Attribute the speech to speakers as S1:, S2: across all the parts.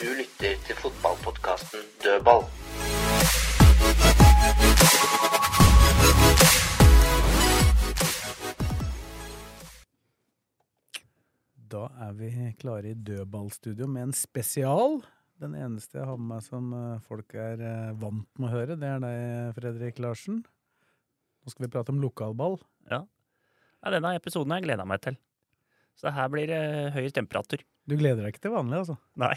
S1: Du lytter til fotballpodkasten Dødball.
S2: Da er vi klare i dødballstudio med en spesial. Den eneste jeg har med meg som eh, folk er eh, vant med å høre, det er deg, Fredrik Larsen. Nå skal vi prate om lokalball.
S3: Ja, denne episoden har jeg gleda meg til. Så her blir det høy temperatur.
S2: Du gleder deg ikke til vanlig, altså?
S3: Nei.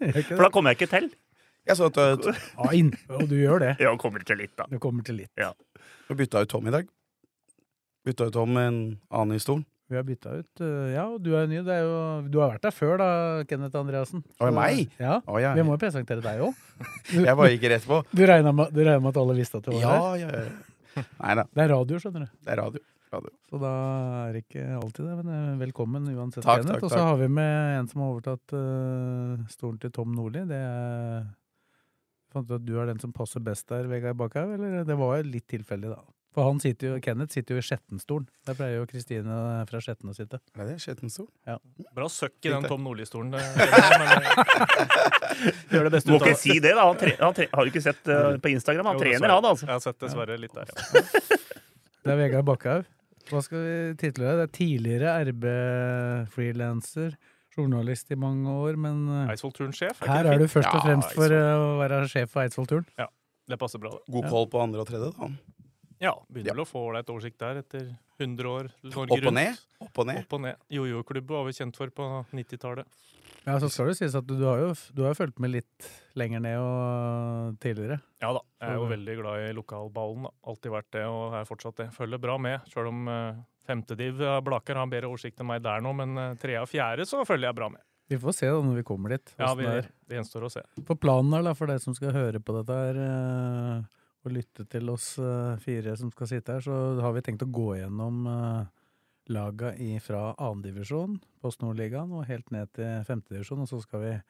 S2: Gjør ikke
S3: For
S2: det?
S3: da kommer jeg ikke til.
S4: Jeg så at uh,
S2: Ja, inn. Og du gjør det.
S3: Ja, kommer til litt, da.
S2: Du kommer til litt.
S4: du bytta ut Tom i dag. Bytta ut Tom med en annen i stolen.
S2: Vi har bytta ut eh, Ja, og du er ny. Det er jo, du har vært der før, da, Kenneth Andreassen.
S4: Å, meg?
S2: Ja.
S4: Å, jeg,
S2: Vi må jo presentere deg òg.
S4: jeg bare gikk rett på.
S2: Du regna med, du regner med at alle visste at du var
S4: Ja,
S2: her?
S4: ja, ja. Nei da,
S2: Det er radio, skjønner du.
S4: det er radio.
S2: Så da er det ikke alltid det, men eh, velkommen uansett.
S4: Takk,
S2: Kenneth.
S4: takk,
S2: Og så
S4: takk.
S2: har vi med en som har overtatt eh, stolen til Tom Nordli. Det er Fant du at du er den som passer best der, Vegard Bakhaug? Eller det var jo litt tilfeldig, da. For han sitter jo, Kenneth sitter jo i Skjettenstolen. Der pleier jo Kristine fra Skjetten å sitte.
S4: Er det skjettenstol?
S5: Bra søkk i den
S4: Fint, det.
S5: Tom Nordli-stolen. det- men,
S3: Gjør det beste Må ikke si det, da. Han, tre, han tre, har du ikke sett eh, på Instagram? Han
S5: Jo,
S3: trener,
S5: dessverre.
S3: han, altså.
S5: Jeg har sett dessverre litt der.
S2: Det er Vegard Bakhaug. Hva skal vi title deg? Det er tidligere RB-frilanser, journalist i mange år, men
S5: Mm.
S2: eh,
S5: Eidsvoll-turnsjef.
S2: her er du først og
S4: Ja,
S2: fremst for eh, å være sjef for Eidsvollturen.
S5: Det passer bra, det.
S4: God koll på andre og tredje, da.
S5: Ja, begynner
S4: Ja.
S5: vel å få ålreit oversikt der etter 100 år Norge
S4: Opp og
S5: rundt.
S4: ned. Opp og ned.
S5: Opp og ned. Jojo-klubb var vi kjent for på 90-tallet.
S2: Ja, så skal det sies at du, du har jo f- du har jo fulgt med litt lenger ned og tidligere.
S5: Ja da. Jeg er jo
S2: Så-
S5: veldig glad i lokalballen. da. Alltid vært det, og er fortsatt det. Følger bra med, sjøl om eh, femtediv eh, Blaker har bedre oversikt enn meg der nå, men eh, tredje og fjerde så følger jeg bra med.
S2: Vi får se da når vi kommer dit.
S5: Ja,
S2: hvordan
S5: vi,
S2: det er.
S5: Det gjenstår å se.
S2: For planen er da, for deg som skal høre på dette her, eh, og lytte til oss eh, fire som skal sitte her, så har vi tenkt å gå gjennom eh, laga i- fra annendivisjon, Post Nordligaen, og helt ned til femtedivisjon, og så skal vi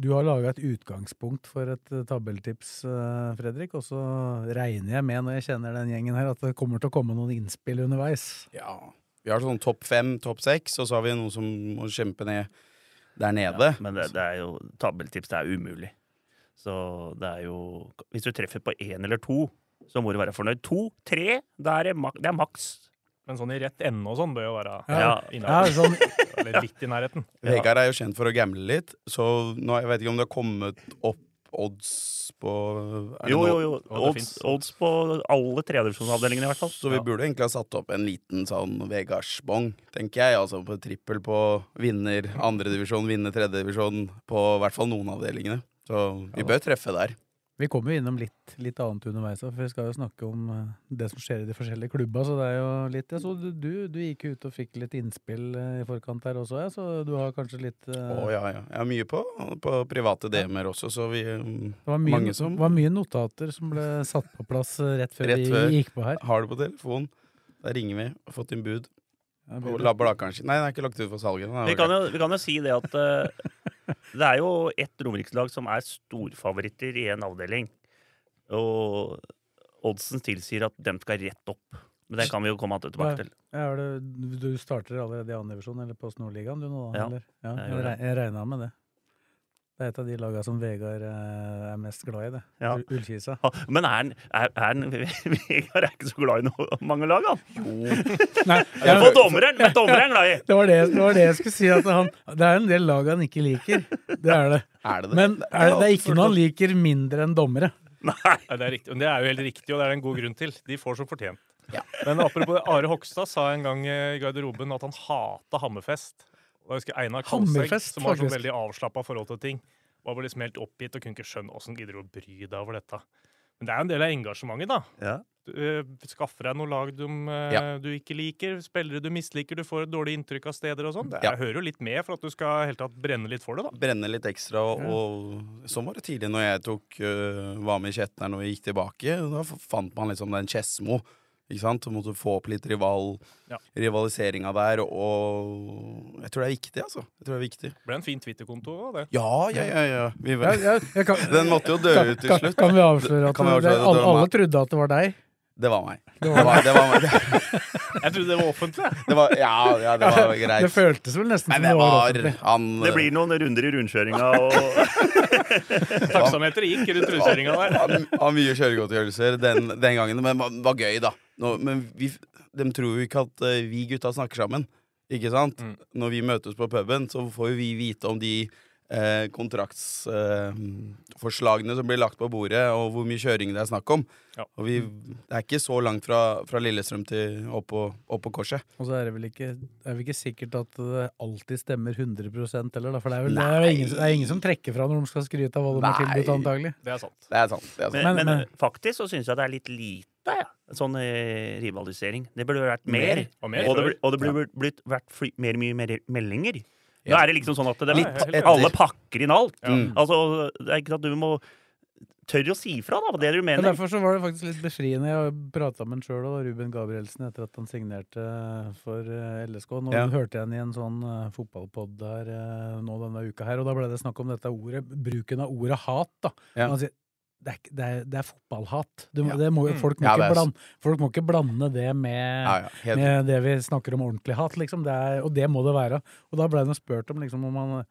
S2: du har laga et utgangspunkt for et eh, tabelltips, eh, Fredrik. Og så regner jeg med, når jeg kjenner den gjengen her, at det kommer til å komme noen innspill underveis.
S4: Ja. Vi har sånn topp fem, topp seks, og så har vi noen som må kjempe ned der nede.
S3: Men det, det er jo tabelltips. Det er umulig. Så det er jo Hvis du treffer på én eller to, så må du være fornøyd. To, tre, da er det, mak det er maks.
S5: Men sånn i rett ende og sånn bør jo være
S3: Ja.
S2: Ja,
S5: innenfor.
S2: sånn,
S5: Eller litt i nærheten.
S4: Vegard er jo kjent for å gamble litt, så nå, jeg vet ikke om det har kommet opp odds på er det
S3: Jo,
S4: nå-
S3: jo, jo.
S5: Ja, det
S3: Odds,
S5: finnes.
S3: odds på alle tredjevisjonsavdelingene, i hvert fall.
S4: Så vi burde egentlig ha satt opp en liten sånn Vegardsbong, tenker jeg. Altså på trippel på vinner andredivisjon, vinner tredjedivisjon på i hvert fall noen avdelingene. Så vi bør treffe der.
S2: Vi kommer jo innom litt, litt annet underveis, da, for vi skal jo snakke om eh, det som skjer i de forskjellige klubba. Så det er jo litt Jeg så du, du, du gikk jo ut og fikk litt innspill eh, i forkant her også, ja, så du har kanskje litt eh,
S4: Å ja, ja. Jeg har mye på, på private DM-er også, så vi mm,
S2: Det var mye,
S4: mange som-
S2: var mye notater som ble satt på plass eh, rett før
S4: Rett
S2: vi
S4: før.
S2: gikk på her.
S4: har det på telefon. Der ringer vi. Har fått inn bud.
S2: Ja,
S4: på
S2: bra.
S4: la- Blakeren sin. Nei, den er ikke lagt ut for salget. Den er
S3: Vi
S4: vel-
S3: kan, jo, vi kan jo si det at eh, det er jo ett romerikslag som er storfavoritter i en avdeling. Og oddsen tilsier at dem skal rett opp. Men det kan vi jo komme tilbake til.
S2: Ja, er det, du starter allerede i annen divisjon, eller på Nordligaen du nå? da,
S3: Ja,
S2: eller? ja
S3: jeg
S2: jeg,
S3: gjør det.
S2: reg- jeg regna med det. Det er et av de laga som Vegard eh, er mest glad i, det.
S3: Ja.
S2: Ull- Ullkisa.
S3: Ja, Men er han er, er han- Vegard er ikke så glad i noe, mange lag, han.
S2: Nei,
S3: Ja, for dommeren! Men dommeren er glad i!
S2: Det var det, det var det jeg skulle si. At han, det er en del lag han ikke liker. Det er det.
S4: Er det det?
S2: Men er det, det er ikke noe han liker mindre enn dommere.
S3: Nei.
S5: Nei, det, er riktig. Men det er jo helt riktig, og det er det en god grunn til. De får som fortjent. Men apropos det, Are Hogstad sa en gang eh, i garderoben at han hata Hammerfest. Og jeg husker Einar Kalseng,
S2: Hammerfest,
S5: som har sånn
S2: faktisk.
S5: veldig avslappa forhold til ting, var bare liksom helt oppgitt og kunne ikke skjønne åssen gidder du å bry deg over dette. Men det er jo en del av engasjementet, da.
S3: Ja.
S5: Du, eh, Skaffer deg noe lag du, eh,
S4: Ja.
S5: du ikke liker, spillere du misliker, du får et dårlig inntrykk av steder og sånn. Det
S4: Ja.
S5: hører jo litt med for at du skal helt tatt brenne litt for det, da.
S4: brenne litt ekstra. Og, og sånn var det tidlig når jeg tok, øh, var med i Kjetneren og gikk tilbake. Da f- fant man liksom den Skedsmo. Ikke sant? Så måtte du få opp litt rival,
S5: Ja.
S4: rivaliseringa der. Og jeg tror det er viktig, altså. Jeg tror det er viktig.
S5: Det ble en fin Twitter-konto òg, det.
S4: Ja, ja, ja. ja. Vi,
S2: Ja, ja, jeg kan,
S4: Den måtte jo dø ut til
S2: kan,
S4: slutt.
S2: kan vi avsløre at
S4: Kan vi
S2: det-
S4: avsløre at det
S2: alle,
S4: var
S2: alle
S4: meg?
S2: trodde at det var deg?
S4: Det var meg.
S2: Det
S4: Det
S2: var
S4: var, det var, meg. det,
S5: Jeg trodde det var offentlig. jeg.
S4: det var, ja, ja, det var
S2: Det
S4: greit.
S2: føltes vel nesten
S4: Nei,
S2: som
S4: det
S2: det var
S4: var
S2: offentlig.
S4: han
S3: Det blir noen runder i rundkjøringa og
S5: Taksameteret gikk rundt rundkjøringa der.
S4: Han har mye kjøregodtgjørelser den, den gangen, men det var gøy, da. Nå, men vi, de tror jo ikke at eh, vi gutta snakker sammen, ikke sant?
S5: Mm.
S4: Når vi møtes på puben, så får jo vi vite om de eh, kontraktsforslagene som blir lagt på bordet, og hvor mye kjøring det er snakk om.
S5: Ja.
S4: Og vi, det er ikke så langt fra, fra Lillestrøm til opp på, opp på korset.
S2: Og så er det vel ikke, er vel ikke sikkert at det alltid stemmer 100 heller, da. For det er, vel, det, er
S4: Nei.
S2: jo ingen, det er ingen som trekker fra når de skal skryte av hva de har
S4: Nei.
S2: tilbudt, antagelig.
S5: Det er sant.
S4: Det er sant. Det er sant.
S3: Men,
S2: Men-
S3: men,
S2: men-
S3: faktisk så syns jeg det er litt lite ja. sånn eh, rivalisering. Det burde vært mer.
S5: Og mer
S3: og det,
S5: før.
S3: burde- og det burde blitt vært fly, mer, mye mer meldinger. Nå
S4: Ja.
S3: er det liksom sånn at det,
S5: Litt
S3: pa-
S5: etter.
S3: alle pakker inn alt.
S5: Ja.
S4: Mm.
S3: Altså, det er ikke sant, Du må tørre å si fra da, det du
S2: Men
S3: mener.
S2: derfor så var det faktisk litt befriende. Jeg prata med han sjøl og Ruben Gabrielsen etter at han signerte for eh, LSK. Nå
S4: Ja.
S2: hørte jeg han i en sånn eh, fotballpod der eh, nå denne uka her, og da ble det snakk om dette ordet, bruken av ordet hat. da.
S4: Ja.
S2: Han sier, det er, ikke- det, er, det er fotballhat. Du, må-
S4: Ja.
S2: det må, jo-
S5: Mm.
S2: folk, må
S4: Ja,
S2: ikke
S4: det er s-
S2: blande, folk må ikke blande det med,
S4: Ja, ja, helt,
S2: med det vi snakker om ordentlig hat, liksom. Det er, og det må det være. Og da blei han jo spurt om liksom om han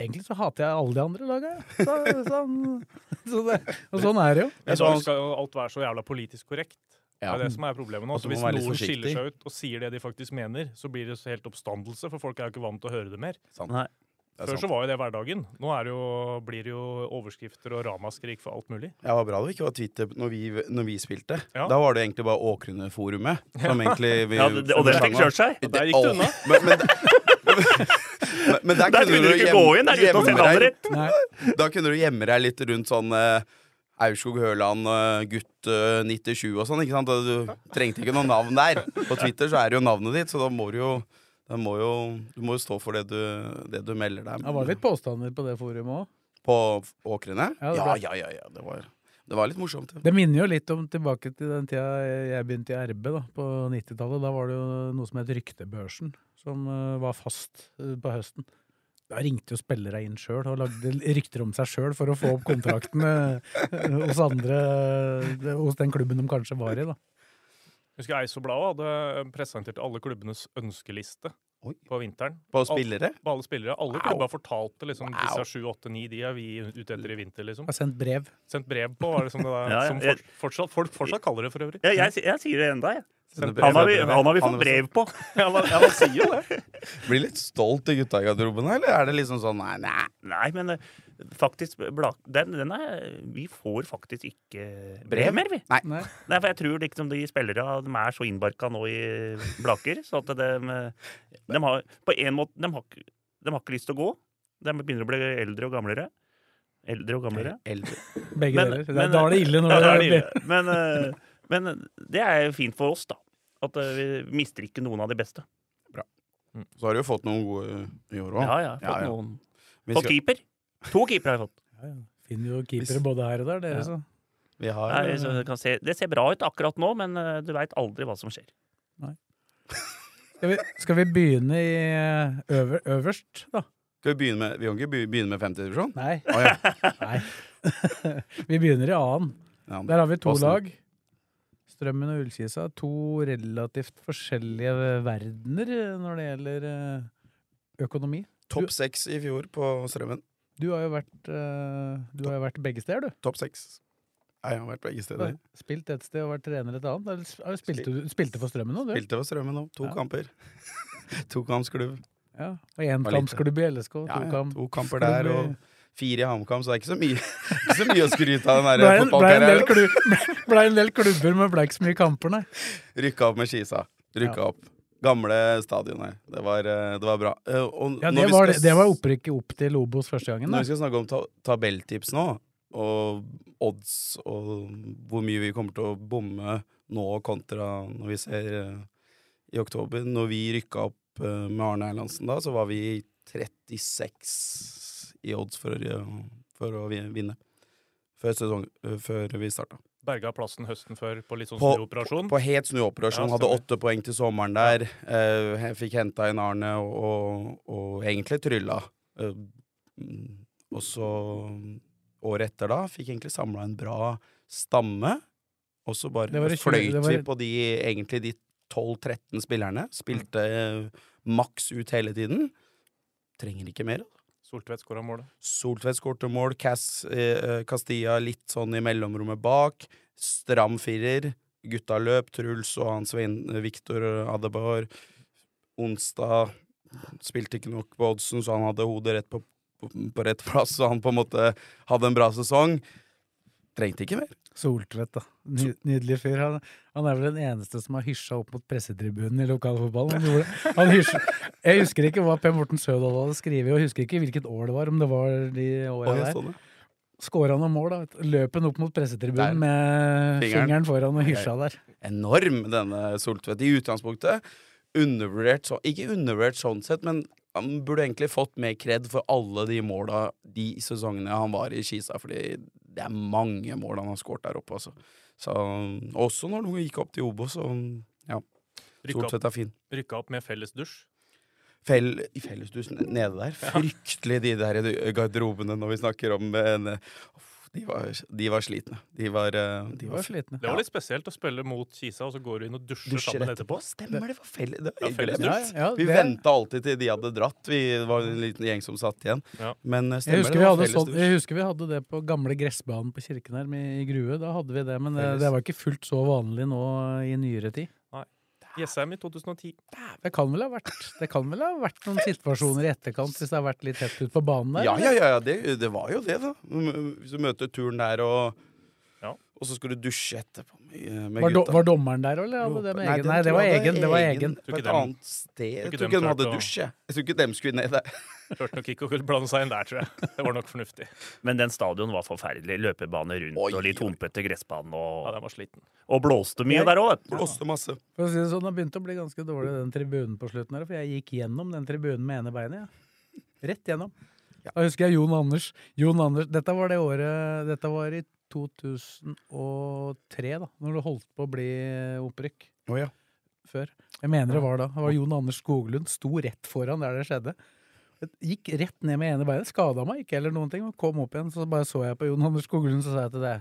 S2: Egentlig så hater jeg alle de andre laga, jeg. Så, sånn, så det, og sånn er det jo.
S5: I
S4: så
S5: dag
S4: han-
S5: skal jo alt være så jævla politisk korrekt.
S4: ja.
S5: Det er det som er problemet nå.
S4: At du
S5: Så
S4: må
S5: hvis
S4: være litt
S5: noen
S4: forsiktig.
S5: skiller seg ut og sier det de faktisk mener, så blir det så helt oppstandelse, for folk er jo ikke vant til å høre det mer.
S3: Nei.
S4: Det er
S5: Før så
S4: sant.
S5: var jo det hverdagen. Nå er det jo, blir det jo overskrifter og ramaskrik for alt mulig.
S4: Ja, det var bra det ikke var Twitter når vi, når vi spilte.
S5: Ja.
S4: Da var det egentlig bare Åkrune-forumet. Som egentlig vi,
S3: Ja, det, og
S4: som
S3: den
S4: sang
S3: fikk
S4: om.
S3: kjørt seg.
S5: Og der gikk du unna.
S4: Åh, Men, men, men, men der,
S3: Der
S4: kunne du
S3: ikke
S4: gjem-
S3: gå inn der uten å
S4: gjemme
S3: sende
S4: deg-
S3: adrett.
S2: Nei.
S4: Da kunne du gjemme deg litt rundt sånn eh, Aurskog Høland, eh, gutt eh, 97 og sånn. ikke sant? Og Du trengte ikke noe navn der. På Twitter så er det jo navnet ditt, så da må du jo, da må jo, du må jo stå for det du, det du melder deg.
S2: Det var litt påstander på det forumet òg.
S4: På Åkrene?
S2: Ja,
S4: Ja,
S2: det
S4: ja,
S2: var-
S4: ja. ja, Det, var, det var litt morsomt.
S2: Det minner jo litt om tilbake til den tida jeg begynte i RB da, på 90-tallet. Da var det jo noe som het Ryktebørsen, som eh, var fast eh, på høsten. Da ringte jo spillere inn sjøl og lagde rykter om seg sjøl for å få opp kontrakten eh, hos andre eh, Hos den klubben de kanskje var i, da.
S5: Husker jeg Eisobladet hadde presentert alle klubbenes ønskeliste
S4: Oi.
S5: på vinteren.
S4: På spillere?
S5: På alle spillere. Alle
S4: Wow.
S5: klubber fortalte liksom
S4: Wow.
S5: disse sju, åtte, ni de er vi ute etter i vinter, liksom.
S2: Har sendt brev.
S5: Sendt brev på, var det som det der,
S3: Ja, ja.
S5: som for, fortsatt, folk fortsatt kaller det for øvrig.
S3: Jeg, jeg, jeg sier det enda, jeg.
S4: Sender brev.
S3: Han har vi, han har vi
S4: Han
S3: fått
S4: er
S3: brev på.
S5: Ja, man, ja, man sier jo det.
S4: Blir litt stolt i gutta i garderoben, eller er det liksom sånn nei, nei.
S3: Nei, men eh, faktisk bla- den, den er, Vi får faktisk ikke brev mer, vi.
S4: Nei.
S2: Nei.
S3: Nei, for jeg tror liksom de spillere de er så innbarka nå i Blaker, så at de, de har på en måte de har, ikke- de har ikke lyst til å gå. De begynner å bli eldre og gamlere. Eldre og gamlere.
S4: Eldre.
S2: Begge
S3: Men-
S2: deler.
S3: men-
S2: da er det ille når
S3: Ja,
S2: det
S3: da er
S2: er
S3: det ille. Men, eh, men det er jo fint for oss, da. At eh, vi mister ikke noen av de beste.
S4: Så har du jo fått noen gode eh, i år òg.
S3: Ja, ja.
S4: Ja,
S3: Fått
S4: ja.
S3: noen.
S4: Vi,
S3: Fått
S4: skal-
S3: keeper. To keepere har jeg fått.
S2: Finner jo keepere både her og der, dere, så.
S4: vi har eh,
S3: Nei, så det, kan se, det ser bra ut akkurat nå, men eh, du veit aldri hva som skjer.
S2: Skal vi, skal vi begynne i eh, øver, øverst, da?
S4: Skal vi begynne med Vi kan ikke be- begynne med femtedivisjon?
S2: Nei.
S4: Å ja.
S2: Nei. vi begynner i annen.
S4: ja.
S2: Der har vi to
S4: Åssen?
S2: lag. Strømmen og Ullkisa. To relativt forskjellige verdener eh, når det gjelder eh, økonomi.
S4: Topp seks i fjor på Strømmen.
S2: Du har jo vært, eh, du har jo vært begge steder, du.
S4: Topp seks. Nei, Jeg har vært begge
S2: Du har
S4: steder.
S2: Spilt et sted og vært trener et annet. Eller s- Spilte, du- spilte for Strømmen nå, du?
S4: Spilte for Strømmen nå. To
S2: Ja.
S4: kamper. Tokampsklubb.
S2: Ja. Og én
S4: Var lite.
S2: kampsklubb i LSK. To
S4: Ja, ja,
S2: kamp.
S4: to kamper
S2: Klubb
S4: der
S2: i-
S4: og fire i HamKam, så det er ikke så mye, ikke så mye å skryte av den
S2: Ble
S4: der
S2: en, ble en, del
S4: fotballkarrieren.
S2: klubb- ble en del klubber, men ble ikke så mye kamper, nei.
S4: Rykka opp med Skisa. Rykka
S2: Ja.
S4: opp. Gamle stadion her. Det var, eh, det var bra. Eh, og
S2: Ja,
S4: når
S2: det
S4: vi
S2: var,
S4: skal
S2: det var opprykket opp til Lobos første gangen.
S4: Når
S2: Da.
S4: vi skal snakke om ta tabelltips nå, og odds og hvor mye vi kommer til å bomme nå kontra når vi ser eh, i oktober. Når vi rykka opp eh, med Arne Erlandsen da, så var vi 36 i odds for, å- for å vi- vinne. Før, sesong, eh, før vi starta.
S5: Berga plassen høsten før på litt sånn
S4: På-
S5: snuoperasjon.
S4: På helt snuoperasjon.
S5: Ja,
S4: hadde
S5: stemmer.
S4: åtte poeng til sommeren der. Eh, jeg fikk henta inn Arne og, og, og egentlig trylla. Eh, mm, og så, året etter da, fikk egentlig samla en bra stamme. Og så bare
S2: Det var i tjue-
S4: fløyt
S2: det var i-
S4: vi på de, egentlig de 12-13 spillerne. Spilte
S2: Mm.
S4: eh, maks ut hele tiden. Trenger ikke mer.
S5: Soltvedt skåra målet.
S4: Soltvedt skårte mål, Cass, eh, eh, Castilla litt sånn i mellomrommet bak. Stram firer. Gutta løp, Truls og han Svein Viktor Adebar. Onsdag spilte ikke nok på oddsen, så han hadde hodet rett på, på, på rett plass, så han på en måte hadde en bra sesong. Trengte ikke mer.
S2: Soltvedt, da. Ny, nydelig fyr. Han, han er vel den eneste som har hysja opp mot pressetribunen i lokalfotballen. Han gjorde, han hysj- jeg husker ikke hva Per Morten Sødal hadde skrevet, og jeg husker ikke hvilket år det var. om det var de årene
S4: Oi, jeg
S2: der.
S4: så det.
S2: Skåra noen mål, da. vet du. Løp han opp mot
S4: Der.
S2: pressetribunen med
S4: Fingeren.
S2: fingeren, foran og hysja der.
S4: enorm, denne Soltvedt, i utgangspunktet. Undervurdert så, Ikke undervurdert sånn sett, men han burde egentlig fått mer kred for alle de måla de sesongene han var i Kisa, fordi det er mange mål han har skåret der oppe, altså. Så, også når han gikk opp til Obos, så ja.
S5: Rykka opp,
S4: Soltvedt er fin.
S5: rykka opp med felles dusj.
S4: Fell, I fellesdusjen nede der. Fryktelig de der garderobene når vi snakker om en, uff, de, var, de var slitne. De var, eh,
S2: De
S4: de
S2: var
S4: var
S2: slitne.
S5: Det var litt spesielt å spille mot Kisa, og så går du inn og dusjer, sammen etterpå.
S4: Stemmer det, var fell, det
S5: Ja,
S4: var
S5: felles
S2: Ja,
S4: glemt.
S2: ja, ja,
S4: Vi
S2: det-
S4: venta alltid til de hadde dratt. Vi var en liten gjeng som satt igjen.
S5: Ja.
S4: Men eh,
S2: Jeg
S4: stemmer
S2: husker,
S4: det
S2: vi
S4: var
S2: hadde
S4: felles
S2: sånn,
S4: dusj.
S2: jeg husker vi hadde det på gamle gressbanen på Kirkenherm i, i Grue. Da hadde vi det, men det,
S4: Felles.
S2: det var ikke fullt så vanlig nå i nyere tid.
S5: Jessheim i 2010.
S2: Det kan vel ha vært, det kan vel ha vært noen situasjoner i etterkant hvis det har vært litt tett ut på banen der?
S4: Ja,
S2: eller?
S4: ja, ja, ja det, det var jo det, da. Mm, Hvis du møter turen der, og,
S5: Ja.
S4: og så skal du dusje etterpå med, eh, med
S2: Var, do,
S4: gutta.
S2: var dommeren der, eller hadde det med egen? Nei, det var egen. Det var egen.
S4: På
S5: Tror ikke
S4: et
S5: dem-
S4: annet sted. Jeg
S5: ikke
S4: tror
S5: dem
S4: ikke de hadde
S5: klarte å-
S4: dusj, jeg. Jeg tror ikke dem skulle ned der.
S5: Hørte nok ikke å kunne blande seg inn der, tror jeg. Det var nok fornuftig.
S3: Men den stadion var forferdelig. Løpebane rundt
S4: Oi,
S3: og litt
S4: oi.
S3: humpete gressbane.
S5: Ja,
S3: Og,
S5: den var sliten.
S3: og blåste mye der òg, vet du.
S4: Blåste masse.
S2: For å si det sånn, det begynte å bli ganske dårlig, den tribunen på slutten her, for jeg gikk gjennom den tribunen med ene beinet, ja. Rett gjennom. Da husker jeg Jon Anders. Jon Anders, dette var det året, dette var i 2003 da, når det holdt på å bli opprykk.
S4: Å ja.
S2: før. Jeg mener det var da. Det var Jon Anders Skoglund. Sto rett foran der det skjedde. Gikk rett ned med ene beinet. Skada meg ikke eller noen ting. og Kom opp igjen, så bare så jeg på Jon Anders Skoglund, så sa jeg til det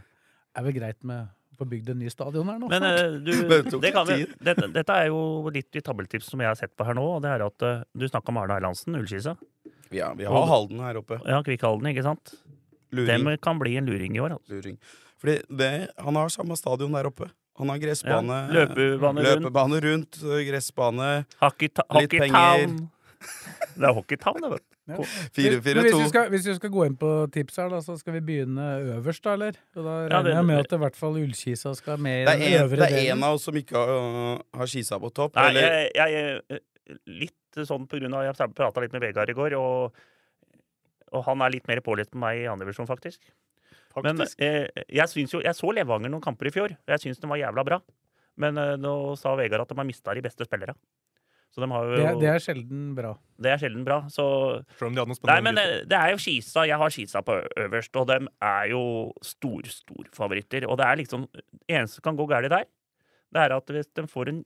S2: er vel greit med å få bygd en ny stadion her nå.
S3: Men eh,
S4: Det
S3: du,
S4: tok
S3: det kan vi,
S4: tid.
S3: dette, dette er jo litt i tabeltips som jeg har sett på her nå. Og det er at eh, Du snakka om Arne Erlandsen, Ullkisa.
S4: Vi, har- vi har Halden her oppe.
S3: Ja, Kvikkhalden, ikke sant?
S4: Luring.
S3: Dem kan bli en luring i år. Altså.
S4: luring. Fordi det, han har samme stadion der oppe. Han har gressbane.
S3: Ja, løpebane rundt.
S4: løpebane rundt. Gressbane.
S3: altså. Hockeyta-
S4: Litt
S3: Hockeytown! Det er Hockeytown, det, vet du.
S2: Hvis- men hvis, vi
S4: 4-4-2.
S2: skal, hvis vi skal gå inn på tips her, da, så skal vi begynne øverst, da, eller? Og da regner
S3: det-
S2: jeg med at i hvert fall Ullkisa skal med
S4: Det
S2: i den
S4: er en,
S2: øvre
S4: det er en
S2: delen.
S4: av oss som ikke har, øh, har skisa på topp.
S3: Nei,
S4: eller,
S3: jeg, jeg, eh, litt sånn på grunn av Jeg prata litt med Vegard i går, og, og han er litt mer pålitelig med meg i andre divisjon, faktisk. Men
S5: Faktisk.
S3: eh, jeg syns jo Jeg så Levanger noen kamper i fjor, og jeg syns de var jævla bra. Men eh, nå sa Vegard at de har mista de beste spillerne. Så de har jo
S2: Det, er- det er sjelden bra.
S3: det er sjelden bra. Så
S5: Selv om de hadde noen
S3: Nei,
S5: spennende
S3: men det, det er jo Skisa. Jeg har Skisa på ø- øverst, og dem er jo stor, stor favoritter. Og det er liksom Det eneste som kan gå galt der, det er at hvis de får en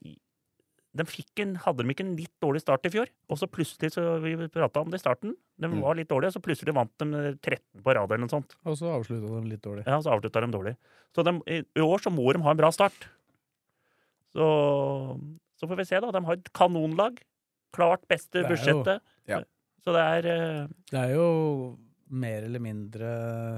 S3: de fikk en, hadde de ikke en litt dårlig start i fjor? Og så plutselig, så vi prata om det i starten, de
S4: Mm.
S3: var litt dårlige, og så plutselig vant de 13 på rad eller noe sånt.
S2: Og så avslutta de litt dårlig.
S3: Ja, så avslutta de dårlig. Så de, i i år så må de ha en bra start. Så, så får vi se, da. De har et kanonlag. Klart beste
S2: Det er jo-
S3: budsjettet.
S4: Ja.
S3: Så det er eh,
S2: Det er jo mer eller mindre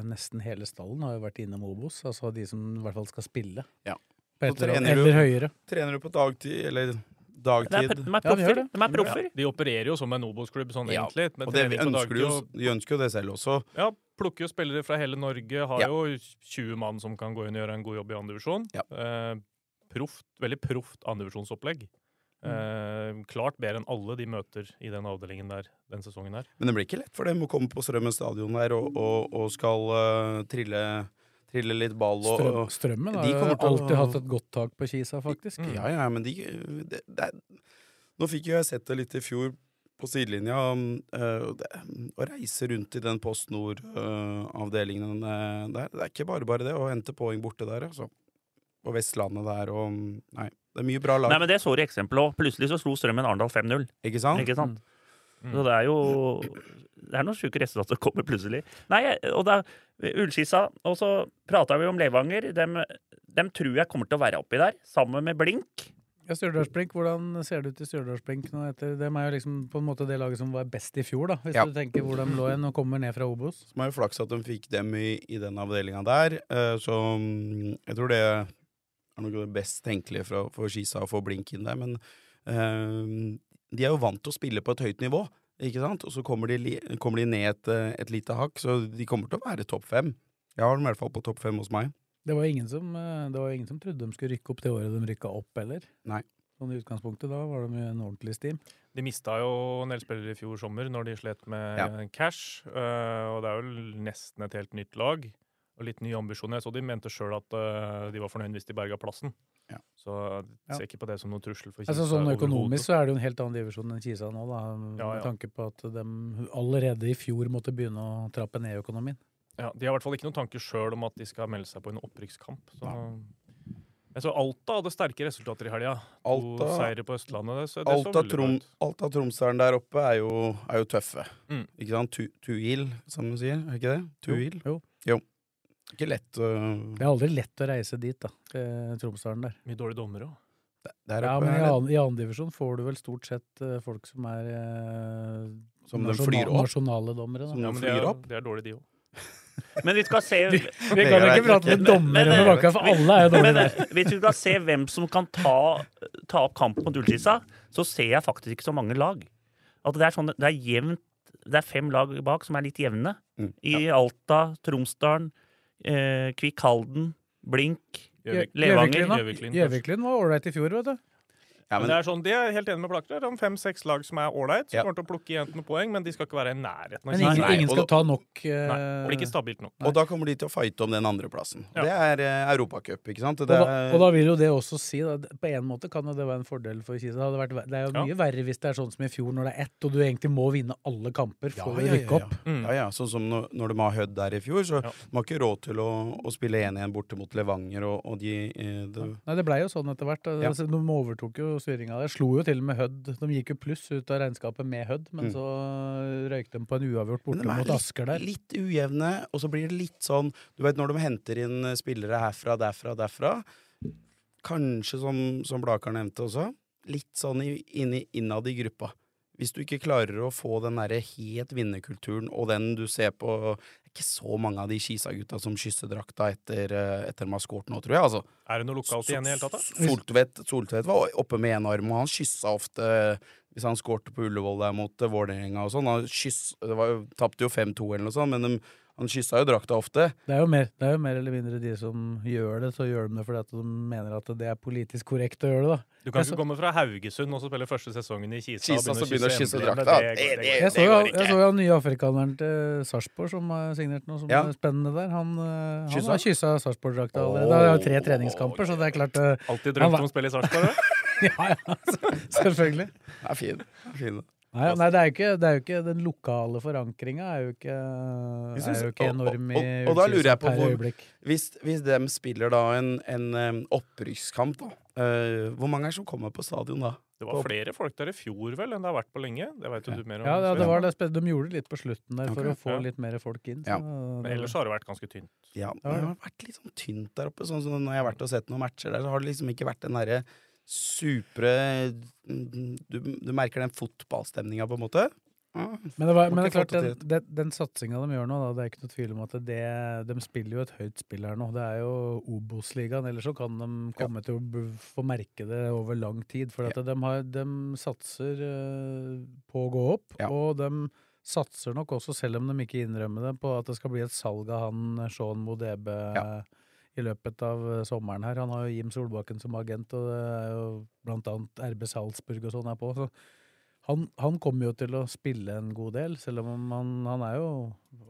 S2: nesten hele stallen har jo vært innom Obos. Altså de som i hvert fall skal spille.
S4: Ja.
S2: På
S4: Så
S2: et eller, annet-
S4: trener du-
S2: eller høyere.
S4: Trener du på dagtid, eller
S3: det er,
S4: dagtid?
S3: de er
S2: Ja, de gjør
S3: proffer.
S2: det.
S3: de er proffer.
S5: De opererer jo som en Obos-klubb, sånn
S4: Ja,
S5: egentlig. Men
S4: og det
S5: trening på
S4: ønsker
S5: dagtid
S4: du jo,
S5: og-
S4: de ønsker jo det selv også.
S5: Ja, plukker jo spillere fra hele Norge. Har
S4: Ja.
S5: jo 20 mann som kan gå inn og gjøre en god jobb i andredivisjon.
S4: Ja.
S5: Eh, proft, veldig proft andredivisjonsopplegg.
S4: Mm.
S5: Eh, klart bedre enn alle de møter i den avdelingen der den sesongen her.
S4: Men det blir ikke lett for dem å komme på Strømmen stadion der og, og, og skal eh, trille, trille litt ball og
S2: Strøm,
S4: og-
S2: strømmen har
S4: de
S2: jo
S4: kommer til å- Mm.
S2: alltid hatt et godt tak på Kisa, faktisk.
S4: Ja, ja, men de det, det, er- Nå fikk jo jeg sett det litt i fjor på sidelinja. um, eh, og det, å reise rundt i den Post Nord-avdelingen der, eh, det er ikke bare bare det. Å hente poeng borte der, altså. På Vestlandet der og Nei, det er mye bra lag.
S3: Nei, men Det så du eksempel òg. Plutselig så slo Strømmen Arendal 5-0.
S4: Ikke sant?
S3: Ikke
S2: Mm.
S3: sant? Så det er jo Det er noen sjuke resultater som kommer plutselig. Nei, og da Ullskissa, og så prata vi om Levanger. Dem, dem tror jeg kommer til å være oppi der, sammen med Blink.
S2: Ja, Stjørdalsblink, hvordan ser det ut i Stjørdalsblink nå etter Dem er jo liksom på en måte det laget som var best i fjor, da. Hvis
S4: Ja.
S2: du tenker hvor de lå igjen og kommer ned fra Obos.
S4: Som er jo flaks at de fikk dem i, i den avdelinga der. eh, så mm, jeg tror det er noe av det best tenkelige for, for Skisa å få blink inn der. Men eh, de er jo vant til å spille på et høyt nivå, ikke sant? Og så kommer de, li- kommer de ned et, eh, et lite hakk, så de kommer til å være topp fem. Jeg har dem i hvert fall på topp fem hos meg.
S2: Det var ingen som, eh, det var ingen som trodde de skulle rykke opp det året de rykka opp, heller.
S4: Nei.
S2: Sånn i utgangspunktet, da var de jo en ordentlig steam.
S5: De mista jo en del spillere i fjor sommer når de slet med
S4: Ja.
S5: cash. eh, og det er jo nesten et helt nytt lag og litt nye ambisjoner. Jeg så de mente sjøl at eh, de var fornøyd hvis de berga plassen.
S4: Ja.
S5: Så
S2: Ja.
S5: jeg ser ikke på det som noen trussel for Kisa.
S2: Altså Sånn
S5: overhodet.
S2: økonomisk så er det jo en helt annen divisjon enn Kisa nå, da. Med
S5: Ja, ja.
S2: tanke på at de allerede i fjor måtte begynne å trappe ned økonomien.
S5: Ja, De har i hvert fall ikke noen tanker sjøl om at de skal melde seg på en opprykkskamp. Så. Jeg så Alta hadde sterke resultater i helga. To
S4: Alta-
S5: seire på Østlandet. Det, så det så
S4: Alta,
S5: veldig bra
S4: Trom,
S5: ut.
S4: Alta Tromsdalen der oppe er jo, er jo tøffe.
S5: Mm.
S4: Ikke sant? Tu, tuil, som de sier. Er ikke det? Tuil?
S2: Jo.
S4: Ikke lett øh,
S2: Det er aldri lett å reise dit, da. til Tromsdalen der.
S5: Mye dårlige dommere òg.
S4: der
S2: Ja,
S4: oppe.
S2: men
S4: er
S2: i
S4: det-
S2: annen, i annen divisjon får du vel stort sett eh, folk som er eh,
S4: Som de
S2: nasjonal-
S4: flyr opp.
S2: nasjonale dommere. Da.
S4: Som de
S5: Ja, men de
S4: flyr
S5: er,
S4: opp.
S5: de er dårlige, de òg.
S3: Men vi skal se
S2: Vi kan
S4: kan jo
S2: ikke prate med dommere
S3: Men-
S2: om baka, for alle er jo
S3: men,
S2: dommere der.
S3: eh, Hvis vi skal se hvem som kan ta, ta opp kampen mot Ullskissa, så ser jeg faktisk ikke så mange lag. At det er sånn, det er jevnt Det er fem lag bak som er litt jevne.
S4: Mm,
S3: I Alta, Tromsdalen, eh, Kvikk Halden, Blink.
S5: Gjøvik.
S3: Levanger,
S2: Gjøviklyn, da.
S5: Gjøviklyn først.
S2: Gjøviklyn var ålreit i fjor, vet du.
S4: Ja,
S5: Men
S4: men-
S5: det er sånn, De er helt enig med Blaker. her, om fem-seks lag som er ålreit, som
S4: Ja.
S5: kommer til å plukke igjen noen poeng, men de skal ikke være i nærheten av
S2: Men
S5: Kisa.
S2: ingen,
S4: Nei,
S2: ingen
S4: og
S2: skal ta nok
S5: Nei,
S2: eh,
S5: det blir ikke stabilt nok.
S4: Og da kommer de til å fighte om den andreplassen.
S5: Ja.
S4: Det er eh, Europacup, ikke sant?
S2: Og
S4: Det
S2: da,
S4: er,
S2: og da vil jo det også si da, det- På en måte kan jo det være en fordel for Kisa. Det, hadde vært, ver- det er jo
S5: Ja.
S2: mye verre hvis det er sånn som i fjor, når det er ett, og du egentlig må vinne alle kamper
S4: Ja,
S2: for å
S4: ja, ja,
S2: rykke opp.
S5: Mm.
S4: ja, ja, sånn som når, når de har Hødd der i fjor, så
S5: Ja.
S4: de har ikke råd til å, å spille 1-1 borte mot Levanger og, og de, eh, det,
S2: Nei, Det blei jo sånn etter hvert. da.
S4: Ja.
S2: Altså, de overtok jo styringa der. Slo jo til og med Hødd. De gikk jo pluss ut av regnskapet med Hødd, men
S4: Mm.
S2: så øh, røyk de på en uavgjort
S4: Men
S2: borte
S4: de er
S2: mot
S4: litt-
S2: Asker der.
S4: Litt ujevne, og så blir det litt sånn Du vet når de henter inn eh, spillere herfra, derfra, derfra Kanskje som, som Blakar nevnte også, litt sånn i- inni- innad i gruppa. Hvis du ikke klarer å få den derre helt vinnerkulturen og den du ser på Det er ikke så mange av de Kisa-gutta som kysser drakta etter, eh, etter de har skåret nå, tror jeg. altså.
S5: Er det noe lokalt igjen i hele tatt, da?
S4: Soltvedt, Soltvedt var oppe med én arm, og han kyssa ofte eh, hvis han skårte på Ullevål der mot eh, Vålerenga og sånn. Han kyss, det var jo, tapte jo 5-2 eller noe sånt, men de, han kyssa jo drakta ofte.
S2: Det er, jo mer, det er jo mer eller mindre de som gjør det, så gjør de det fordi at de mener at det er politisk korrekt å gjøre det, da.
S5: Du kan
S2: Jeg så-
S5: ikke komme fra Haugesund og så spille første sesongen i Kisa,
S4: Kisa, så
S5: og
S4: begynner å
S5: begynne å
S4: kysse
S5: kysse emblemet.
S4: drakta.
S5: Det går- det
S4: Det-
S5: går
S2: Jeg
S5: ikke.
S2: så jo jeg så jo han nye afrikaneren til Sarpsborg som har signert noe som
S4: Ja.
S2: er spennende der. Han, eh, han
S4: Kyssa?
S2: har kyssa Sarpsborg-drakta allerede. Det er jo tre treningskamper, så det er klart eh, Han
S5: Alltid drømt
S2: var-
S5: om å spille i Sarpsborg. da.
S2: Ja, ja, selvfølgelig.
S4: Det er fin. Det er fin.
S2: Nei, nei det, er jo ikke, det er jo ikke Den lokale forankringa er jo ikke, er jo ikke
S4: og- og-
S2: enorm i
S4: og- og da lurer jeg på
S2: per
S4: hvor-
S2: øyeblikk.
S4: Hvis, hvis de spiller da en, en eh, opprykkskamp, da, eh, hvor mange er det som kommer på stadion da?
S5: Det var flere folk der i fjor vel enn det har vært på lenge. Det vet jo du mer om.
S2: Ja, det,
S5: Sven.
S2: det var det, spe- de gjorde det litt på slutten der for
S4: Ok,
S2: å få
S5: ja.
S2: litt mer folk inn.
S4: Ja.
S2: Så, det
S5: Men ellers
S2: var-
S5: har det vært ganske tynt.
S4: Ja, men det har vært litt sånn tynt der oppe. Sånn som når jeg har vært og sett noen matcher der, så har det liksom ikke vært den derre supre du, du merker den fotballstemninga, på en måte. Mm.
S2: men, det var,
S4: Man
S2: men det er
S4: kan
S2: klart,
S4: få det
S2: den, den, den satsinga de gjør nå, da, det er ikke noe tvil om at det, de spiller jo et høyt spill her nå. Det er jo Obos-ligaen, ellers så kan de komme til å b- få merke det over lang tid. For at de, har, de satser eh, på å gå opp,
S4: Ja.
S2: og de satser eh, nok også, selv om de ikke innrømmer det, på at det skal bli et salg av han Sean Modebe.
S4: Ja.
S2: E eh, i løpet av eh, sommeren her. Han har jo Jim Solbakken som agent, og det er jo blant annet RB Salzburg og sånn er på. Så han, han kommer jo til å spille en god del, selv om han, han er jo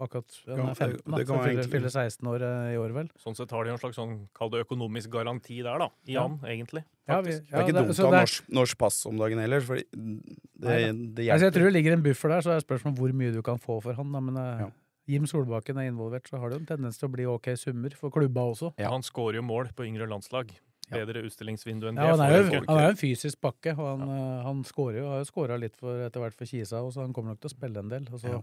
S2: akkurat han
S4: Ja,
S2: er 15, da,
S4: det
S2: så
S4: kan
S2: fyller,
S4: egentlig-
S2: fyller 16 år eh, i år, vel.
S5: Sånn sett har de en slags sånn, kall det økonomisk garanti der, da. I
S2: Ja.
S5: han, egentlig.
S2: Ja, vi-
S5: Faktisk.
S4: Det er
S2: ja,
S4: ikke dumt
S2: så
S4: å
S2: det
S4: ha
S2: er-
S4: norsk, norsk pass om dagen heller, for det, det,
S2: Altså,
S4: det
S2: jeg
S4: hjelper.
S2: tror det ligger en buffer der, så er spørsmålet hvor mye du kan få for han. Da, men eh,
S4: Ja.
S2: Jim Solbakken er involvert, så har det jo en tendens til å bli ok summer for klubba også.
S4: Ja.
S5: Han skårer jo mål på yngre landslag. Bedre utstillingsvindu enn
S2: Ja, han,
S5: det.
S2: er jo,
S5: får du ikke.
S2: han er jo en fysisk pakke, og han, eh, han scorer jo, har jo skåra litt for, etter hvert for Kisa, og så han kommer nok til å spille en del. Og så
S4: Ja.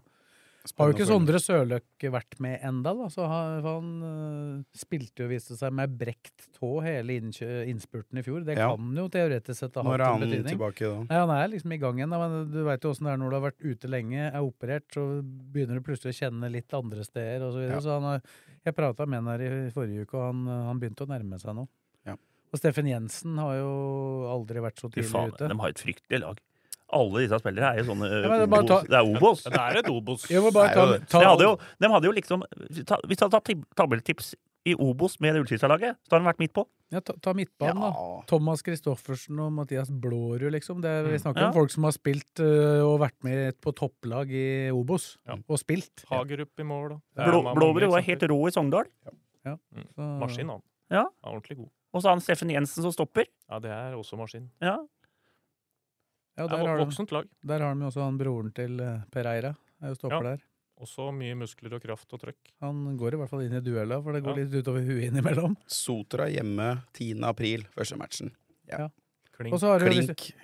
S2: har jo ikke Sondre Sørløk vært med enda, da, så han, han eh, spilte jo, viste seg, med brekt tå hele innkjø, innspurten i fjor. Det
S4: Ja.
S2: kan jo teoretisk sett ha
S4: Når
S2: hatt
S4: er
S2: en
S4: han
S2: betydning.
S4: tilbake da?
S2: Nei, han er liksom i gang igjen, da, men du veit jo åssen det er når du har vært ute lenge, er operert, så begynner du plutselig å kjenne litt andre steder og så videre.
S4: Ja.
S2: Så han har, jeg prata med han her i forrige uke, og han, han begynte å nærme seg nå.
S4: Ja.
S2: Og Steffen Jensen har jo aldri vært så
S3: Fy
S2: tidlig
S3: faen,
S2: ute.
S3: de har et fryktelig lag. Alle disse spillere er jo sånne
S2: Ja, men det er bare å ta-
S3: Obos. Det er Obos.
S5: Ja, Det er et Obos.
S2: Jeg må bare
S4: Nei,
S2: ta,
S4: jo, det-
S2: ta
S3: De hadde jo, de hadde jo liksom ta, Hvis du hadde tatt tab- tabelltips i Obos med det Ullskisa-laget, så hadde de vært midt på.
S2: ja, ta, ta midtbanen, da. Thomas Christoffersen og Mathias Blårud, liksom. Det er, vi
S5: Mm.
S2: snakker
S3: Ja.
S2: om folk som har spilt øh, og vært med på topplag i Obos,
S5: Ja.
S2: og spilt.
S5: Hagerup i mål, da. Det er
S3: Blå,
S5: en av mange
S3: Blåberud var helt
S5: eksempler.
S3: rå i Sogndal.
S2: Så-
S5: Maskin, han.
S3: Ja.
S5: Han er ordentlig god.
S3: Og så har han Steffen Jensen som stopper.
S5: Ja, det er også maskin.
S3: Ja.
S2: Ja,
S5: Det
S2: der
S5: er
S2: har, de,
S5: voksent lag.
S2: der har de jo også han broren til øh, Per Eira. Er jo stopper
S5: Ja.
S2: der.
S5: Også mye muskler og kraft og trøkk.
S2: Han går i hvert fall inn i duella, for det går
S5: Ja.
S2: litt utover huet innimellom.
S4: Sotra hjemme 10. april, første matchen.
S5: Kling.
S2: Og så har du, hvis,
S4: Klink.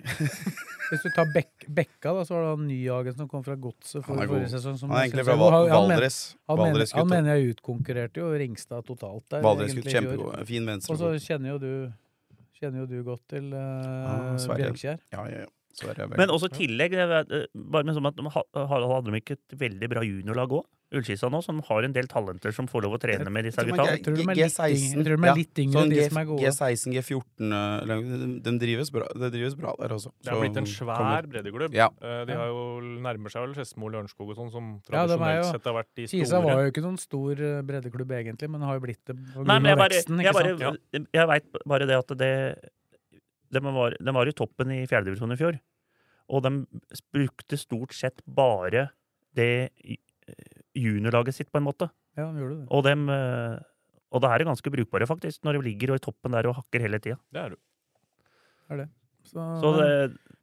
S2: hvis du tar Bek Bekka, da, så har du han Nyhagen som kom fra Godset for
S4: Han er god.
S2: forrige sesong. som
S4: Han er
S2: jeg
S4: egentlig
S2: synes
S4: fra
S2: er
S4: Val
S2: god. Han- han men-
S4: Valdres.
S2: Han, mener-
S4: Valdres,
S2: han
S4: gutt.
S2: mener jeg utkonkurrerte jo Ringstad totalt der.
S4: Valdres, gutt.
S2: egentlig, i fjor.
S4: Kjempegod. Fin
S2: Og så
S4: venstrebok.
S2: kjenner jo du Kjenner jo du godt til eh,
S4: Sverre.
S2: Bjørnkjær.
S4: Ja, ja, ja. Så er det vel.
S3: Men også i tillegg, det er, eh, bare med sånn at de ha- Harald hadde de ikke et veldig bra juniorlag òg? Ullskisa nå, som har en del talenter som får lov å trene med disse
S4: Jeg tror
S3: gutta.
S4: man
S2: Jeg tror de er litt
S4: G-
S2: yngre- jeg tror de er
S4: ja,
S2: litt yngre enn
S4: sånn
S2: de
S4: G-
S2: som er gode.
S4: G16, G14 eh, lang- de drives bra, Det drives bra der også.
S5: Det er
S4: Så
S5: blitt en
S4: kommer-
S5: svær breddeklubb.
S4: Ja.
S5: Eh, De har jo nærmer seg vel Skedsmo, Lørenskog og sånn, som
S2: Ja, de er
S5: tradisjonelt
S2: jo-
S5: sett har vært de store.
S2: Kisa var jo ikke noen stor eh, breddeklubb egentlig, men har jo blitt det på grunn
S3: Nei, men jeg
S2: av
S3: bare,
S2: veksten.
S3: jeg,
S2: ikke
S3: bare,
S2: sant?
S3: jeg vet bare det at det De var, de var i toppen i fjerdedivisjon i fjor, og de brukte stort sett bare det eh, juniorlaget sitt, på en måte.
S2: Ja, de gjorde det.
S3: Og dem eh, og det her er ganske brukbare, faktisk, når de ligger i toppen der og hakker hele tida.
S5: Det er du.
S2: Så,
S3: Så det,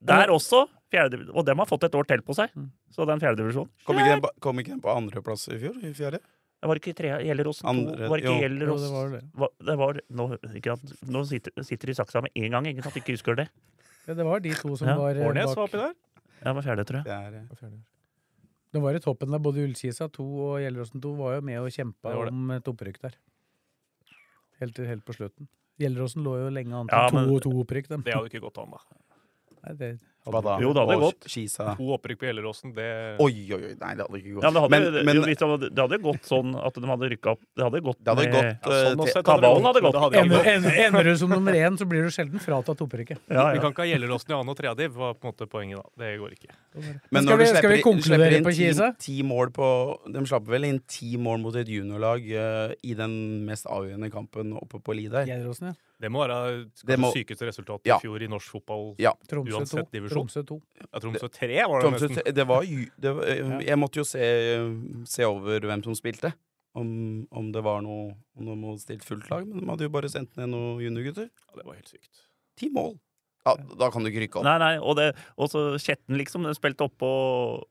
S3: der også fjerde, Og dem har fått et år til på seg,
S2: Mm.
S3: så den fjerdedivisjonen
S4: Kom ikke den på, kom ikke den på andreplass i fjor? I fjerde?
S3: Var ikke trea Gjelleråsen
S4: Andre-
S3: 2? Var ikke
S4: jo.
S2: jo,
S3: Gjellerås
S2: det var det.
S3: hva- det var, nå, ikke at, nå sitter, sitter de i saksa med én gang, ikke sant? Ikke husker det.
S2: Ja, det var de to som
S3: Ja.
S2: var eh,
S5: Årnes
S2: bak.
S5: var oppi der.
S3: Ja, det var fjerde, tror jeg.
S4: Det er, eh,
S2: Det var i toppen der. Både Ullkisa 2 og Gjelleråsen 2 var jo med og kjempa
S5: Det var det.
S2: om et opprykk der. Helt, til- helt på slutten. Gjelleråsen lå jo lenge an til
S3: Ja,
S2: to
S3: men-
S2: og to opprykk. Dem.
S5: Det hadde ikke gått an, da.
S2: Nei, det
S4: hva da?
S3: Jo, det hadde
S4: Å,
S3: gått.
S4: Skisa.
S5: To opprykk på Gjelleråsen, det
S4: Oi, oi, oi. Nei, det hadde ikke gått.
S3: Ja, men det hadde,
S4: Men-
S3: jo-
S4: men-
S3: jo, hvis det, hadde, det hadde gått sånn at de hadde rykka opp. Det hadde gått
S4: det hadde
S3: med-
S4: gått eh,
S5: sånn
S4: til-
S5: sett
S3: kabalen hadde gått.
S5: Det hadde ikke
S2: ender,
S5: gått.
S2: ender, ender du som nummer én, så blir du sjelden fratatt opprykket.
S3: Ja,
S5: Vi
S3: ja.
S5: kan ikke ha Gjelleråsen i annen og tredje, var på en måte poenget da. Det går ikke.
S2: Skal
S4: Men når du
S2: vi- skal
S4: slipper
S2: vi
S4: inn-
S2: konkludere
S4: slipper inn
S2: på
S4: ti-
S2: Kisa?
S4: ti mål på- De slapper vel inn ti mål mot et juniorlag eh, i den mest avgjørende kampen oppe på Li der.
S2: Gjelleråsen, ja.
S5: Det må være
S4: Det
S5: det
S4: må-
S5: sykeste resultatet
S4: Ja.
S5: i fjor i norsk fotball.
S4: Ja.
S2: Tromsø 2.
S5: Uansett divisjon.
S2: Tromsø 2.
S5: Ja, Tromsø 3 var det
S4: Tromsø,
S5: nesten.
S4: det var, ju- det var eh, Jeg måtte jo se, eh, se over hvem som spilte. Om, om det var noe Om de hadde stilt fullt lag. Men de hadde jo bare sendt ned noen juniorgutter.
S5: Ja, det var helt sykt.
S4: Ti mål! Ja, da kan du ikke rykke opp.
S3: Nei, nei, og, det, og så Skjetten, liksom. Den spilte opp på,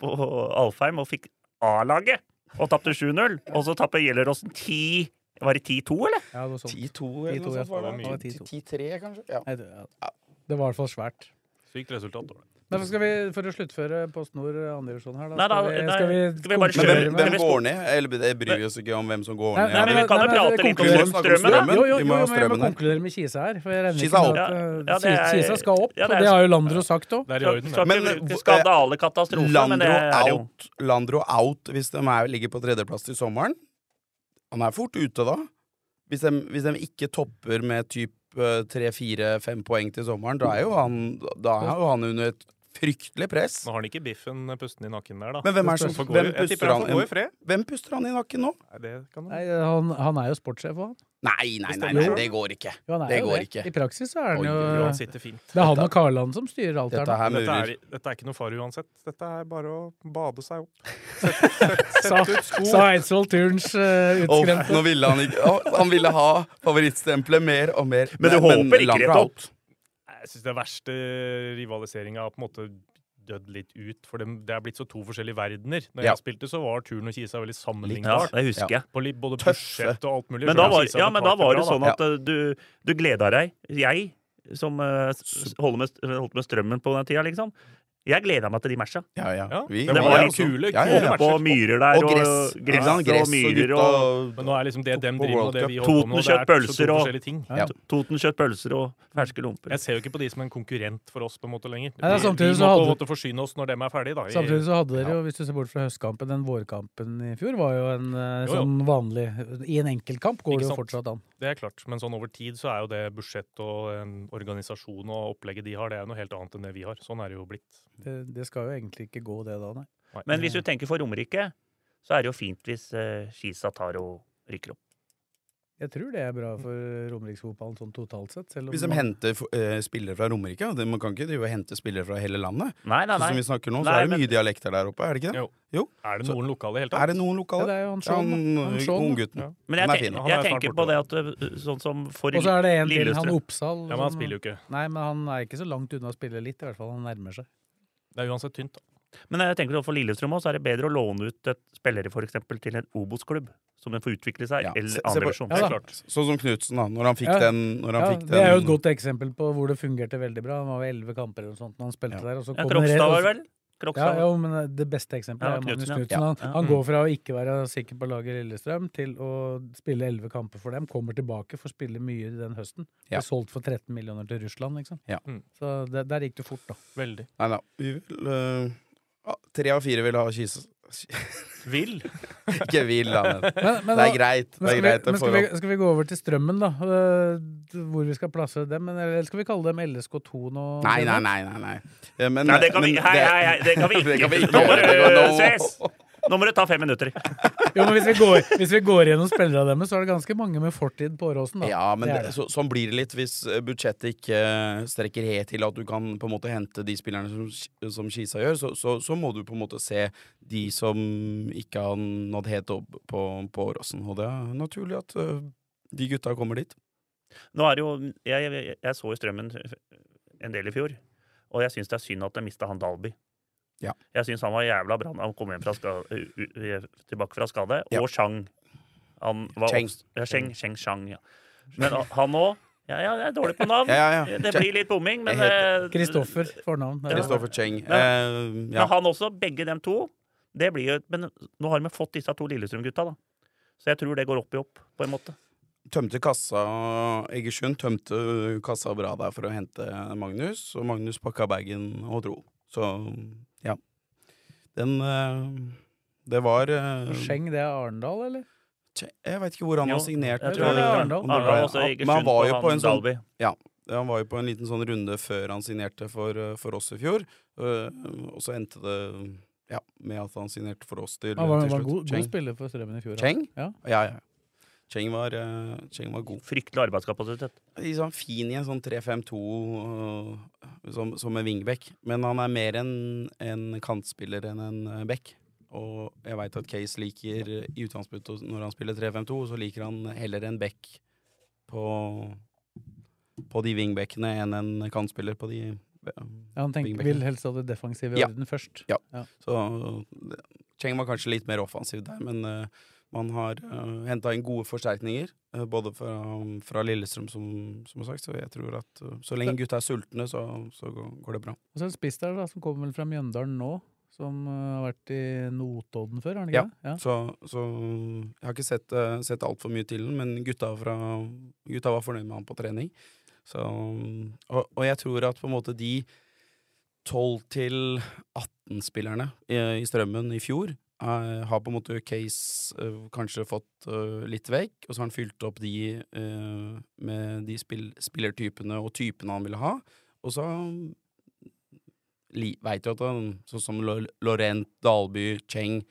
S3: på Alfheim og fikk A-laget. Og tapte 7-0. Og så tapte Gjelleråsen 10 Var det 10-2, eller?
S2: Ja, det var sånn.
S4: 10-2
S2: 10-2,
S4: eller noe
S2: ja.
S4: sånt. Var
S2: Det
S4: det.
S2: var mye. 10-2.
S4: 10-3, kanskje? Ja.
S2: Nei, det, ja. det var i hvert fall svært.
S5: Sykt resultat. var det.
S2: Derfor skal vi, For å sluttføre Post Nord andredivisjon her, da
S3: Nei, da-
S2: skal vi,
S3: nei,
S2: skal vi,
S3: skal vi bare
S4: Men
S3: Kjører
S4: hvem,
S3: med-
S4: hvem går ned? Eller Det bryr vi oss ikke om hvem som går
S2: Nei,
S4: ned.
S2: nei,
S3: Men vi kan jo
S2: nei, nei,
S3: prate
S2: det
S3: litt
S2: koker
S3: om
S4: Vi må snakke om
S3: strømmen, da.
S4: strømmen.
S2: Jo, jo,
S4: Vi
S2: jo,
S4: må ha
S2: men jeg må
S4: strømmen her.
S2: konkludere med Kisa her. For jeg regner
S4: Kisa
S2: ikke med
S4: opp.
S2: at
S3: Ja, ja, det
S2: eh,
S3: er-
S2: Kisa skal opp,
S3: ja, det er-
S2: og det har jo Landro sagt òg.
S5: Det er i
S3: Skal
S5: orden.
S3: skal
S5: det.
S4: Men,
S3: ikke bruke
S4: eh,
S3: skandalekatastrofe, men det er
S4: Landro
S3: jo
S4: out. Landro out hvis de er, ligger på tredjeplass til sommeren. Han er fort ute da. Hvis de, hvis de ikke eh, topper med typ tre, fire, fem poeng til sommeren, da er jo han, da er jo han under et Fryktelig press.
S5: Nå har han ikke biffen pusten i nakken der, da.
S4: Men hvem er det som
S5: Han får gå i-
S4: hvem
S5: jeg tipper
S4: puster,
S5: han
S4: han,
S5: får gå i fred.
S4: hvem puster han i nakken nå?
S5: Nei, det kan han.
S2: Nei, han, han er jo sportssjef òg.
S4: Nei, nei, nei, nei,
S2: Bestemmer.
S4: det går ikke.
S2: Jo, han er
S4: Det
S2: jo
S4: går
S2: det.
S4: ikke.
S2: I praksis så er han
S4: Oi,
S2: jo
S5: Jo, han sitter fint.
S2: Det er han og Karland som styrer alt her
S4: Dette
S2: nå.
S4: her
S5: Dette er,
S4: murer.
S5: dette er ikke noe fare uansett. Dette er bare å bade seg opp. Sett, sett,
S2: Sa-
S5: sett ut sko.
S2: Sa Eidsvoll Turns eh,
S4: Åh,
S2: utskremte.
S4: nå ville han ikke Åh, Han ville ha favorittstempelet mer og mer.
S3: Men du håper ikke
S4: langt
S3: rett
S4: fra
S3: opp?
S4: alt.
S5: Jeg syns den verste rivaliseringa har på en måte dødd litt ut. For det, det er blitt så to forskjellige verdener. Når
S4: Ja.
S5: jeg spilte, så var Turn og Kisa veldig
S3: Ja,
S5: sammenlignbart.
S3: det husker jeg.
S5: På litt, både
S4: Tøffe.
S5: budsjett og alt mulig.
S3: Men da
S5: selv om
S3: var,
S5: Kisa
S3: ja, men da
S5: betalte
S3: var det
S5: bra,
S3: sånn at eh, du, du gleda deg. Jeg, som eh, s- holder med, st- holdt med strømmen på den tida, liksom. Jeg gleda meg til de matcha.
S4: Ja, ja.
S5: Ja,
S4: Vi,
S3: men det
S4: vi
S3: var
S4: er
S3: litt
S4: også-
S5: kule-
S4: Ja, ja,
S5: kule
S4: ja.
S5: matcher.
S3: På myrer der,
S4: Og gress.
S3: og,
S4: Ikke
S3: gress
S4: sant?
S3: og
S4: Gress og
S3: myrer.
S4: gutta
S3: Og,
S5: Men nå er liksom det dem
S4: På
S5: driver med, og det
S4: World
S5: vi
S4: Cup.
S5: holder på
S3: Toten,
S5: nå, det er
S3: kjøtt,
S5: to
S3: pølser og-
S5: forskjellige ting.
S2: Ja.
S3: Toten kjøtt, pølser og ferske lomper.
S5: Jeg ser jo ikke på de som en konkurrent for oss på en måte lenger.
S2: Nei, det er
S5: Vi-
S2: samtidig så
S5: vi må på en
S2: hadde-
S5: måte forsyne oss når dem er ferdige, da. i-
S2: Samtidig så hadde dere jo, hvis du ser bort fra høstkampen, den vårkampen i fjor var jo en eh,
S5: Jo, jo.
S2: sånn vanlig I en enkeltkamp går
S5: Ikke
S2: det jo
S5: sant?
S2: fortsatt an.
S5: Det er klart, men sånn over tid så er jo det budsjett og en organisasjon og opplegget de har, det er jo noe helt annet enn det vi har. Sånn er det jo blitt.
S2: Det, det skal jo egentlig ikke gå, det da, nei.
S5: Nei.
S3: Men hvis du tenker for Romerike, så er det jo fint hvis eh, Kisa tar og rykker opp.
S2: Jeg tror det er bra for romeriksfotballen sånn totalt sett. Selv om
S4: Hvis de
S2: man-
S4: henter eh, spillere fra Romerike, og det- man kan ikke drive og hente spillere fra hele landet,
S3: Nei, nei,
S4: Sånn som
S3: nei.
S4: vi snakker nå, så
S3: Nei,
S4: er det
S3: men-
S4: mye dialekter der oppe, er det ikke det?
S5: Jo. er det noen lokale i det hele
S4: Er
S5: tatt?
S4: det noen
S2: ja,
S4: lokale?
S2: det er jo han
S4: Ja,
S2: Sean, da.
S4: han eh,
S2: Han Sean, da.
S4: unggutten.
S5: Ja.
S3: Men
S4: Han er
S3: jeg,
S4: fin.
S3: ten,
S5: Han er
S3: jeg
S5: snart
S3: tenker på
S5: borte.
S3: det at eh, sånn som for
S2: Og så er det en til, han
S3: Lillestrøm.
S2: Oppsal.
S5: Ja, men han
S2: som-
S5: spiller jo ikke.
S2: Nei, men han er ikke så langt unna å spille litt, i hvert fall. Han nærmer seg.
S5: Det er uansett tynt. da.
S3: Men jeg tenker at for Lillestrøm også, er det bedre å låne ut et spillere for eksempel, til en Obos-klubb, som den får utvikle seg,
S4: Ja, se- se
S3: eller
S4: på-
S3: andre versjon.
S2: Ja,
S5: Det
S2: da.
S5: er klart.
S4: Sånn som Knutsen, da. Når han fikk
S2: Ja.
S4: den, når han
S2: Ja,
S4: fikk den
S2: det er jo et godt eksempel på hvor det fungerte veldig bra. Han var ved elleve kamper eller noe sånt når han spilte
S4: Ja.
S2: der. Og så
S3: Ja,
S2: kommer det-
S3: Krokstad
S2: og
S3: var
S2: så-
S3: vel?
S2: Ja,
S3: Krokstad.
S2: jo, men eh, det beste eksempelet
S3: Ja,
S2: er Magnus
S3: Knutsen, ja.
S2: Knutsen. Han,
S3: Ja. Mm.
S2: han går fra å ikke være sikker på laget i Lillestrøm til å spille elleve kamper for dem, kommer tilbake, får spille mye den høsten.
S4: Ja.
S2: Blir solgt for 13 millioner til Russland, liksom.
S4: Ja.
S5: Mm.
S2: Så det, der gikk det fort, da.
S5: Veldig.
S4: Nei da. Vi vil, eh, ah, tre av fire vil ha Kisa.
S5: Vil.
S4: Ikke vil, da. Men.
S2: Men, men,
S4: Det
S2: da-
S4: er
S2: men
S4: greit. Det er
S2: skal, vi,
S4: greit det
S2: men skal,
S4: får
S2: vi,
S4: vi-
S2: skal vi gå over til strømmen, da? Øh, d- Hvor vi skal plassere dem? men- Eller skal vi kalle dem LSK2 nå?
S4: Nei, nei, nei. nei, nei. Eh, Men,
S3: Nei, det kan vi,
S4: men
S3: hei, hei, hei, det kan vi
S4: det kan vi
S3: ikke.
S4: ikke
S3: Nå må
S4: gjøre.
S3: du
S4: Det går nå.
S3: ses! Nå må du ta fem minutter.
S2: Jo, men hvis vi, går, hvis vi går gjennom spillerne deres, så er det ganske mange med fortid på Åråsen, da.
S4: Ja, men
S2: Det er
S4: det,
S2: det.
S4: så, sånn blir det litt hvis eh, budsjettet ikke eh, strekker helt til at du kan på en måte hente de spillerne som, Ki- som Kisa gjør. Så, så, så må du på en måte se de som ikke har nådd helt opp på, på Åråsen. Og det er naturlig at eh, de gutta kommer dit.
S3: Nå er det jo, jeg, jeg, jeg så jo Strømmen en del i fjor, og jeg syns det er synd at jeg mista han Dalby.
S4: Ja.
S3: Jeg syns han var jævla bra da han kom hjem fra ska, u- u- tilbake fra skade.
S4: Ja.
S3: Og Chang. Han var
S4: Cheng.
S3: ofte- Ja, Cheng, Cheng Chang, ja. Men han òg ja, ja, Jeg er dårlig på navn.
S4: Ja, ja, ja.
S3: Det blir litt bomming, men
S4: Jeg
S3: eh,
S2: Kristoffer, fornavn. Det er-
S4: Kristoffer Cheng.
S3: Ja.
S4: Eh, ja.
S3: Men han også, begge dem to. Det blir jo, et- men nå har de fått disse to Lillestrøm-gutta, da. Så jeg tror det går opp i opp, på en måte.
S4: Tømte kassa Egersund tømte kassa bra der for å hente Magnus, og Magnus pakka bagen og dro. Så ja. Den eh, Det var eh,
S2: Scheng, det er Arendal, eller?
S4: Tje- Jeg veit ikke hvor han
S3: Jo,
S4: har signert.
S3: Jeg
S2: tror
S3: tror
S4: eh,
S3: det er
S2: Arendal.
S4: om det
S3: Arendal
S4: var-
S3: også i
S4: men han var
S3: Egersund
S4: jo
S3: og
S4: på en
S3: han
S4: sånn
S3: Dalby.
S4: Han var jo på en liten sånn runde før han signerte for, eh, for oss i fjor, eh, og så endte det ja, med at han signerte for oss til,
S2: Han var,
S4: til
S2: var
S4: slutt.
S2: god, god
S4: Cheng.
S2: spiller for Strømmen i fjor. han.
S4: Cheng?
S2: Ja.
S4: Ja, ja. Cheng var, eh, Cheng var god.
S3: Fryktelig arbeidskapasitet.
S4: liksom fin i en sånn 3-5-2 øh, som, som en wingback. Men han er mer en, en kantspiller enn en øh, back. Og jeg veit at Case liker øh, i utgangspunktet å- når han spiller 3-5-2, så liker han heller en back på, på de wingbackene enn en kantspiller på de øh,
S2: Ja, han tenkte,
S4: Wingback,
S2: vil
S4: ja.
S2: helst ha det defensive i
S4: Ja.
S2: orden først.
S4: Så øh, Cheng var kanskje litt mer offensiv der, men øh, man har uh, henta inn gode forsterkninger, øh, både fra, fra Lillestrøm, som, som sagt. Så jeg tror at øh, så lenge gutta er sultne, så, så går- går det bra.
S2: Og så er det en spiss der da, som kommer vel fra Mjøndalen nå, som øh, har vært i Notodden før, har han
S4: Ja.
S2: ikke det?
S4: Så, så jeg har ikke sett, uh, sett altfor mye til den, men gutta, fra, gutta var fornøyd med han på trening. Så, um, og, og jeg tror at på en måte de 12-18-spillerne i, eh, i strømmen i fjor eh, har på en måte Case eh, kanskje fått eh, litt vekk, og så har han fylt opp de eh, med de spill, spillertypene og typene han ville ha. Og så li- vet jo at han- sånn som Lo- Lorent, Dalby, Cheng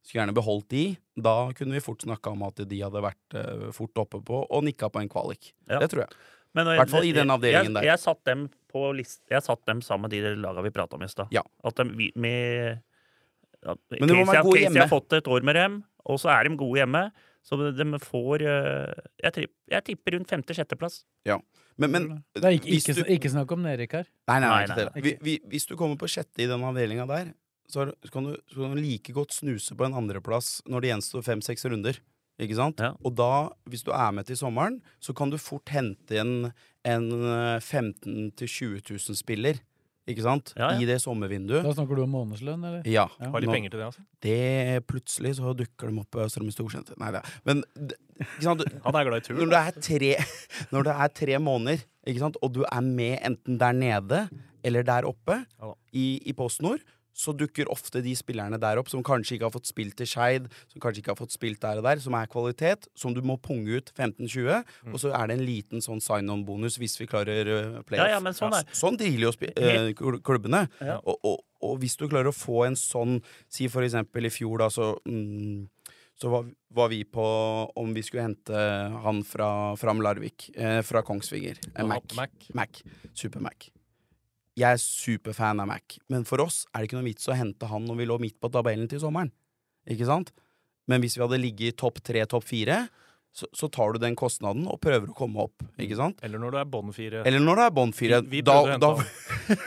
S4: skulle gjerne beholdt de. Da kunne vi fort snakka om at de hadde vært eh, fort oppe på og nikka på en kvalik.
S3: Ja.
S4: Det tror jeg.
S3: Men når
S4: I hvert fall i den avdelingen
S3: jeg,
S4: der.
S3: Jeg, satt dem på list, jeg satt dem sammen med de laga vi prata om i stad.
S4: Ja.
S3: At de, vi- med ja,
S4: Men de må være gode hjemme.
S3: har fått et år med dem, og så er de gode hjemme. Så de- de får eh, Jeg, tripp, jeg tipper rundt femte-sjetteplass.
S4: Men, men
S2: Det er ikke,
S4: hvis
S2: ikke,
S4: du-
S2: sn- ikke snakk om nedrykk her.
S4: Nei, nei,
S3: Nei,
S4: ikke
S3: nei,
S4: det.
S2: nei.
S4: Vi, vi, hvis du kommer på sjette i den avdelinga der, så, er, det- så, kan du, så kan du like godt snuse på en andreplass når det gjenstår fem-seks runder. Ikke sant?
S3: Ja.
S4: Og da, hvis du er med til sommeren, så kan du fort hente inn en eh, 15 000-20 000 spiller. Ikke sant?
S3: Ja, ja.
S4: I det sommervinduet.
S2: Da snakker du om månedslønn, eller?
S4: Ja.
S2: Ja.
S5: Har de
S4: Nå-
S5: penger til det, altså?
S4: Det plutselig så dukker de opp eh, på Strømmen Storsenter. Nei da. Men d- ikke sant? Du-
S5: Han er glad i tur.
S4: når det er
S3: altså.
S4: tre, når det er tre måneder, ikke sant? og du er med enten der nede eller der oppe
S5: Ja da.
S4: i, i PostNord, så dukker ofte de spillerne der opp som kanskje ikke har fått spilt til Skeid, som kanskje ikke har fått spilt der og der, som er kvalitet, som du må punge ut 15-20,
S3: Mm.
S4: og så er det en liten sånn sign-on-bonus hvis vi klarer uh, playoff.
S3: Ja, ja, men sånn er-
S4: sånn driller jo spi- eh, kl- klubbene.
S3: Ja.
S4: Og, og, og hvis du klarer å få en sånn, si for eksempel i fjor da, så mm, så var, var vi på om vi skulle hente han fra Fram Larvik, eh, fra Kongsvinger. Eh, Mac.
S5: Mac.
S4: Mac. Super-Mac. Jeg er superfan av Mac, men for oss er det ikke noe vits å hente han når vi lå midt på tabellen til sommeren. Ikke sant? Men hvis vi hadde ligget i topp tre, topp fire, så, så tar du den kostnaden og prøver å komme opp. Ikke sant?
S5: Eller når du er bånd fire.
S4: Eller når det er bånd fire.
S5: Vi- vi
S4: da-
S5: prøvde
S4: da-
S5: å hente han.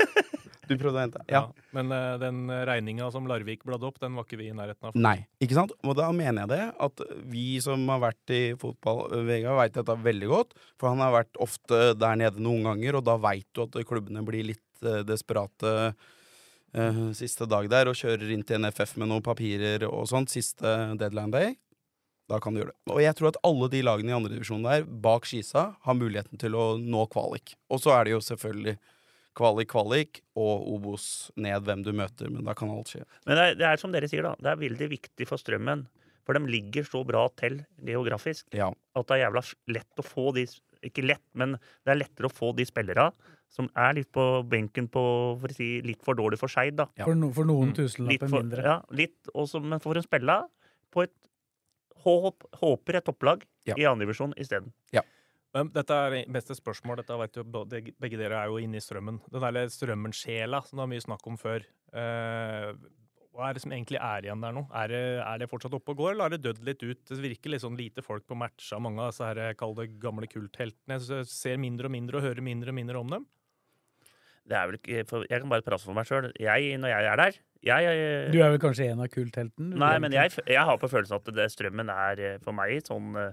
S4: Du prøvde å hente?
S5: Ja. Men eh, den regninga som Larvik bladde opp, den var ikke vi i nærheten av.
S4: Nei. Ikke sant? Og da mener jeg det, at vi som har vært i fotball, Vegard veit dette veldig godt, for han har vært ofte der nede noen ganger, og da veit du at klubbene blir litt eh, desperate eh, siste dag der, og kjører inn til NFF med noen papirer og sånt, siste deadline day. Da kan du gjøre det. Og jeg tror at alle de lagene i andredivisjonen der, bak Skisa, har muligheten til å nå kvalik. Og så er det jo selvfølgelig kvalik, kvalik, og Obos ned hvem du møter, men da kan alt skje.
S3: Men det er, det er som dere sier, da. Det er veldig viktig for strømmen. For de ligger så bra til geografisk
S4: Ja.
S3: at det er jævla lett å få de Ikke lett, men det er lettere å få de spillere som er litt på benken på for å si, litt for dårlig for Skeid, da.
S4: Ja. Mm.
S2: For, no, for noen
S3: Litt
S2: tusenlapper
S3: for,
S2: mindre.
S3: ja, litt, også, men for en spille på et håp, håper et topplag
S4: Ja.
S3: i andredivisjon isteden.
S5: Men dette er det beste spørsmål. Dette vet jo, både- begge dere er jo inne i strømmen. Den derre strømmensjela som det var mye snakk om før. Eh, hva er det som egentlig er igjen der nå? Er det, er det fortsatt oppe og går, eller har det dødd litt ut? Det virker litt sånn lite folk på matcha, mange av disse her, eh, kall det gamle kultheltene. Så jeg ser mindre og mindre og hører mindre og mindre om dem.
S3: Det er vel ikke, for jeg kan bare prate for meg sjøl. Jeg, når jeg er der jeg, eh,
S2: Du er vel kanskje en av kultheltene? du,
S3: Nei,
S2: egentlig?
S3: men jeg, f- jeg har på følelsen at det, strømmen er eh, for meg sånn eh,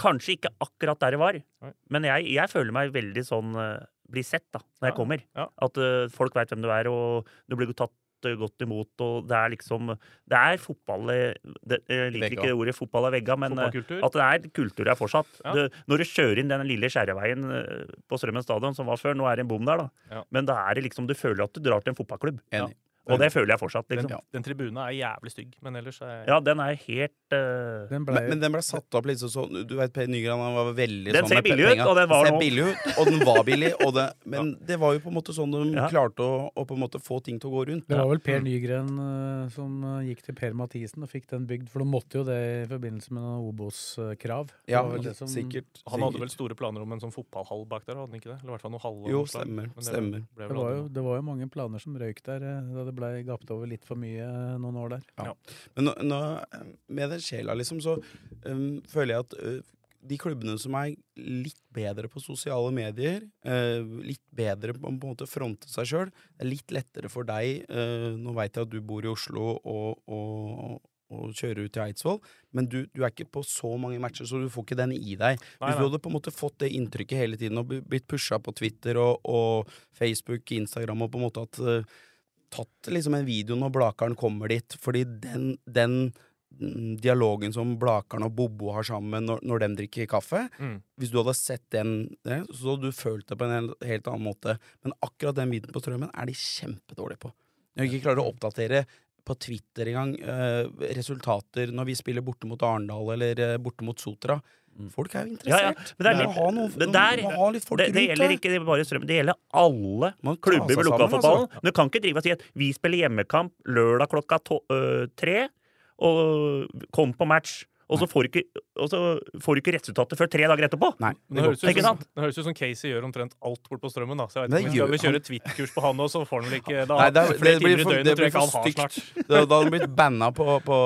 S3: Kanskje ikke akkurat der det var,
S5: Nei.
S3: men jeg, jeg føler meg veldig sånn eh, Blir sett, da, når jeg
S5: Ja,
S3: kommer.
S5: ja.
S3: At eh, folk veit hvem du er, og du blir tatt eh, godt imot, og det er liksom Det er fotball eh, det, Jeg liker
S4: Vegga.
S3: ikke det ordet fotball er vegga, men eh,
S5: Fotballkultur.
S3: at det er kultur her fortsatt.
S5: Ja.
S3: Det, når du kjører inn den lille skjæreveien eh, på Strømmen stadion, som var før, nå er det en bom der, da.
S5: Ja.
S3: Men da er det liksom Du føler at du drar til en fotballklubb.
S4: Enig.
S3: Og det føler jeg fortsatt,
S5: Den,
S3: liksom.
S5: den tribunen er jævlig stygg, men ellers er
S3: Ja, den er helt eh,
S2: Den ble
S4: Men, men den ble satt opp litt sånn sånn Du vet Per Nygran han var veldig
S3: Den
S4: sånn
S3: ser
S4: med pe-
S3: billig ut,
S4: penga.
S3: og den var
S4: ser
S3: nå.
S4: billig ut, og den var billig. Og det, men det var jo på en måte sånn de
S3: Ja.
S4: klarte å, å på en måte få ting til å gå rundt.
S2: Det var vel
S4: Mm.
S2: Per Nygren eh, som eh, gikk til Per Mathisen og fikk den bygd, for de måtte jo det i forbindelse med noen Obos-krav. Det
S4: Ja,
S2: var vel det som-
S4: sikkert.
S5: Han hadde vel
S4: sikkert.
S5: store planer om en sånn fotballhall bak der, hadde han ikke det? Eller i hvert fall noe hall? og
S4: Jo,
S5: noe slag.
S4: stemmer,
S5: Men det
S4: stemmer.
S5: ble
S2: Det
S5: vel
S2: var,
S5: aldri
S2: jo, det var jo mange planer som røyk der, eh, da det blei gapt over litt for mye eh, noen år der.
S4: Men nå, nå, eh, med den sjela, liksom, så eh, føler jeg at eh, de klubbene som er litt bedre på sosiale medier, eh, litt bedre på, på en måte fronte seg sjøl, det er litt lettere for deg eh, Nå veit jeg at du bor i Oslo og, og, og kjører ut til Eidsvoll, men du, du er ikke på så mange matcher, så du får ikke den i deg.
S5: Nei,
S4: Hvis du
S5: nei.
S4: hadde på en måte fått det inntrykket hele tiden og bli- blitt pusha på Twitter og, og Facebook, Instagram og på en måte at eh, Tatt liksom en video når Blakeren kommer dit, fordi den, den mm, dialogen som Blakeren og Bobo har sammen når, når de drikker kaffe.
S5: Mm.
S4: Hvis du hadde sett den, det, så hadde du følt det på en hel- helt annen måte. Men akkurat den biten på strømmen er de kjempedårlige på. Når vi ikke klarer å oppdatere på Twitter engang eh, resultater når vi spiller borte mot Arendal eller eh, borte mot Sotra. Folk er jo
S3: Ja, ja.
S4: interessert.
S3: Men det er
S4: Vi må
S3: litt-
S4: ha noe,
S3: men der-
S4: vi må ha litt folk
S3: Det, det
S4: rundt
S3: gjelder ikke bare Strømmen, det gjelder alle
S4: Man må ta
S3: klubber
S4: seg
S3: med
S4: sammen, altså.
S3: lokalfotballen. Du kan ikke drive og si at vi spiller hjemmekamp lørdag klokka to, øh, tre, og kom på match. Og så får du ikke, og så får du ikke resultatet før tre dager etterpå!
S4: Nei,
S5: Det høres,
S3: Ikke
S5: ut som,
S3: sant?
S5: det høres ut som Casey gjør omtrent alt bort på strømmen. Da. Så jeg vet
S4: Men
S5: ikke om
S4: gjør
S5: vi skal
S4: han-
S5: vel kjøre Twitt-kurs på han også, så får han vel ikke da,
S4: Nei, det, er-
S5: flere
S4: det blir
S5: timer i
S4: for,
S5: døgnet
S4: det
S5: tror
S4: blir
S5: jeg ikke
S4: for
S5: han har snart.
S4: stygt. Det, da hadde han blitt banna på, på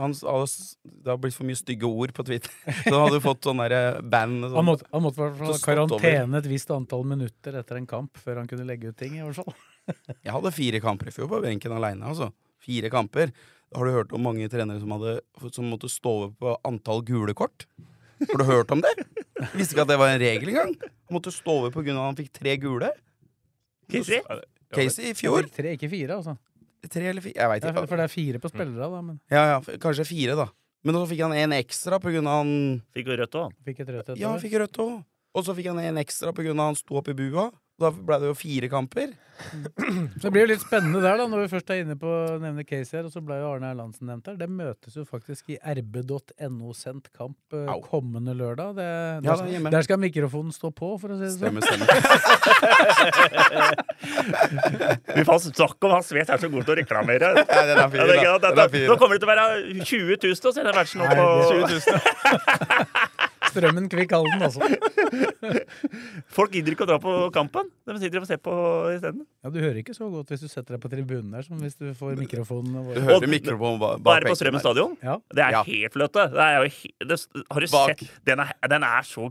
S4: han, han- Det har blitt for mye stygge ord på Twitter. Så han hadde jo fått sånn derre ban.
S2: Han måtte, han måtte i hvert fall ha
S4: Så stått over.
S2: karantene et visst antall minutter etter en kamp før han kunne legge ut ting. i hvert fall.
S4: Jeg hadde fire kamper i fjor på benken aleine, altså. Fire kamper. Har du hørt om mange trenere som, hadde, som måtte stå over på antall gule kort? Har du hørt om det? Visste ikke at det var en regel engang. Han måtte stå over på grunn av at han fikk tre gule.
S3: Casey?
S4: Casey i fjor.
S2: Ikke Tre, ikke fire, altså.
S4: Tre eller fire? Jeg veit
S2: Det er, for
S4: ikke.
S2: det er fire på spillere, da, men
S4: Ja, ja, kanskje fire, da. Men så fikk han en ekstra på grunn av han
S3: Fikk jo rødt òg, han.
S2: fikk et rødt etter
S4: Ja, han fikk rødt òg. Og så fikk han en ekstra pga. han sto opp i bua. Da ble det jo fire kamper.
S2: Så Det blir jo litt spennende der, da, når vi først er inne på å nevne case her. Og så ble jo Arne Erlandsen nevnt her. Det møtes jo faktisk i rb.no sendt kamp eh,
S4: Au.
S2: kommende lørdag. Det, der,
S4: Ja, det er
S2: skal,
S4: hjemme.
S2: der skal mikrofonen stå på, for å si det sånn.
S4: Stemmer, stemmer.
S3: Vi fant snakk om han Svet er så god til å reklamere.
S4: Nei, den er
S3: Ja,
S4: fin,
S3: det er ikke
S4: da.
S3: sant?
S4: Den er
S3: Dette- Nå
S4: fin.
S3: kommer det til å være 20 000 å se den matchen nå
S2: Nei,
S3: på
S2: det- Strømmen kvikk Halden, altså.
S3: Folk gidder ikke å dra på kampen. De sitter og ser på isteden.
S2: Ja, du hører ikke så godt hvis du setter deg på tribunen der, som hvis du får mikrofonen
S4: Du
S2: vår.
S3: Og-
S4: hører mikrofonen ba- bak
S3: Bare på Strømmen
S4: benken der.
S3: stadion.
S2: Ja.
S3: Det er
S4: Ja.
S3: helt fløte. Det er jo he det, har du
S4: Bak.
S3: sett? Den er, den er så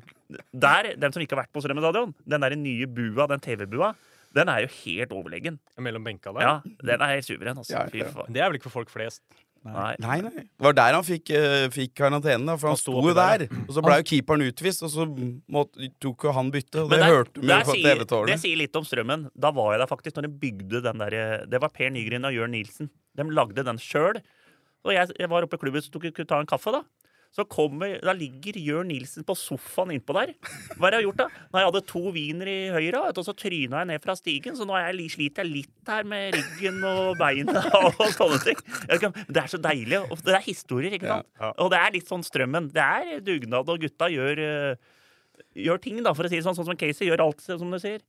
S3: Der, dem som ikke har vært på Strømmen stadion, den der nye bua, den TV-bua, den er jo helt overlegen.
S5: Mellom benka der.
S3: Ja, den er helt suveren, altså.
S4: Ja,
S3: Fy
S4: ja.
S3: faen.
S5: Det er vel ikke for folk flest.
S3: Nei.
S4: Nei, nei. Det var der han fikk, eh, fikk karantene, da, for han,
S5: Han
S4: sto
S5: sto oppi
S4: jo der.
S5: der,
S4: Og så ble jo keeperen utvist, og så måtte, tok jo han bytte. Og
S3: Men
S4: det
S3: der-
S4: hørte vi jo
S3: der
S4: på
S3: sier- Det
S4: TV-tårnet.
S3: sier litt om strømmen. Da var jeg der faktisk når de bygde den der eh, Det var Per Nygren og Jørn Nilsen. De lagde den sjøl. Og jeg, jeg var oppe i klubben så tok, kunne ta en kaffe, da. Så kommer, Da ligger Jørn Nilsen på sofaen innpå der. Hva har jeg gjort, da? Nei, jeg hadde to viner i høyre, vet du, og så tryna jeg ned fra stigen. Så nå er jeg, li- sliter jeg litt her med ryggen og beina og sånne ting. Jeg kan- Det er så deilig. Og det er historier, ikke sant?
S4: Ja, ja.
S3: Og det er litt sånn strømmen. Det er dugnad, og gutta gjør eh, gjør ting, da, for å si det sånn. Sånn som Casey gjør alt, som du sier.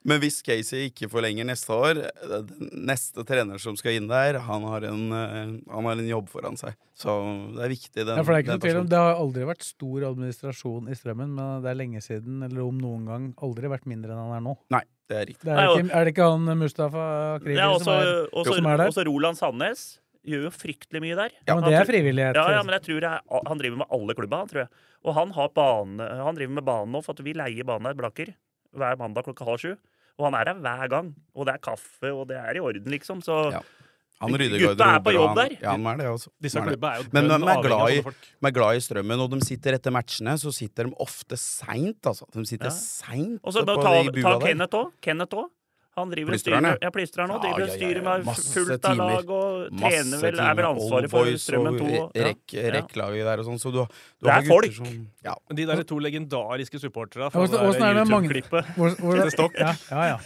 S4: Men hvis Casey ikke forlenger neste år, eh, den neste trener som skal inn der, han har en, eh, han har en jobb foran seg. Så det er sånn. viktig, den,
S2: Ja, for Det er ikke noe
S4: den
S2: tvil om,
S4: personen.
S2: det har aldri vært stor administrasjon i strømmen, men det er lenge siden, eller om noen gang, aldri vært mindre enn han er nå.
S4: Nei, det er riktig.
S2: Det er,
S3: Nei, og-
S2: ikke, er det ikke han Mustafa Kriger
S3: Ja, også,
S2: som er
S3: også,
S2: som er der?
S3: også Roland Sandnes gjør jo fryktelig mye der.
S2: Men det
S3: Han
S2: er
S3: tror-
S2: frivillighet.
S3: Ja, ja, men jeg tror jeg, han driver med alle klubba, han, tror jeg. Og han, har bane, han driver med banen nå, for at vi leier banen her, Blaker, hver mandag klokka halv sju. Og han er her hver gang. Og det er kaffe, og det er i orden, liksom. Så
S4: Ja. Han rydder
S3: Gutta er på
S4: garderober, og
S3: jobb
S4: han-
S3: der.
S4: Ja, han er det, altså.
S5: Disse
S4: Han er det.
S5: klubba er jo
S4: Men
S5: dønn
S4: de er,
S5: avhengig av
S4: glad i,
S5: sånne folk.
S4: de er glad i strømmen, og de sitter etter matchene, så sitter de ofte seint, altså. De sitter
S3: Ja.
S4: seint
S3: Og så
S4: på
S3: bare
S4: de
S3: ta, ta
S4: bua der.
S3: Kenneth òg. Kenneth òg. Han driver og
S4: Plystrer
S3: styrer
S4: han, ja.
S3: med- ja, plystrer han òg.
S4: Ja,
S3: Driver og
S4: ja, ja,
S3: styrer
S4: ja.
S3: med
S4: Masse
S3: fullt av
S4: timer.
S3: lag og
S4: Masse
S3: trener vel, er vel
S4: timer,
S3: ansvaret for
S4: Oldboys og
S3: Strømmen 2.
S4: re-
S3: og- Ja.
S4: Rekk, rekklaget der og sånn. Så du, du
S3: Det
S4: har
S3: er
S4: gutter
S3: folk.
S4: Som, ja.
S5: Men De der to legendariske supporterne fra
S2: Åssen-
S5: det
S2: åssen er
S5: der
S2: det med mange-
S5: YouTube-klippet.
S2: Hvor, hvor,
S5: Petter Stokk.
S2: ja, ja, ja.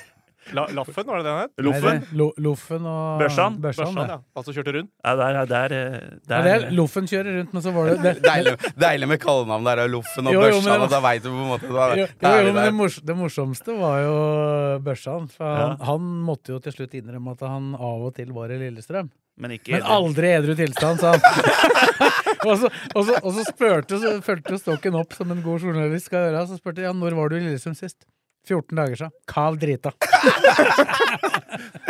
S5: La, Laffen, var det det han het?
S2: Nei,
S3: Loffen?
S2: det er Lo, Loffen og
S3: Børsan?
S2: Børsan,
S5: Børsan,
S2: Sånn, ja.
S5: ja. Altså kjørte rundt.
S3: Ja, der, ja, der, eh,
S2: Ja,
S3: der.
S2: det er, Loffen kjører rundt, men så var det, det, det
S4: Deilig, deilig med kallenavn der, og Loffen og
S2: Jo, jo, men
S4: Børsan,
S2: det-
S4: og da veit du på en måte da,
S2: jo,
S4: da
S2: jo,
S4: er
S2: jo, men det,
S4: vi der.
S2: mors, det morsomste var jo Børsan. For han,
S3: Ja.
S2: han måtte jo til slutt innrømme at han av og til var i Lillestrøm.
S3: Men ikke
S2: Men aldri i edru tilstand, sa han. og så, og så, og så, spurte, så fulgte jo Stokken opp, som en god journalist skal gjøre. Så spurte jeg ja, når var du i Lillestrøm sist. 14 dager siden. Kav drita.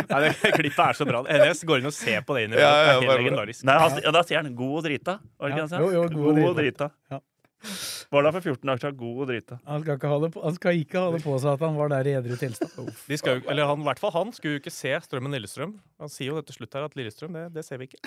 S5: Nei, det klippet er så bra. NS går inn og ser på det
S4: Ja, ja,
S5: innimellom. Det er
S4: bare-
S5: helt legendarisk.
S3: Nei, han, ja, da sier han 'god og drita'. Var det
S2: Ja,
S3: ikke han sa?
S2: jo, jo, god og drita. Ja.
S3: Var det for 14 dager siden. God og drita.
S2: Han skal, ikke ha det på, han skal ikke ha det på seg at han var der i edru tilstand.
S5: De skal jo, eller han, i hvert fall han skulle jo ikke se Strømmen Lillestrøm. Han sier jo det til slutt her at Lillestrøm, det, det ser vi ikke.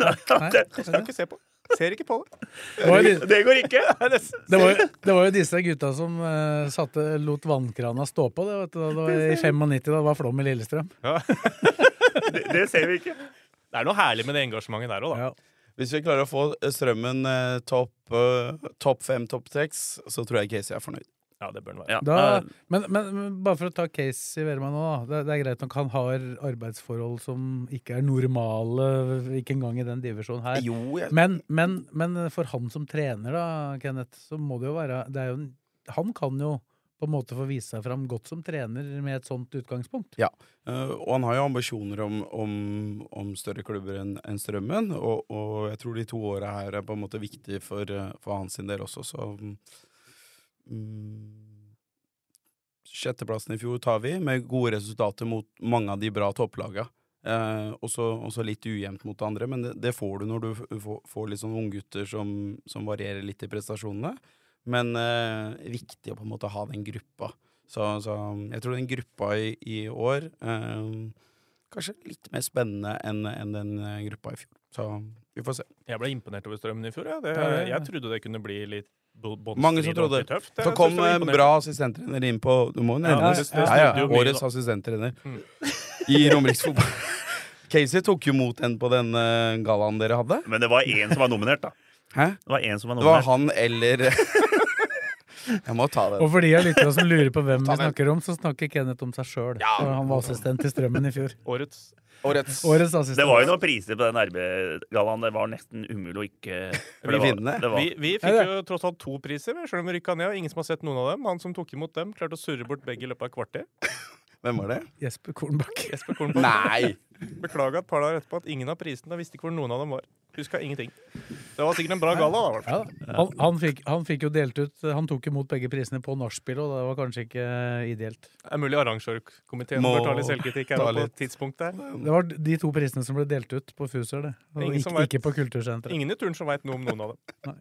S2: Nei,
S5: Det skal vi ikke se på. Ser ikke på det.
S2: Det var jo de-
S3: Det går ikke!
S2: det var, jo- det var jo disse gutta som eh, satte, lot vannkrana stå på. Det, vet du, da det var I 95 da det var flom i Lillestrøm.
S3: Det, det ser vi ikke.
S5: Det er noe herlig med det engasjementet der òg, da.
S2: Ja.
S4: Hvis vi eh, klarer å få strømmen eh, topp eh, topp fem, topp seks, så tror jeg Casey er fornøyd.
S5: Ja, det bør den være.
S3: Ja,
S2: Da,
S3: eh,
S2: men, men, men bare for å ta case i Verma nå, da. Det, det er greit nok han har arbeidsforhold som ikke er normale, ikke engang i den divisjonen her.
S4: Jo, jeg,
S2: Men, men, men for han som trener, da, Kenneth, så må det jo være det er jo, en- Han kan jo på en måte få vise seg fram godt som trener med et sånt utgangspunkt.
S4: Eh, og han har jo ambisjoner om, om, om større klubber enn enn Strømmen, og, og jeg tror de to åra her er på en måte viktig for, eh, for hans sin del også, så mm, Sjetteplassen i fjor tar vi, med gode resultater mot mange av de bra topplaga. Eh, også, også litt ujevnt mot andre, men det, det får du når du f- får, får litt sånn unggutter som, som varierer litt i prestasjonene. Men eh, viktig å på en måte ha den gruppa. Så, så jeg tror den gruppa i, i år eh, kanskje litt mer spennende enn enn den eh, gruppa i fjor. Så vi får se.
S5: Jeg ble imponert over strømmen i fjor. Ja. Det,
S2: Ja, ja, ja.
S5: jeg trodde det kunne bli litt bo- båndstrid
S4: Mange som
S5: og
S4: trodde.
S5: litt tøft. Jeg
S4: Så
S5: synes
S4: kom
S5: det var
S4: en
S5: imponerende.
S4: bra assistenttrener inn på Du må jo
S5: Ja,
S4: nevnes.
S5: det-
S4: Ja,
S5: det
S4: ja,
S5: snudde jo mye,
S4: Årets
S5: da.
S4: assistenttrener
S5: Mm.
S4: i Romeriksfotball. Casey tok jo imot en på den eh, gallaen dere hadde.
S3: Men det var én som var nominert, da.
S4: Hæ?
S3: Det var en som var
S4: Det var
S3: nominert.
S4: han eller Jeg må ta den.
S2: Og for de av lytterne som lurer på hvem vi
S4: Ta den.
S2: snakker om, så snakker Kenneth om seg sjøl.
S4: Ja.
S2: Han var assistent i Strømmen i fjor.
S5: Årets
S4: Årets
S2: Årets
S3: Det var jo
S2: assistent.
S3: noen priser på den RB-gallaen. Det var nesten umulig å ikke for det var-
S4: vinne.
S3: det var-
S5: Vi, vi fikk jo tross alt to priser, selv om vi rykka ned. og Ingen som har sett noen av dem. Han som tok imot dem, klarte å surre bort begge i løpet av et kvarter.
S4: Hvem var det?
S2: Jesper Kornbakk.
S5: Jesper Kornbakk
S4: Nei!
S5: beklaga et par dager etterpå at ingen av prisene jeg visste ikke hvor noen av dem var. Huska ingenting. Det var sikkert en bra galla, da. i hvert fall.
S2: Ja, da. han, han, fikk, han fikk jo delt ut Han tok imot begge prisene på nachspielet, og det var kanskje ikke ideelt.
S5: Det er mulig arrangørkomiteen
S4: Må
S5: bør ta litt selvkritikk her
S4: ta
S5: nå på
S4: litt.
S5: et tidspunkt der.
S2: Det var de to prisene som ble delt ut på Fuser, det. Og
S5: Ingen
S2: ikke,
S5: som vet.
S2: ikke på Kultursenteret.
S5: Ingen i turen som veit noe om noen av dem.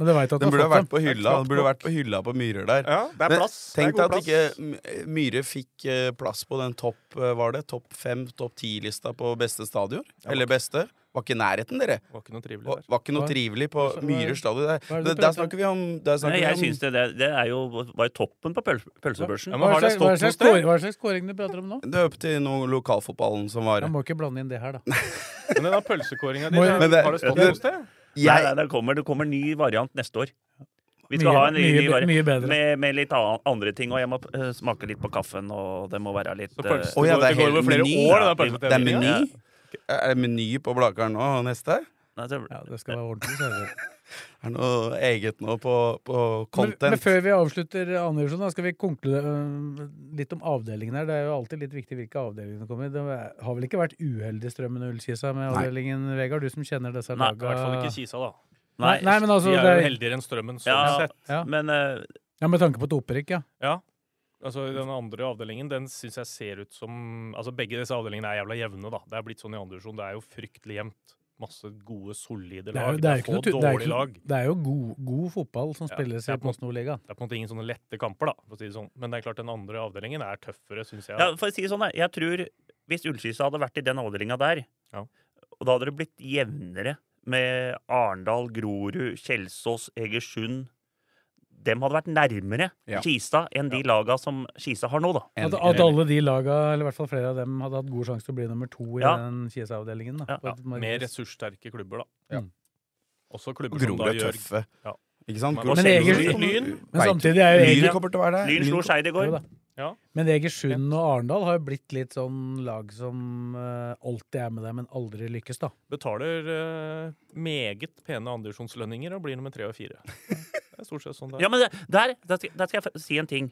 S2: Men det veit at
S4: Den
S2: du
S4: burde
S2: har
S4: ha
S2: fått
S4: vært
S2: dem.
S4: på hylla Den burde ha vært på hylla på Myhrer der.
S5: Ja, det er
S4: Men
S5: plass.
S4: Tenk
S5: det
S4: deg
S5: er
S4: at
S5: god
S4: ikke
S5: plass.
S4: M- Myhre fikk eh, plass på den topp eh, Var det topp fem, topp ti-lista på beste stadion? Eller beste? Var ikke i nærheten, dere.
S5: Det var ikke noe
S4: Var,
S5: trivelig der.
S4: var ikke noe
S2: Hva-
S4: trivelig på
S2: hva-
S4: Myhre stadion.
S2: hva er
S4: Der,
S2: det du
S4: der, der
S2: prater om?
S4: snakker vi om, der
S3: Nei,
S4: snakker
S3: jeg
S4: vi
S3: syns det, det, det er jo, var jo toppen på pøl- pølsebørsen.
S5: Ja, men
S2: Hva
S5: har det
S2: slags- hva
S5: stått noe
S2: slags
S5: sted?
S2: scoring- hva slags scoring du prater om nå?
S4: om Det er opp til noe lokalfotballen som var
S2: Jeg må ikke blande inn det her, da.
S5: Men den pølsekåringa di,
S2: Må jeg-
S5: der,
S4: Men det-
S5: har det stått
S4: det-
S5: noe sted?
S3: Nei,
S4: jeg,
S3: nei, det, kommer, det kommer ny variant neste år. Vi skal
S2: Mye-
S3: ha en ny,
S2: mye
S3: ny
S2: be-
S3: variant
S2: mye bedre.
S3: Med, med litt an, andre ting. Og jeg må eh, smake litt på kaffen, og det må være litt
S5: Så
S3: eh,
S5: pølse-
S4: Å ja,
S5: går-
S4: det er
S5: går
S4: helt
S5: over flere
S4: meny.
S5: år,
S4: Det
S5: den
S4: er
S5: pølseutdelingen.
S4: meny. Er det meny på Blakeren nå, neste?
S3: nei, det,
S2: Ja, det skal være ordentlig servert.
S4: Er det noe eget nå på, på
S2: Men,
S4: content?
S2: men før vi avslutter annen divisjon, da skal vi konkludere øh, litt om avdelingen her. Det er jo alltid litt viktig hvilke avdelinger det kommer i. Det har vel ikke vært uheldig Strømmen og Ullkisa med
S4: Nei.
S2: avdelingen, Vegard? Du som kjenner disse
S3: Nei,
S2: laga.
S3: i
S5: I hvert fall ikke Kisa, da.
S2: Nei, nei, men altså
S5: De
S2: det
S5: er jo
S2: er,
S5: heldigere enn strømmen. Så
S3: Ja,
S5: sett.
S2: Ja.
S3: men eh,
S2: ja, Med tanke på et opprykk, ja.
S5: Altså, den andre avdelingen den syns jeg ser ut som Altså, Begge disse avdelingene er jævla jevne. da. Det er blitt sånn i andre divisjon. Det er jo fryktelig jevnt. Masse gode, solide
S2: Det er,
S5: lag.
S2: jo- det er, jo ikke
S5: få
S2: noe, tu- det er,
S5: dårlige
S2: ikke,
S5: lag.
S2: noe- det er jo god, god fotball som
S5: Ja,
S2: spilles
S5: det er
S2: i
S5: på en-
S2: Postnordligaen.
S5: Det er på en måte ingen sånne lette kamper, da, for å si det sånn. Men det er klart den andre avdelingen er tøffere, syns jeg.
S3: ja, for å si det sånn, da, jeg tror hvis Ullskisa hadde vært i den avdelinga der,
S5: Ja.
S3: og da hadde det blitt jevnere med Arendal, Grorud, Kjelsås, Egersund Dem hadde vært nærmere
S4: Ja.
S3: Kisa enn de laga som Kisa har nå, da.
S2: At,
S4: Enig.
S2: at alle de laga, eller i hvert fall flere av dem, hadde hatt god sjanse til å bli nummer to i
S3: Ja.
S2: den Kisa-avdelingen.
S3: Ja,
S2: da, på et marked.
S5: Mer ressurssterke klubber, da.
S4: Ja.
S5: Også klubber som
S4: Grorud
S5: da
S4: Mm. er
S5: gjør
S4: tøffe.
S5: Ja.
S4: Ikke sant?
S5: Men-
S4: Grorud-
S2: Men Eger-
S4: Grorud-
S5: Lyn-
S2: Men
S4: Veit-
S2: samtidig er jo
S4: Lyn
S2: Eger-
S4: kommer til å være der.
S3: Lyn
S4: Lyn
S3: slo
S4: kom-
S3: Skeid i
S2: Jo
S3: går.
S2: da. Men Egersund og Arendal har jo blitt litt sånn lag som eh, alltid er med deg, men aldri lykkes, da.
S5: Betaler eh, meget pene andredivisjonslønninger og blir nummer tre og fire. Det er stort sett sånn det er.
S3: Ja, men det, der, der, skal, der skal jeg f- si en ting.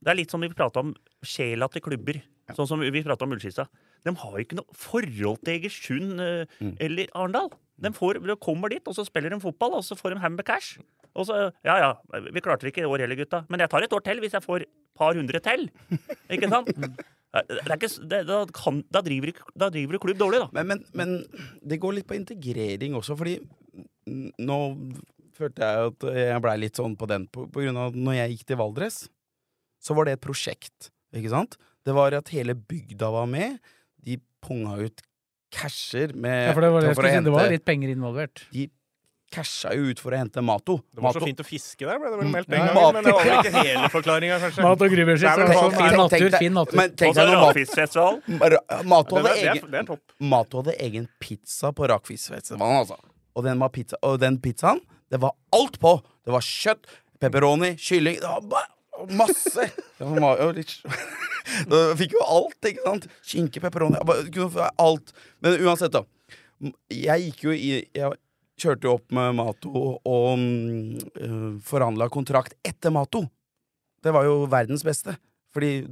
S3: Det er litt som vi prata om sjela til klubber. Sånn som vi prata om Ullskisa. De har jo ikke noe forhold til Egersund eh,
S4: Mm.
S3: eller Arendal. De, får, de kommer dit, og så spiller de fotball, og så får de ham med cash. Og så, ja ja, vi klarte det ikke i år heller, gutta. Men jeg tar et år til hvis jeg får par hundre til. Ikke sant? Det er ikke, s- det, da, kan, da, driver, du- da driver du klubb dårlig, da.
S4: Men, men, men det går litt på integrering også, fordi n- nå følte jeg at jeg blei litt sånn på den på, på grunn av at når jeg gikk til Valdres, så var det et prosjekt, ikke sant? Det var at hele bygda var med. De punga ut casher med
S2: Ja, for det var, det, jeg
S4: for å
S2: skulle si, det var
S4: hente
S2: litt penger involvert.
S4: Casha jo ut for å hente Mato.
S5: Det var så
S4: Mato-
S5: fint å fiske der, ble det vel meldt den
S2: Mm. Ja.
S5: gangen. Men det var vel ikke hele forklaringa, kanskje.
S2: Mat og gruveskitt,
S4: Nei, men
S2: så
S4: tenk-
S2: fin
S4: tenk- tenk
S2: natur,
S4: deg-
S2: fin natur.
S4: Men tenk
S3: Og så
S4: deg når Mato-
S3: Rakfiskfestivalen.
S4: Ra- Mato
S5: Det
S4: hadde
S5: er, det,
S4: egen
S5: er, det er topp.
S4: Mato hadde egen pizza på rakfiskfestivalen, altså. Og den, var pizza, og den pizzaen, det var alt på! Det var kjøtt, pepperoni, kylling det var bare, Og Masse! Ja, men var jo litt... Da fikk jo alt, ikke sant? Skinke, pepperoni jeg bare kunne få Alt. Men uansett, da. Jeg gikk jo i Jeg kjørte jo opp med Mato og uh, forhandla kontrakt etter Mato. Det var jo verdens beste. Fordi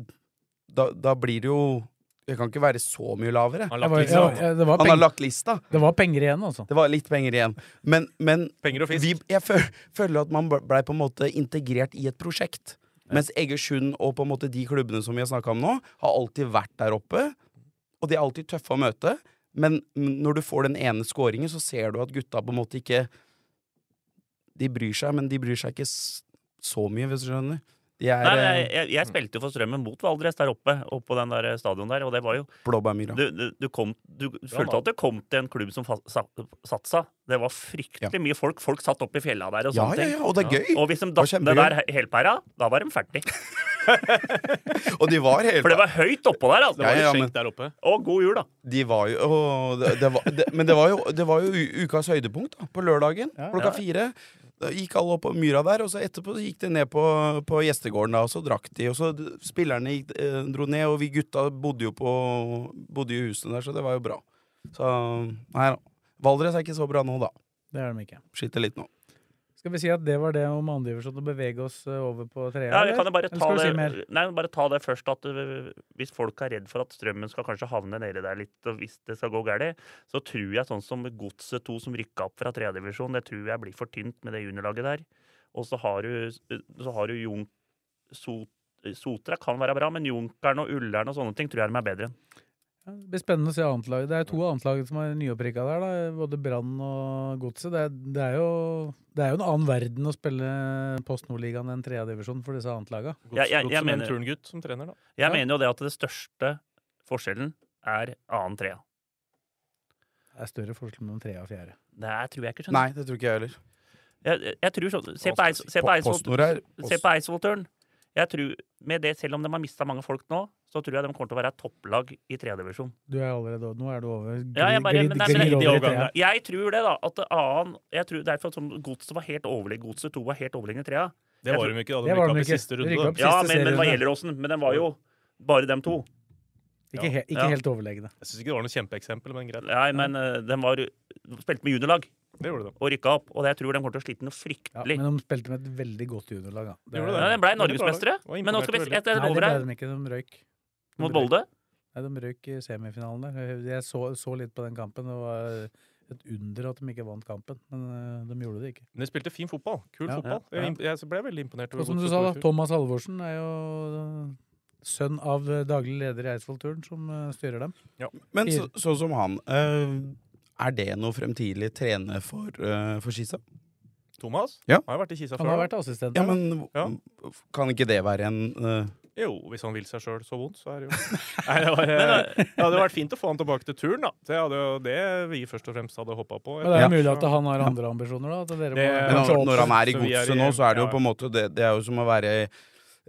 S4: da, da blir det jo Jeg kan ikke være så mye lavere.
S5: Han
S2: Jeg
S5: har
S2: var,
S5: lagt litt sånn.
S2: jeg, jeg, det, var
S4: Han har
S2: penger,
S4: lagt lista.
S2: det var penger igjen, altså.
S4: Det var litt penger igjen. Men, men
S5: Penger og fisk.
S4: vi, jeg føl, føler at man blei på en måte integrert i et prosjekt. Mens Egersund og på en måte de klubbene som vi har snakka om nå, har alltid vært der oppe. Og de er alltid tøffe å møte. Men når du får den ene scoringen, så ser du at gutta på en måte ikke De bryr seg, men de bryr seg ikke s- så mye, hvis du skjønner. De er
S3: Nei, nei,
S4: eh,
S3: jeg, jeg spilte jo for Strømmen mot Valdres der oppe, oppe på den der eh, stadion der, og det var jo
S4: eh, blåbærmyra.
S3: Du, du, du, kom, du følte at du kom til en klubb som fa- sa- satsa. Det var fryktelig mye folk. Folk satt opp i fjella der og
S4: Ja,
S3: sånne
S4: ja,
S3: ting.
S4: ja, og det er gøy.
S3: Og hvis de
S4: var
S3: datt ned der
S4: kjempegøy.
S3: helpæra, da var de ferdig.
S4: Og de var
S3: For det
S4: hele
S3: var høyt oppå der, altså.
S5: Det var
S4: Ja, ja,
S5: litt
S4: men-
S5: skjegg der oppe.
S3: Og god jul, da.
S4: De var jo å, det, det var, det, Men det var jo, det var jo u- ukas høydepunkt da, på lørdagen klokka fire. Da gikk alle opp på myra der, og så etterpå så gikk de ned på, på gjestegården, da, og så drakk de. Og så d- spillerne gikk, eh, dro ned, og vi gutta bodde jo på Bodde i husene der, så det var jo bra. Så nei da. Valdres er ikke så bra nå, da.
S2: Det er de ikke.
S4: Skiter litt nå.
S2: Skal vi si at det var det om andrevisjon, å bevege oss eh, over på trea?
S3: Ja, vi
S2: eller?
S3: kan jo bare
S2: Eller
S3: ta,
S2: skal vi si mer?
S3: det, nei, bare ta det først at øh, hvis folk er redd for at strømmen skal kanskje havne nede der litt, og hvis det skal gå galt, så tror jeg sånn som Godset 2 som rykka opp fra tredjedivisjon, det tror jeg blir for tynt med det juniorlaget der. Og så har du, eh, så har du Jon Sot, Sotra kan være bra, men Junkeren og Ullern og sånne ting tror jeg de er bedre.
S2: Ja, Det blir spennende å se annet lag. Det er to annet lag som er nyopprykka der, da. både Brann og Godset. Det, er- det, er jo- det er jo en annen verden å spille Post Nordligaen enn tredjedivisjon for disse annet laga.
S5: Godt,
S3: Jeg- jeg-
S5: godt
S3: jeg
S5: som en
S3: mener-
S5: turngutt som trener, da.
S3: Jeg
S2: Ja.
S3: mener jo det at det største forskjellen er annen trea.
S2: Det er større forskjell mellom trea og fjerde.
S3: Det er, tror jeg ikke skjønner.
S4: Nei, det tror ikke jeg heller.
S3: Jeg, jeg tror sånn, se på
S5: Hva skal jeg
S3: Eids-
S5: si?
S3: se på
S4: Po-
S3: Eidsvoll-
S4: PostNord er-
S3: Se på Eidsvollturen. Jeg tror, med det, selv om de har mista mange folk nå, så tror jeg de kommer til å være et topplag i tredjedivisjon.
S2: Du er allerede, nå er du over. Glir,
S3: Ja, jeg bare- men det er
S2: glir
S3: så lite
S2: over i
S5: overgang
S2: trea.
S5: der.
S3: Jeg tror det, da. At det annen jeg tror, Derfor som sånn Godset var helt overlegen. Godset 2 var helt overlegen i trea.
S5: Det
S3: Jeg
S5: var
S3: tror-
S5: de ikke. da.
S2: Det
S5: De
S2: var
S5: rykka
S2: de
S5: opp i
S2: ikke.
S5: siste
S2: De
S5: runde.
S2: rykka
S5: da.
S2: opp
S3: Ja,
S2: Siste
S3: men, men hva
S2: serierunde.
S3: gjelder åssen? Men den var jo bare dem to.
S2: Ikke, he, ikke
S3: Ja.
S2: helt overlegne.
S5: Jeg syns ikke det var noe kjempeeksempel, men greit.
S3: Nei, men eh, den var Spilte med juniorlag
S5: Det gjorde de.
S3: og rykka opp. Og jeg tror de kommer til å slite noe
S2: Ja,
S3: fryktelig.
S2: men de spilte med et veldig godt juniorlag. da. Det-
S5: Gjorde
S3: Ja, de ble
S5: Men det var-
S3: norgesmestere.
S5: var
S3: Men nå skal vi
S5: imponert
S3: se etter
S2: Nei, det
S3: over her,
S2: ble de ikke. De røyk. De
S3: mot
S2: røyk.
S3: Bolde.
S2: Nei, de røyk i semifinalen der. Jeg så, så litt på den kampen. Det var et under at de ikke vant kampen, men eh, de gjorde det ikke.
S5: Men de spilte fin fotball. Kul
S2: Ja,
S5: fotball.
S2: ja, ja.
S5: Jeg- Jeg ble veldig imponert. over
S2: Og Sånn som du
S5: Godset
S2: sa,
S5: to i
S2: da,
S5: fjor.
S2: Thomas Halvorsen er jo eh, sønn av eh, daglig leder i Eidsvollturen, som eh, styrer dem.
S4: Men så- sånn som han, eh, er det noe fremtidig trene for, eh, for Skisa?
S5: Thomas
S4: Ja.
S5: Han har vært i Kisa
S2: Han har
S5: før. da.
S2: vært assistent.
S4: Ja,
S2: der, da.
S4: men
S5: Ja.
S4: kan ikke det være en eh,
S5: Jo, hvis han vil seg sjøl så vondt, så er det jo Nei, det, var, eh, det hadde vært fint å få han tilbake til turen, da. Det hadde jo det vi først og fremst hadde håpa på.
S2: Men det er jo mulig at han har andre ambisjoner, da. At dere må
S5: Det-
S4: Men
S2: kanskje
S4: når,
S2: opp-
S4: sånn- når han er i
S5: Så vi er
S4: godset
S5: i-
S4: nå, så er det jo
S5: ja.
S4: på en måte Det, det er jo som å være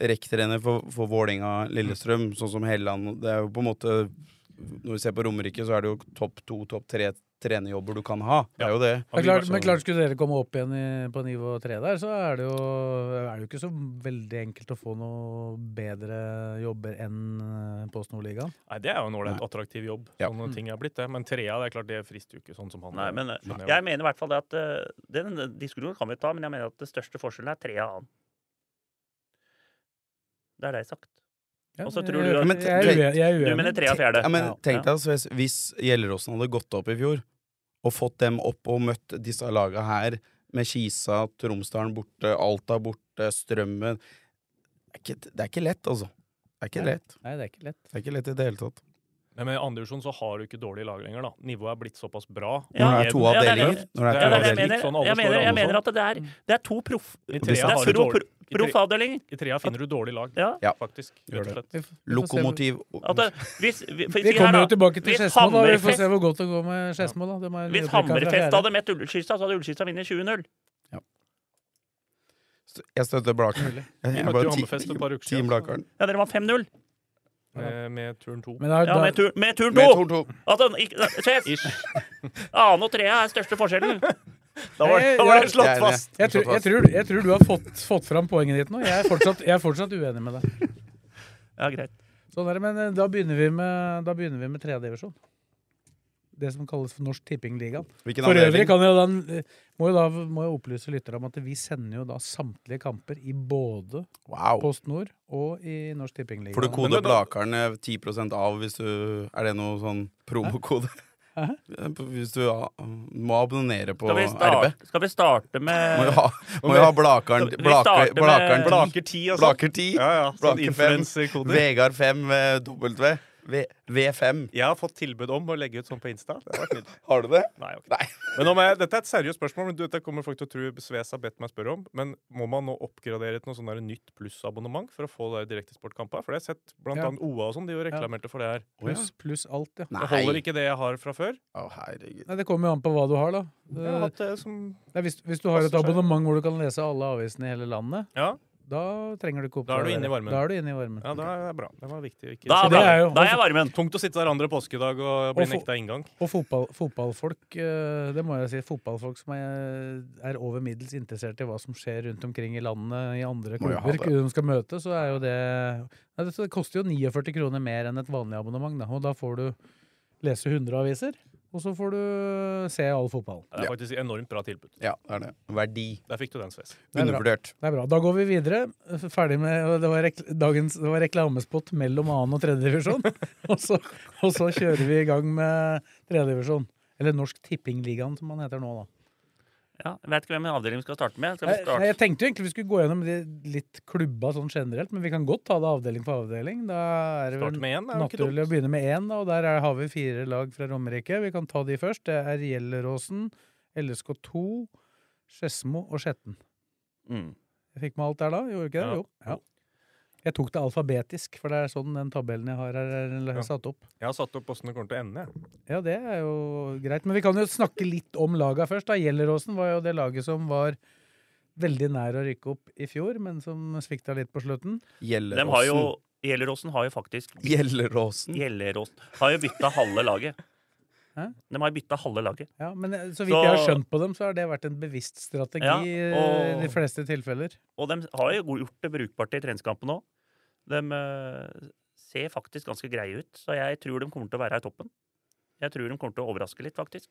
S4: rekktrener for, for Vålinga Lillestrøm, sånn som Helland. Det er jo på en måte Når vi ser på Romerike, så er det jo topp to, topp tre trenerjobber du kan ha. Det er jo det.
S2: Men klart, men klart skulle dere komme opp igjen i, på nivå tre der, så er det, jo, er det jo ikke så veldig enkelt å få noe bedre jobber enn eh, Post Nordligaen.
S5: Nei, det er jo en ålreit attraktiv jobb,
S4: Ja.
S5: sånne ting er blitt det. Men Trea, det er klart det frister jo ikke sånn som han.
S3: Nei, men eh,
S5: skjønner
S3: jeg mener i hvert fall det at eh, Den diskusjonen kan vi ta, men jeg mener at det største forskjellen er trea annen. Det er det jeg har sagt.
S2: Ja,
S3: Og så
S2: men
S3: tror
S2: jeg-
S3: du at-
S4: Men
S2: jeg, er
S4: tenk-
S2: ue- jeg er
S3: Du
S2: uenig.
S3: mener trea fjerde.
S4: Ja, men
S3: Ja.
S4: tenk deg hvis, hvis Gjelleråsen hadde gått opp i fjor, og fått dem opp og møtt disse laga her, med Kisa, Tromsdalen borte, Alta borte, Strømmen Det er ikke, det er ikke lett, altså. Det er ikke
S2: Nei.
S4: lett.
S2: Nei, det er ikke lett.
S4: Det er ikke lett i det hele tatt.
S5: Men med andre divisjon så har du ikke dårlige lag lenger, da. Nivået er blitt såpass bra.
S3: Ja.
S4: Når det er to
S3: Ja, det er
S4: avdelinger
S3: det. Ja,
S4: Når det er
S3: det
S4: to
S3: er det jeg
S4: avdelinger
S3: mener.
S5: Sånn alle
S3: Jeg mener,
S5: slår
S3: jeg
S5: alle
S3: mener at det er, det er to proff...
S5: I
S3: Mm. Det
S5: Trea
S3: er
S5: har du
S3: pro,
S5: dårlig-
S3: pro-
S5: i
S3: proffavdeling.
S5: Tre- i Trea finner du dårlige lag,
S3: Ja.
S4: Ja.
S5: faktisk.
S4: Gjør
S5: Rett og slett.
S2: Vi f- vi får se-
S4: Lokomotiv
S3: At det, hvis, vi, for-
S2: Vi
S3: si her
S2: kommer jo
S3: da,
S2: tilbake til
S3: hvis
S2: Skedsmo, da. Vi får
S3: Hammerfest-
S2: se hvor godt det går med Skedsmo, da. De er
S3: Hvis
S2: nyopprykka fra
S3: Hammerfest
S2: fjerde.
S3: hadde møtt Ullskista, så hadde Ullskista vunnet 20-0.
S4: Jeg støtter Blaker. Jeg
S5: Vi
S4: er
S5: møtte
S4: bare
S5: jo
S4: ti-
S5: Hammerfest et par uker
S4: Team
S5: siden.
S4: Blakeren.
S3: Ja, dere var 5-0.
S5: Med, med turn to.
S2: Men da,
S3: Ja,
S2: da,
S3: med, tur, med turn
S4: Med
S3: 2!
S4: Torn to.
S3: At den ikke- Se,
S5: Ish.
S3: annen og trea er største forskjellen. Da var, da var det slått fast.
S2: Jeg tror, jeg, tror, jeg tror du har fått, fått fram poenget ditt nå. Jeg er fortsatt, jeg er fortsatt uenig med deg.
S3: Ja, greit.
S2: Sånn er det, men eh, da begynner vi med, da begynner vi med tredjedivisjon. Det som kalles for Norsk Tippingligaen.
S4: Hvilken
S2: For øvrig
S4: anledning?
S2: kan jeg da, eh, må jeg da må jeg opplyse lyttere om at vi sender jo da samtlige kamper i både
S4: Wow.
S2: Post Nord og i Norsk Tippingliga.
S4: Får du kode Blakeren eh, 10 av hvis du Er det noe sånn promokode?
S2: Hæ?
S4: Hvis du ah, må abonnere på
S3: Skal vi,
S4: RB.
S3: starte, skal vi starte
S4: Må
S3: med
S4: jo ha, må jo ha Blakeren
S3: Skal vi
S4: Blaker,
S3: starte med-
S4: blakeren 10.
S5: Blaker 10 og sånn.
S4: Blaker 10.
S5: Ja, ja, sånn
S4: Blaker 5.
S5: influenserkoder.
S4: Vegard 5 eh, W. V, V5.
S5: Jeg har fått tilbud om å legge ut sånn på Insta. Det har vært nydelig.
S4: Har du det?
S5: Nei, ok.
S4: Nei.
S5: Men om jeg, dette er et seriøst spørsmål, men du, dette kommer folk til å tro Sves har bedt meg spørre om. Men må man nå oppgradere til noe sånn der nytt plussabonnement for å få det direktesportkamper? For det har jeg sett blant
S2: Ja.
S5: annet OA og sånn, de jo reklamerte for det her.
S2: Pluss pluss alt, ja.
S4: Nei.
S5: Det holder ikke det jeg har fra før.
S4: Å, herregud.
S2: Nei, det kommer jo an på hva du har, da.
S5: Jeg har
S2: Det,
S5: hatt det som
S2: det er hvis, hvis du har et
S5: passer seg.
S2: abonnement hvor du kan lese alle avisene i hele landet,
S5: Ja,
S2: da trenger du ikke
S5: Da er du
S2: oppgradere.
S5: inne i varmen.
S2: Da er du inne i varmen.
S5: ja det er det er bra. Det var viktig. å Ikke.
S3: Da
S2: Så
S3: er,
S2: det
S3: bra.
S2: er jo-
S3: da er jeg varmen.
S5: Tungt å sitte der andre påskedag og bli
S2: Og få-
S5: nekta inngang.
S2: Og fotball, fotballfolk, eh, det må jeg si, fotballfolk som er, er over middels interessert i hva som skjer rundt omkring i landet i andre
S4: Må jo ha
S2: klubber de skal møte, så er jo det Nei, det, det koster jo 49 kroner mer enn et vanlig abonnement, da. Og da får du lese 100 aviser, og så får du se all fotballen.
S5: Det er faktisk enormt bra tilbud.
S4: Ja, det er det. Verdi.
S5: Der fikk du den, Sves.
S2: er bra.
S4: Undervurdert.
S2: Det er bra. Da går vi videre. Ferdig med Det var, rekl dagens, det var reklamespot mellom annen og tredje divisjon. og, så, og så kjører vi i gang med tredje divisjon. Eller Norsk Tippingligaen, som han heter nå, da.
S3: Ja, jeg vet ikke hvem i avdelingen vi skal starte med. Skal vi
S2: Nei, nei, jeg
S3: starte?
S2: tenkte jo egentlig vi skulle gå gjennom de litt klubba sånn generelt, men vi kan godt ta det avdeling for avdeling. Da er det vel
S5: Starte med én, det er jo ikke dumt.
S2: naturlig å begynne med én, da, og der er, har vi fire lag fra Romerike. Vi kan ta de først. Det er Gjelleråsen, LSK2, Skedsmo og Skjetten.
S3: Mm.
S2: Jeg fikk med alt der da, gjorde jeg ikke det?
S5: Ja.
S2: Jo. Ja. Jeg tok det alfabetisk, for det er sånn den tabellen jeg har her er
S5: Ja.
S2: satt opp.
S5: Jeg har satt opp åssen det kommer til å ende. jeg.
S2: Ja, det er jo greit. Men vi kan jo snakke litt om laga først. da. Gjelleråsen var jo det laget som var veldig nær å rykke opp i fjor, men som svikta litt på slutten.
S3: Dem har jo,
S4: Gjelleråsen.
S3: Gjelleråsen har jo faktisk
S4: Gjelleråsen.
S3: Gjelleråsen har jo bytta halve laget.
S2: Hæ?
S3: De har bytta halve laget.
S2: Ja, Men eh, så vidt
S3: Så-
S2: jeg har skjønt på dem, så har det vært en bevisst strategi
S3: Ja,
S2: eh,
S3: og-
S2: i de fleste tilfeller.
S3: Og de har jo gjort det brukbart i treningskampen òg. De eh, ser faktisk ganske greie ut, så jeg tror de kommer til å være her i toppen. Jeg tror de kommer til å overraske litt, faktisk.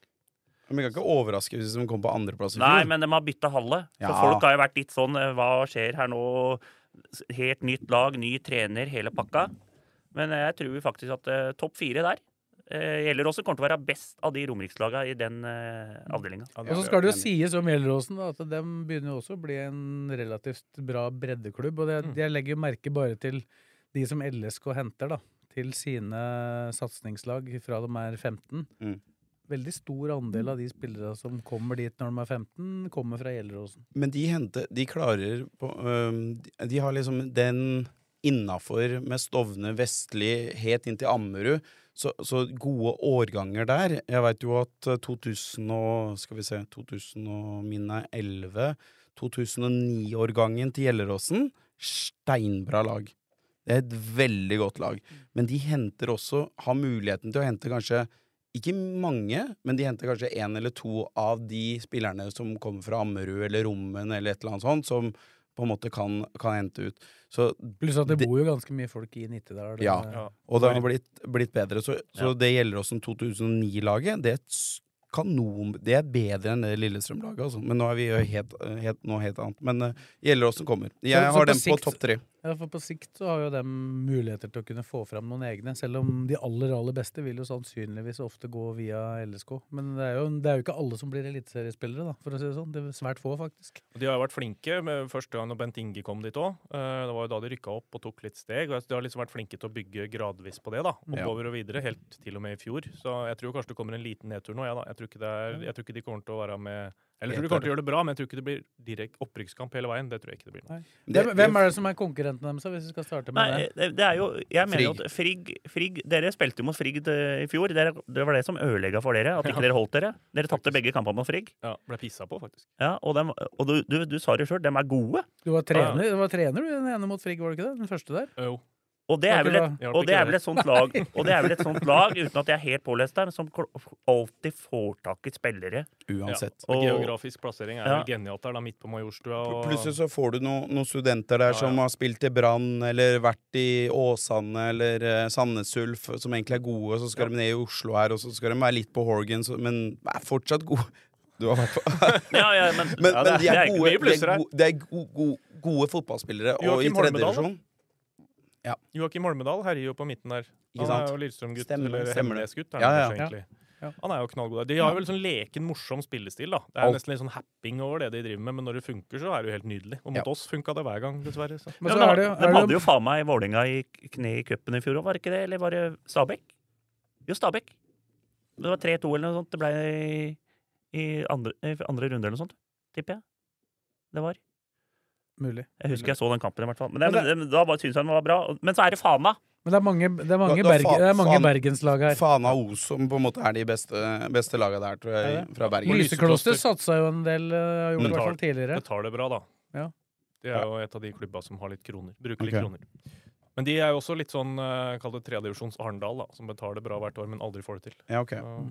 S4: Men vi kan ikke overraske hvis de kommer på andreplass i
S3: Nei,
S4: fjor.
S3: men de har bytta halve. Så
S4: Ja.
S3: folk har jo vært litt sånn eh, Hva skjer her nå? Helt nytt lag, ny trener, hele pakka. Men eh, jeg tror faktisk at eh, topp fire der eh, gjelder også kommer til å være best av de romerikslaga i den eh, avdelinga.
S5: Ja,
S2: Og så skal det jo sies om Gjelleråsen da, at dem begynner jo også å bli en relativt bra breddeklubb. Og det,
S5: Mm.
S2: jeg legger jo merke bare til de som LSK henter, da. Til sine satsingslag fra de er 15.
S4: Mm.
S2: Veldig stor andel av de spillere som kommer dit når de er 15, kommer fra Gjelleråsen.
S4: Men de henter De klarer på, øhm, de, de har liksom den innafor med Stovne, Vestli, helt inn til Ammerud. Så, så gode årganger der. Jeg veit jo at eh, 2000 og Skal vi se 2000 og min er 11. 2009-årgangen til Gjelleråsen. Steinbra lag. Det er et veldig godt lag. Men de henter også Har muligheten til å hente kanskje ikke mange, men de henter kanskje én eller to av de spillerne som kommer fra Ammerud eller Rommen eller et eller annet sånt, som på en måte kan, kan hente ut. Så,
S2: Pluss at det
S4: Det-
S2: bor jo ganske mye folk i Nittedal.
S4: Ja.
S2: eh,
S5: Ja.
S4: og det har blitt, blitt bedre. Så, så det gjelder også 2009-laget. Det er et s- kanon Det er bedre enn det Lillestrøm-laget, altså. Men nå er vi jo helt, helt, noe helt annet. Men uh, Gjelleråsen kommer. Jeg
S2: Så- så på
S4: har den på
S2: sikt-
S4: topp tre.
S2: Ja, for på sikt så har jo de muligheter til å kunne få fram noen egne, selv om de aller, aller beste vil jo sannsynligvis ofte gå via LSK. Men det er jo, det er jo ikke alle som blir eliteseriespillere, da, for å si det sånn. Det er svært få, faktisk.
S5: Og De har jo vært flinke med første gang når Bent Inge kom dit òg. Det var jo da de rykka opp og tok litt steg. og De har liksom vært flinke til å bygge gradvis på det. da,
S3: Mm.
S5: Oppover og videre, helt til og med i fjor. Så jeg tror kanskje det kommer en liten nedtur nå. Ja, da. Jeg, tror ikke det er, jeg tror ikke de kommer til å være med Eller jeg tror de kommer til å gjøre det bra, men jeg tror ikke det blir direkte opprykkskamp hele veien. Det tror jeg ikke det blir. nå.
S4: Det-
S2: Hvem, hvem er det som er konkurrenten deres, hvis vi skal starte med
S3: Nei, eh,
S2: det?
S3: det, det er jo Jeg mener jo at Frigg, Frigg Dere spilte jo mot Frigg eh, i fjor. Dere, det var det som ødelegga for dere, at ikke dere holdt dere. Dere tapte begge kampene mot Frigg.
S5: Ja, Ble pissa på, faktisk.
S3: Ja, og dem, og du, du, du sa det sjøl, de er gode.
S2: Du var trener, du var trener du, den ene mot Frigg, var du ikke det? Den første der?
S5: Jo.
S3: Og det, er vel
S2: Det
S3: et,
S5: hjalp
S3: og det
S5: ikke
S3: er vel
S5: det.
S3: et sånt lag, og det er vel et sånt lag uten at jeg er helt pålest der, men som kl- alltid får tak i spillere.
S4: Uansett.
S5: Og
S3: Og-
S5: geografisk plassering er
S3: Ja.
S5: vel genialt der, da, midt på Majorstua. Og,
S4: Plutselig så får du no, noen studenter der
S5: Ja,
S4: som
S5: ja.
S4: har spilt i Brann eller vært i Åsane eller eh, Sandnes Ulf, som egentlig er gode, og så skal de ned i Oslo her, og så skal de være litt på Horgans, men er fortsatt gode. Du har vært på
S3: Ja, ja, men,
S4: Men,
S3: ja,
S4: men
S3: det-
S4: de
S3: det
S4: er
S3: ikke
S4: gode,
S3: mye
S4: de
S3: plusser
S4: er
S3: her.
S4: gode, de er gode, gode, gode fotballspillere, og i
S5: Joakim
S4: tredje
S5: Holmedal?
S4: divisjon
S5: Joakim Holmedal herjer jo på midten der.
S4: Ikke
S5: Han
S4: sant?
S5: er jo Lillestrøm-gutt,
S4: Stemmer det,
S5: eller
S4: stemmer det.
S5: Hemnes-gutt. er
S4: Ja,
S5: han
S4: ja.
S5: kanskje egentlig.
S2: Ja.
S5: Han er jo knallgod der. De har jo vel sånn leken, morsom spillestil, da. Det er
S4: Alt.
S5: nesten litt sånn happing over det de driver med, men når det funker, så er det jo helt nydelig. Og mot
S4: Ja.
S5: oss funka det hver gang, dessverre. Så.
S2: Men
S3: Ja,
S2: så
S3: men
S2: er det
S3: de
S2: jo- er det
S3: hadde
S2: jo
S3: jo faen meg Vålerenga i kne i cupen i fjor òg, var det ikke det? Eller var det Stabæk? Jo, Stabæk. Det var 3-2 eller noe sånt. Det ble i, i, andre, i andre runde eller noe sånt, tipper jeg. Det var.
S2: mulig. Altså-
S3: Jeg husker jeg så den kampen, i hvert fall. Men, det-
S2: Men
S3: men da bare syntes jeg den var bra. Men så er det Fana!
S2: Men det er mange, det er mange,
S4: Da- da
S2: Berge-
S4: fa-
S2: det er mange
S4: faen-
S2: bergenslag her.
S4: Fana og Os som på en måte er de beste, beste laga der, tror jeg,
S2: Er
S4: fra Bergen.
S2: Lysekloster satsa jo en del, eh, har gjort det i hvert fall tidligere.
S5: Betaler bra, da.
S2: Ja.
S5: Det er jo et av de klubba som har litt kroner. Bruker litt
S4: Ok.
S5: kroner. Men de er jo også litt sånn, eh, kall det tredjedivisjons Arendal, da, som betaler bra hvert år, men aldri får det til.
S4: Ja, ok.
S5: Så,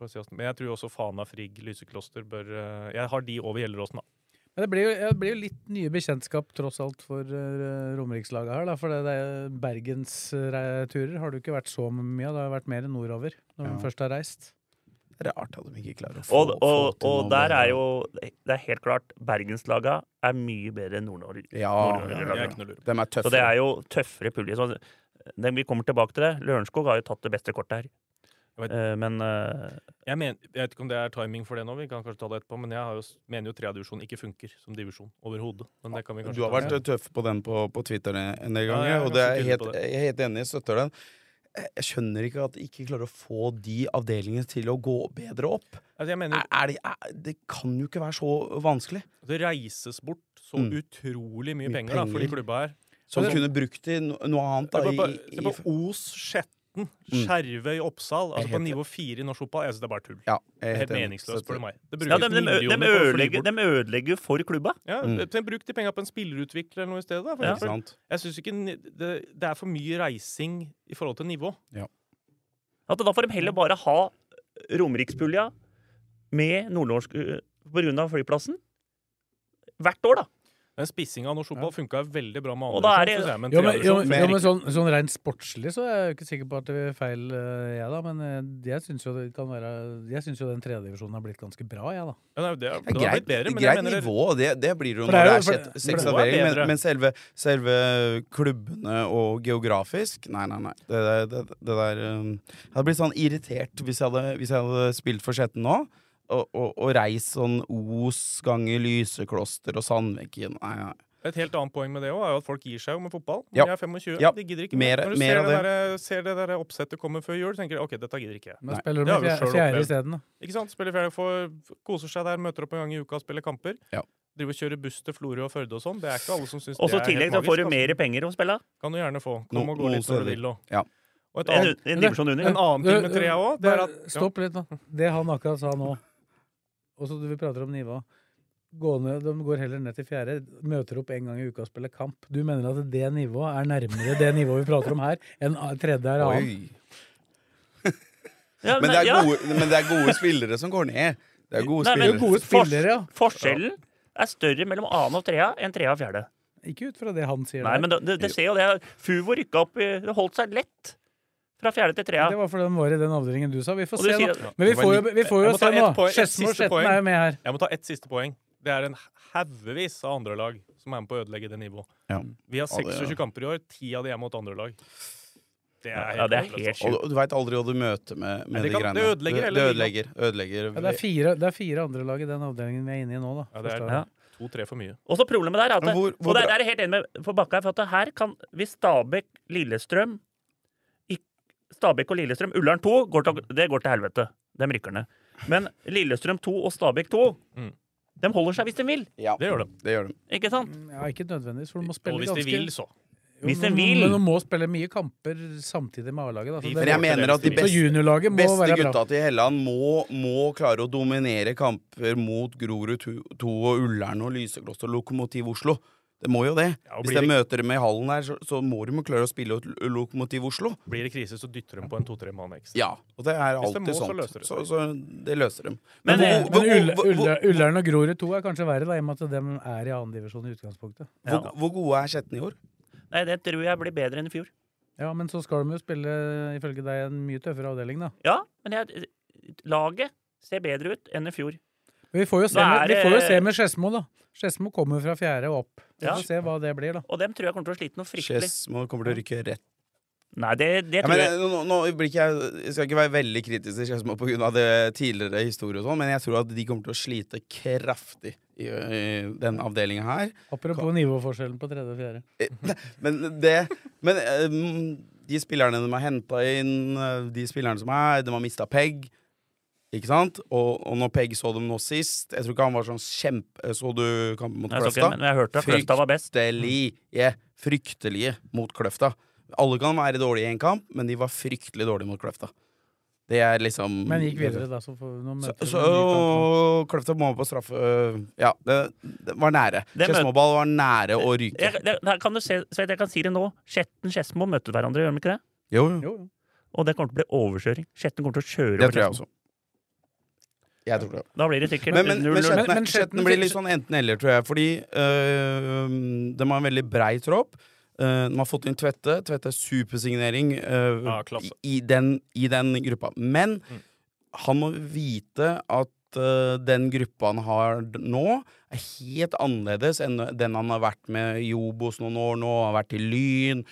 S5: får vi se hvordan- Men jeg tror også Fana, Frigg, Lysekloster bør eh, Jeg har de over Gjelleråsen, da.
S2: Men det blir, jo, ja, det blir jo litt nye bekjentskap tross alt for eh, romerikslaget her. Da, for det, det er bergensturer har det jo ikke vært så mye av. Det har vært mer nordover når
S4: Ja.
S2: de først har reist.
S4: Rart at de ikke klarer å få,
S3: Og, og,
S4: få til
S3: og
S4: noe
S3: der
S4: med-
S3: er jo Det er helt klart Bergenslaga er mye bedre enn Nord-Norge.
S4: Ja,
S3: Nord-Norge
S4: ja,
S5: Jeg
S3: laga.
S5: er ikke noe lur.
S4: De er
S3: Så
S4: tøffe.
S3: det er jo tøffere pulje. Så det, vi kommer tilbake til det. Lørenskog har jo tatt det beste kortet her.
S5: Jeg vet-
S3: Eh, Men eh,
S5: Jeg, men, jeg vet ikke om det er timing for det nå, vi kan kanskje ta det etterpå, men jeg har jo, s- mener jo tredjedivisjon ikke funker som divisjon overhodet. Men det kan vi kanskje
S4: Du har
S5: ta
S4: vært
S5: senere.
S4: tøff på den på, på Twitter en del
S5: Ja,
S4: ganger,
S5: jeg er
S4: og det er
S5: ganske
S4: jeg
S5: tydelig
S4: helt,
S5: på det.
S4: jeg er helt enig, jeg støtter den. Jeg- Jeg skjønner ikke at de ikke klarer å få de avdelingene til å gå bedre opp.
S5: altså, jeg mener,
S4: Er, er det, er, det kan jo ikke være så vanskelig.
S5: Det reises bort så
S4: Mm.
S5: utrolig mye,
S4: Mye
S5: penger, da, for de
S4: penger.
S5: klubba her.
S4: Som
S5: Men-
S4: kunne brukt til no, noe annet. Da,
S5: Se på,
S4: i,
S5: på- se
S4: i, Mm.
S5: på Os, Skjetten, Skjervøy, Oppsal.
S4: Jeg
S5: Altså på
S4: heter-
S5: nivå fire i norsk fotball. Jeg synes det er bare tull.
S4: ja,
S5: Det
S4: jeg
S5: er
S4: er
S5: helt
S4: enig.
S5: meningsløst,
S4: Støtter.
S5: spør du meg. Det
S3: ja, de, de,
S5: brukes
S3: de,
S5: millioner på å fly
S3: ødelegger,
S5: bort.
S3: de ødelegger jo for klubba.
S5: Ja,
S4: Mm.
S5: så Bruk de penga på en spillerutvikler eller noe i stedet. Da, for
S3: Ja.
S4: Ikke
S5: eksempel.
S4: sant?
S5: Jeg synes ikke ni- det, det er for mye reising i forhold til nivå.
S3: At da får de heller bare ha Romerikspulja med nordnorsk eh, på grunn av flyplassen. Hvert år, da.
S5: Den spissinga av norsk fotball funka veldig bra med
S3: Og da er
S5: andre.
S3: det-
S5: synes jeg, men
S2: Jo, men, jo,
S5: tredjedivisjon
S2: men-
S4: mer
S2: jo, men sånn, sånn rent sportslig så er jeg jo ikke sikker på at det blir feil, eh, jeg, da. Men eh, jeg syns jo, det kan være- jeg synes jo den tredjedivisjonen har blitt ganske bra, jeg, da.
S5: Ja, nei, det, er-
S4: Det
S5: det
S4: er
S5: har
S4: greit,
S5: blitt bedre, men jeg
S4: greit
S5: mener
S4: nivå, og det, det blir det jo
S2: For
S4: når det
S2: det er
S4: er,
S2: jo- for-
S4: sjett-
S2: for
S4: seks
S5: nivået er
S4: avdelinger,
S5: bedre.
S4: men, men selve, selve eh, klubbene og geografisk Nei, nei, nei. Det, der- det, det der um, Jeg hadde blitt sånn irritert hvis jeg hadde, hvis jeg hadde spilt for Skjetten nå. Og, og, og reist sånn Os ganger Lysekloster og Sandviken. Nei, nei.
S5: Et helt annet poeng med det også er jo at folk gir seg jo med fotball.
S4: Ja.
S5: Jeg er 25,
S4: Ja.
S5: de gidder ikke
S4: Mer-
S5: mer. Når du
S4: mer
S5: ser
S4: av
S5: det, der, eh, ser det der oppsettet komme før jul, tenker du ok, dette gidder ikke jeg.
S2: Men
S4: Nei,
S2: spiller
S5: det
S2: de
S5: har vi
S2: med
S5: selv
S2: fjer- fjerde
S5: opplevd.
S2: isteden, da.
S5: Ikke sant? Spiller ferie, får, koser seg der, møter opp en gang i uka og spiller kamper.
S4: Ja.
S5: Driver og kjører buss til Florø og Førde og sånn. Det er ikke alle som syns
S3: Og
S5: det
S3: så i
S5: er
S3: tillegg
S5: helt
S3: så får du
S5: magisk,
S3: mer
S5: altså.
S3: penger å spille.
S5: Kan du gjerne få. Kom
S4: No-
S5: og gå
S4: noen
S5: litt når du
S4: steder.
S5: vil. Og,
S4: Ja.
S5: og et
S3: En,
S5: annet,
S3: en divisjon under.
S5: en annen ting med trea òg, det er
S2: Eh, Bare
S5: at ja,
S2: Stopp litt, da. Det han akkurat sa nå, og så du vil prate om nivå Gå ned, de går heller ned til fjerde, møter opp en gang i uka og spiller kamp. Du mener at det nivået er nærmere det nivået vi prater om her, enn a- tredje er annen?
S4: Oi.
S3: Ja,
S4: Men, det er
S3: ja.
S4: gode, men det er gode spillere som går ned. Det er gode
S3: Nei, men
S4: spillere.
S2: Gode spillere, ja.
S3: Forskjellen er større mellom annen og trea enn trea og fjerde.
S2: Ikke ut fra det han sier.
S3: Nei,
S2: der.
S3: men det, det, det ser jo det. Fuvo rykka opp i- Det holdt seg lett fra fjerde til trea.
S2: Det var fordi de var i den avdelingen du sa. Vi får
S3: Og du
S2: se,
S3: sier
S2: da.
S3: at-
S2: Men vi
S4: Det var
S2: får jo,
S4: litt-
S2: vi får jo
S5: Jeg må ta
S2: se nå.
S5: ett poeng- et
S2: Skedsmo og
S5: siste poeng.
S2: Skjetten er jo med her.
S5: Jeg må ta ett siste poeng. Det er en haugevis av andrelag som er med på å ødelegge det nivået.
S4: Ja.
S5: Vi har
S4: Ja, det er-
S5: 26 kamper i år. Ti av de er mot andrelag. Det er helt
S3: Ja, det er
S5: håpløst,
S3: helt
S5: altså.
S4: Og du, du veit aldri hva du møter med,
S5: Nei,
S4: med
S5: det
S4: de
S5: kan-
S4: greiene.
S5: det ødelegger
S4: det,
S5: hele
S4: ødelegger. ødelegger.
S2: Ja, det, er fire, det er fire andre lag i den avdelingen vi er inne i nå, da.
S5: Ja, det er
S2: Forstår
S3: Ja.
S5: to-tre for mye.
S3: Og så problemet der er at
S4: Men hvor- hvor
S3: Og der,
S4: bra-
S3: der er jeg helt enig med for Bakka. For at det her kan Hvis Stabæk, Lillestrøm ikk- Stabæk og Lillestrøm Ullern 2 går til, det går til helvete. De rykker ned. Men Lillestrøm 2 og Stabæk 2
S5: Mm.
S3: de holder seg hvis de vil,
S4: Ja,
S5: Det gjør de.
S4: det gjør de.
S3: ikke sant?
S2: jeg. Ja, ikke nødvendigvis, for du må
S5: Og
S2: spille
S5: hvis de
S2: ganske
S5: vil, så.
S2: Jo,
S3: Hvis de
S2: men-
S3: vil.
S2: Men du må spille mye kamper samtidig med A-laget, da. Så det-
S5: De
S4: Men jeg mener at de
S2: Så
S4: beste
S2: juniorlaget må
S4: beste
S2: være bra.
S4: gutta til Helland må, må klare å dominere kamper mot Grorud 2 og Ullern og Lysekloster og Lokomotiv Oslo. Det må jo det.
S5: Ja, og
S4: Hvis
S5: blir
S4: jeg
S5: det-
S4: møter dem i hallen her, så, så må de jo klare å spille ut L- Lokomotiv Oslo.
S5: Blir det krise, så dytter de på en to-tre mann ekstra.
S4: Ja, og det er
S5: Hvis de
S4: alltid
S5: må, så
S4: sånt.
S5: løser det
S4: så,
S5: seg.
S4: så det løser de.
S3: Men, eh,
S2: Men
S4: hvor- hvor-
S2: Ull-
S4: hvor- hvor-
S2: Ull- Ullern og Grorud 2 er kanskje verre, da, i og med at de er i andredivisjon i utgangspunktet.
S4: hvor, hvor gode er Skjetten i år?
S3: Nei, det tror jeg blir bedre enn i fjor.
S2: Ja, men så skal de jo spille, ifølge deg, en mye tøffere avdeling, da.
S3: Ja, men jeg, laget ser bedre ut enn i fjor.
S2: Men Vi får jo se,
S3: Da er
S2: med, vi får jo
S3: det-
S2: se med Skedsmo, da. Skedsmo kommer fra fjerde og opp. Vi
S3: Ja.
S2: får se hva det blir, da.
S3: Og dem tror jeg kommer til å slite noe fryktelig.
S4: Skedsmo kommer til å rykke rett
S3: Nei, det, det
S4: ja,
S3: tror
S4: men, eh,
S3: jeg.
S4: nå, nå blir ikke jeg, jeg skal ikke være veldig kritisk til Skedsmo pga. tidligere historie, og sånn, men jeg tror at de kommer til å slite kraftig i, i den avdelinga her.
S2: Apropos nivåforskjellen på tredje og fjerde.
S4: Men det Men ehm, de spillerne de har henta inn, eh, de spillerne som er De har mista Pegg. Ikke sant? Og, og når Pegg så dem nå sist Jeg tror ikke han var sånn kjempe Så du kampen mot
S3: Jeg, så ikke,
S4: Kløfta?
S3: men jeg hørte at Kløfta var best.
S4: Fryktelige. Fryktelige mot Kløfta. Alle kan være dårlige i en kamp, men de var fryktelig dårlige mot Kløfta. Det er liksom
S2: Men gikk videre, da. Så får vi noen
S4: Så,
S2: møter.
S4: så
S2: med
S4: Kløfta må på straffe øh, Ja, det, det var nære.
S3: Det møt-
S4: Skedsmoball var nære å ryke.
S3: Jeg, det, her kan du se, Sveit, jeg kan si det nå. Skjetten Skedsmo møter hverandre, gjør de ikke det?
S4: Jo,
S2: ny kamp.
S4: jo,
S2: Jo, jo.
S3: Og det kommer til å bli overkjøring. Skjetten kommer til å kjøre
S4: det
S3: over
S4: tror jeg
S3: Skedsmo.
S4: også. Jeg tror det.
S3: Da blir det sikkert
S4: Men, men, men,
S3: 0-0.
S4: Skjetten,
S2: Men- men
S4: Skjetten
S2: Skjetten
S4: blir
S2: fikk-
S4: litt sånn enten-eller, tror jeg. Fordi øh, de har en veldig brei tropp. Eh, de har fått inn Tvette. Tvette er supersignering øh,
S5: Ja, klasse.
S4: i, i den, i den gruppa. Men
S5: Mm.
S4: han må vite at øh, den gruppa han har d- nå, er helt annerledes enn den han har vært med i Obos noen år nå. Han har vært i Lyn.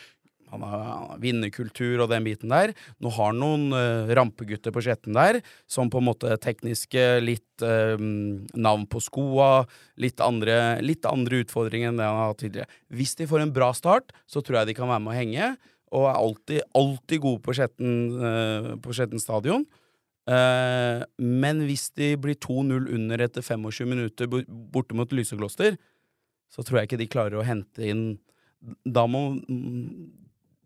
S4: Han har, han har vinnerkultur og den biten der. Nå har han noen øh, rampegutter på Skjetten der som på en måte tekniske, litt eh, navn på skoa, litt andre, litt andre utfordringer enn det han har hatt tidligere. Hvis de får en bra start, så tror jeg de kan være med å henge, og er alltid, alltid gode på Skjetten, eh, på Skjetten stadion. Eh, men hvis de blir 2-0 under etter 25 minutter bo- borte mot Lysekloster, så tror jeg ikke de klarer å hente inn Da må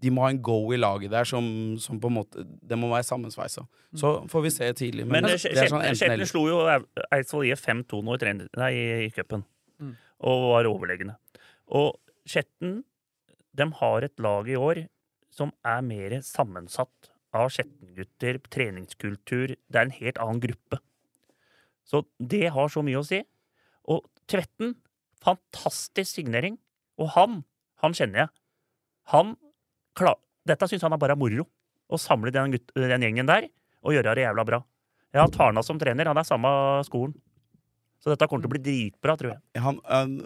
S4: de må ha en go i laget der som, som på en måte Det må være sammensveisa. Så får vi se tidlig.
S3: Men
S4: det,
S3: Skjetten
S4: er sånn enten
S3: Skjetten
S4: eller.
S3: slo jo Eidsvoll IF 5-2 nå i tren- nei, i- i cupen,
S2: Mm.
S3: og var overlegne. Og Skjetten de har et lag i år som er mer sammensatt av Skjetten-gutter, treningskultur Det er en helt annen gruppe. Så det har så mye å si. Og Tvetten, fantastisk signering. Og han, han kjenner jeg. Han klar, Dette syns han er bare moro. Å samle den, gutt, den gjengen der og gjøre det jævla bra. Ja, Tarna som trener, han er samme skolen. Så dette kommer til å bli dritbra, tror jeg.
S4: Han, han-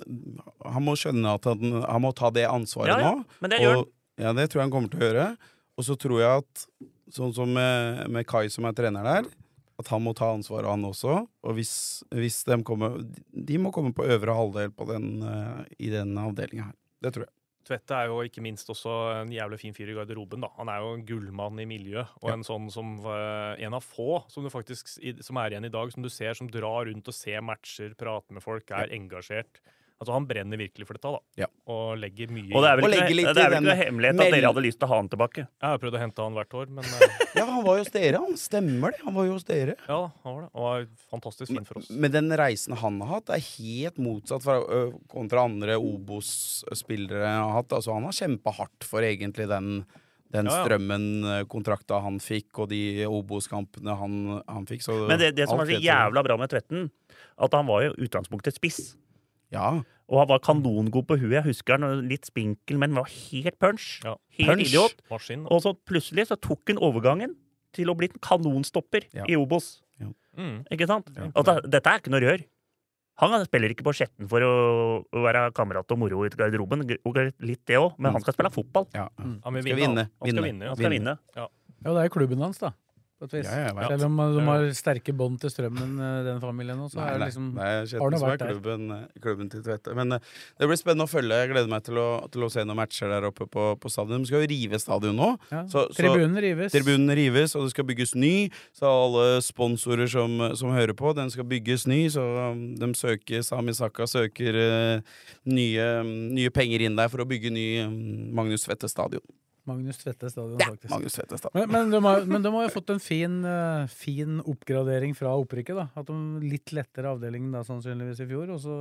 S4: han må skjønne at han, han må ta det ansvaret
S3: Ja, ja,
S4: nå.
S3: Men det gjør han.
S4: og, ja, det tror jeg han kommer til å gjøre. Og så tror jeg at sånn som med, med Kai, som er trener der, at han må ta ansvaret, han også. Og hvis, hvis de kommer De må komme på øvre halvdel på den, eh, i den avdelinga her. Det tror jeg.
S5: Tvette er jo ikke minst også en jævlig fin fyr i garderoben. da. Han er jo en gullmann i miljøet, og en sånn som eh, en av få som du faktisk, s- i- som er igjen i dag, som du ser som drar rundt og ser matcher, prater med folk, er engasjert. Altså, Han brenner virkelig for dette da.
S4: Ja.
S5: og legger mye
S3: Og det er vel
S4: Og
S3: ikke,
S4: legge litt
S3: det
S4: i
S3: er vel ikke noe
S4: den
S3: hemmelighet at
S4: mel-
S3: dere hadde lyst til å ha han tilbake.
S5: Jeg har prøvd å hente han hvert år, men eh,
S4: Ja, han var jo hos dere, han. Stemmer det. Han var jo hos dere.
S5: ja, han var det. Han var fantastisk fin for oss.
S4: Men den reisen han har hatt, er helt motsatt fra, ø, kontra andre Obos-spillere han har hatt. Altså, han har kjempa hardt for egentlig den, den
S5: Ja, ja.
S4: strømmen, ø, kontrakta han fikk, og de Obos-kampene han, han fikk. Så
S3: Men det, det som
S4: alt
S3: var så
S4: tror jeg.
S3: jævla bra med Tvetten, at han var jo i utgangspunktet spiss.
S4: Ja.
S3: Og han var kanongod på huet. Jeg husker han litt spinkel, men var helt punch.
S5: Ja.
S3: Helt
S4: Punch.
S3: idiot.
S5: Maskin.
S3: Og så plutselig så tok han overgangen til å bli en kanonstopper
S4: Ja.
S3: i Obos.
S5: Mm.
S3: Ikke sant? At det, dette er ikke noe rør. Han spiller ikke på Skjetten for å, å være kamerat og moro i garderoben, og litt det òg, men han skal spille fotball.
S4: ja.
S5: Ja,
S4: Skal
S5: men vinne,
S4: vinne,
S5: han. Han skal
S4: vinne,
S5: vinne.
S3: Han
S5: ja.
S3: skal vinne.
S2: Ja, det er jo klubben hans, da. På et vis.
S4: Ja, jeg vet.
S2: Selv om eh, de har sterke bånd til strømmen, eh, den familien nå, så
S4: Nei,
S2: er det
S4: nei,
S2: liksom
S4: nei,
S2: har
S4: Skjetten
S2: det
S4: som er
S2: vært der?
S4: klubben, klubben til Tvete. Men ø, det blir spennende å følge. Jeg gleder meg til å, til å se noen matcher der oppe på, på stadion. De skal jo rive stadion nå.
S2: ja.
S4: Så- så-
S2: Tribunen rives.
S4: Tribunen rives, og det skal bygges ny. Så alle sponsorer som, som hører på, den skal bygges ny. Så um, de søker, Sami Saka søker eh, nye, nye penger inn der for å bygge ny um, Magnus Tvette stadion.
S2: Magnus Tvedte stadion,
S4: Ja,
S2: faktisk.
S4: Magnus Tvettestad.
S2: Men, men, de har, men de har jo fått en fin, eh, fin oppgradering fra opprykket. da. At de Litt lettere avdeling da, sannsynligvis i fjor, og så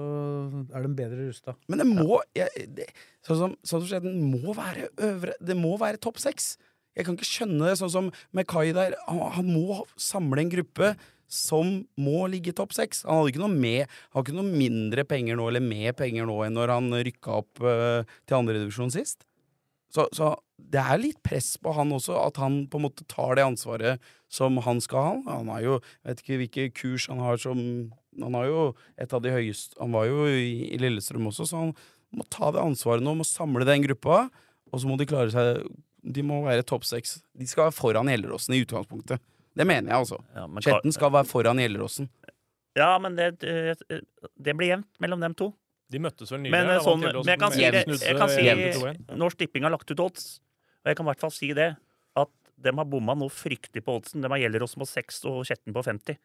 S2: er de bedre rusta.
S4: Men det må jeg, det, Sånn som sånn som skjedde, den må være øvre Det må være topp seks. Jeg kan ikke skjønne det. Sånn som med Kai der. Han, han må samle en gruppe som må ligge i topp seks. Han hadde ikke noe med Han har ikke noe mindre penger nå eller mer penger nå enn når han rykka opp eh, til andredivisjon sist. Så, så det er litt press på han også, at han på en måte tar det ansvaret som han skal ha. Han har jo jeg vet ikke hvilke kurs han har som Han har jo et av de høyeste Han var jo i, i Lillestrøm også, så han må ta det ansvaret nå, må samle den gruppa, og så må de klare seg De må være topp seks. De skal være foran Gjelleråsen i utgangspunktet. Det mener jeg, altså.
S3: Ja, men, Ka-
S4: Skjetten skal være foran Gjelleråsen.
S3: ja, men det, eh, det blir jevnt mellom dem to.
S5: De møttes vel nylig.
S3: Men,
S5: da,
S3: eh, sånn,
S5: Valgerd Åsen
S3: men jeg kan si
S5: med
S3: det,
S5: Knudsen
S3: jeg kan si
S5: og Jevnt 2-1.
S3: Norsk Tipping har lagt ut odds, og jeg kan i hvert fall si det, at de har bomma noe fryktelig på oddsen. De har Gjelleråsen på 6 og Skjetten på 50.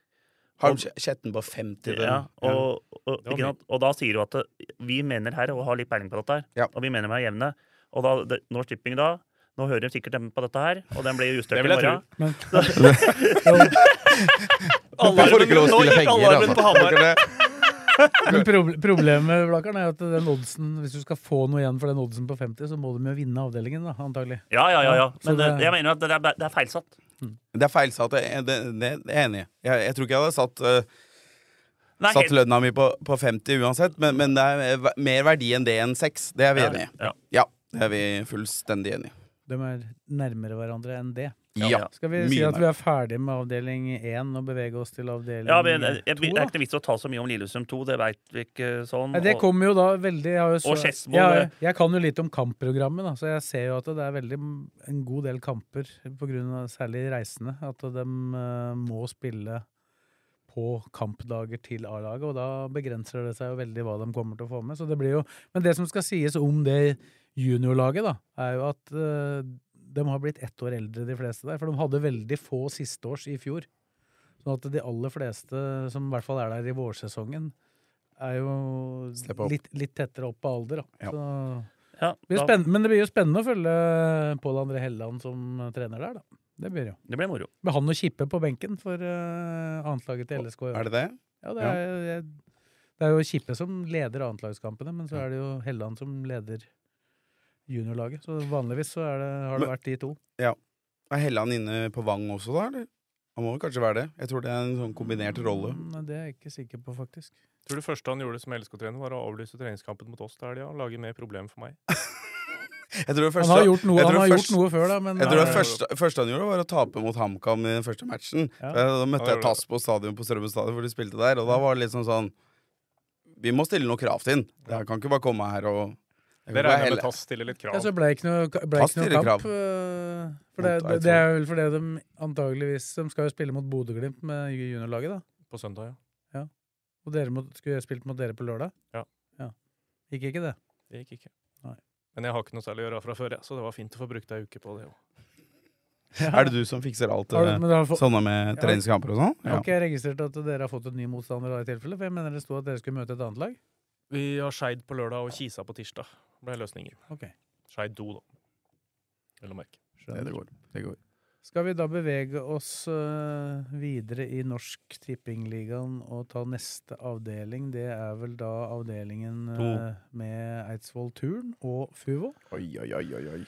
S4: Har de Skjetten på 50? den?
S3: Ja, og, og,
S5: var
S3: ikke sant? og da sier du at eh, vi mener her, og har litt peiling på dette her,
S4: Ja.
S3: og vi mener vi er jevne. Og da, det, Norsk Tipping da, nå hører de sikkert dem på dette her, og den blir justert
S5: Det
S3: i
S5: vil jeg
S3: morgen.
S2: Men,
S4: Jeg får ikke lov å
S3: Nå
S4: spille
S3: gikk
S4: penger,
S3: alarmen på
S4: altså.
S3: Hamar.
S2: men proble- problemet Blakkaren, er at den oddsen, hvis du skal få noe igjen for den oddsen på 50, så må de jo vinne avdelingen, da, antagelig.
S3: Ja, ja, ja. ja.
S2: Så
S3: Men det,
S2: det-
S3: jeg mener at det er, det er feilsatt.
S4: Det er feilsatt. Det, det, det er jeg enig i. Jeg, jeg tror ikke jeg hadde satt eh,
S3: Nei,
S4: Satt
S3: helt-
S4: lønna mi på, på 50 uansett, men, men det er v- mer verdi enn det enn 6. Det er vi enig i.
S3: Ja.
S4: Ja, det er vi fullstendig enig i.
S2: De er nærmere hverandre enn det.
S4: Ja.
S3: ja.
S2: Skal vi
S4: Mye
S2: si at vi er ferdige med avdeling 1 og bevege oss til avdeling
S3: Ja, men eh, jeg, jeg,
S2: to,
S3: det
S2: da?
S3: er ikke noe vits å ta så mye om Lillestrøm 2, det veit vi ikke sånn.
S2: Nei, det
S3: og-
S2: kommer jo da veldig jeg har jo så-
S3: og Skedsmo,
S2: jeg,
S3: det-
S2: jeg kan jo litt om kampprogrammet, da, så jeg ser jo at det er veldig en god del kamper, på grunn av særlig reisende, at de eh, må spille på kampdager til A-laget, og da begrenser det seg jo veldig hva de kommer til å få med. Så det blir jo, men det som skal sies om det juniorlaget, da, er jo at eh, de har blitt ett år eldre, de fleste der. For de hadde veldig få sisteårs i fjor. Sånn at de aller fleste som i hvert fall er der i vårsesongen, er jo
S4: Steppa opp.
S2: litt, litt tettere opp på alder, da.
S4: Ja.
S2: Så
S3: Ja,
S2: det blir
S3: da,
S2: spennende, men det blir jo spennende å følge Pål André Helleland som trener der, da. Det blir det jo.
S3: det ble moro.
S2: Med han og Kippe på benken for uh, annetlaget til LSK i år.
S4: Er det det?
S2: Ja, det er, jeg, det er jo Kippe som leder annetlagskampene, men så er det jo Helland som leder juniorlaget. Så vanligvis så er det, har det
S4: Men-
S2: vært de to.
S4: Er Helland inne på Vang også, da? eller? Han må jo kanskje være det. Jeg tror det er en sånn kombinert rolle.
S2: Mm, Nei, det er jeg ikke sikker på, faktisk.
S5: Tror det første han gjorde som LSK-trener, var å avlyse treningskampen mot oss til helga. og Lage mer problemer for meg.
S4: Jeg tror det
S2: Han
S4: første
S2: har gjort noe,
S4: jeg tror
S2: han har
S4: først-
S2: gjort noe før, da, men eh,
S4: jeg tror det
S5: Nei,
S4: første, første han gjorde, var å tape mot HamKam i den første matchen.
S2: Ja.
S4: Da
S5: Ja,
S4: møtte
S5: det
S4: jeg Tass på stadion på Strømmen stadion, hvor de spilte der, og da var det liksom sånn Vi må stille noe krav til den. Jeg kan ikke bare komme her og jeg kan ikke
S5: Det
S4: bare
S5: regner jeg
S4: helle-
S5: med Tass stiller litt krav.
S2: Ja, så ble det ikke noe, ble
S4: Fast
S2: ikke noe
S4: stillekrav.
S2: kamp. øh, For det,
S4: Mot
S2: det, det er vel fordi de antageligvis De skal jo spille mot Bodø-Glimt med ju- juniorlaget, da.
S5: På søndag, ja.
S2: Og dere mot, skulle spilt mot dere på lørdag.
S5: Ja.
S2: Gikk ikke det?
S5: Det gikk ikke.
S2: Nei.
S5: Men jeg har ikke noe særlig å gjøre fra før, jeg, så det var fint å få brukt ei uke på det òg.
S4: Er det du som fikser alt
S2: Har du,
S4: eh,
S2: men dere har fått,
S4: sånne med
S2: Ja.
S4: treningskamper og sånn?
S2: jeg har ikke jeg registrert at dere har fått en ny motstander da i tilfelle? For jeg mener det sto at dere skulle møte et annet lag.
S5: Vi har Skeid på lørdag og Kisa på tirsdag. Ble løsninger.
S2: Ok.
S5: Skeid do, da. Vel å merke.
S4: Det, det går. Det går.
S2: Skal vi da bevege oss øh, videre i Norsk Tippingligaen og ta neste avdeling? Det er vel da avdelingen øh, med Eidsvoll Turn og Fuvo?
S4: Oi, oi, oi, oi, oi.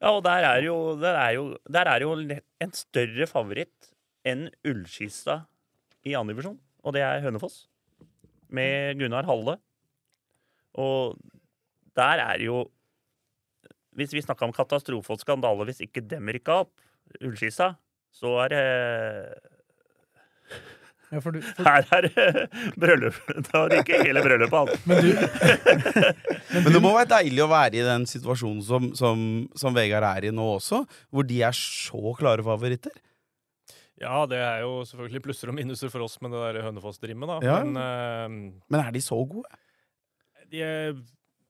S3: Ja, og der er jo, der er jo, der er jo le- en større favoritt enn Ullskista i andre divisjon, og det er Hønefoss. Med Gunnar Halle. Og der er jo Hvis vi snakka om katastrofe og skandale hvis ikke dem rykka opp, Ullskista, så er det
S2: Ja, for du, for,
S3: Her er det bryllup. Da ryker hele bryllupet av.
S2: Men du,
S4: Men det må være deilig å være i den situasjonen som, som, som Vegard er i nå også, hvor de er så klare favoritter.
S5: Ja, det er jo selvfølgelig plusser og minuser for oss med det der Hønefoss-drimmet, da.
S4: Ja.
S5: Men eh,
S4: Men er de så gode?
S5: de, er-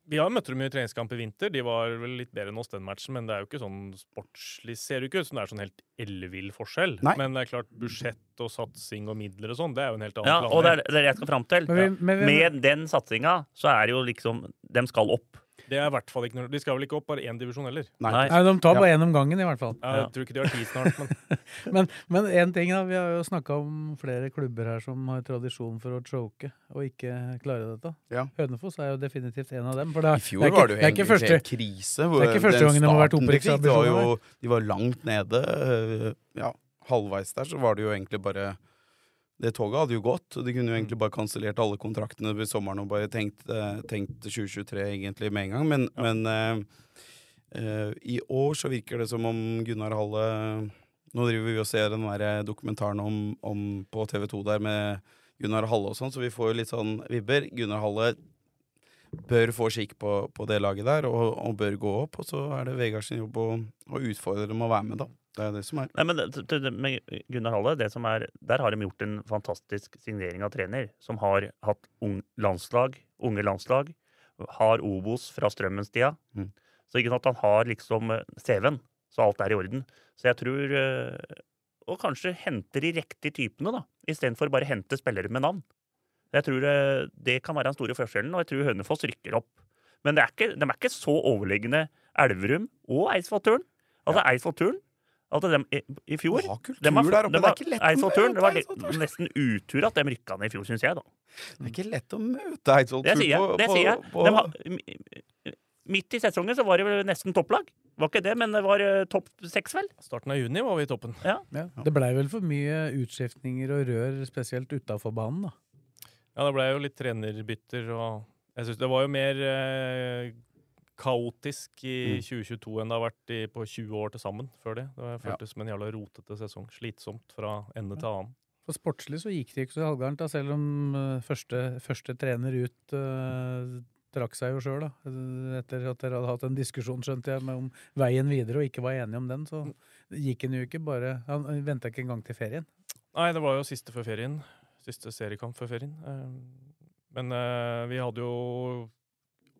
S5: vi har møtt dem i treningskamp i vinter. De var vel litt bedre enn oss den matchen, men det er jo ikke sånn sportslig ser det jo ikke ut som det er sånn helt ellevill forskjell.
S4: Nei.
S5: Men det er klart, budsjett og satsing og midler og sånn, det er jo en helt annen
S3: Ja, og det er
S5: planet.
S3: det er det jeg skal fram til.
S2: men vi, men vi,
S3: Med den satsinga så er det jo liksom De skal opp.
S5: Det er i hvert fall ikke noe De skal vel ikke opp bare én divisjon heller?
S3: Nei.
S2: Nei, de tar bare én om gangen, i hvert fall.
S5: Jeg
S3: Ja.
S5: tror ikke de har tid snart, men
S2: Men, men en ting da, vi har jo snakka om flere klubber her som har tradisjon for å choke og ikke klare dette.
S4: Ja.
S2: Hønefoss er jo definitivt en av dem. For det, er-
S4: I fjor
S2: det er ikke,
S4: var det jo
S2: det er ikke
S4: helt,
S2: første,
S4: helt krise.
S2: det er ikke første
S4: den
S2: gangen de har vært
S4: starten
S2: opprykket
S4: de fikk, det var
S2: av
S4: jo, De var langt nede. øh, Ja, halvveis der så var det jo egentlig bare Det toget hadde jo gått. og De kunne jo egentlig bare kansellert alle kontraktene ved sommeren og bare tenkt, eh, tenkt 2023 egentlig med en gang, men, men eh, eh, i år så virker det som om Gunnar Halle Nå driver vi og ser den der dokumentaren om, om på TV2 der med Gunnar Halle og sånn, så vi får jo litt sånn vibber. Gunnar Halle bør få skikk på, på det laget der, og, og bør gå opp. Og så er det Vegard sin jobb å, å utfordre dem å være med, da. Det er det som er.
S3: Nei, men det- det- det- med Gunnar Halle, det som er, der har de gjort en fantastisk signering av trener, som har hatt ung landslag, unge landslag, har Obos fra Strømmenstida.
S4: Mm.
S3: Så ikke sant, han har liksom eh, CV-en, så alt er i orden. Så jeg tror eh, Og kanskje henter de riktige typene, da, istedenfor bare hente spillere med navn. Jeg tror eh, Det kan være den store forskjellen, og jeg tror Hønefoss rykker opp. Men det er ikke, de er ikke så overlegne Elverum og Eidsvollturen. Altså Eidsvollturen altså dem, i, I fjor
S4: Ha kultur
S3: dem var-
S4: der
S3: dem
S4: oppe, det
S3: var-
S4: er ikke lett
S3: Eidsvollturen, det var
S4: å møte
S3: litt- nesten utur at de rykka ned i fjor, syns jeg. da.
S4: Det er ikke lett å møte Eidsvoll
S3: Det sier jeg.
S4: på-
S3: det
S4: på-
S3: sier jeg.
S4: på-
S3: Dem har- mi- midt i sesongen så var det vel nesten topplag. Var ikke det, men det var eh, topp seks, vel?
S5: starten av juni var vi i toppen.
S2: ja, det blei vel for mye utskiftninger og rør, spesielt utafor banen, da.
S5: Ja, det ble jo litt trenerbytter, og jeg synes det var jo mer eh, kaotisk i 2022 enn det har vært i, på 20 år til sammen før det. Det var- føltes som en jævla rotete sesong. Slitsomt fra ende til annen.
S2: For sportslig så gikk det ikke så halvgærent, da, selv om eh, første, første trener ut eh, trakk seg jo sjøl, da. Eh, Etter at dere hadde hatt en diskusjon, skjønte jeg, med om veien videre, og ikke var enige om den, så gikk han jo ikke bare Han venta ikke engang til ferien.
S5: Nei, det var jo siste før ferien. Siste seriekamp før ferien. Eh, Men eh, vi hadde jo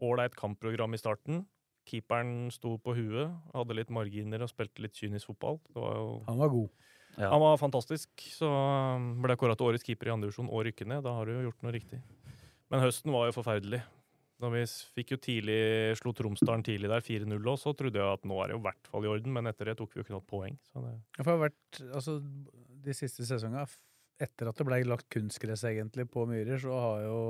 S5: ålreit kampprogram i starten. Keeperen sto på huet, hadde litt marginer og spilte litt kynisk fotball. Det var jo
S2: Han var god.
S3: Ja.
S5: Han var fantastisk. Så um, ble kåra til årets keeper i andre divisjon og rykke ned. Da har du jo gjort noe riktig. Men høsten var jo forferdelig. Da vi s- fikk jo tidlig, slo Tromsdalen tidlig der, 4-0 òg, så trodde jeg at nå er det jo i hvert fall i orden, men etter det tok vi jo ikke noe poeng. Så det,
S2: Ja, For det har vært, altså, de siste sesongene, f- etter at det ble lagt kunstgress egentlig på Myhrer, så har jo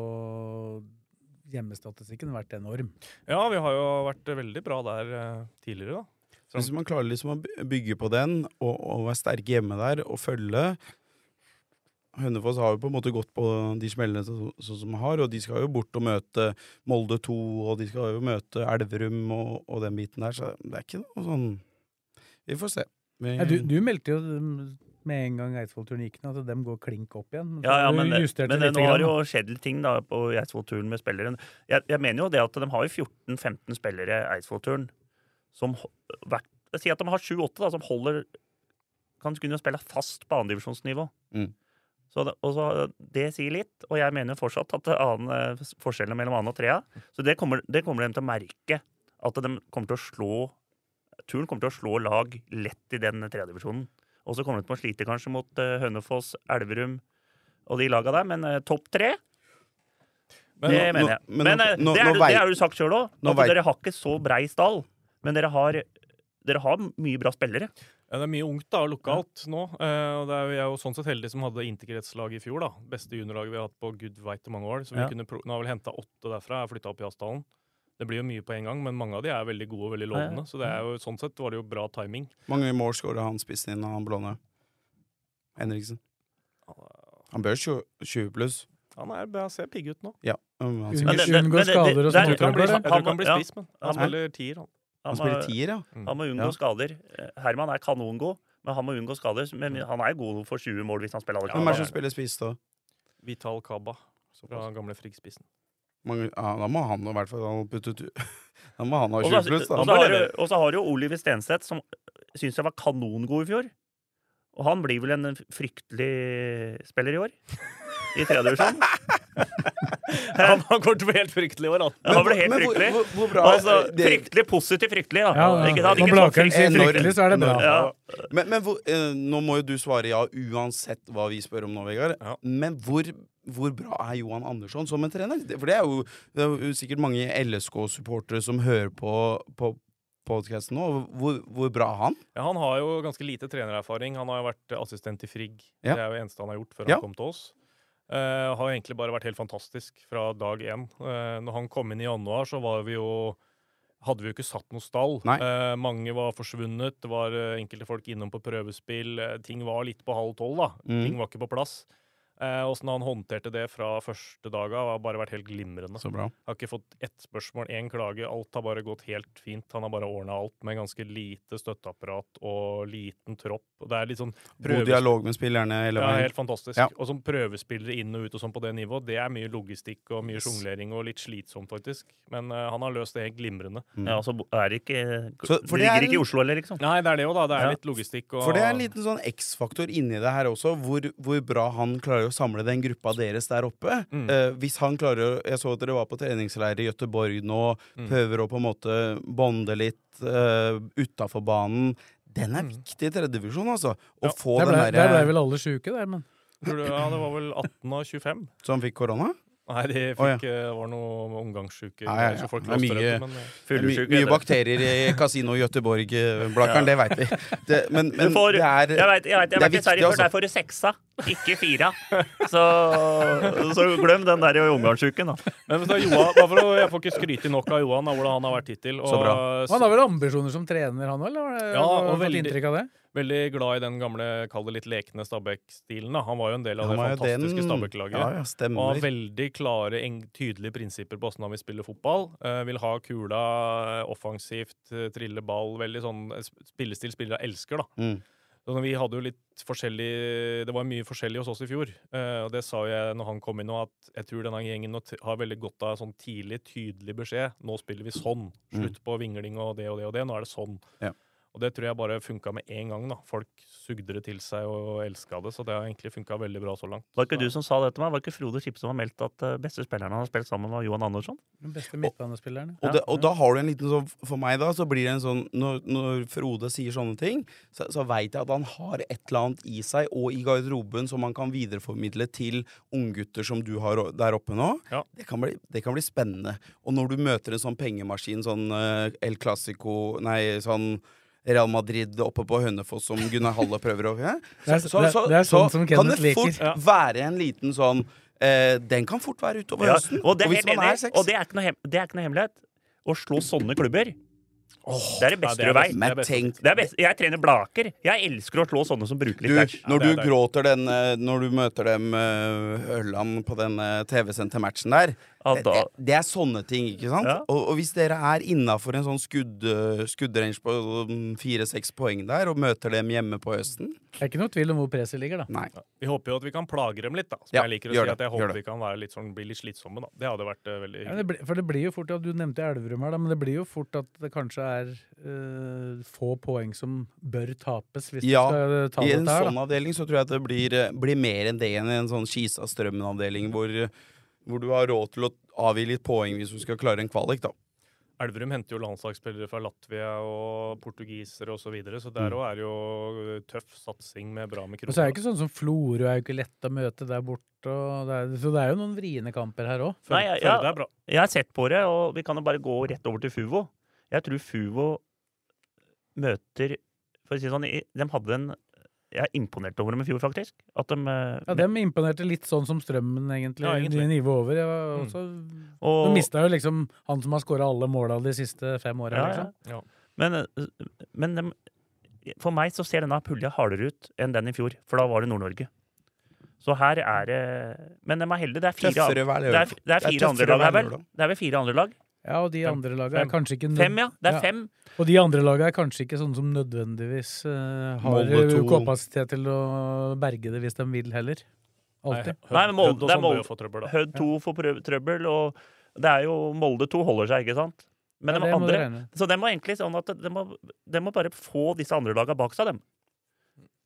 S2: hjemmestatistikken vært enorm.
S5: ja, vi har jo vært eh, veldig bra der eh, tidligere, da.
S4: Hvis man klarer liksom å by- bygge på den, og, og være sterke hjemme der, og følge Hønefoss har jo på en måte gått på de smellene så- sånn som de har, og de skal jo bort og møte Molde 2, og de skal jo møte Elverum og, og den biten der, så det er ikke noe sånn Vi får se. Vi-
S2: Ja, du,
S3: Eh,
S2: du meldte jo mm, med en gang Eidsvollturen gikk ned, at dem går klink opp igjen.
S3: Ja, ja,
S2: du
S3: men,
S2: justerte
S3: men
S2: lite
S3: nå har
S2: grann,
S3: jo skjedd litt ting da på Eidsvollturen med spilleren. Jeg, jeg mener jo det at de har jo 14-15 spillere i Eidsvollturen som ho- hvert- Si at de har 7-8 da, som holder Kan kunne spille fast på andredivisjonsnivå.
S4: Mm.
S3: Så det, og så, det sier litt, og jeg mener fortsatt at det er annen, eh, s- forskjellen mellom annen og trea Så det kommer, det kommer de til å merke. At de kommer til å slå Turen kommer til å slå lag lett i den tredjedivisjonen. Og så kommer de til å slite kanskje mot eh, Hønefoss, Elverum, og de laga der, men eh, topp tre,
S5: Men
S3: det
S4: nå-
S3: mener jeg.
S4: nå- men
S3: Men,
S4: nå-
S3: eh,
S4: nå-
S3: det, er,
S4: nå
S3: du-
S4: vei-
S3: det er du sagt sjøl òg,
S4: nå
S3: at
S4: vei-
S3: dere har ikke så brei stall, men dere har, dere har mye bra spillere.
S5: Ja, Eh, det er mye ungt da, og lokalt nå. eh, og det er, jo- jeg er jo sånn sett heldig som hadde interkretslag i fjor. da. Beste juniorlaget vi har hatt på gud veit hvor mange år. Så vi
S2: Ja.
S5: kunne pro nå har vi vel henta åtte derfra og flytta opp i Asdalen. Det blir jo mye på en gang, men mange av de er veldig gode og veldig
S3: Ja, ja.
S5: lovende. Så det er jo, sånn sett var det jo bra timing.
S4: mange mål skåra han spissen inn, han blonde? Henriksen. Han bør 20, 20 pluss.
S5: Han er, jeg ser pigg ut nå.
S4: Um, han,
S2: Unge-
S3: Men
S4: spiller,
S3: det- det-
S2: unngå
S3: men det-
S2: skader og
S3: det-
S2: sånn
S3: det-
S5: Jeg tror
S3: han blir-
S2: trøbbel. da.
S5: ikke han blir, jeg tror ikke han blir
S3: ja.
S5: spiss, men Mm. han
S3: Han-
S5: spiller tier, han.
S4: han
S3: Han må,
S4: spiller tier, ja.
S3: han må unngå
S4: Ja.
S3: skader. Eh, Herman er kanongod, men han må unngå skader. Men han er god for 20 mål hvis han spiller alle
S4: Hvem er
S3: kampene.
S4: det som spiller spiss, da?
S5: Vital Kaba fra gamle Frigg-spissen.
S4: Mange, ja, da må han i hvert fall ha puttet ut Da må han ha
S3: Og
S4: 20
S3: så-
S4: pluss, da.
S3: og så har du- og så har du jo Oliver Stenseth, som syns jeg var kanongod i fjor. Og han blir vel en fryktelig spiller i år. I tredje divisjon.
S5: Han han går til å bli helt fryktelig i år, han.
S3: Han ble helt
S4: men hvor-
S3: fryktelig.
S4: hvor- hvor bra-
S3: altså,
S4: det-
S3: fryktelig positiv fryktelig, da.
S2: Ja, ja.
S3: Ikke sant?
S2: Når
S3: Ikke sånn
S2: Blaker'n sier
S4: Enorm.
S2: fryktelig, så er det bra.
S3: Ja.
S4: Men, men hvor, eh, nå må jo du svare ja uansett hva vi spør om nå, Vegard.
S5: Ja.
S4: Men hvor, hvor bra er Johan Andersson som en trener? Det- For det er jo, det er jo sikkert mange LSK-supportere som hører på, på podkasten nå. Hvor, hvor bra er han?
S5: Ja, han har jo ganske lite trenererfaring. Han har jo vært eh, assistent i Frigg.
S4: Ja.
S5: Det er jo det eneste han har gjort før
S4: Ja.
S5: han kom til oss. Uh, har egentlig bare vært helt fantastisk fra dag én. Eh, når han kom inn i januar, så var vi jo hadde vi jo ikke satt noe stall.
S4: Nei.
S5: Eh, mange var forsvunnet. Det var eh, enkelte folk innom på prøvespill. Eh, ting var litt på halv tolv, da.
S4: Mm.
S5: Ting var ikke på plass. Eh, Åssen han håndterte det fra første dag av, har bare vært helt glimrende.
S4: Så bra.
S5: Har ikke fått ett spørsmål, én klage. Alt har bare gått helt fint. Han har bare ordna alt med ganske lite støtteapparat og liten tropp. Og det er litt sånn
S4: God
S5: prøves-
S4: dialog med spillerne. Hele
S5: ja,
S4: veien.
S5: helt fantastisk.
S4: Ja.
S5: Og som prøvespillere inn og ut og sånn på det nivået, det er mye logistikk og mye
S4: Yes.
S5: sjonglering og litt slitsomt, faktisk. Men eh, han har løst det helt glimrende.
S3: Ja, så er det ikke
S4: Så- for
S3: Det
S4: det er
S3: ligger ikke i
S4: en-
S3: Oslo heller, liksom.
S5: Nei, det er det jo, da. Det er
S3: Ja.
S5: litt logistikk og
S4: For det er en liten sånn X-faktor inni det her også, hvor, hvor bra han klarer å samle den gruppa deres der oppe.
S5: Mm.
S4: Eh, hvis han klarer å Jeg så at dere var på treningsleir i Gøteborg nå,
S5: Mm.
S4: prøver å på en måte bonde litt uh, utafor banen. Den er viktig i tredjedivisjon, altså. Å
S5: Mm. Ja,
S4: få
S2: Der
S4: den eh,
S2: ble, der ble
S4: derre
S2: vel alle sjuke, der, men
S5: Tror du, ja, det var vel 18 av 25?
S4: eh, som fikk korona.
S5: Nei, de fikk,
S4: Å,
S5: eh, var noe omgangssjuke.
S4: Ja, ja, ja.
S5: Så folk
S4: Det er mye-
S5: låste røttene, men, eh,
S4: My,
S3: Fuglesjuk
S4: mye
S3: heter det.
S4: bakterier i Kasino Gøteborg-blakeren, det veit vi. Det, men
S3: Du
S4: men
S3: får,
S4: det er
S3: jeg vet, jeg vet, jeg
S4: det er altså.
S3: vet, i Sverige før, der får du seksa, ikke fira. Så, så glem den der omgangsuken, da.
S5: Men vet du, Johan, bare for å, jeg får ikke skryte nok av Johan, av hvordan han har vært hittil. Og,
S4: Så bra.
S2: Han har vel ambisjoner som trener, han òg?
S5: Ja, og
S2: Har du fått
S5: veldig-
S2: inntrykk av det?
S5: Veldig glad i den gamle, kall det litt lekne Stabæk-stilen. da. Han var jo en del
S4: Han
S5: av det
S4: var jo den-
S5: fantastiske Stabæk-laget.
S4: Ja, ja,
S5: Og har
S4: stemmer.
S5: veldig klare, eng- tydelige prinsipper på hvordan han vil spille fotball. Eh, vil ha kula eh, offensivt, eh, trille ball, veldig sånn eh, sp- spillestil spillere elsker, da.
S4: Mm.
S5: Sånn, vi hadde jo litt forskjellig Det var mye forskjellig hos oss i fjor. eh, og det sa jo jeg når han kom inn nå, at jeg tror denne gjengen nå t- har veldig godt av sånn tidlig, tydelig beskjed. Nå spiller vi sånn. Slutt på vingling og det og det og det. Nå er det sånn.
S4: Mm. Ja.
S5: Og det tror jeg bare funka med en gang. da. Folk sugde det til seg og elska det. Så det har egentlig funka veldig bra så langt.
S3: Var ikke du som sa det til meg? Var ikke Frode Kippe som har meldt at eh, beste spilleren han har spilt sammen, var Johan Andersson?
S2: Den beste midtbanespilleren.
S4: Og, det, og da har du en liten sånn For meg da, så blir det en sånn Når, når Frode sier sånne ting, så, så veit jeg at han har et eller annet i seg og i garderoben som han kan videreformidle til unggutter som du har o- der oppe nå.
S5: Ja.
S4: Det, kan bli, det kan bli spennende. Og når du møter en sånn pengemaskin, sånn eh, El Clásico Nei, sånn Real Madrid oppe på Hønefoss som Gunnar Halle prøver å ja,
S2: Det er- det er- det er sånn som
S4: kan
S2: Kenneth
S4: det fort
S2: liker. Ja.
S4: være en liten sånn eh, Den kan fort være utover
S3: Ja,
S4: høsten.
S3: og det er
S4: hvis
S3: helt
S4: man
S3: enig,
S4: seks-
S3: og det er ikke noe, hem, det er ikke noe hemmelighet. Å slå sånne klubber, det er det
S5: ja,
S3: beste
S5: det er
S3: du veit.
S5: best.
S4: Men
S5: best-
S4: tenk
S3: Det er best. Jeg trener Blaker. Jeg elsker å slå sånne som bruker litt
S4: du,
S3: cash.
S4: når
S5: det er
S4: du
S5: deilig.
S4: gråter den eh, Når du møter dem eh, Ørland på den eh, TV-sendte matchen der
S3: Ja,
S4: det,
S3: da-
S4: det er sånne ting, ikke sant?
S3: Ja.
S4: Og, og hvis dere er innafor en sånn skudd, skuddrange på mm, fire-seks poeng der, og møter dem hjemme på høsten
S2: Det er ikke noe tvil om hvor presset ligger, da.
S4: Nei.
S5: Vi håper jo at vi kan plage dem litt, da. Som
S4: Ja,
S5: jeg liker å si
S4: gjør det,
S5: at jeg
S4: gjør
S5: håper
S4: det.
S5: vi kan være litt sånn, bli litt slitsomme, da. Det hadde vært eh, veldig
S2: Ja, det
S5: hyggelig.
S2: blir- for det blir jo fort, ja, Du nevnte Elverum her, da, men det blir jo fort at det kanskje er eh, få poeng som bør tapes hvis
S4: Ja,
S2: du skal eh, ta
S4: I
S2: dette
S4: en
S2: her.
S4: sånn
S2: da.
S4: avdeling så tror jeg at det blir, eh, blir mer enn det enn en sånn Skisa-Strømmen-avdeling, hvor, eh, hvor du har råd til å avgi litt poeng hvis du skal klare en kvalik, da.
S5: Elverum henter jo landslagsspillere fra Latvia og portugisere osv., så, videre, så der òg er det jo eh, tøff satsing med bra med
S2: Og så er
S5: kroner.
S2: det ikke sånn som Florø er jo ikke lett å møte der borte. Og det er, så det er jo noen vriene kamper her òg.
S3: Nei,
S5: Føler-
S3: jeg-
S5: føler
S3: jeg-
S5: det er bra.
S3: Jeg har sett på det, og vi kan jo bare gå rett over til Fuvo. Jeg tror Fuvo møter For å si det sånn, i- de hadde en Jeg er imponert over dem i fjor, faktisk. At de, eh,
S2: Ja, Dem imponerte litt sånn som Strømmen, egentlig.
S5: Ja, egentlig.
S2: De nivet over. Jeg var
S5: Mm.
S2: også, Du
S3: og,
S2: mista jo liksom han som har skåra alle måla de siste fem åra.
S3: ja,
S2: liksom.
S3: ja.
S5: Ja.
S3: Men, eh, men dem- for meg så ser denne pulja hardere ut enn den i fjor, for da var det Nord-Norge. Så her er det Men de er heldige. Det er fire,
S4: Tøffere hver
S3: det er,
S4: lørdag.
S3: det er
S4: Det er
S3: fire andre
S4: tøffere
S3: lag her,
S4: hver
S3: vel?
S4: lørdag.
S3: Det er vel fire andre lag?
S2: Ja, og de
S5: Fem.
S2: andre laga er
S5: Fem.
S2: kanskje ikke nød-
S3: Fem, ja. Det er
S2: Ja.
S3: fem.
S2: Og de andre laga er kanskje ikke sånne som nødvendigvis eh, har
S4: Molde to.
S2: kapasitet til å berge det hvis de vil heller. Alltid.
S5: Hødd-
S3: Nei, men Molde-
S5: Hødd og
S3: det er
S5: sånn
S3: Molde-
S5: bør jo få trøbbel, da.
S3: Hødd 2 får prøv- trøbbel, og det er jo Molde 2 holder seg, ikke sant? Men
S2: Ja,
S3: de
S2: det må du
S3: andre,
S2: regne.
S3: så det må egentlig sånn at det- det må, det må bare få disse andre laga bak seg, dem.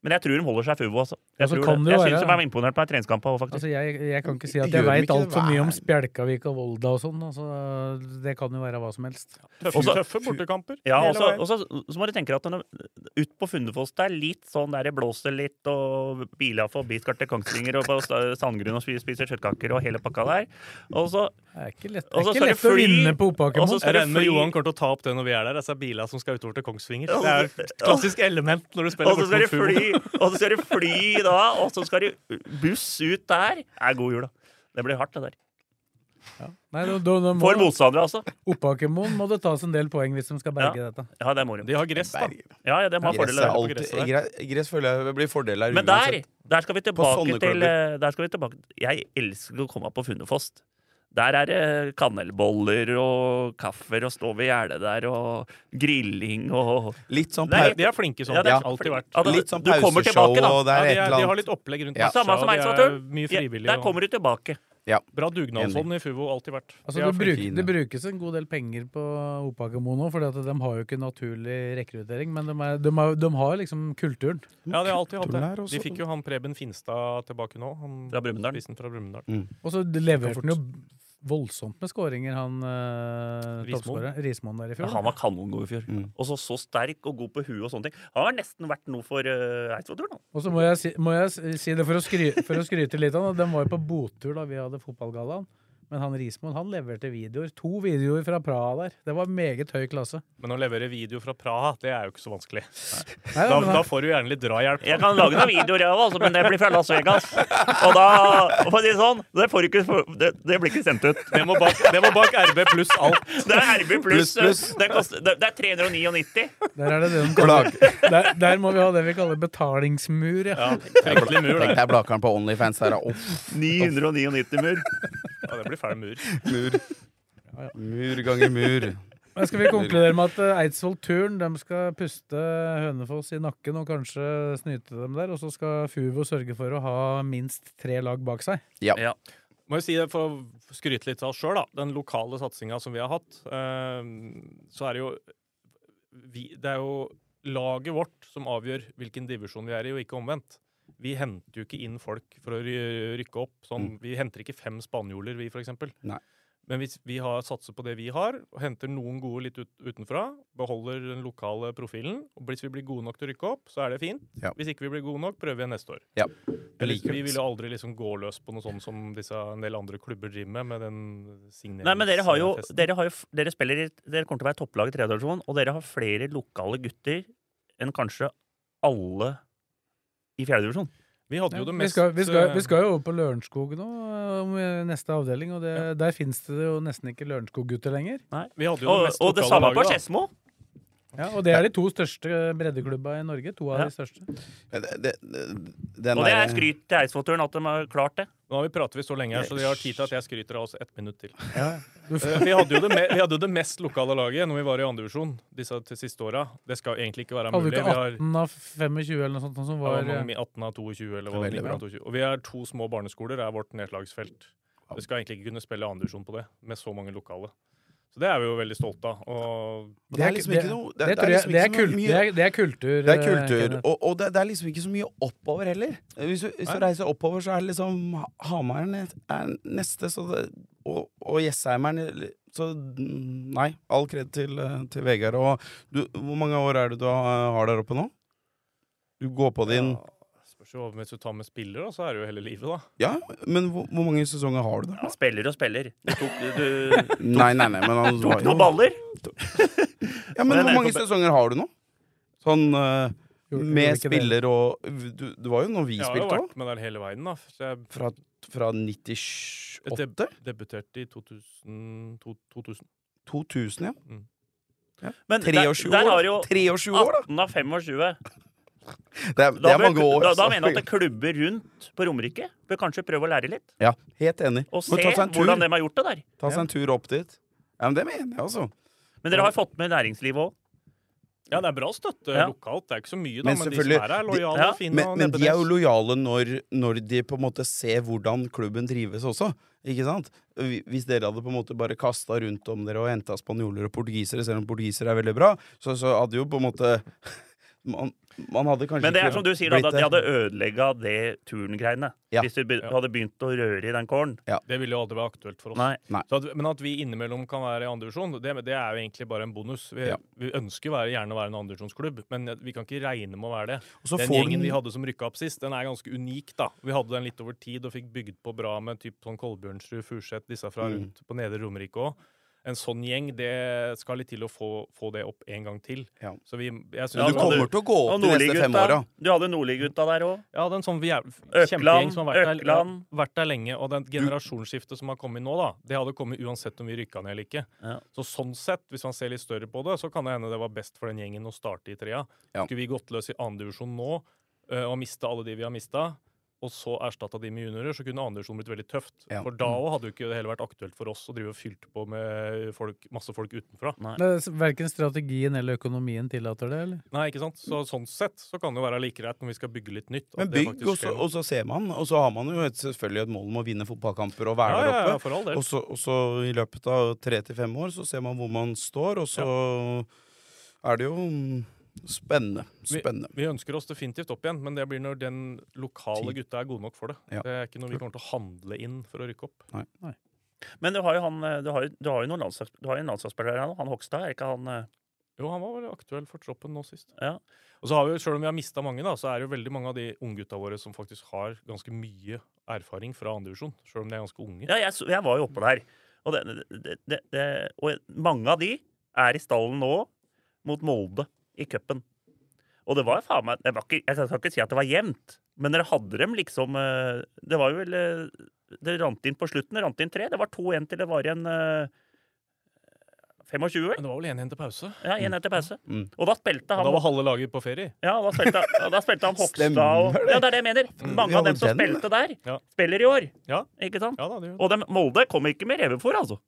S3: Men jeg tror de holder seg FUVO, altså.
S2: Ja,
S3: Jeg,
S2: så
S3: tror det.
S2: kan det
S3: jeg
S2: jo
S3: syns
S2: være-
S3: de var imponert på treningskampen òg, faktisk.
S2: Altså, jeg, jeg kan ikke si at
S4: Gjør
S2: jeg
S4: de
S2: veit
S4: ikke det
S2: altfor mye om
S4: hver-
S2: Spjelkavik og Volda og sånn. Altså, det kan jo være hva som helst.
S5: Tøffe,
S3: Også-
S5: tøffe bortekamper.
S3: Ja, altså,
S5: hele
S3: og så-
S5: veien.
S3: og så så må du tenke deg at når, ut på Fundefoss det er litt sånn der det blåser litt, og biler forbi skal til Kongsvinger, og på sta- Sandgrunn og spi- spiser kjøttkaker og hele pakka der. Og så
S2: Det er ikke lett, det
S3: Og så
S2: er
S3: skal det
S2: ikke lett å
S3: fly,
S2: vinne på
S3: og
S2: Oppakermoen.
S3: så
S5: Jeg
S3: skal det
S5: regner med
S3: fly-
S5: Johan kommer til å ta opp det når vi er der. Disse bilene som skal utover til Kongsvinger. Det er et klassisk element når du spiller
S3: og så skal
S5: borte
S3: de
S5: mot Fubo.
S3: fly, og så skal de fly da, og så skal de buss ut der. Det er god jul, da. Det blir hardt, det der.
S2: Nei, da- da- da må-
S3: For motstandere, altså.
S2: Oppakermoen må det tas en del poeng hvis de skal berge dette.
S3: Ja, det er moro.
S5: De har gress, da.
S4: Berger.
S3: Ja, ja, de har
S4: Gress,
S3: fordeler.
S4: er
S3: der.
S4: alltid,
S5: gresset der.
S4: gre- gress føler jeg blir fordeler her
S3: Men der, der skal vi tilbake
S4: sånne
S3: til
S4: klubber.
S3: eh, Der skal vi tilbake Jeg elsker å komme på Funnefost. Der er det kanelboller og kaffer og stå ved gjerdet der og grilling og
S4: Litt sånn
S3: Nei,
S4: pau-
S5: De er flinke sånn.
S3: Ja,
S5: det
S3: det
S4: er
S5: har alltid vært.
S3: Ja, da-
S4: Litt sånn
S3: du kommer
S4: pauseshow,
S3: tilbake, da.
S4: og det
S5: Ja,
S4: er
S5: de,
S4: et
S5: er,
S4: eller
S5: de
S4: annet.
S5: har litt opplegg rundt
S4: Ja.
S5: matcha,
S3: Samme som
S5: og de
S3: Eidsvollturen.
S5: er Mye
S3: Ja,
S5: frivillig.
S3: der kommer du tilbake.
S5: og Bra dugnadsånd i Fubo, alltid vært. De
S2: Altså,
S5: er
S2: det, bruk,
S5: flinke.
S2: det brukes en god del penger på Oppakermo nå, for de har jo ikke naturlig rekruttering, men de, er, de, har, de har liksom kulturen.
S5: Ja, de har alltid hatt
S4: Kulturen
S5: det.
S4: er også-
S5: De fikk jo han Preben Finstad tilbake nå. Han
S3: Fra Brumunddal.
S5: spissen fra Brumunddal.
S2: Og så leverte han jo voldsomt med skåringer, han eh,
S5: Rismoen.
S2: toppskåreren. Rismoen der i
S3: Ja,
S2: fjor.
S3: han var kanongod i fjor. Og så så sterk og god på huet og sånne ting. Han har nesten vært noe for uh, Eidsvollturen. han.
S2: Og så må jeg, si, må jeg si- si det for å, skry, for å skryte litt av han, at de var jo på bottur da vi hadde fotballgallaen. Men han Rismoen han leverte videoer. To videoer fra Praha der. Det var meget høy klasse.
S5: Men å levere video fra Praha, det er jo ikke så vanskelig.
S2: Nei,
S5: Da,
S2: men han,
S5: da får du gjerne litt drahjelp.
S3: Jeg kan lage noen videoer, jeg òg, altså, men det blir fra Las Vegas. Og da, for å si det sånn, det, får du ikke, det, det blir ikke sendt ut.
S5: Det må bak, det må bak RB pluss alt.
S3: Det er RB pluss.
S4: Pluss, pluss.
S3: Det, koster, det, det er 399.
S2: der er det det de kaller der, der må vi ha det vi kaller betalingsmur, ja.
S5: Ja, fryktelig mur,
S4: Tenk
S5: det.
S4: deg Blakeren på Onlyfans her, da. Uff,
S3: 999 mur.
S5: Ja, det blir fæl mur.
S4: mur. Mur ganger mur.
S2: Men skal vi konkludere med at eh, Eidsvoll Turn de skal puste Hønefoss i nakken og kanskje snyte dem der, og så skal Fuvo sørge for å ha minst tre lag bak seg.
S3: Ja.
S5: Må jo si det for å skryte litt av oss sjøl, da. Den lokale satsinga som vi har hatt, eh, så er det jo vi, Det er jo laget vårt som avgjør hvilken divisjon vi er i, og ikke omvendt. Vi henter jo ikke inn folk for å ry- rykke opp. Sånn, Vi henter ikke fem spanjoler, vi, for eksempel.
S4: Mm. Nei.
S5: Men hvis vi har satser på det vi har, og henter noen gode litt ut, utenfra, beholder den lokale profilen, og hvis vi blir gode nok til å rykke opp, så er det fint.
S4: Ja.
S5: Hvis ikke vi blir gode nok, prøver vi igjen neste år.
S4: Ja.
S5: Jeg
S4: Jeg liker
S5: liker- vi
S4: det.
S5: vil jo aldri liksom gå løs på noe sånt som disse, en del andre klubber driver med, med den signeringsfesten.
S3: Nei, men dere har jo Dere, har jo, f- dere spiller i Dere kommer til å være topplag i tredje divisjon, og dere har flere lokale gutter enn kanskje alle i fjerde divisjon.
S5: Vi hadde jo det
S2: Vi
S5: mest
S2: skal, vi, skal,
S5: eh,
S2: vi skal jo over på Lørenskog nå, eh, om eh, neste avdeling, og det, der fins det jo nesten ikke Lørenskog-gutter lenger.
S5: vi hadde jo det
S3: Og,
S5: mest
S3: og det
S5: lokale
S3: samme på
S5: laget, da.
S3: Skedsmo.
S2: Ja, og det er de to største breddeklubba i Norge. To av
S3: Ja.
S2: de største.
S4: Det, det, det, den
S3: Og det
S4: der-
S3: er skryt til Eidsvollturen at de har klart det.
S5: Nå har vi pratet vi så lenge her, så de har tid til at jeg skryter av oss ett minutt til.
S2: Du f-
S5: Eh, Vi hadde jo det, me vi hadde jo det mest lokale laget når vi var i andre divisjon disse til siste åra. Det skal jo egentlig ikke være
S2: Hadde du
S5: mulig.
S2: ikke eh?
S5: Vi har
S2: 18 av 25 eller noe sånt som
S5: det var
S2: var
S5: mange, 18 av 22, eller hva det
S4: Veldig
S5: var,
S4: bra.
S5: 19 av 22. Og vi er to små barneskoler, er vårt nedslagsfelt. Vi skal egentlig ikke kunne spille andre divisjon på det, med så mange lokale. Så det er vi jo veldig stolte av. Og
S4: Og Det er liksom ikke noe
S2: Det tror jeg-
S4: liksom
S2: det er
S4: ikke så
S2: kul-
S4: mye-
S2: det er- det er kultur.
S4: Det er
S2: eh,
S4: kultur,
S2: Kenneth.
S4: og, og det, det er liksom ikke så mye oppover heller. Hvis du, hvis du reiser oppover, så er det liksom Ha- Hamaren er neste, så det, og, og Jessheimeren Så mm, nei, all kred til, eh, til Vegard. Og du, hvor mange år er det du har har der oppe nå? Du går på din
S5: Spørs jo hvis du tar med spillere, da, så er det jo hele livet, da.
S4: Ja, men hvor, hvor mange sesonger har du der?
S3: Ja, spiller og spiller. Du tok, du,
S4: Nei, nei, nei, men han var
S3: tok
S4: jo
S3: noen baller.
S4: Ja, men
S3: Nei, nei,
S4: hvor mange
S3: kom-
S4: sesonger har du nå? Sånn eh,
S2: Gjorde-
S4: med
S2: gjorde ikke det.
S4: spiller og du, du var jo når vi
S5: Jeg har jo
S4: spilte òg.
S5: vært med der hele veien, da. Så jeg
S4: Fra, fra 98?
S5: deb debuterte i 2000, to- 2000.
S4: 2000, ja.
S3: Men der,
S4: 23
S3: der har jo
S4: år, 23 år, da!
S3: 18 av 25.
S4: Det er, det
S3: Da,
S4: er mange
S3: bør,
S4: år.
S3: da, da
S4: så-
S3: mener jeg at klubber rundt på Romerike bør kanskje prøve å lære litt.
S4: Ja, helt enig.
S3: Og
S4: Må
S3: se
S4: ta seg en tur,
S3: hvordan de har gjort det der.
S4: ta seg en tur opp dit. Ja, men det mener jeg, altså.
S3: Men dere har fått med næringslivet òg.
S5: Ja, det er bra støtte
S3: Ja.
S5: lokalt. Det er ikke så mye, da,
S4: Men
S5: men, de som
S4: selvfølgelig-
S5: er her, er
S4: de-
S5: lojale
S3: ja,
S5: og fine.
S4: Men,
S5: og
S4: men de er jo
S5: nebbedens.
S4: lojale når, når de på en måte ser hvordan klubben drives også. Ikke sant? Hvi- Hvis dere hadde på en måte bare kasta rundt om dere og henta spanjoler og portugisere, selv om portugisere er veldig bra, så, så hadde jo på en måte man, Man hadde kanskje
S3: Men det er
S4: ikke
S3: som du sier, da,
S4: blitt
S3: at de hadde ødelegga det turngreiene.
S4: Ja.
S3: Hvis de be- hadde begynt å røre i den kålen.
S5: Det ville jo aldri vært aktuelt for oss.
S3: Nei.
S5: Så at, men at vi innimellom kan være i andredivisjon, det, det er jo egentlig bare en bonus. Vi,
S4: Ja.
S5: vi ønsker jo være, gjerne å være en andredivisjonsklubb, men vi kan ikke regne med å være det.
S4: Og så
S5: Den
S4: får
S5: gjengen
S4: den-
S5: vi hadde som rykka opp sist, den er ganske unik, da. Vi hadde den litt over tid og fikk bygd på bra med typ sånn Kolbjørnsrud, Furseth, disse
S4: Mm.
S5: fra rundt på Nedre Romerike òg. En sånn gjeng, det skal litt til å få, få det opp en gang til.
S4: Ja.
S5: Så vi, jeg
S3: Ja,
S4: Men
S5: synes
S4: du
S3: hadde-
S4: kommer til å gå opp de neste fem åra.
S3: Du hadde Nordli-gutta der òg.
S5: Ja, det er en sånn jæv- kjempegjeng
S3: Økland,
S5: som har vært der,
S3: Økland.
S5: vært der lenge. Og det generasjonsskiftet som har kommet nå, da, det hadde kommet uansett om vi rykka ned eller ikke.
S3: Ja.
S5: Så sånn sett, hvis man ser litt større på det, så kan det hende det var best for den gjengen å starte i trea.
S4: Ja.
S5: Skulle vi gått løs i andredivisjon nå eh, og mista alle de vi har mista, og så erstatta de med juniorer, så kunne andredivisjon blitt veldig tøft.
S4: Ja.
S5: For da òg hadde jo ikke det heller vært aktuelt for oss å drive og fylte på med folk, masse folk utenfra.
S2: Verken strategien eller økonomien tillater det, eller?
S5: Nei, ikke sant? Så sånn sett så kan det jo være like greit når vi skal bygge litt nytt. at
S4: Men
S5: det
S4: bygg,
S5: faktisk
S4: og
S5: skjer
S4: så,
S5: noe.
S4: og så ser man. Og så har man jo et, selvfølgelig et mål om å vinne fotballkamper og
S5: ja,
S4: være
S5: ja,
S4: der
S5: ja,
S4: oppe.
S5: for all del.
S4: Og så, og så i løpet av tre til fem år så ser man hvor man står, og så er det jo mm, spennende. Spennende.
S5: Vi ønsker oss definitivt opp igjen, men det blir når den lokale gutta er gode nok for det.
S4: Ja.
S5: Det er ikke noe vi kommer til å handle inn for å rykke opp.
S3: Men du har jo han eh, Du har, jo- du har jo noen landslags, du har jo en landslagsspiller her nå. Han Hogstad, er ikke han eh,
S5: Jo, han var vel aktuell for troppen nå sist.
S3: Ja.
S5: Og så har vi jo, Selv om vi har mista mange, da, så er det jo veldig mange av de unggutta våre som faktisk har ganske mye erfaring fra andredivisjon, sjøl om de er ganske unge.
S3: Ja, jeg, så- jeg var jo oppe der. Og, det, det, det, det, og mange av de er i stallen nå mot Molde i cupen. Og det var faen meg Jeg, var ikke, jeg skal ikke si at det var jevnt, men dere hadde dem liksom eh, Det var jo vel eh, Det rant inn på slutten. Det rant inn tre. Det var 2-1 til det var igjen eh, 25, vel?
S5: Men det var vel 1-1 til pause.
S3: Ja, 1 etter pause.
S4: Mm.
S3: Og da spilte
S5: Og
S3: han
S5: da var halve laget på ferie.
S3: ja, da spilte, da spilte han Hogstad og
S4: Stemmer det.
S3: Ja, det er det jeg mener. Mange
S4: Ja,
S3: av dem som
S4: den, ja.
S3: spilte der,
S5: Ja.
S3: spiller i år.
S5: Ja.
S3: Ikke sant?
S5: Ja da, det gjør det.
S3: Og dem, Molde kom ikke med revefôr, altså.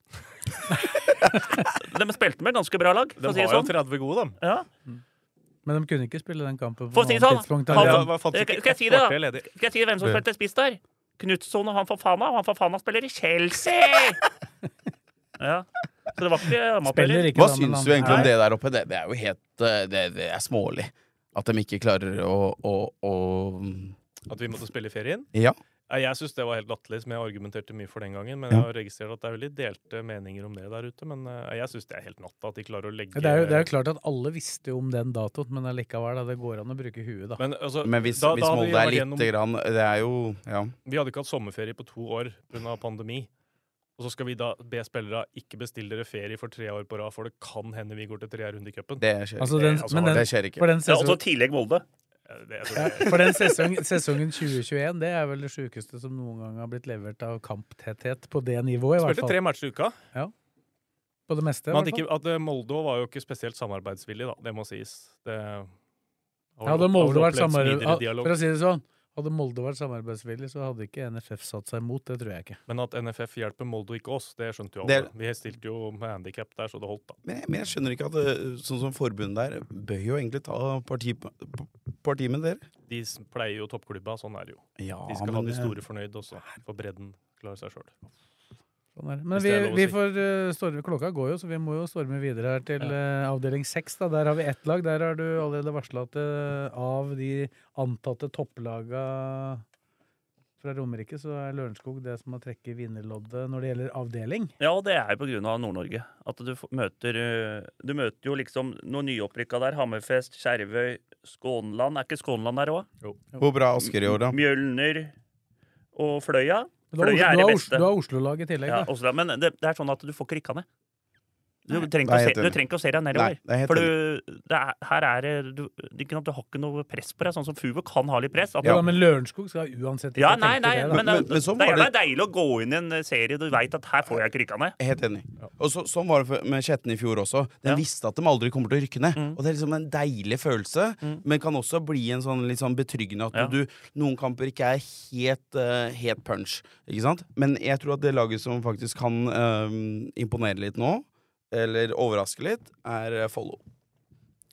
S3: de spilte med ganske bra lag, for
S5: De
S3: å si det
S5: har jo
S3: sånn.
S5: 30 gode, dem.
S3: Ja.
S2: Men de kunne ikke spille den kampen på
S3: For å si det sånn, han-
S2: alene.
S3: Ja,
S5: det fantes ikke
S3: skal jeg si
S5: ett
S3: det, da?
S5: kvarter ledig.
S3: Skal jeg si hvem som spilte spiss der? Knutson og han Fafana. Og han Fafana spiller i Chelsea! ja. Så det var ikke
S2: Spiller
S3: amatører.
S2: ikke,
S4: Hva
S2: da, men
S4: syns
S2: han-
S4: du egentlig om
S2: Nei.
S4: det der oppe? Det, det er jo helt eh, Det, det er smålig. At de ikke klarer å, å, å
S5: At vi måtte spille i ferien.
S4: Ja.
S5: Nei, Jeg syns det var helt latterlig, som jeg argumenterte mye for den gangen. Men jeg har registrert at det er veldig delte meninger om det der ute. Men eh, jeg syns det er helt natta at de klarer å legge
S2: Det er, jo, det er jo klart at alle visste jo om den datoen, men allikevel, da, det går an å bruke huet, da.
S5: Men, altså,
S4: Men hvis,
S5: da-
S4: hvis
S5: da hadde vi
S4: Molde er
S5: vært
S4: lite
S5: gjennom-
S4: grann Det er jo Ja.
S5: Vi hadde ikke hatt sommerferie på to år pga. pandemi. Og så skal vi da be spillere ikke bestille dere ferie for tre år på rad, for det kan hende vi går til tredje runde i cupen.
S4: Det skjer
S2: Altså,
S4: ikke.
S2: den,
S5: altså,
S2: men den,
S4: Det skjer ikke.
S2: for den,
S3: Ja, og så
S2: sesong,
S3: tillegg Molde.
S5: Eh, det- jeg tror ikke-
S2: for den sesong, sesongen 2021, det er vel det sjukeste som noen gang har blitt levert av kamptetthet på det nivået, i hvert
S5: Spilte
S2: fall.
S5: tre matcher i uka.
S2: På det meste, i
S5: Men at,
S2: hvert fall.
S5: ikke, at eh, Molde var jo ikke spesielt samarbeidsvillig, da. Det må sies. Det har vel-
S2: Hadde
S5: har
S2: Molde
S5: vel
S2: vært
S5: opplevd
S2: samarbeid,
S5: smidigere dialog.
S2: for å si det sånn, hadde Molde vært samarbeidsvillig, så hadde ikke NFF satt seg imot, det tror jeg ikke.
S5: Men at NFF hjelper Molde og ikke oss, det skjønte jo alle.
S4: Det-
S5: Vi stilte jo med handikap der, så det holdt, da.
S4: Men jeg, men jeg skjønner ikke at eh, sånn som forbundet der bør jo egentlig ta parti, parti med dere.
S5: De s- pleier jo toppklubba, sånn er det jo.
S4: Ja,
S5: De skal ha
S4: men,
S5: de
S4: eh,
S5: store fornøyd også, for bredden klarer seg sjøl.
S2: Sånn er det. Men
S5: Hvis
S2: vi,
S5: det er lov å
S2: vi
S5: si.
S2: får eh, storme, klokka går jo, så vi må jo storme videre her til eh, avdeling seks. da. Der har vi ett lag. Der har du allerede varsla at eh, av de antatte topplaga fra Romerike, så er Lørenskog det som har trekket vinnerloddet når det gjelder avdeling.
S3: Ja, og det er jo på grunn av Nord-Norge. At du f- møter eh, Du møter jo liksom noen nyopprykka der. Hammerfest, Skjervøy, Skånland. Er ikke Skånland der òg?
S4: eh, Hvor bra er Asker i år, da?
S3: Mjølner og Fløya.
S2: Men Du har,
S3: Fløya
S2: Os-
S3: er det
S2: du har, Os-
S3: beste.
S2: du har Oslo-lag i tillegg,
S3: Ja,
S2: da.
S3: også, da, men det, det er sånn at du får ikke rykka ned. Du trenger
S4: Nei,
S3: ikke, å se,
S4: helt
S3: du
S4: enig.
S3: trenger ikke å se deg
S4: Nei,
S3: nedover.
S4: det er helt
S3: For
S4: enig.
S3: du, det er, her er det- du, det er ikke noe- du har ikke noe press på deg, sånn som Fuvok. Han har litt press. At
S2: Ja,
S3: du,
S2: men Lørenskog skal uansett ikke
S3: ja, nei,
S2: tenke
S3: nei,
S2: det. da.
S3: men,
S4: Men-
S3: det,
S4: men sånn
S3: det er
S4: var
S3: jævla deilig å gå inn i en eh, serie du veit at her får jeg ikke rykka ned.
S4: Jeg er Helt enig. Og så, Sånn var det for- med Skjetten i fjor også. Den
S3: Ja.
S4: visste at de aldri kommer til å rykke ned.
S5: Mm.
S4: Og Det er liksom en deilig følelse, men kan også bli en sånn litt sånn betryggende at
S3: Ja.
S4: du noen kamper ikke er helt, eh, helt punch. Ikke sant? Men jeg tror at det laget som faktisk kan eh, imponere litt nå, eller overraske litt, er eh, Follo.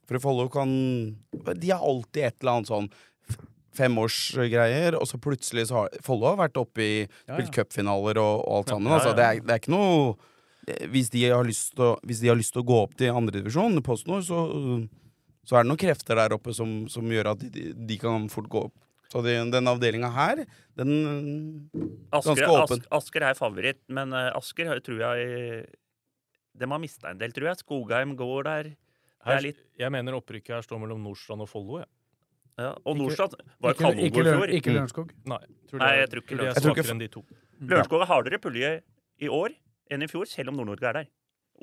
S4: For Follo kan De har alltid et eller annet sånn f- femårsgreier, og så plutselig så har Follo har vært oppe i
S2: Ja,
S4: spilt
S2: ja.
S4: cupfinaler og, og alt sammen.
S3: Ja,
S4: Altså,
S3: ja.
S4: det, er, det er ikke noe eh, hvis de, har lyst til å, hvis de har lyst til å gå opp til andredivisjon, PostNord, så, så er det noen krefter der oppe som, som gjør at de- de, de kan fort gå opp. Så de, den avdelinga her, den
S3: Asker,
S4: Ganske
S3: Asker,
S4: åpen.
S3: Asker er favoritt, men eh, Asker har- tror jeg De har mista en del, tror jeg. Skogheim går der. Det er
S5: Her,
S3: litt,
S5: jeg mener opprykket her står mellom Nordstrand og Follo. Jeg.
S3: ja. Og
S2: Ikke-
S3: Nordstrand var
S2: Ikke,
S3: kanongod i
S2: ikke, Løren-
S3: fjor.
S5: Mm.
S2: ikke Lørenskog.
S5: Nei, tror
S3: Nei,
S5: det-
S3: jeg tror ikke
S5: de
S3: det.
S5: er
S4: Jeg tror ikke
S5: svakere enn de to.
S4: Mm,
S3: Lørenskog har hardere pulje i år enn i fjor, selv om Nord-Norge er der.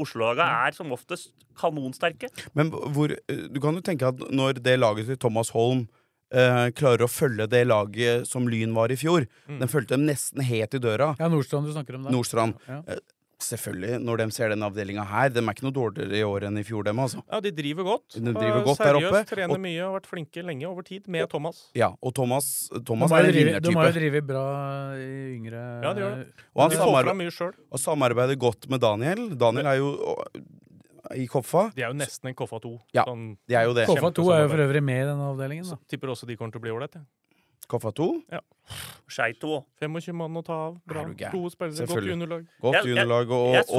S3: Oslo-laga er som oftest kanonsterke.
S4: Men hvor, du kan jo tenke at når det laget til Thomas Holm eh, klarer å følge det laget som Lyn var i fjor Den fulgte dem nesten helt i døra.
S2: Ja, Nordstrand du snakker om der.
S4: Nordstrand.
S2: Ja.
S4: Selvfølgelig, når de ser den avdelinga her De er ikke noe dårligere i år enn i fjor, dem, altså.
S5: Ja, de driver godt.
S4: De driver
S5: Eh,
S4: godt der oppe,
S5: Seriøst, trener
S4: og-
S5: mye og har vært flinke lenge over tid med Thomas.
S4: Ja, og Thomas,
S2: De
S4: Thomas
S2: har
S4: er
S2: jo
S4: en
S2: drevet- de har jo
S4: vinnertype.
S2: drevet bra i yngre
S5: Ja, de gjør det.
S4: Og han
S5: de får
S4: samarbe
S5: fram mye selv.
S4: og samarbeider godt med Daniel. Daniel er jo å, i Koffa.
S5: De er jo nesten en Koffa 2.
S4: Ja.
S5: Sånn,
S4: De er jo det.
S2: KFA2 er jo
S5: Kjempesamarbeid.
S2: for øvrig med i denne avdelingen.
S5: så
S2: Da.
S5: tipper også de kommer til å bli ålreit. jeg.
S4: Koffa 2.
S3: Skeito.
S5: 25 mann å ta av. Bra.
S4: Er du gæren?
S5: Gode spillere, godt
S4: Selvfølgelig.
S5: juniorlag.
S4: Godt
S3: Jeg- jeg-
S4: juniorlag og,
S3: Jeg så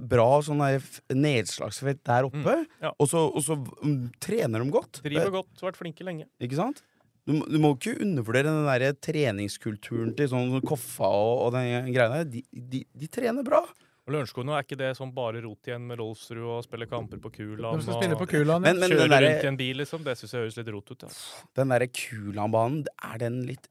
S4: og bra sånn der f- nedslagsfelt der oppe.
S5: ja.
S4: Og så, og så mm, trener de godt.
S5: Driver godt, har vært flinke lenge.
S4: Ikke sant? Du, må- du må ikke undervurdere den der treningskulturen til sånn som Koffa og, og den greia der. De, de, de trener bra.
S5: Og Lørenskog nå er ikke det sånn bare rot igjen med Rolfsrud og spille kamper på Kulan
S2: De skal
S5: og
S2: spille på Kulan.
S4: Men,
S2: Ja.
S4: men
S5: kjøre
S4: den
S5: rundt i
S4: derre
S5: en bil, liksom. Det syns jeg høres litt rot ut. Ja.
S4: den der Kulan-banen, er den litt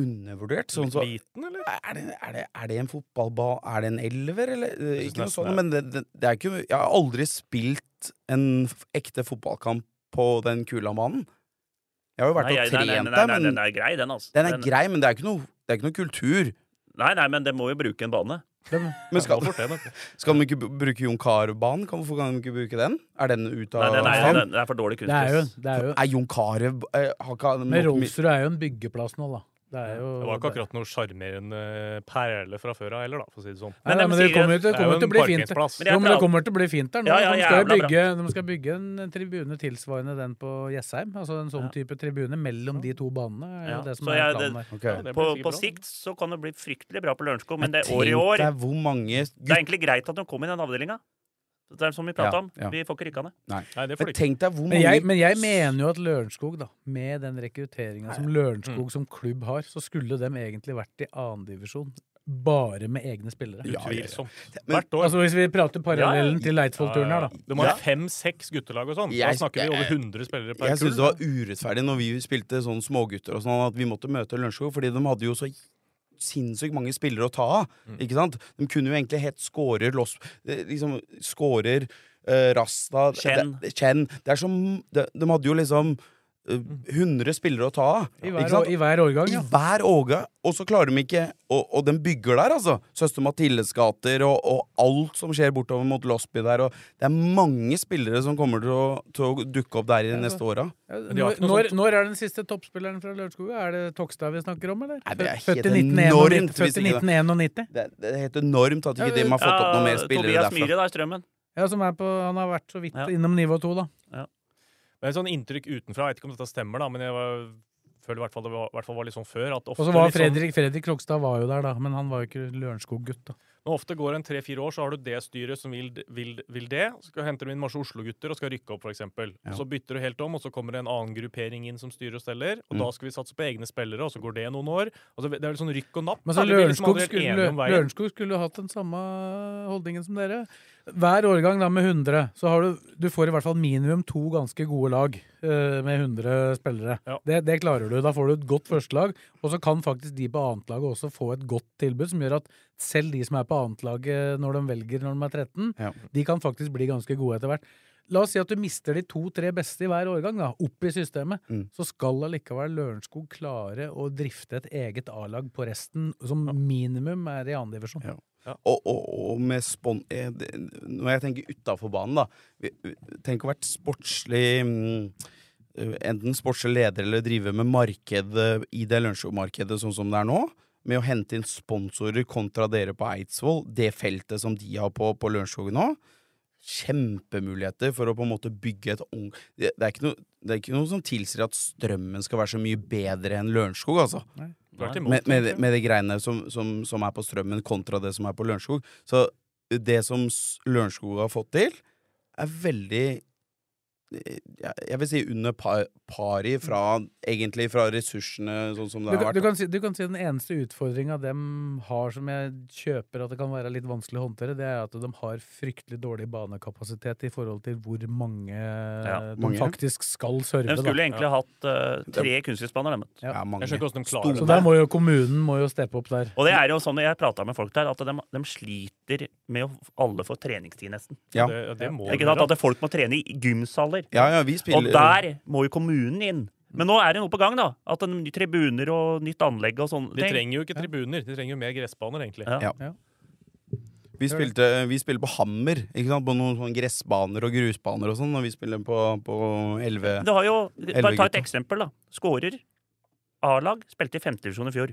S4: undervurdert? Sånn
S5: Litt
S4: så,
S5: liten, eller?
S4: er, det, er, det, er det en fotballbane? Er det en elver, eller? Eh,
S5: synes
S4: Ikke noe
S5: nesten
S4: sånt,
S5: det.
S4: men det, det, det er ikke Jeg har aldri spilt en f- ekte fotballkamp på den Kulan-banen. Jeg har jo vært
S3: Nei,
S4: og
S3: nei, nei, nei,
S4: trent
S3: nei,
S4: der, men
S3: den er grei, den, altså.
S4: den er grei, men det er ikke noe, det er ikke noe kultur.
S3: Nei, nei, men den må jo bruke en bane.
S4: Men skal,
S5: Må fort det, da.
S4: Skal de ikke b- bruke Jon Carew-banen? Kan- Hvorfor kan de ikke bruke den? Er den ute
S3: Nei,
S4: av
S3: den er,
S4: stand?
S3: den er for dårlig
S2: Det er jo,
S3: kunstgress.
S2: det er jo
S4: Er Jon Carew eh, har ikke han
S2: Men
S4: nok mi-
S2: Rolfsrud er jo en byggeplass nå, da. Det er jo
S5: Det var ikke akkurat noe sjarmerende eh, perle fra før av heller, da, for å si det sånn.
S2: Nei,
S3: Men
S2: nei,
S3: de
S2: men det
S3: sier at
S2: kommer, jo til- det
S5: det er
S2: kommer til å
S5: jo en
S2: bli fint.
S5: parkeringsplass.
S3: Men
S2: Jo, men det
S3: glad-
S2: kommer til å bli fint der nå.
S3: Ja, ja,
S2: de, skal jo
S3: jævla
S2: bygge, de skal bygge en tribune tilsvarende den på Jessheim. Altså en sånn type tribune mellom de to banene. er jo
S3: Ja,
S2: det som
S3: så
S2: er
S3: jeg-
S2: planen
S3: det-
S2: der.
S4: Ok.
S5: Ja, det blir
S3: På, på
S5: sikkert bra.
S3: sikt så kan det bli fryktelig bra på Lørenskog, men det er
S4: Tenk
S3: år i år.
S4: deg hvor mange
S3: Det er egentlig greit at de kom i den avdelinga. Det er som vi prata
S4: Ja,
S3: om.
S4: ja.
S3: Vi får ikke rykka ned.
S5: Nei, det får
S4: gutter
S5: de ikke.
S4: Tenk deg hvor mange
S2: Men jeg, men jeg mener jo at Lørenskog, da, med den rekrutteringa som Lørenskog
S4: Mm.
S2: som klubb har, så skulle dem egentlig vært i annendivisjon. Bare med egne spillere.
S4: Ja, ja, ja.
S5: Tvilsomt.
S4: Men-
S5: Hvert år.
S2: Altså Hvis vi prater parallellen til Eidsvoll-turen her, da.
S5: De har fem-seks guttelag og sånn. Da
S4: Jeg-
S5: snakker vi
S4: jeg-
S5: over 100 spillere per
S4: Jeg
S5: kull.
S4: syns det var urettferdig når vi spilte sånn smågutter og sånn, at vi måtte møte Lørenskog, fordi de hadde jo så sinnssykt mange spillere å ta av. Ikke sant? De kunne jo egentlig hett scorer, loss, eh, liksom, scorer eh, Rasta
S3: Chen.
S4: Det, Chen. Det er som, de, de hadde jo liksom eh, 100 spillere å ta av.
S2: I
S4: ikke
S2: hver,
S4: sant?
S2: I hver årgang,
S4: I
S2: ja.
S4: hver åge, og så klarer de ikke Og, og den bygger der, altså. Søster Mathildes gater og, og alt som skjer bortover mot Losby der. Og det er mange spillere som kommer til å, til å dukke opp der i de neste åra.
S2: Ja,
S5: de har
S2: Når,
S5: ikke noe
S2: når, når er den siste toppspilleren fra Lørenskog? Er det Tokstad vi snakker om, eller?
S4: Nei, det er
S2: Født i
S4: helt
S2: 1991,
S4: enormt hvis
S2: Født i
S4: ikke det-
S2: 1991?
S4: Det, det er helt enormt at
S2: Ja, det-
S4: ikke de har fått opp noen mer
S3: Ja,
S4: spillere
S3: Tobias
S4: derfra.
S3: Myhre da i Strømmen.
S2: Ja, som er på, han har vært så vidt
S3: Ja.
S2: innom nivå to, da.
S5: Det er et sånn inntrykk utenfra, jeg vet ikke om dette stemmer, da, men jeg var, føler i hvert fall det var, i hvert fall var litt sånn før. At ofte,
S2: Og så var
S5: litt sånn-
S2: Fredrik Fredrik Krokstad var jo der, da, men han var jo ikke Lørenskog-gutt. da.
S5: Når ofte går en tre-fire år, så har du det styret som vil, vil, vil det. Så skal henter du inn masse Oslo-gutter og skal rykke opp, f.eks.
S4: Ja.
S5: Og Så bytter du helt om, og så kommer det en annen gruppering inn som styrer og steller.
S3: Mm.
S5: Og da skal vi satse på egne spillere, og så går det noen år. Altså, det er litt sånn rykk og napp.
S2: Men
S5: da.
S2: så
S5: Vi blir liksom
S2: Lørenskog
S5: aldri helt
S2: skulle,
S5: enige om veien.
S2: Lørenskog skulle hatt den samme holdningen som dere. Hver årgang da med 100, så har du, du får i hvert fall minimum to ganske gode lag eh, med 100 spillere.
S5: Ja.
S2: Det, det klarer du. Da får du et godt førstelag, og så kan faktisk de på annetlaget også få et godt tilbud, som gjør at selv de som er på annetlaget når de velger når de er 13,
S4: Ja.
S2: de kan faktisk bli ganske gode etter hvert. La oss si at du mister de to-tre beste i hver årgang, da, opp i systemet.
S4: Mm.
S2: Så skal allikevel Lørenskog klare å drifte et eget A-lag på resten, som minimum er i andredivisjon.
S4: Ja.
S2: divisjon
S4: Og, og, og med spon... eh, det- Når jeg tenker utafor banen, da. vi- vi- Tenk å være sportslig mm, eh, Enten sportslig leder eller drive med markedet i det lunsjmarkedet sånn som det er nå. Med å hente inn sponsorer kontra dere på Eidsvoll, det feltet som de har på, på Lørenskog nå. Kjempemuligheter for å på en måte bygge et ung... Det, det, er ikke noe, det er ikke noe som tilsier at strømmen skal være så mye bedre enn Lørenskog, altså
S5: Tvert imot,
S4: med, med,
S5: egentlig.
S4: med de greiene som, som, som er på strømmen kontra det som er på Lørenskog. Så det som s- Lørenskog har fått til, er veldig jeg, jeg vil si under par, pari fra, egentlig fra ressursene, sånn som
S2: Du,
S4: det har
S2: kan-
S4: vært.
S2: du, kan si, du kan si den eneste utfordringa dem har som jeg kjøper at det kan være litt vanskelig å håndtere, det er at de har fryktelig dårlig banekapasitet i forhold til hvor mange eh, de
S4: mange.
S2: faktisk skal serve.
S3: De
S2: da.
S3: skulle egentlig hatt eh, tre kunstgressbaner. dem, vet du.
S4: Det er mange.
S5: Jeg skjønner ikke hvordan de klarer
S2: Så
S5: det.
S2: der må jo kommunen må jo steppe opp der.
S3: Og det er jo sånn jeg prata med folk der, at de, de sliter med å alle få treningstid, nesten.
S4: Ja.
S5: Det, det må
S3: Ikke
S5: dere,
S3: sant? At folk må trene i gymsaler.
S4: Ja, ja, Mm. vi
S3: Og
S4: spiller
S3: der må jo kommunen inn. Men nå er det noe på gang, da. At en ny tribuner og nytt anlegg og sånne
S5: De
S3: ting.
S5: trenger jo ikke tribuner, de trenger jo mer gressbaner, egentlig.
S3: Ja.
S4: Vi spilte, vi spiller på Hammer, ikke sant? på noen sånne gressbaner og grusbaner og sånn, og vi spiller på, på 11
S3: Det har jo, bare ta et
S4: gutta.
S3: eksempel, da. Skårer. A-lag spilte i femtedivisjon i fjor.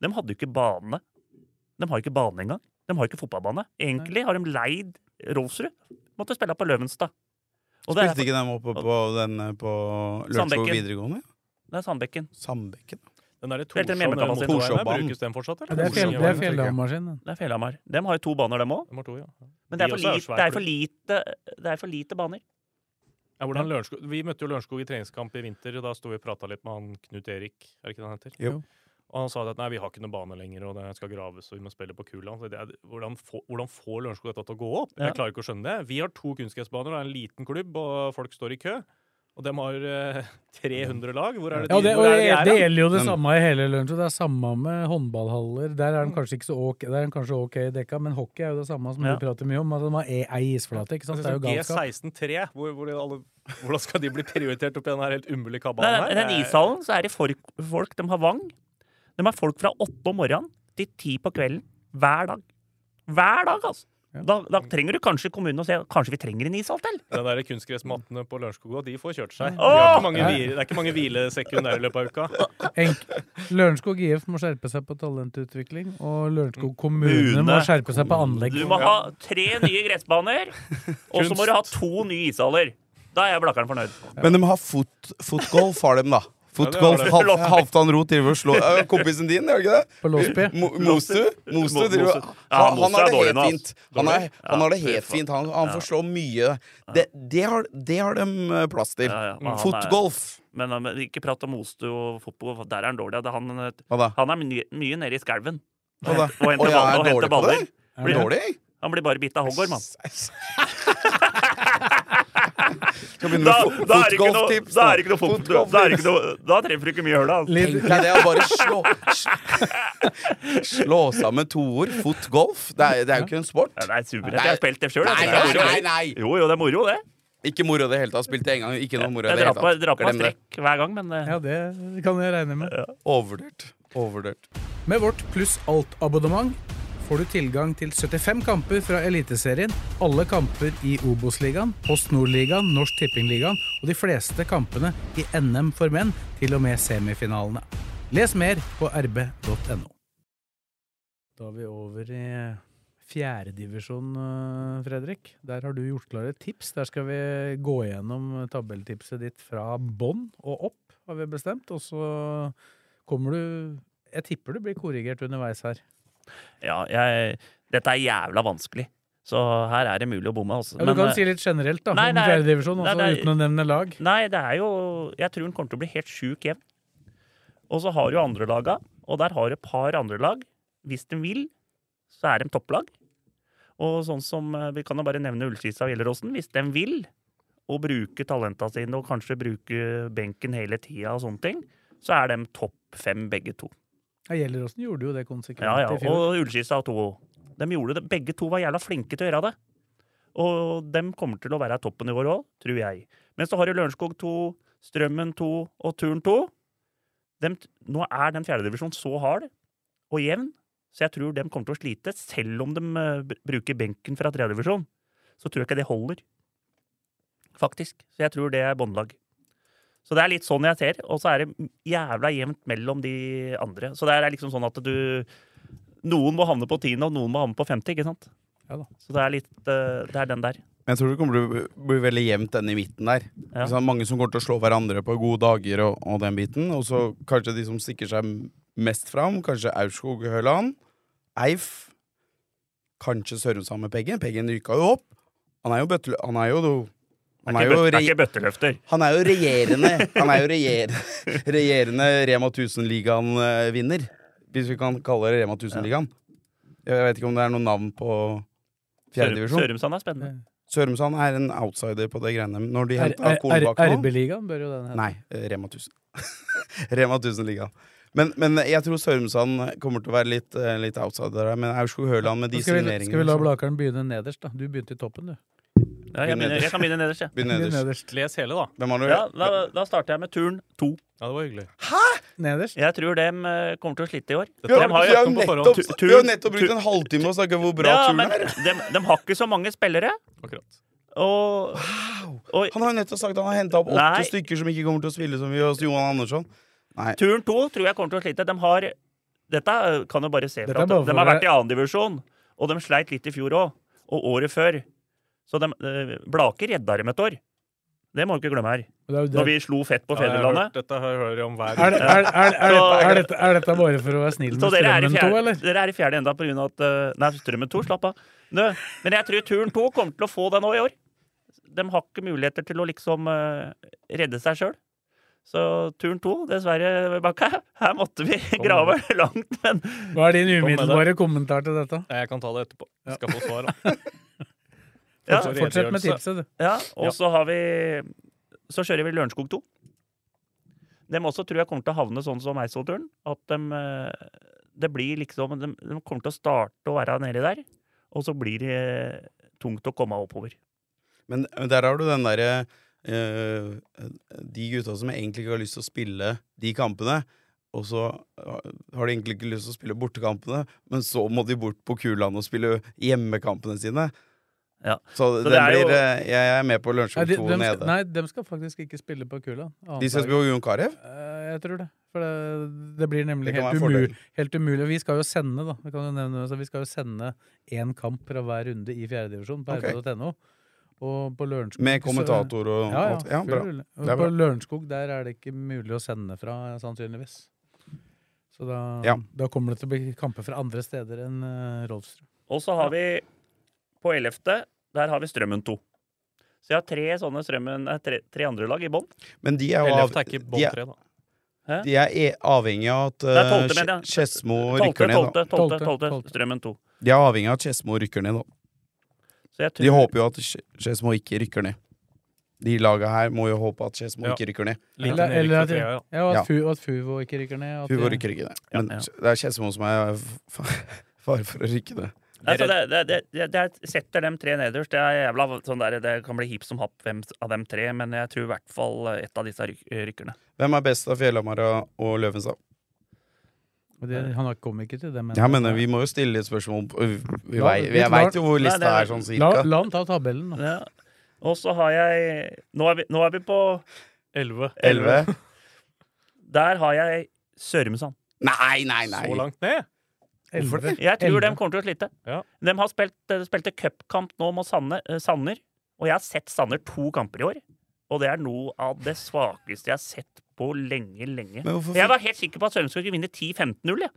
S3: De hadde jo ikke bane. De har jo ikke bane engang. De har jo ikke fotballbane. Egentlig har de leid Rolfsrud. Måtte spille på Løvenstad. Og det er,
S4: Spilte ikke dem oppe på, den, eh, på Lørenskog
S3: Sandbekken.
S4: videregående?
S3: det er Sandbekken.
S4: Sandbekken.
S5: Den derre
S3: Helt til
S5: Torshov nede mot
S3: Memekabasen.
S5: Torshov,
S4: Torshov-banen.
S5: brukes den fortsatt,
S2: Det
S5: eller?
S2: er, fjell, det er fjellhammaskinen.
S3: Det er Fjellhamar. De har jo to baner, dem òg.
S5: De har to, ja.
S3: Men det er,
S5: De
S3: for
S5: også er
S3: lite,
S5: svær
S3: det, er
S5: klubb.
S3: for lite, det er for lite baner.
S5: Ja, hvordan Lørenskog- vi møtte jo Lørenskog i treningskamp i vinter, og da sto vi og prata litt med han Knut Erik, er det ikke det han heter?
S4: Jo.
S5: Og han sa det at nei, vi har ikke noen bane lenger, og det skal graves, og vi må spille på kula. Så det er, hvordan, få, hvordan får Lørenskog dette til å gå opp?
S3: Ja.
S5: Jeg klarer ikke å skjønne det. Vi har to kunstgressbaner, det er en liten klubb, og folk står i kø. Og dem har eh, 300 lag. Hvor er det
S2: Ja, og
S5: de,
S2: det, og
S5: hvor er
S2: det,
S5: det de
S2: det
S5: er? da?
S2: gjelder jo det
S4: Men-
S2: samme i hele lunsjen. Det er samme med håndballhaller. Der er den kanskje ikke så ok, der er den kanskje ok dekka, men hockey er jo det samme som
S3: Ja.
S2: du prater mye om. At de har e- ei isflate, ikke sant? Det er
S5: Altså,
S2: jo galskap.
S5: sånn G16-3, hvor, hvor alle, hvordan skal de bli prioritert opp i den her helt umulige
S3: Nei,
S5: kabalen her?
S3: I den ishallen så er det folk, folk de har vang. De har folk fra åtte om morgenen til ti på kvelden hver dag. Hver dag, altså! Da, da trenger du kanskje kommunen å se Kanskje vi trenger en ishall til?
S5: Den der kunstgressmattene på Lørenskog, de får kjørt seg. De
S3: Åh!
S5: har ikke mange hvile, det er ikke mange hvilesekund der i løpet av uka.
S2: Enk- Lørenskog IF må skjerpe seg på talentutvikling, og Lørenskog kommune må
S3: Kommune.
S2: skjerpe seg på anlegg.
S3: Du må ha tre nye gressbaner, og så må du ha to nye ishaller. Da er jeg blakkeren fornøyd.
S4: Men de har fot, fotgolf, har de da. Fotgolf.
S5: det.
S4: Hal- Halvdan Ro driver og slår Eh, Kompisen din, gjør ikke det?
S2: På Låsby.
S4: Mo- Mostu. Mostu
S3: Mo-
S4: driver
S3: Mostu. Ja, Mostu
S4: Han, han
S3: er
S4: har det
S3: dårlig
S4: helt
S3: nå, ass.
S4: fint. Han, er,
S3: Dårlig?
S4: han har det
S3: Ja,
S4: helt
S3: fy faen.
S4: fint. Han, han
S3: Ja.
S4: får slå mye. Det, det, har, det har de eh, plass til.
S3: Ja, ja, men han er-
S4: Fotgolf.
S3: Men, eh, men ikke prat om Mostu og fotball, der er han dårlig. Det er Han, eh,
S4: Hva da?
S3: han er mye, mye nede i skauen.
S4: Hva da?
S3: Og henter
S4: Å, jeg
S3: baller.
S4: er
S3: Og henter
S4: dårlig på
S3: baller.
S4: det? Er du dårlig?
S3: Han blir bare bitt av hoggorm, han.
S4: Skal begynne
S3: da,
S4: med fo-
S3: da er det ikke noe,
S4: fotgolftips.
S3: da er det ikke noe fot-
S4: Fotgolf-
S3: da, er det ikke noe, da treffer du ikke mye høl, da.
S2: Litt-
S4: Tenk deg det å bare slå Slå sammen toer, fotgolf. Det er, det er jo ikke en
S3: Ja,
S4: sport.
S3: det er supert. Jeg har spilt det sjøl.
S4: Nei, nei, nei, nei.
S3: Jo, jo, det er moro, det.
S4: Ikke moro i det hele tatt. Spilte en gang, ikke noe moro i
S3: Jeg
S4: det
S3: drar
S4: hele
S3: på,
S4: tatt.
S3: drar på meg
S4: Glem det.
S3: strekk hver gang, men eh,
S2: Ja, det kan jeg regne med.
S4: Overvurdert. Overvurdert.
S2: Med vårt pluss alt-abonnement får du tilgang til 75 kamper fra Eliteserien, alle kamper i Obos-ligaen, Post Nord-ligaen, Norsk Tipping-ligaen og de fleste kampene i NM for menn, til og med semifinalene. Les mer på rb.no. Da er vi over i fjerdedivisjon, Fredrik. Der har du gjort klare tips. Der skal vi gå gjennom tabelltipset ditt fra bånn og opp, har vi bestemt. Og så kommer du jeg tipper du blir korrigert underveis her.
S3: ja, jeg, dette er jævla vanskelig. Så her er det mulig å bomme, altså.
S2: Ja, du
S3: Men,
S2: kan
S3: eh,
S2: si litt generelt da,
S3: nei,
S2: om
S3: nei,
S2: fjerdedivisjon,
S3: nei,
S2: også
S3: nei.
S2: uten å nevne lag.
S3: Nei, det er jo Jeg tror den kommer til å bli helt sjuk jevn. Og så har du andrelaga, og der har du et par andrelag. Hvis de vil, så er de topplag. Og sånn som eh, Vi kan jo bare nevne Ullskisa og Gjelleråsen. Hvis de vil og bruke talenta sine og kanskje bruke benken hele tida og sånne ting, så er de topp fem begge to.
S2: Ja, Gjelleråsen gjorde jo det konsekvent
S3: Ja, ja,
S2: i fjor.
S3: og Ullskisa og to. De gjorde det. Begge to var jævla flinke til å gjøre det. Og dem kommer til å være toppen i år òg, tror jeg. Men så har du Lørenskog 2, Strømmen 2 og Turn 2. Dem, t- nå er den fjerdedivisjonen så hard og jevn, så jeg tror dem kommer til å slite. Selv om de eh, br- bruker benken fra tredjedivisjon, så tror jeg ikke det holder. Faktisk. Så jeg tror det er båndlag. Så det er litt sånn jeg ser, og så er det jævla jevnt mellom de andre. Så det er liksom sånn at du noen må havne på tiende, og noen må havne på femte, ikke sant?
S2: Ja da.
S3: Så det er litt eh, Det er den der.
S4: Men jeg tror det kommer til å bli- bli veldig jevnt den i midten der.
S3: Ja.
S4: Ikke sant? mange som kommer til å slå hverandre på gode dager og, og den biten. Og så kanskje de som stikker seg m- mest fram. Kanskje Aurskog Høland. Eif. Kanskje Sørumsand med Peggen. Peggen ryka jo opp. Han er jo, bøttel- han er jo do- Han
S3: Det
S4: er
S3: er ikke
S4: jo
S3: bøt- det
S4: re-
S3: er ikke bøtteløfter.
S4: Han er jo regjerende Han er jo regjer- regjerende Rema 1000-ligaen-vinner. Hvis vi kan kalle det Rema 1000-ligaen. Jeg vet ikke om det er noe navn på fjerdedivisjon.
S3: Sørumsand er spennende.
S4: Sørumsand er en outsider på det greiene. Når de
S2: R-
S4: henta
S2: R-
S4: Kornbakk nå
S2: RB-ligaen bør jo den hete.
S4: Nei, eh, Rema 1000. Rema 1000-ligaen. Men, men jeg tror Sørumsand kommer til å være litt, eh, litt outsider der. Men Aurskog Høland med de
S2: Skal vi,
S4: signeringene
S2: skal vi la
S4: som-
S2: Blakeren begynne nederst, da? Du begynte i toppen, du.
S3: Ja, jeg, begynner, jeg kan begynne nederst, jeg.
S4: Begynn
S2: Begynn
S4: nederst.
S2: nederst.
S5: Les hele, da.
S4: Hvem har du?
S3: Ja, da, da starter jeg med turn to.
S5: Ja, det var hyggelig.
S2: Nederst.
S3: Jeg tror dem eh, kommer til å slite i år.
S4: Vi har,
S3: Dem har
S4: vi har
S3: jo,
S5: jo på forhånd.
S4: nettopp,
S3: Tu-
S4: vi har
S3: tur-
S4: nettopp
S3: tur-
S4: brukt en halvtime å snakke om hvor bra
S3: ja,
S4: turen
S3: men
S4: er.
S3: dem, dem har ikke så mange spillere.
S5: Akkurat.
S3: Og, og
S4: Han har jo nettopp sagt at han har henta opp åtte
S3: Nei.
S4: stykker som ikke kommer til å spille som vi hos Johan Andersson. Nei.
S3: turn to tror jeg kommer til å slite. Dem har, dette eh, kan jo bare se
S2: Dette
S3: fra
S2: er
S3: at
S2: bare
S3: de
S2: for
S3: har
S2: å-
S3: vært i annendivisjon, og de sleit litt i fjor òg. Og året før. Så dem, eh, Blaker redda dem et år. Det må du ikke glemme her.
S2: Det er jo
S3: Når
S2: det-
S3: vi slo fett på
S5: Ja, jeg har hørt,
S3: fedrelandet.
S5: dette her hører jeg om hver
S2: Er, det- er, er, er, er, er, dette- er dette bare for å være snill
S3: Så
S2: med
S3: dere er, i
S2: Strømmen 2,
S3: fjerde,
S2: eller?
S3: dere er i fjerde enda på grunn av at eh, Nei, Strømmen 2, slapp av. Nå, men jeg tror Turn 2 kommer til å få det nå i år. De har ikke muligheter til å liksom eh, redde seg sjøl. Så Turn 2, dessverre, Rebekka, her måtte vi grave langt, men
S2: Hva er din
S5: med deg.
S2: umiddelbare kommentar til dette?
S5: Nei, Jeg kan ta det etterpå. Vi skal få svar. da.
S3: ja,
S5: Fortsatt.
S2: Fortsett med
S5: Redegjørelse.
S2: tipset, du.
S3: ja. Og så har vi Så kjører vi Lørenskog 2. Dem også tror jeg kommer til å havne sånn som Eidsvoll-turen. At dem eh, Det blir liksom de, kommer til å starte å være nedi der, og så blir det tungt å komme oppover.
S4: Men der har du den derre eh, De gutta som egentlig ikke har lyst til å spille de kampene, og så eh, har de egentlig ikke lyst til å spille bortekampene, men så må de bort på Kuland og spille hjemmekampene sine.
S3: Ja.
S4: Så,
S3: Så
S4: den
S3: det er jo-
S4: blir eh, Jeg er med på
S2: Nei,
S4: Lørenskog
S2: de,
S4: 2
S2: dem skal,
S4: nede.
S2: nei, dem skal faktisk ikke spille på kula. Annet
S4: de skal
S2: lag.
S4: spille på Jon Carew?
S2: Eh, Jeg tror det. For det, det blir nemlig
S4: Det kan
S2: helt,
S4: være en
S2: umul, helt umulig. Vi skal jo sende, da. Vi kan jo nevne, så vi skal jo sende én kamp fra hver runde i fjerdedivisjon på
S4: Ok.
S2: rv.no. Og på Lørenskog
S4: Med
S2: så-
S4: kommentator og
S2: Ja, ja.
S4: alt. Ja,
S2: full
S4: bra.
S2: rulle. Og
S4: Det er
S2: på
S4: bra.
S2: Lørenskog der er det ikke mulig å sende fra, sannsynligvis. Så da,
S4: Ja.
S2: da kommer det til å bli kamper fra andre steder enn uh, Rolfsrud.
S3: Og så har vi på 11. Der har vi Strømmen 2. Så jeg har tre sånne strømmen, eh, tre, tre andre lag i bånn.
S4: Men de er jo av,
S5: 11. er ikke
S4: de
S5: bånd
S4: er,
S5: tre, da.
S4: de er e- avhengig av at
S3: Det er
S4: eh,
S3: tolvte, mener jeg.
S4: Kje- Skedsmo rykker ned. da.
S3: Tolvte, tolvte,
S2: Tolvte,
S3: tolvte,
S2: tolvte.
S3: Strømmen 2.
S4: De er avhengig av at Skedsmo rykker ned, da.
S3: Så jeg
S4: De
S3: tror,
S4: håper jo at Sk- Skedsmo ikke rykker ned. De laga her må jo håpe at Skedsmo
S5: Ja.
S4: ikke rykker ned.
S5: Liten
S2: Eller-
S5: Erik
S2: eller
S5: fra
S2: at-
S5: Treøya, ja.
S2: Ja, og
S4: Ja.
S2: at, Fu, og at Fuvo ikke rykker ned. At
S4: Hun
S2: de-
S4: rykker ikke ned. Men
S3: Ja, ja.
S4: det er Skedsmo som er f- fare for å rykke ned.
S3: Nei, så det, det, det, det, det setter dem tre nederst. Det, er jævla, sånn der, det kan bli hip som happ hvem av dem tre, men jeg tror i hvert fall eh, et av disse ryk, rykkerne.
S4: Hvem er best av Fjellhamara og Løvenstad?
S2: og de- han har kommet ikke til det, men,
S4: Jeg mener, eh, vi må jo stille et spørsmål på- vi, vi,
S2: La-
S4: vei- Jeg veit jo hvor
S3: Nei,
S4: lista
S3: det
S4: er
S3: er-
S4: sånn
S2: la,
S4: cirka.
S2: la han ta tabellen, da.
S3: Ja. Og så har jeg Nå er vi, nå er vi på
S5: 11.
S4: 11?
S3: Der har jeg Sørumsand.
S4: Nei, nei, nei!
S5: Så langt ned?
S2: Elleve.
S3: Jeg tror
S2: Elleve.
S3: dem kommer til å slite.
S5: Ja.
S3: De har spilt, eh, spilte cupkamp nå mot Sanne, eh, Sanner, og jeg har sett Sanner to kamper i år. Og det er noe av det svakeste jeg har sett på lenge, lenge.
S4: Men hvorfor
S3: Jeg var helt sikker på at Sørumsand skulle vinne 10-15-0. Jeg.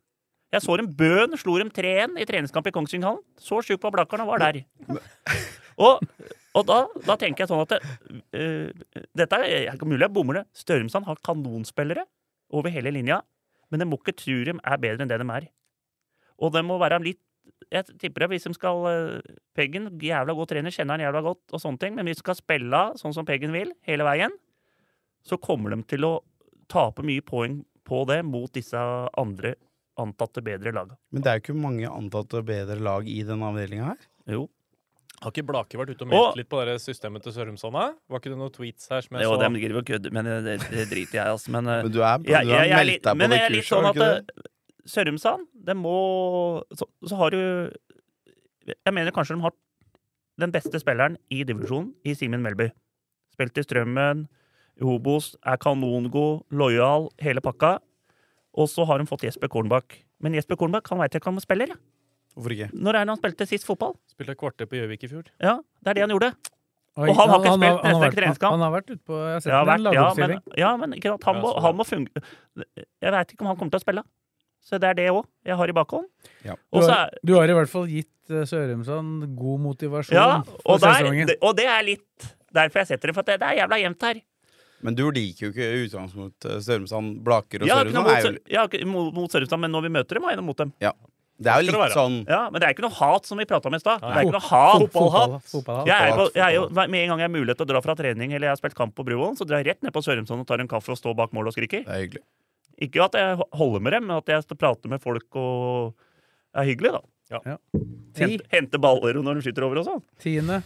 S3: jeg så dem bøn, slo dem 3-1 i treningskamp i Kongsvinghallen. Så sjuk var Blakkaren og var der. Og, og da, da tenker jeg sånn at det, eh, Dette er er ikke mulig jeg bommer det. Sørumsand har kanonspillere over hele linja, men de må ikke tro dem er bedre enn det de er. Og det må være litt Jeg tipper at hvis de skal eh, Peggen, jævla god trener, kjenner han jævla godt, og sånne ting, men hvis de skal spille av sånn som Peggen vil, hele veien, så kommer de til å tape mye poeng på det mot disse andre antatte bedre laga.
S4: Men det er jo ikke mange antatte bedre lag i den avdelinga her.
S3: Jo.
S5: Har ikke Blake vært ute og
S3: Og-
S5: meldt litt på det systemet til Sørumsand? da? Var ikke det noen tweets her som jeg
S3: Jo,
S5: så?
S3: dem driver og kødder, men det, det driter jeg i, altså. Men, eh,
S4: Men du er, du
S3: jeg,
S4: har
S3: jeg, jeg er
S4: meldt
S3: litt,
S4: deg på
S3: men
S4: det
S3: jeg er litt
S4: kurset,
S3: sånn
S4: har
S3: at
S4: du ikke det?
S3: eh, Sørumsand, det må så, så har du Jeg mener kanskje de har den beste spilleren i divisjonen i Simen Melby. Spilt i Strømmen, i Hobos, er kanongod, lojal, hele pakka. Og så har de fått Jesper Kornbakk. Men Jesper Kornbakk han veit ikke hva han spiller. jeg.
S4: Hvorfor ikke?
S3: Når er det han spilte sist fotball?
S5: Spilte kvarter på Gjøvik i fjor.
S3: Ja, det er det han gjorde.
S2: Oi,
S3: Og han har ikke spilt
S2: han har
S3: nesten
S2: vært-
S3: treningskamp.
S2: Han har vært ute på Jeg har sett
S3: Ja,
S2: ham i en
S3: vært, ja, men,
S2: lagoppstilling.
S3: ja, men ikke sant? Han,
S5: Ja,
S3: må,
S5: så
S3: han må funge... Jeg veit ikke om han kommer til å spille. Så det er det òg jeg har i bakhånd.
S4: Ja.
S3: Og
S2: du,
S3: så
S2: har,
S3: er,
S2: du har i hvert fall gitt eh, Sørumsand god motivasjon
S3: ja,
S2: for
S3: og, der,
S2: sesongen.
S3: det- og det er litt derfor jeg setter det, for at det, det er jævla jevnt her.
S4: Men du liker jo ikke i utgangspunktet Sørumsand, Blaker og
S3: Jeg har ikke noe mot,
S4: Sørumsand. er jo-
S3: Sør- jeg har ikke mot, mot Sørumsand, men når vi møter dem, har jeg noe mot dem.
S4: Ja. Det er jo
S5: Skal det
S4: litt
S5: være.
S4: sånn
S3: Ja, Men det er ikke noe hat, som vi prata om i stad. Det er ikke noe
S2: Fot-
S3: hat.
S2: Fotballhatt. Fotballhatt.
S3: Jeg er, på,
S4: Fotballhatt,
S3: jeg er jo, Med en gang jeg har mulighet til å dra fra trening eller jeg har spilt kamp på Bruvollen, så drar jeg rett ned på Sørumsand og tar en kaffe og står bak mål og skriker.
S4: Det er hyggelig.
S3: Ikke at jeg ho- holder med dem, men at jeg står og prater med folk og er hyggelig, da.
S2: Ti,
S3: Hente, hente baller når de skyter over og sånn.
S2: tiende.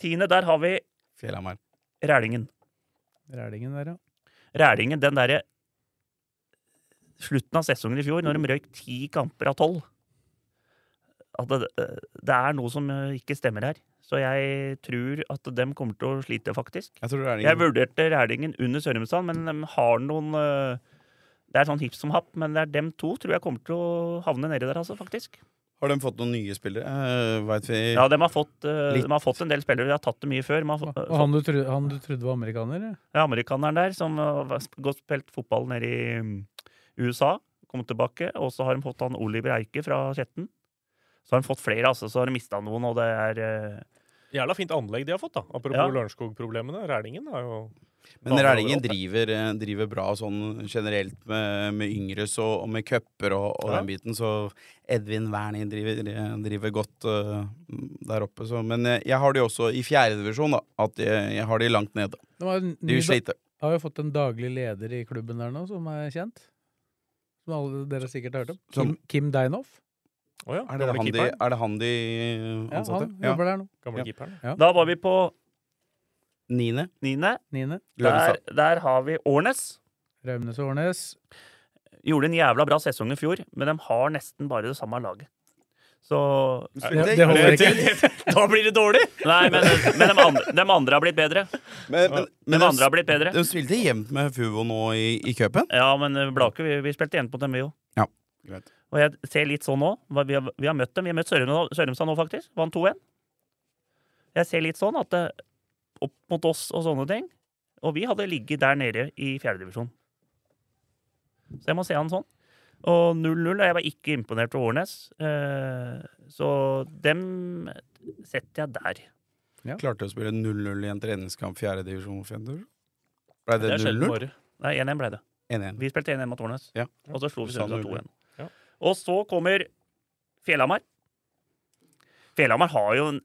S3: Tiende, der har vi
S4: Fjellhamar.
S3: Rælingen.
S2: Rælingen der, ja.
S3: Rælingen, den derre Slutten av sesongen i fjor, når de røyk ti kamper av tolv. At det, det er noe som eh, ikke stemmer her. Så jeg tror at dem kommer til å slite, faktisk.
S4: Jeg tror det er
S3: Jeg vurderte Rælingen under Sørumsand, men de har noen eh, Det er sånn hipp som happ, men det er dem to tror jeg kommer til å havne nedi der, altså, faktisk.
S4: Har de fått noen nye spillere? Uh, Veit vi
S3: Ja, de har fått, eh,
S4: Litt.
S3: de har fått en del spillere. De har tatt det mye før. De har, fått-
S2: Og han du, trodde, han du trodde var amerikaner? ja.
S3: Ja, amerikaneren der som uh, var- sp- godt spilt fotball nede i mm, USA, kom tilbake. Og så har de fått han Oliver Eike fra Skjetten. Så har de fått flere, altså. Så har de mista noen, og det er eh,
S5: Jævla fint anlegg de har fått, da. Apropos
S3: Ja.
S5: Lørenskog-problemene. Rælingen er jo
S4: Men Rælingen driver, eh, driver bra sånn generelt med, med yngres og, og med cuper og, og
S5: Ja.
S4: den biten, så Edvin Wernie driver, driver godt eh, der oppe. Så. Men eh, jeg, jeg har de også i fjerdedivisjon, da. At jeg, jeg har de langt nede.
S2: Det var en
S4: De
S2: ny, da-
S4: sliter.
S2: har jo fått en daglig leder i klubben der nå, som er kjent. Som alle dere sikkert har hørt om. Kim,
S4: Som-
S2: Kim Deinhoff.
S5: Å ja.
S4: Er det,
S5: Gamle
S4: han de,
S5: keeperen.
S4: er det han de eh,
S2: Ja,
S4: ansatte?
S2: han
S4: Ja,
S2: jobber der nå.
S5: Gamle
S4: Ja.
S5: keeperen.
S3: Da var vi på
S4: Niende.
S3: niende.
S2: Niende.
S3: Der,
S4: Løvenstad.
S3: der har vi Årnes.
S2: Raumnes og Årnes.
S3: Gjorde en jævla bra sesong i fjor, men de har nesten bare det samme laget. Så
S2: Det, det holder ikke.
S3: Da blir det dårlig! Nei, men, men de, andre, de andre har blitt bedre.
S4: Men, men,
S3: De
S4: men
S3: andre
S4: de,
S3: har blitt bedre.
S4: de spilte jevnt med Fuvo nå i, i cupen.
S3: Ja, men eh, Blake, vi, vi spilte igjen på dem, vi jo.
S4: Ja, greit.
S3: Og jeg ser litt sånn nå. hva Vi har, vi har møtt dem. Vi har møtt Sørum- Sørumstad nå, faktisk. Vant 2-1. Jeg ser litt sånn at eh, opp mot oss og sånne ting Og vi hadde ligget der nede i fjerdedivisjon. Så jeg må se han sånn. Og 0-0. Og jeg var ikke imponert over Årnes. Eh, Så dem setter jeg der.
S4: Klarte å spille 0-0 i en treningskamp fjerdedivisjon. Ble det
S3: Det er sjelden
S4: 0-0?
S5: Bare.
S3: Nei, 1-1 ble det.
S4: 1-1.
S3: Vi spilte 1-1 mot Årnes.
S4: Ja.
S3: Og så slo vi
S4: Du sa
S3: Sørumsand 2-1.
S4: null.
S5: Ja.
S3: Og så kommer Fjellhamar. Fjellhamar har jo en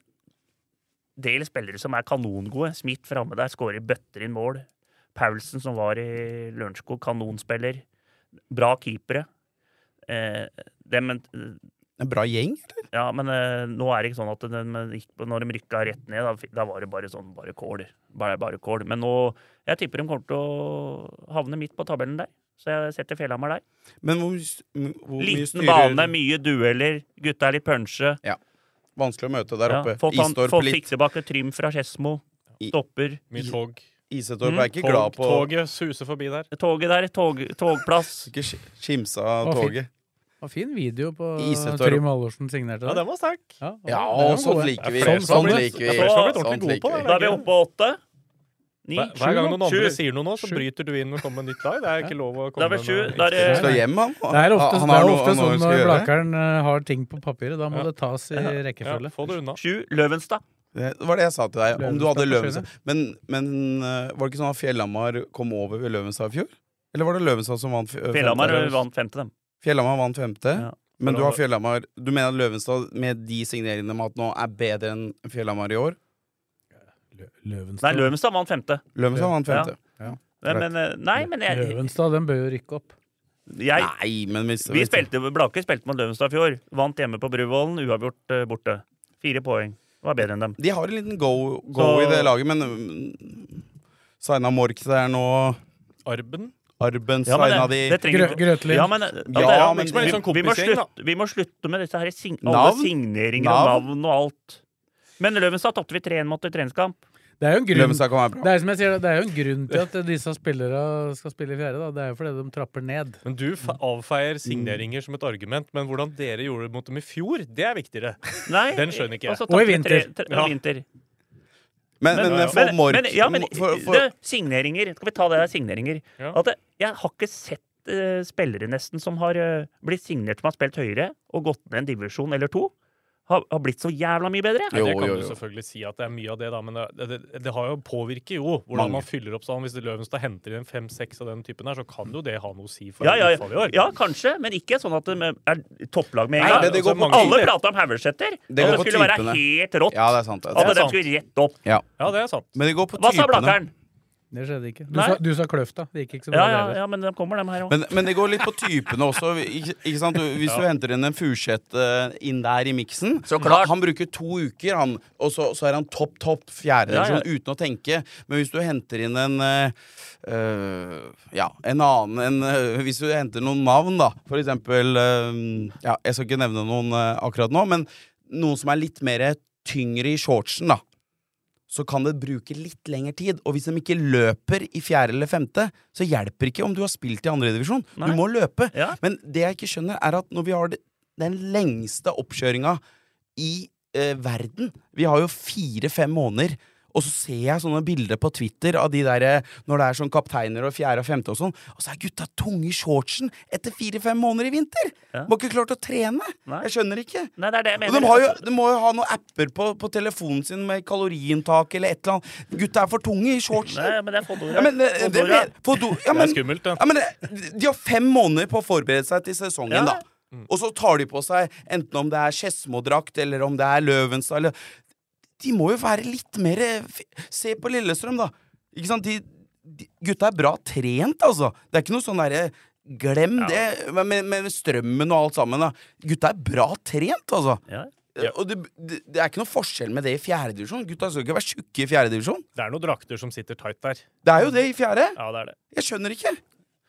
S3: del spillere som er kanongode. Smith framme der, skårer bøtter inn mål. Paulsen, som var i Lørenskog, kanonspiller. Bra keepere. Eh, dem,
S4: En bra gjeng.
S3: ja, men eh, nå er det ikke sånn at de gikk, når de rykka rett ned, da, fi- da var det bare sånn bare kål. Bare, bare kål. Men nå Jeg tipper de kommer til å havne midt på tabellen der. Så jeg setter Fjellhamar der.
S4: Men hvor, s- m- hvor mye
S3: Liten
S4: styrer
S3: bane, mye dueller, gutta er litt punsje.
S4: Vanskelig å møte der
S3: Ja,
S4: oppe.
S3: Fått, han,
S4: Istorp,
S3: fått
S4: litt,
S3: fiksebakke Trym fra Skedsmo.
S4: I-
S3: Stopper.
S5: Mye tog.
S4: Isetorp
S3: Mm,
S4: er ikke
S5: tog
S4: glad på
S5: Toget suser forbi der.
S3: Toget der, tog, togplass.
S4: Ikke sk- skimsa av
S2: Å, fint.
S4: toget.
S2: Og fin video på
S4: Isetorp.
S2: Trym Halvorsen signerte
S5: Ja,
S2: der.
S5: den var sterk.
S2: Ja,
S4: Ja,
S2: den var
S4: sånt
S2: god, ja.
S4: liker vi.
S5: Det er flere som
S4: Sånn
S5: blir-
S4: liker
S5: det er
S4: vi.
S5: flere som blir
S4: Sånt
S5: ordentlig gode på
S4: liker
S5: det.
S4: vi.
S3: Da er vi oppe på åtte. Ni.
S5: Hver, hver gang noen
S3: Sju.
S5: andre sier noe nå, så
S2: Sju.
S5: bryter du inn og kommer med nytt lag. Det er ikke lov
S3: Da
S5: å komme
S3: er vi sju.
S5: med
S3: Da er det
S4: Slå hjem, han.
S2: Det er ofte, det er ofte
S4: Han har noe- han har
S2: sånn
S4: noe å
S2: når
S4: skulle gjøre.
S2: Blakeren eh, har ting på papiret. Da må
S5: Ja.
S2: det tas i
S5: ja,
S2: rekkefølge.
S5: Få det unna.
S3: sju. Løvenstad.
S4: Det var det jeg sa til deg. Om du hadde
S2: Løvenstad
S4: Løvenstad Men, men eh, var det ikke sånn at Fjellhamar kom over ved Løvenstad i fjor? Eller var det Løvenstad som vant? f- femte?
S3: Fjellhamar vant femte, dem.
S4: Fjellhamar vant femte.
S3: Ja.
S4: Men du har Fjellhamar Du mener at Løvenstad med de signeringene med at nå er bedre enn Fjellhamar i år?
S2: Lø- Løvenstad.
S3: Nei, Løvenstad vant femte.
S4: Løvenstad vant femte.
S3: Men, men, eh, nei, men jeg,
S2: Løvenstad, den bør jo rykke opp.
S3: jeg
S4: Nei, men hvis,
S3: Vi spilte, Blake spilte mot Løvenstad i fjor. Vant hjemme på Bruvollen, uavgjort eh, borte. Fire poeng. Var bedre enn dem.
S4: De har en liten go, go
S3: Så-
S4: i det laget, men mm, Signa Mork der nå.
S5: Arben.
S4: Arben
S3: Ja, men
S4: signa
S3: det-
S4: de
S3: det trenger-
S2: Grø- Grøtlin.
S3: Ja, men, ja, det,
S4: Ja, men-
S3: vi,
S4: men
S5: sånn
S3: vi, må
S5: kompisgjeng,
S3: slutte, vi må slutte med disse her sign alle
S4: Navn?
S3: signeringer og
S4: Navn?
S3: navn og alt. Men Løvenstad tapte vi 3-1 mot i treningskamp.
S2: Det er jo en grunn
S4: Løvenstad kan være bra.
S2: Det er som jeg sier, det er jo en grunn til at disse spillere skal spille i fjerde. Da. Det er jo fordi de trapper ned.
S5: Men du fa- avfeier signeringer som et argument, men hvordan dere gjorde det mot dem i fjor, det er viktigere.
S3: Nei,
S5: Den skjønner ikke jeg.
S3: og så
S2: Og i
S3: tapte vi tre-
S2: vinter.
S3: tre-
S5: Ja.
S3: Og vinter.
S4: Men, men,
S5: ja, ja.
S4: for Mork
S3: men, ja, men
S4: for, for,
S3: det, signeringer. Skal vi ta det der signeringer?
S5: Ja.
S3: At det, jeg har ikke sett eh, spillere nesten som har eh, blitt signert som har spilt høyere, og gått ned en divisjon eller to, har, har blitt så jævla mye bedre.
S5: Nei, det
S4: Jo,
S5: kan
S4: jo,
S5: du
S4: jo.
S5: selvfølgelig si at det er mye av det, da, men det, det, det har jo påvirker jo hvordan
S4: Mange.
S5: man fyller opp salen. Hvis Løvenstad henter inn fem-seks av den typen her, så kan jo det ha noe å si for
S3: Ja, ja,
S5: utfallet
S3: ja.
S5: i
S3: ja,
S5: år.
S3: kanskje, men ikke sånn at det er topplag med en
S4: Nei,
S3: gang.
S4: men det går
S3: Altså,
S4: på
S3: Alle
S4: typer.
S3: prata om Haugesæter, og
S4: går
S3: det
S4: på
S3: skulle være
S4: typene.
S3: helt rått.
S4: Ja, det er sant.
S3: At
S4: Det er sant.
S3: de skulle rett opp.
S4: Ja.
S5: Ja, det er sant.
S4: Men det går på
S3: Hva sa
S4: typene.
S3: Blakkeren?
S2: Det skjedde ikke. Du
S3: Nei.
S2: sa, du sa Kløfta. Det gikk ikke så bra.
S3: Ja, ja,
S2: det heller.
S3: ja, men de kommer, dem her òg.
S4: Men, men det går litt på typene også. Ikke, ikke sant? Du- Hvis du henter inn en Furseth eh, inn der i miksen
S3: Så klart.
S4: Han bruker to uker, han, og så, så er han topp, topp fjerde
S3: Ja, ja.
S4: divisjon uten å tenke. Men hvis du henter inn en eh, eh, Ja, en annen en, eh, Hvis du henter noen navn, da, for eksempel eh, ja, Jeg skal ikke nevne noen eh, akkurat nå, men noen som er litt mer tyngre i shortsen, da. Så kan det bruke litt lengre tid. Og hvis de ikke løper i fjerde eller femte, så hjelper ikke om du har spilt i andredivisjon. Du
S3: Nei.
S4: må løpe.
S3: Ja.
S4: Men det jeg ikke skjønner, er at når vi har det- den lengste oppkjøringa i eh, verden Vi har jo fire-fem måneder. Og så ser jeg sånne bilder på Twitter av de der, eh, når det er sånn kapteiner og fjerde og femte og sånn, og så er gutta tunge i shortsen etter fire-fem måneder i vinter!
S3: Ja.
S4: Må ikke klart å trene!
S3: Nei.
S4: Jeg skjønner ikke.
S3: Nei, det er det jeg
S4: Og
S3: mener.
S4: de, har jo, de må jo ha noen apper på, på telefonen sin med kaloriinntak eller et eller annet. Gutta er for tunge i shortsen!
S3: Nei, men det er Fodora.
S4: Ja, men, eh, det,
S3: Fodora.
S4: men- Fodora- ja, men,
S5: Det er skummelt, det.
S4: Ja, men, eh, de har fem måneder på å forberede seg til sesongen,
S3: Ja.
S4: da. Og så tar de på seg enten om det er Skedsmo-drakt eller om det er Løvenstad eller De må jo være litt mer eh, f- Se på Lillestrøm, da. Ikke sant? De, de, gutta er bra trent, altså. Det er ikke noe sånn derre Glem det men- med, med strømmen og alt sammen. da Gutta er bra trent, altså.
S3: Ja.
S5: Ja.
S4: Og det, det, det er ikke noe forskjell med det i fjerdedivisjon. Gutta skal ikke være tjukke i fjerdedivisjon.
S5: Det er noen drakter som sitter tight der.
S4: Det er jo det i fjerde.
S5: Ja, det er det.
S4: Jeg skjønner ikke.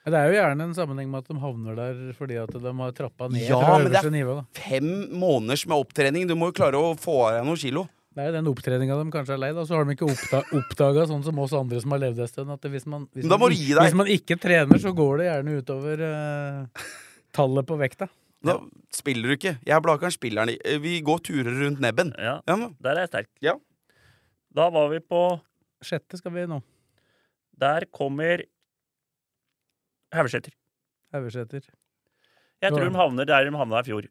S2: Men Det er jo gjerne en sammenheng med at de havner der fordi at de har trappa ned
S4: Ja,
S2: fra
S4: men det er-
S2: øverste nivå. Da.
S4: Fem måneders med opptrening. Du må jo klare å få av deg noen kilo.
S2: Det er jo den opptreninga de kanskje er lei, da. Så har de ikke oppda oppdaga, sånn som oss andre som har levd en stund, at hvis man, hvis,
S4: Men da må
S2: man,
S4: du gi deg.
S2: hvis man ikke trener, så går det gjerne utover eh, tallet på vekta.
S4: Da spiller du ikke. Jeg og Blakeren spiller den. i- Eh, Vi går turer rundt nebben.
S3: ja,
S4: Ja, men-
S3: der er jeg sterk.
S4: Ja.
S3: Da var vi på
S2: Sjette skal vi nå.
S3: Der kommer Haugesæter.
S2: Haugeseter.
S3: Jeg tror de havner der de havna i fjor.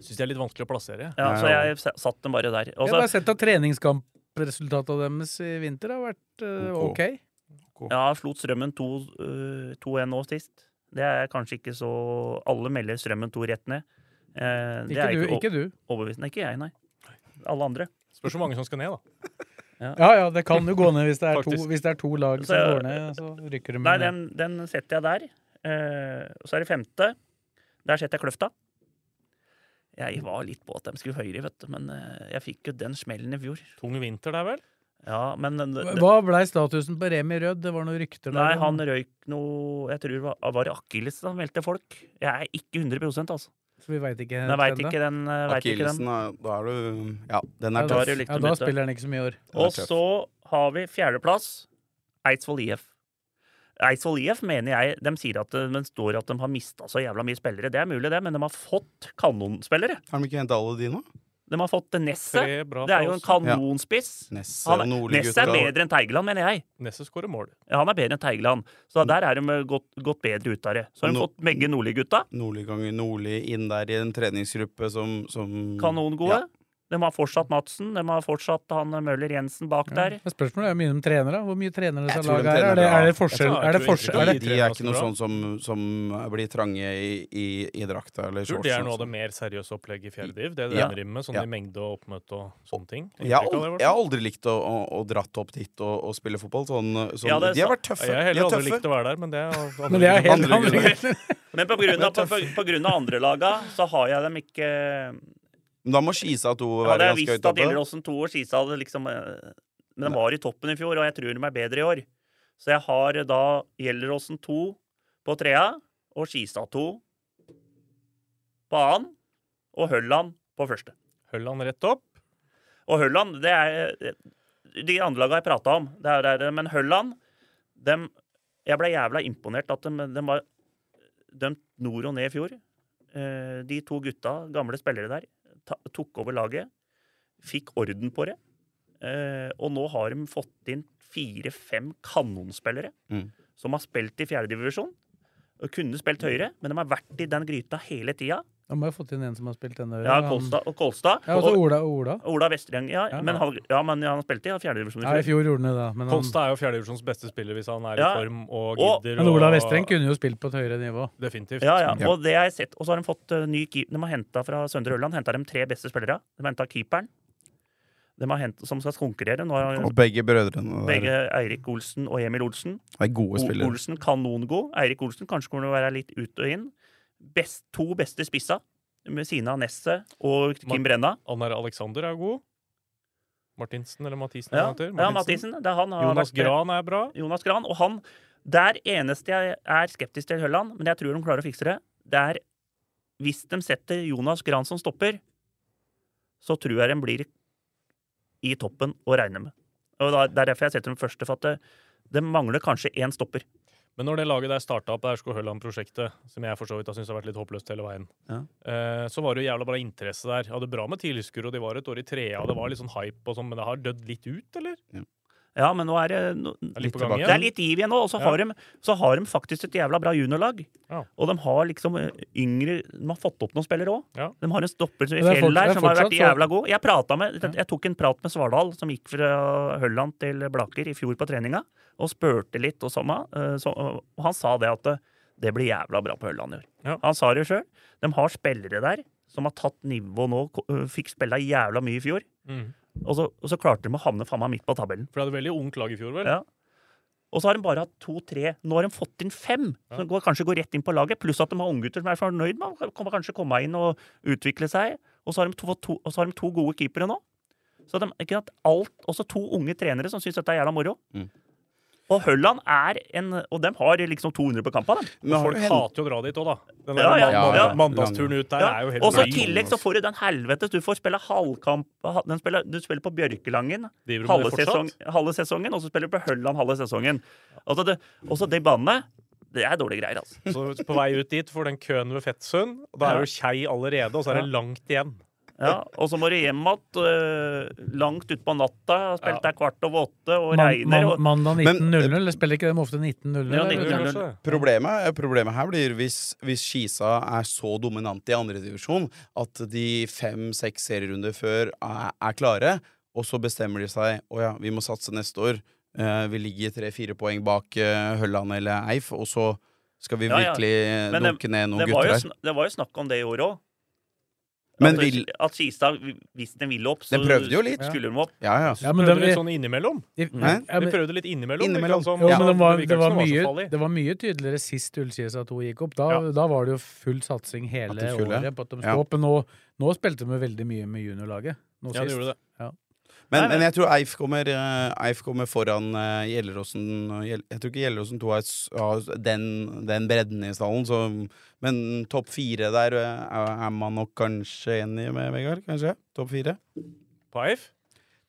S5: Syns de er litt vanskelig å plassere.
S3: Ja,
S4: Ja,
S3: så
S4: ja.
S3: jeg s- satt dem bare der. Og
S2: Jeg
S3: så-
S2: har bare sett at treningskampresultatet deres i vinter har vært eh,
S4: Ok.
S2: ok.
S3: Ja, slo strømmen to- øh, 2-1 nå sist. Det er kanskje ikke så Alle melder strømmen 2 rett ned. Eh, det
S2: Ikke
S3: er
S2: du,
S3: ikke, o-
S2: ikke du.
S3: overbevisende. Ikke jeg, nei. Alle andre.
S5: Spørs hvor mange som skal ned, da.
S2: Ja ja, det kan jo gå ned hvis det er to,
S5: Faktisk.
S2: hvis det er to lag
S3: Så
S2: som
S3: jeg-
S2: går ned, så rykker de
S3: Nei,
S2: ned.
S3: den, den setter jeg der. Eh, og så er det femte. Der setter jeg Kløfta. Jeg var litt på at de skulle høyere, vet du, men eh, jeg fikk jo den smellen i fjor.
S5: Tung vinter der, vel?
S3: Ja, men den- den-
S2: Hva blei statusen på Remi Rød? Det var noen rykter der.
S3: Nei,
S2: om-
S3: han røyk noe Jeg tror det var, var det Akilles han meldte folk. Jeg er ikke 100 altså.
S2: Så vi veit ikke.
S3: Men jeg veit
S2: enda.
S3: ikke den. eh, vet ikke den.
S4: Akillesen, er- da er du Ja, den er
S2: Ja, da,
S3: er
S4: tøff.
S3: det likt å
S2: ja, da
S3: bytte.
S2: spiller han ikke så mye i år.
S4: Den er
S3: Og
S4: tøff.
S3: så har vi fjerdeplass, Eidsvoll IF. Eidsvoll IF mener jeg De sier at de står at de har mista så jævla mye spillere. Det er mulig, det, men de har fått kanonspillere.
S4: Har de ikke henta alle de nå?
S3: De har fått Nesset.
S5: Tre bra
S3: Det er jo
S5: fra
S3: en
S5: oss.
S3: kanonspiss.
S4: Nesse
S3: Han
S4: og
S3: er- Nesset
S4: Nordli-gutta.
S3: er bedre enn Teigeland, mener jeg.
S5: Nesse skårer mål.
S3: Ja, han er bedre enn Teigeland. Så der er de gått, gått bedre ut av det. Så har de
S4: Nå-
S3: fått begge Nordli-gutta.
S4: Nordli ganger Nordli inn der i en treningsgruppe som,
S3: Mm.
S4: som
S3: Kanongode. De har fortsatt Madsen. De har fortsatt han Møller Jensen bak der.
S2: Men spørsmålet er jo mye om trenere. da. Hvor mye trenere
S4: Jeg
S2: disse
S4: tror de
S2: lagene er. Er det, er
S4: trener
S2: det
S4: bra.
S2: forskjell?
S5: Jeg tror-
S2: Er det
S5: jeg tror
S2: forskjell?
S5: ikke
S2: Er
S4: Ja,
S2: det,
S5: de-
S4: de er ikke noe
S5: trener
S4: sånn som, som blir trange i, i, i drakta eller
S5: Tror det er
S4: shortsen. og
S5: noe av
S3: altså.
S5: det
S4: sånn.
S5: mer seriøse opplegget i fjerde div. Det
S4: Ja.
S5: dere driver med, sånn
S4: Ja.
S5: i mengde og oppmøte og sånne ting.
S4: Jeg har,
S5: Inntrykk av det,
S4: aldri,
S5: i hvert
S4: jeg har
S5: fall.
S4: aldri likt å, å, å dratt opp dit og, og spille fotball. Sånn, sånn,
S3: Ja, det er
S4: de har
S3: sant.
S4: vært tøffe.
S5: Jeg har
S4: de
S5: heller
S4: er
S5: aldri
S4: tøffe.
S5: likt å være der, men det er av
S2: men det er
S5: andre
S2: helt
S4: Andre
S2: andre
S4: grunner.
S2: grunner.
S3: Men på grunn av, på, på, på grunn av andrelaga så har jeg dem ikke
S4: Men da må Skisa 2
S3: Hadde jeg
S4: være ganske
S3: visst
S4: høyt
S3: at
S4: oppe.
S3: Gjelleråsen 2 og Skisa hadde liksom eh, Men de var i toppen i fjor, og jeg tror de er bedre i år. Så jeg har da Gjelleråsen 2 på trea og Skisa 2 på annen og Hølland på første.
S5: Hølland rett opp.
S3: Og Hølland, det er eh, De andre laga jeg prata om, det er, det er- men Hølland dem, Jeg ble jævla imponert at de, de var dømt nord og ned i fjor. Eh, De to gutta, gamle spillere der, ta, tok over laget. Fikk orden på det. Eh, Og nå har de fått inn fire-fem kanonspillere
S4: Mm.
S3: som har spilt i fjerdedivisjon. Og kunne spilt høyere, men de har vært i den gryta hele tida.
S2: Da må jeg ha fått inn en som har spilt denne.
S3: Ja,
S2: han-
S3: Kolstad. Og Kolstad.
S2: Ja, også
S3: og
S2: Ola. Ola.
S3: Ola Vestreng. Ja,
S2: Ja.
S3: Men, han, ja, men han spilte i fjerdedivisjon
S2: Ja, I fjor gjorde han det, da. Men, han,
S5: Kolstad er jo fjerdedivisjons beste spiller hvis han er
S3: Ja.
S5: i form og
S3: Og-
S5: gidder.
S2: men Ola
S5: og-
S2: Vestreng kunne jo spilt på et høyere nivå.
S5: Definitivt.
S3: Ja, ja. Og det har jeg sett. Og så har de fått eh, ny keeper. De har henta fra Søndre Ørland hentet de tre beste spillere. De har henta keeperen, de har hentet, som skal konkurrere. Nå har
S4: Og begge brødrene der
S3: begge Eirik Olsen og Emil Olsen.
S4: er gode
S3: O-
S4: spillere.
S3: Olsen kanongod. Eirik Olsen kanskje kommer til å være litt ut og inn. Best, to beste spissa. Med Sina Nesset og Kim
S5: Mar-
S3: Brenna.
S5: Annar Alexander er god. Martinsen eller Mathisen.
S3: Ja,
S5: eller hva han heter.
S3: ja Mathisen. Det er han. han har
S5: Jonas
S3: vært- eh,
S5: Gran er bra.
S3: Jonas Gran. Og han Der eneste jeg er skeptisk til Hølland, men jeg tror de klarer å fikse det, det er hvis de setter Jonas Gran som stopper, så tror jeg de blir i toppen å regne med. Og da- Det er derfor jeg setter dem første, for at det, det mangler kanskje én stopper.
S5: Men når det laget der starta opp Aurskog Høland-prosjektet, som jeg for så vidt har syntes har vært litt håpløst hele veien,
S3: Ja.
S5: eh, så var det jo jævla bra interesse der. Hadde bra med tilskuere, og de var et år i trea, og det var litt sånn hype og sånn, men det har dødd litt ut, eller?
S3: Ja, men nå er det no,
S5: Det er litt på gang
S4: tilbake.
S3: Det er
S5: igjen.
S3: litt giv igjen nå, og så,
S5: Ja.
S3: har de, så har de faktisk et jævla bra juniorlag.
S5: Ja.
S3: Og de har liksom eh, yngre De har fått opp noen spillere òg.
S5: Ja.
S3: De har en stopper i
S2: Men det er
S3: fjell
S2: fortsatt-
S3: der
S2: det er
S3: som har vært
S2: fortsatt så-
S3: jævla god. Jeg, pratet med, jeg tok en prat med Svardal, som gikk fra Hølland til Blaker i fjor på treninga, og spurte litt og sånn. eh, så- Og han sa det at eh, det blir jævla bra på Hølland i år.
S5: Ja.
S3: Han sa det sjøl. De har spillere der som har tatt nivå nå, ko- eh, fikk spilla jævla mye i fjor.
S5: Mm.
S3: Og så, og så klarte de å havne faen meg midt på tabellen.
S5: For de hadde veldig ungt lag i fjor, vel?
S3: Ja. Og så har de bare hatt to-tre. Nå har de fått inn fem! Som går, kanskje går rett inn på laget. Pluss at de har unggutter som er fornøyd med å komme- kanskje komme inn og utvikle seg. Og så har de to, fått to, og så har de to gode keepere nå. Så de, ikke sant, alt, Også to unge trenere som syns dette er jævla moro. Og Hølland er en Og dem har liksom 200 på kampen, dem.
S4: Men har
S5: Folk
S4: du hen-
S5: hater jo å dra dit òg, da. Den
S3: Ja,
S5: der
S3: ja,
S5: mand-
S3: ja.
S5: mandagsturen ut der
S3: Ja,
S5: er jo helt altså.
S3: Og så i
S5: løgn.
S3: tillegg så får du den helvetes Du får spille halvkamp ha- den spiller, Du spiller på Bjørkelangen
S5: Driver du med
S3: halve,
S5: det
S3: sesong,
S5: fortsatt?
S3: halve sesongen, og så spiller du på Hølland halve sesongen. Altså det, også de banene. Det er dårlige greier, altså.
S5: Så på vei ut dit får den køen ved Fettsund, og da er jo Kjei allerede, og så er det langt igjen.
S3: Ja, og så må du hjem igjen øh, langt utpå natta. har Spilt der kvart over åtte og
S2: Man,
S3: regner.
S2: man,
S3: Og,
S2: mandag
S4: Men-
S2: 19.00, eller spiller ikke de ofte 19.00?
S3: Ja,
S2: eller?
S3: 19.00.
S4: Problemet, problemet her blir hvis, hvis Skisa er så dominant i andredivisjon at de fem-seks serierunder før er, er klare, og så bestemmer de seg Å ja, vi må satse neste år. Eh, vi ligger tre-fire poeng bak eh, Hølland eller Eif, og så skal vi
S3: Ja, ja.
S4: virkelig
S3: Men det-
S4: dunke ned noen
S3: det, var
S4: gutter
S3: jo,
S4: her.
S3: sn- det var jo snakk om det i år òg.
S4: Men
S3: At,
S4: vil
S3: at Skistad, hvis den ville opp, så
S4: Den prøvde jo litt.
S3: skulle den opp.
S4: Ja, ja.
S2: Ja,
S5: Men
S2: men
S5: prøvde
S2: de,
S5: litt sånn innimellom.
S2: de,
S4: Hæ?
S2: ja,
S5: Vi
S2: men,
S5: prøvde litt innimellom.
S4: Innimellom.
S5: virket det som.
S2: jo,
S4: Ja.
S2: men det var,
S5: virket
S2: det, var
S5: ikke som så
S2: mye,
S5: farlig.
S2: det var mye tydeligere sist Ullkisa 2 gikk opp. Da,
S5: Ja.
S2: da var det jo full satsing hele
S4: At de skulle.
S2: året på at de
S4: Ja.
S2: skulle opp. Men nå, nå spilte de jo veldig mye med juniorlaget. Nå
S5: Ja, det
S2: sist.
S5: gjorde det.
S4: Men,
S3: Nei, nei.
S4: men jeg tror Eif kommer, eh, Eif kommer foran eh, Gjelleråsen og Gjell- Jeg tror ikke Gjelleråsen 2 har s- har s- den, den bredden i stallen, så Men topp fire der eh, er, er man nok kanskje enig med, Vegard? Kanskje? Topp fire?
S5: På Eif?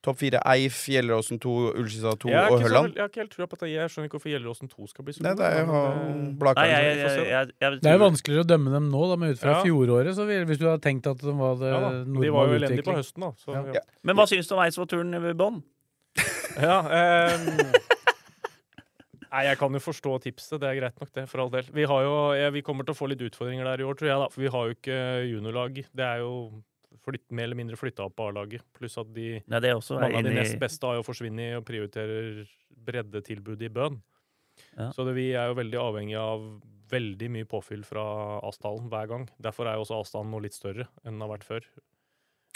S4: Topp fire Eif, Gjelleråsen 2, Ullskisa 2
S5: Jeg, er
S4: og
S5: ikke så vel-
S4: Hølland.
S5: jeg har ikke helt trua på at jeg skjønner ikke hvorfor Gjelleråsen 2 skal bli så
S4: Nei, det er jo
S5: men eh, det-
S3: Nei,
S4: Blakeren.
S3: jeg, jeg,
S5: vi får se.
S3: jeg, jeg, jeg,
S2: Det er jo vanskeligere å dømme dem nå, da, men ut fra
S5: Ja.
S2: fjoråret, så vil, hvis du hadde tenkt at de var det
S5: ja, da. De var jo
S2: normal
S5: elendige på
S2: utvikling.
S5: høsten, da. Så,
S2: Ja.
S5: ja.
S3: Men hva syns du om Eidsvoll-turen, Bånn?
S5: Ja, ehm, Nei, jeg kan jo forstå tipset. Det er greit nok, det. For all del. Vi, har jo, ja, vi kommer til å få litt utfordringer der i år, tror jeg. da, For vi har jo ikke juniorlag. Det er jo flytt, mer eller mindre flytta opp på A-laget. Pluss at de
S3: Nei, det er også
S5: mange av de
S3: enig i-
S5: nest beste har jo forsvunnet og prioriterer breddetilbudet i Bøn.
S3: Ja.
S5: Så det, vi er jo veldig avhengig av veldig mye påfyll fra Asdalen hver gang. Derfor er jo også avstanden nå litt større enn den har vært før.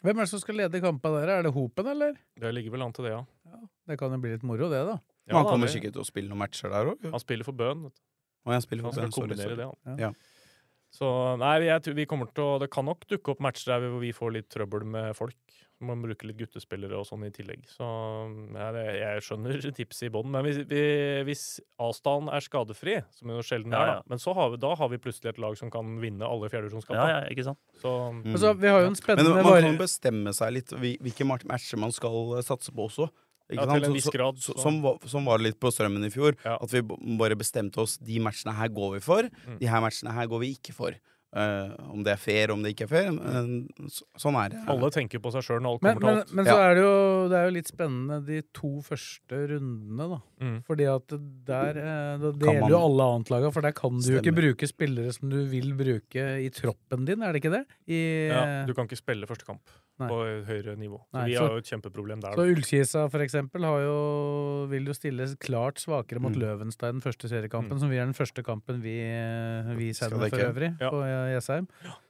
S2: Hvem er det som skal lede kampen der? Er det Hopen, eller?
S5: Det ligger vel an til det, ja.
S2: Det kan jo bli litt moro, det, da.
S5: ja
S4: han
S5: da,
S4: kommer
S5: det-
S4: sikkert til å spille noen matcher der òg.
S5: Han spiller for Bøn. vet du.
S4: Han spiller
S5: Han
S4: for
S5: skal
S4: Bøen, sorry,
S5: kombinere
S4: sorry.
S5: det. Han.
S4: Ja.
S5: Så nei, jeg tror vi kommer til å Det kan nok dukke opp matcher der hvor vi får litt trøbbel med folk. Man bruker litt guttespillere og sånn i tillegg. Så ja, det, jeg skjønner tipset i bånn. Men hvis, vi, hvis avstanden er skadefri, som jo sjelden
S3: Ja,
S5: er,
S3: ja.
S5: da, men så har vi, da har vi plutselig et lag som kan vinne alle
S3: Ja,
S5: fjerdedivisjonskamper.
S3: ja, ikke sant?
S5: Så
S4: Mm.
S2: Altså, vi har jo en
S4: Men
S2: spennende
S4: man
S2: var-
S4: kan bestemme seg litt hvil- hvilke mat- matcher man skal eh, satse på også. Ikke
S5: Ja,
S4: sant?
S5: til en
S4: Så-
S5: viss
S4: så-
S5: grad,
S4: så-
S5: så-
S4: Som, var- som var litt på strømmen i fjor.
S5: Ja. Mm.
S4: At vi b- bare bestemte oss de matchene her går vi for, de her matchene her går vi ikke for. eh, om det er fair, om det ikke er fair. men, eh, så- sånn er det.
S5: Alle tenker på seg sjøl når alt
S2: Men,
S5: kommer til
S2: men,
S5: alt.
S2: men så er det, jo, det er jo litt spennende de to første rundene, da.
S5: Mm.
S2: Fordi at der eh, Da
S4: man-
S2: deler jo alle annetlaga, for der kan du jo ikke
S4: Stemmer.
S2: bruke spillere som du vil bruke i troppen din, er det ikke det? I,
S5: Ja, du kan ikke spille første kamp
S2: eh, Nei.
S5: på høyere nivå. Så
S2: Nei,
S5: vi
S2: så-
S5: har jo et kjempeproblem der.
S2: Så
S5: da.
S2: Ullkisa for eksempel har jo, vil jo stille klart svakere mot
S4: Mm.
S2: Løvenstein den første seriekampen,
S5: Mm.
S2: som vi er den første kampen vi, eh, vi
S4: Skal
S2: sender for
S4: dekke.
S2: øvrig
S5: Ja.
S2: på eh, Jessheim.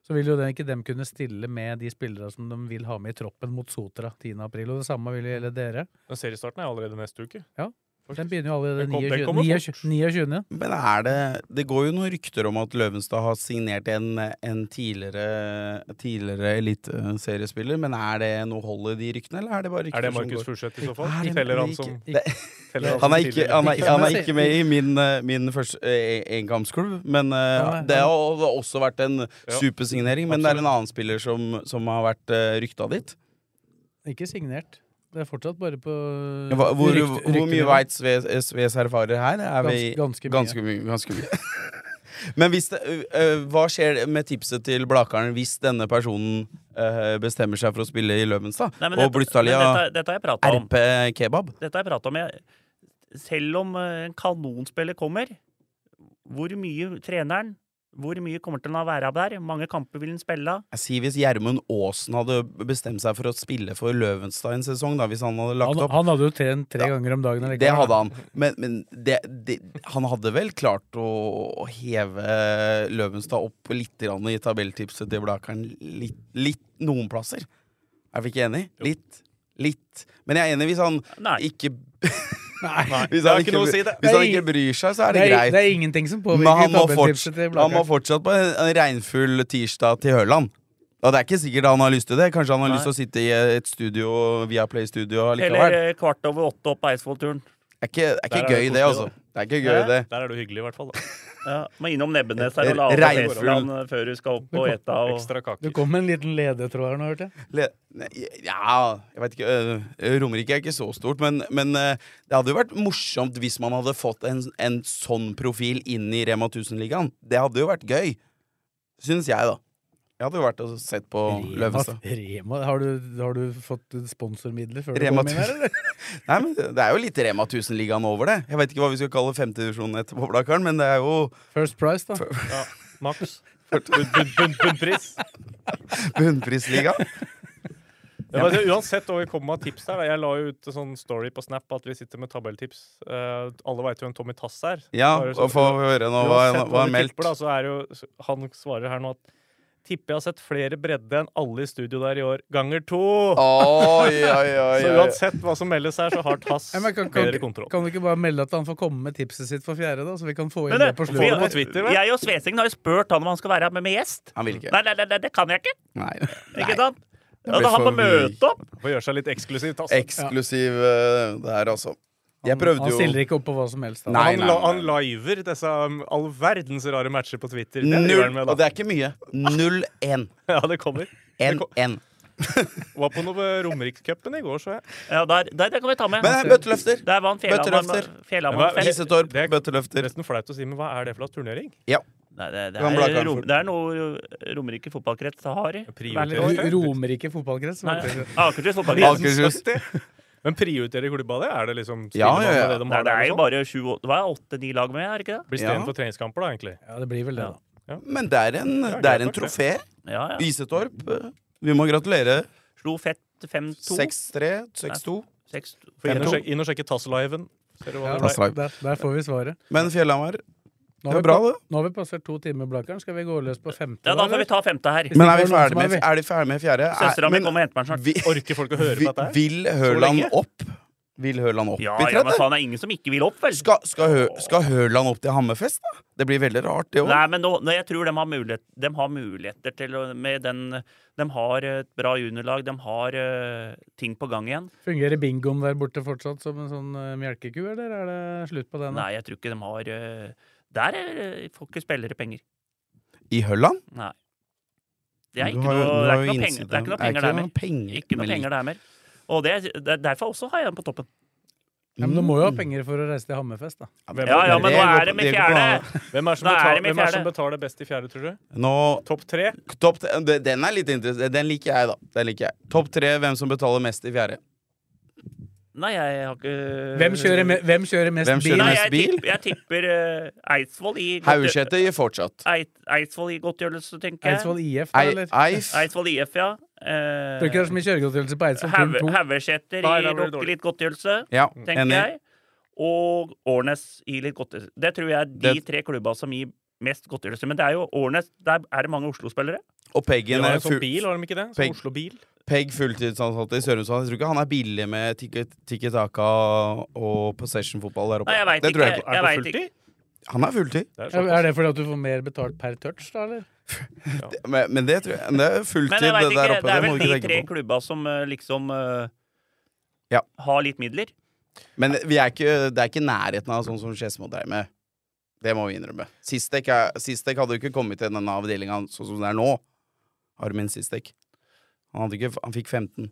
S2: Så vil jo det, ikke dem kunne stille med de spillere som de vil ha med i troppen mot Sotra 10. april. Og det samme vil jo gjelde dere.
S5: Men seriestarten er allerede neste uke.
S2: Ja,
S5: Faktisk.
S2: Den begynner jo allerede
S5: Den kom- den kommer
S2: 29. 29. 29.
S4: Men er det Det går jo noen rykter om at Løvenstad har signert en, en tidligere, tidligere eliteseriespiller, men er det noe hold i de ryktene, eller er det bare rykter
S5: Er det
S4: som
S5: Markus
S4: går?
S5: Furuseth i så fall?
S2: Ah,
S4: Er det-
S5: Teller han
S4: ikke-
S5: som
S4: det-
S5: teller han
S4: Han
S5: som
S4: er ikke,
S5: tidligere?
S4: han er,
S2: Ikke som
S4: han er
S2: jeg
S4: ikke med i min, eh, min første eh, engangsklubb, men eh,
S2: Nei,
S4: det har jo også vært en supersignering. Men det er en
S5: absolutt.
S4: annen spiller som, som har vært eh, rykta dit.
S2: Ikke signert. Det er fortsatt bare på Mm.
S4: Hva, hvor,
S2: rykte-
S4: hvor mye
S2: ryktenivå.
S4: veit Sves, Sves erfarer her? Er vi,
S2: Gans- ganske mye.
S4: ganske mye. Ganske mye. Men hvis det, ø, ø, hva skjer med tipset til Blakeren hvis denne personen ø, bestemmer seg for å spille i Løvenstad?
S3: Nei, men dette-
S4: og
S3: men
S4: Blutzalia
S3: Dette, dette har jeg prata om.
S4: RP Kebab?
S3: Dette har jeg pratet om. Jeg, selv om eh, en kanonspiller kommer, hvor mye treneren hvor mye kommer til han å være der? Mange kamper vil han spille?
S4: Jeg sier Hvis Gjermund Aasen hadde bestemt seg for å spille for Løvenstad en sesong, da, hvis han hadde lagt
S2: Han,
S4: opp
S2: han hadde jo trent tre ganger om dagen.
S4: Det
S2: allikevel.
S4: hadde han. Men, men det, det, han hadde vel klart å å heve Løvenstad opp litt grann i tabelltipset til Blakeren. Litt, litt noen plasser. Er vi ikke enig? Litt. Litt. Men jeg er enig hvis han
S3: Nei.
S4: ikke
S2: Nei.
S4: Hvis
S5: det er
S4: han
S5: ikke
S4: ikke,
S5: noe å
S4: bry-
S5: si, det.
S4: hvis han
S2: Det er
S4: ikke bryr seg, så er
S2: Det
S4: det,
S2: er,
S4: greit.
S2: det er ingenting som
S4: Men han
S2: påvirker
S4: må,
S2: tabelltipset
S4: forts-
S2: til
S4: han må
S2: Blakeren.
S4: fortsatt på en, en regnfull tirsdag til Høland. Og det er ikke sikkert han har lyst til det. Kanskje han har
S3: Nei.
S4: lyst til å sitte i et studio, Viaplay-studio
S3: Eller
S4: likevel.
S3: eh, kvart over åtte opp på Eidsvoll-turen.
S4: Det er ikke, det er ikke
S5: Der er det
S4: gøy, det,
S5: koselig,
S4: altså. Det er ikke gøy,
S3: Hæ?
S4: det.
S5: Der er du hyggelig, i hvert fall. Da.
S3: Ja, må innom Nebbenes her og la av
S4: Regnfull.
S3: Esland før du skal opp og ete. Og...
S5: Ekstra
S2: Du
S5: kaker.
S2: kom med en liten ledetråd her nå, hørte jeg.
S4: Le Nei, ja, jeg veit ikke. øh, Romerike er ikke så stort, men, men øh, det hadde jo vært morsomt hvis man hadde fått en, en sånn profil inn i Rema 1000-ligaen. Det hadde jo vært gøy. Syns jeg, da. Jeg hadde jo vært og sett på Løvenstad.
S2: Rema, har, du, har du fått sponsormidler før du
S4: Rema
S2: kom inn her, eller?
S4: Nei, men Det er jo litt Rema 1000-ligaen over det. Jeg veit ikke hva vi skal kalle femtedivisjonen etterpå, Blakkaren, men det er jo
S2: First Price, da.
S5: Ja, Max. Bunn- bunn- bunn- Bunnpris.
S4: bunnprisliga.
S5: Ja, men uansett hva vi kommer med av tips her, da. jeg la jo ut en sånn story på Snap at vi sitter med tabelltips. Eh, alle veit jo hvem Tommy Tass er.
S4: Ja,
S5: Bare
S4: og
S5: sånn-
S4: få høre nå hva
S5: Uansett
S4: hva han
S5: du
S4: meldt.
S5: tipper, da, så er det jo, han svarer her nå at tipper jeg har sett flere bredde enn alle i studio der i år, ganger to!
S4: Oi, oi, oi.
S5: Så
S4: oi.
S5: uansett hva som meldes her, så har Tass
S2: Nei, men kan, kan,
S5: bedre kontroll.
S2: kan du ikke bare melde at han får komme med tipset sitt for fjerde, da? Så vi kan få inn
S3: Men
S2: det
S3: det-
S2: på
S5: Få det
S2: slutten?
S5: på
S2: her?
S5: Twitter, vel?
S3: Jeg og Svesingen har jo spurt han om han skal være med med gjest.
S4: Han vil ikke.
S3: Nei, nei, nei, nei, det kan jeg ikke.
S4: Nei.
S3: Ikke sant?
S4: blir
S3: Ja, da han
S4: for
S3: må møte opp.
S5: Får gjøre seg litt eksklusiv, Tass.
S4: Eksklusiv øh, det her, altså. Jeg prøvde
S2: Han
S4: jo
S2: stiller ikke opp på hva som helst. Da.
S4: Nei.
S5: han, la, han liver disse um, all verdens rare matcher på Twitter. Det driver
S4: Null,
S5: han med,
S4: og
S5: da.
S4: det er ikke mye. 0-1.
S5: Ja, det kommer.
S4: 1-1.
S5: Var på noe Romerikscupen i går, så jeg.
S3: Ja, der, der, der kan vi ta med.
S4: Men det er bøtteløfter.
S3: Der vant Fjellhamar.
S4: Bøtterøfter.
S3: Fjellhamar
S5: Ja, hva-
S3: fest.
S4: Hissetorp,
S5: Det er-
S4: bøtteløfter.
S5: Nesten flaut å si, men hva er det for slags turnering?
S3: Nei, det, det,
S4: Det kan bli
S3: er, rom,
S4: Karlsruhe.
S3: det er noe Romerike fotballkrets har.
S2: Nei,
S5: Prioriterer
S2: eller
S5: dere?
S2: Romerike fotballkrets.
S3: Nei,
S2: var det ikke?
S3: Akershus fotballkrets.
S4: Akershus.
S5: Men prioriterer klubba det? Er det liksom stiller
S4: Ja, ja,
S5: man med
S4: ja.
S5: Det, de
S3: Nei,
S5: har
S3: det
S5: der
S3: er
S5: og
S3: jo
S5: sånn?
S3: bare 20, hva er åtte-ni lag med, er det ikke det?
S5: Blir stedet
S4: Ja.
S5: for treningskamper, da, egentlig.
S2: Ja, det blir vel det, da.
S4: Men det er en,
S5: Ja,
S4: det er
S5: greit
S4: en
S5: nok, det.
S4: trofé.
S3: Ja, ja.
S4: Isetorp. Vi må gratulere.
S3: Slo fett 5-2.
S4: 6-3, 6-2.
S3: Seks-
S5: For inn, og
S4: Fem-to.
S5: sjek, inn og sjekke Tassliven. Ser du hva
S2: Ja,
S5: det ble?
S4: Passlag.
S2: der, der får vi svaret.
S4: Men Fjellhamar
S2: Nå
S4: Det
S2: har,
S4: er
S2: vi,
S4: bra,
S2: pa-
S4: det.
S2: nå har vi passert to timer, Blakkaren. Skal vi gå løs på femte?
S3: Ja, da får
S2: eller?
S3: vi ta femte her.
S4: Men er
S2: det var noen
S4: vi ferdig
S2: som er
S4: med,
S2: ve-
S4: er de ferdig med fjerde?
S3: Søstera mi
S4: men-
S3: kommer og henter meg snart.
S4: vi,
S5: Orker folk å høre
S4: vi,
S5: på dette her?
S4: Vil Høland
S5: lenge?
S4: opp? Vil Høland opp
S3: Ja,
S4: i
S3: ja, men
S4: tredje?
S3: faen, det er ingen som ikke vil opp, vel?
S4: Skal, skal, Hø, skal Høland opp til Hammerfest, da? Det blir veldig rart, det òg.
S3: Nei, men nå, nå, jeg tror de har, mulighet, de har muligheter til å med den, De har et bra juniorlag, de har eh, ting på gang igjen.
S2: Fungerer bingoen der borte fortsatt som en sånn eh, melkeku, eller er det slutt på den? da?
S3: Nei, jeg tror ikke de har eh, Der er, eh, får ikke spillere penger.
S4: I Høland?
S3: Nei. Det er
S4: Du
S3: ikke
S4: har jo-
S3: noe
S4: du
S3: det er
S4: har jo
S3: ikke noe penger-
S4: innsiden.
S3: det er ikke noe penger der mer.
S4: penger
S3: Ikke noe
S4: med
S3: penger der mer. Og det, er- det er derfor også har jeg den på toppen.
S2: Ja,
S4: Mm.
S2: men du må jo ha penger for å reise til Hammerfest, da.
S5: Hvem,
S3: Ja, ja, men nå
S4: går-
S3: er det med
S4: det går på
S3: fjerde!
S5: hvem er det som
S3: Nå er
S5: betaler,
S3: det med
S5: hvem er det som
S3: fjerde.
S5: betaler best i fjerde, tror du?
S4: Nå,
S5: Topp tre?
S4: topp, t- den- den er litt interessant. Den liker jeg, da. Den liker jeg. Topp tre hvem som betaler mest i fjerde.
S3: Nei, jeg har ikke
S2: Hvem kjører, me hvem kjører mest
S4: Hvem kjører
S2: bil?
S3: Nei,
S4: mest
S3: jeg
S4: bil?
S3: tipper, jeg tipper eh, Eidsvoll i
S4: Haugsete gir fortsatt.
S3: Eit, Eidsvoll i godtgjørelse, tenker jeg.
S2: Eidsvoll IF, da,
S4: Ei-
S2: eller?
S4: Eif.
S3: Eidsvoll IF, ja.
S2: Tror ikke det er
S3: Eh,
S2: så mye kjøregodtgjørelse på Eidsvoll
S3: Hauge-
S2: Turn 2.
S3: Haugeseter
S5: Nei,
S3: i
S5: da blir det
S3: rock-
S5: dårlig.
S3: litt godtgjørelse,
S4: Ja,
S3: tenker
S4: enig.
S3: jeg. Og Årnes i litt godtgjørelse. Det tror jeg er de
S4: Det-
S3: tre klubba som gir mest godtgjørelse. Men det er jo Årnes Der er det mange Oslo-spillere.
S4: Og
S5: De
S4: Peggen
S5: har
S4: er
S5: en sånn
S4: fu-
S5: bil, har de ikke det?
S4: Peg-
S5: Sånn Oslo Bil.
S4: Pegg fulltidsansatt i Sørumsand. Jeg tror ikke han er billig med tikki-taka og possession-fotball der oppe.
S3: Nei, jeg veit
S4: det tror
S3: ikke.
S4: jeg ikke.
S5: Er det på
S3: vet
S5: fulltid?
S4: Han er fulltid.
S5: Det er sånn.
S2: Ja,
S5: såpass.
S2: Er det fordi at du får mer betalt per touch, da, eller?
S4: Men, men det tror jeg men Det er fulltid,
S3: Men jeg vet
S4: det der
S3: ikke,
S4: oppe.
S3: det er
S4: Det må
S3: vel
S4: du
S3: de
S4: ikke
S3: tre
S4: tenke på.
S3: klubba som eh, liksom eh,
S4: Ja.
S3: har litt midler.
S4: Men vi er ikke, det er ikke i nærheten av sånn som Skedsmo dreier med. Det må vi innrømme. Sistek, er, Sistek hadde jo ikke kommet til denne avdelinga sånn som det er nå. Armin Sistek. Han, hadde ikke, han fikk 15.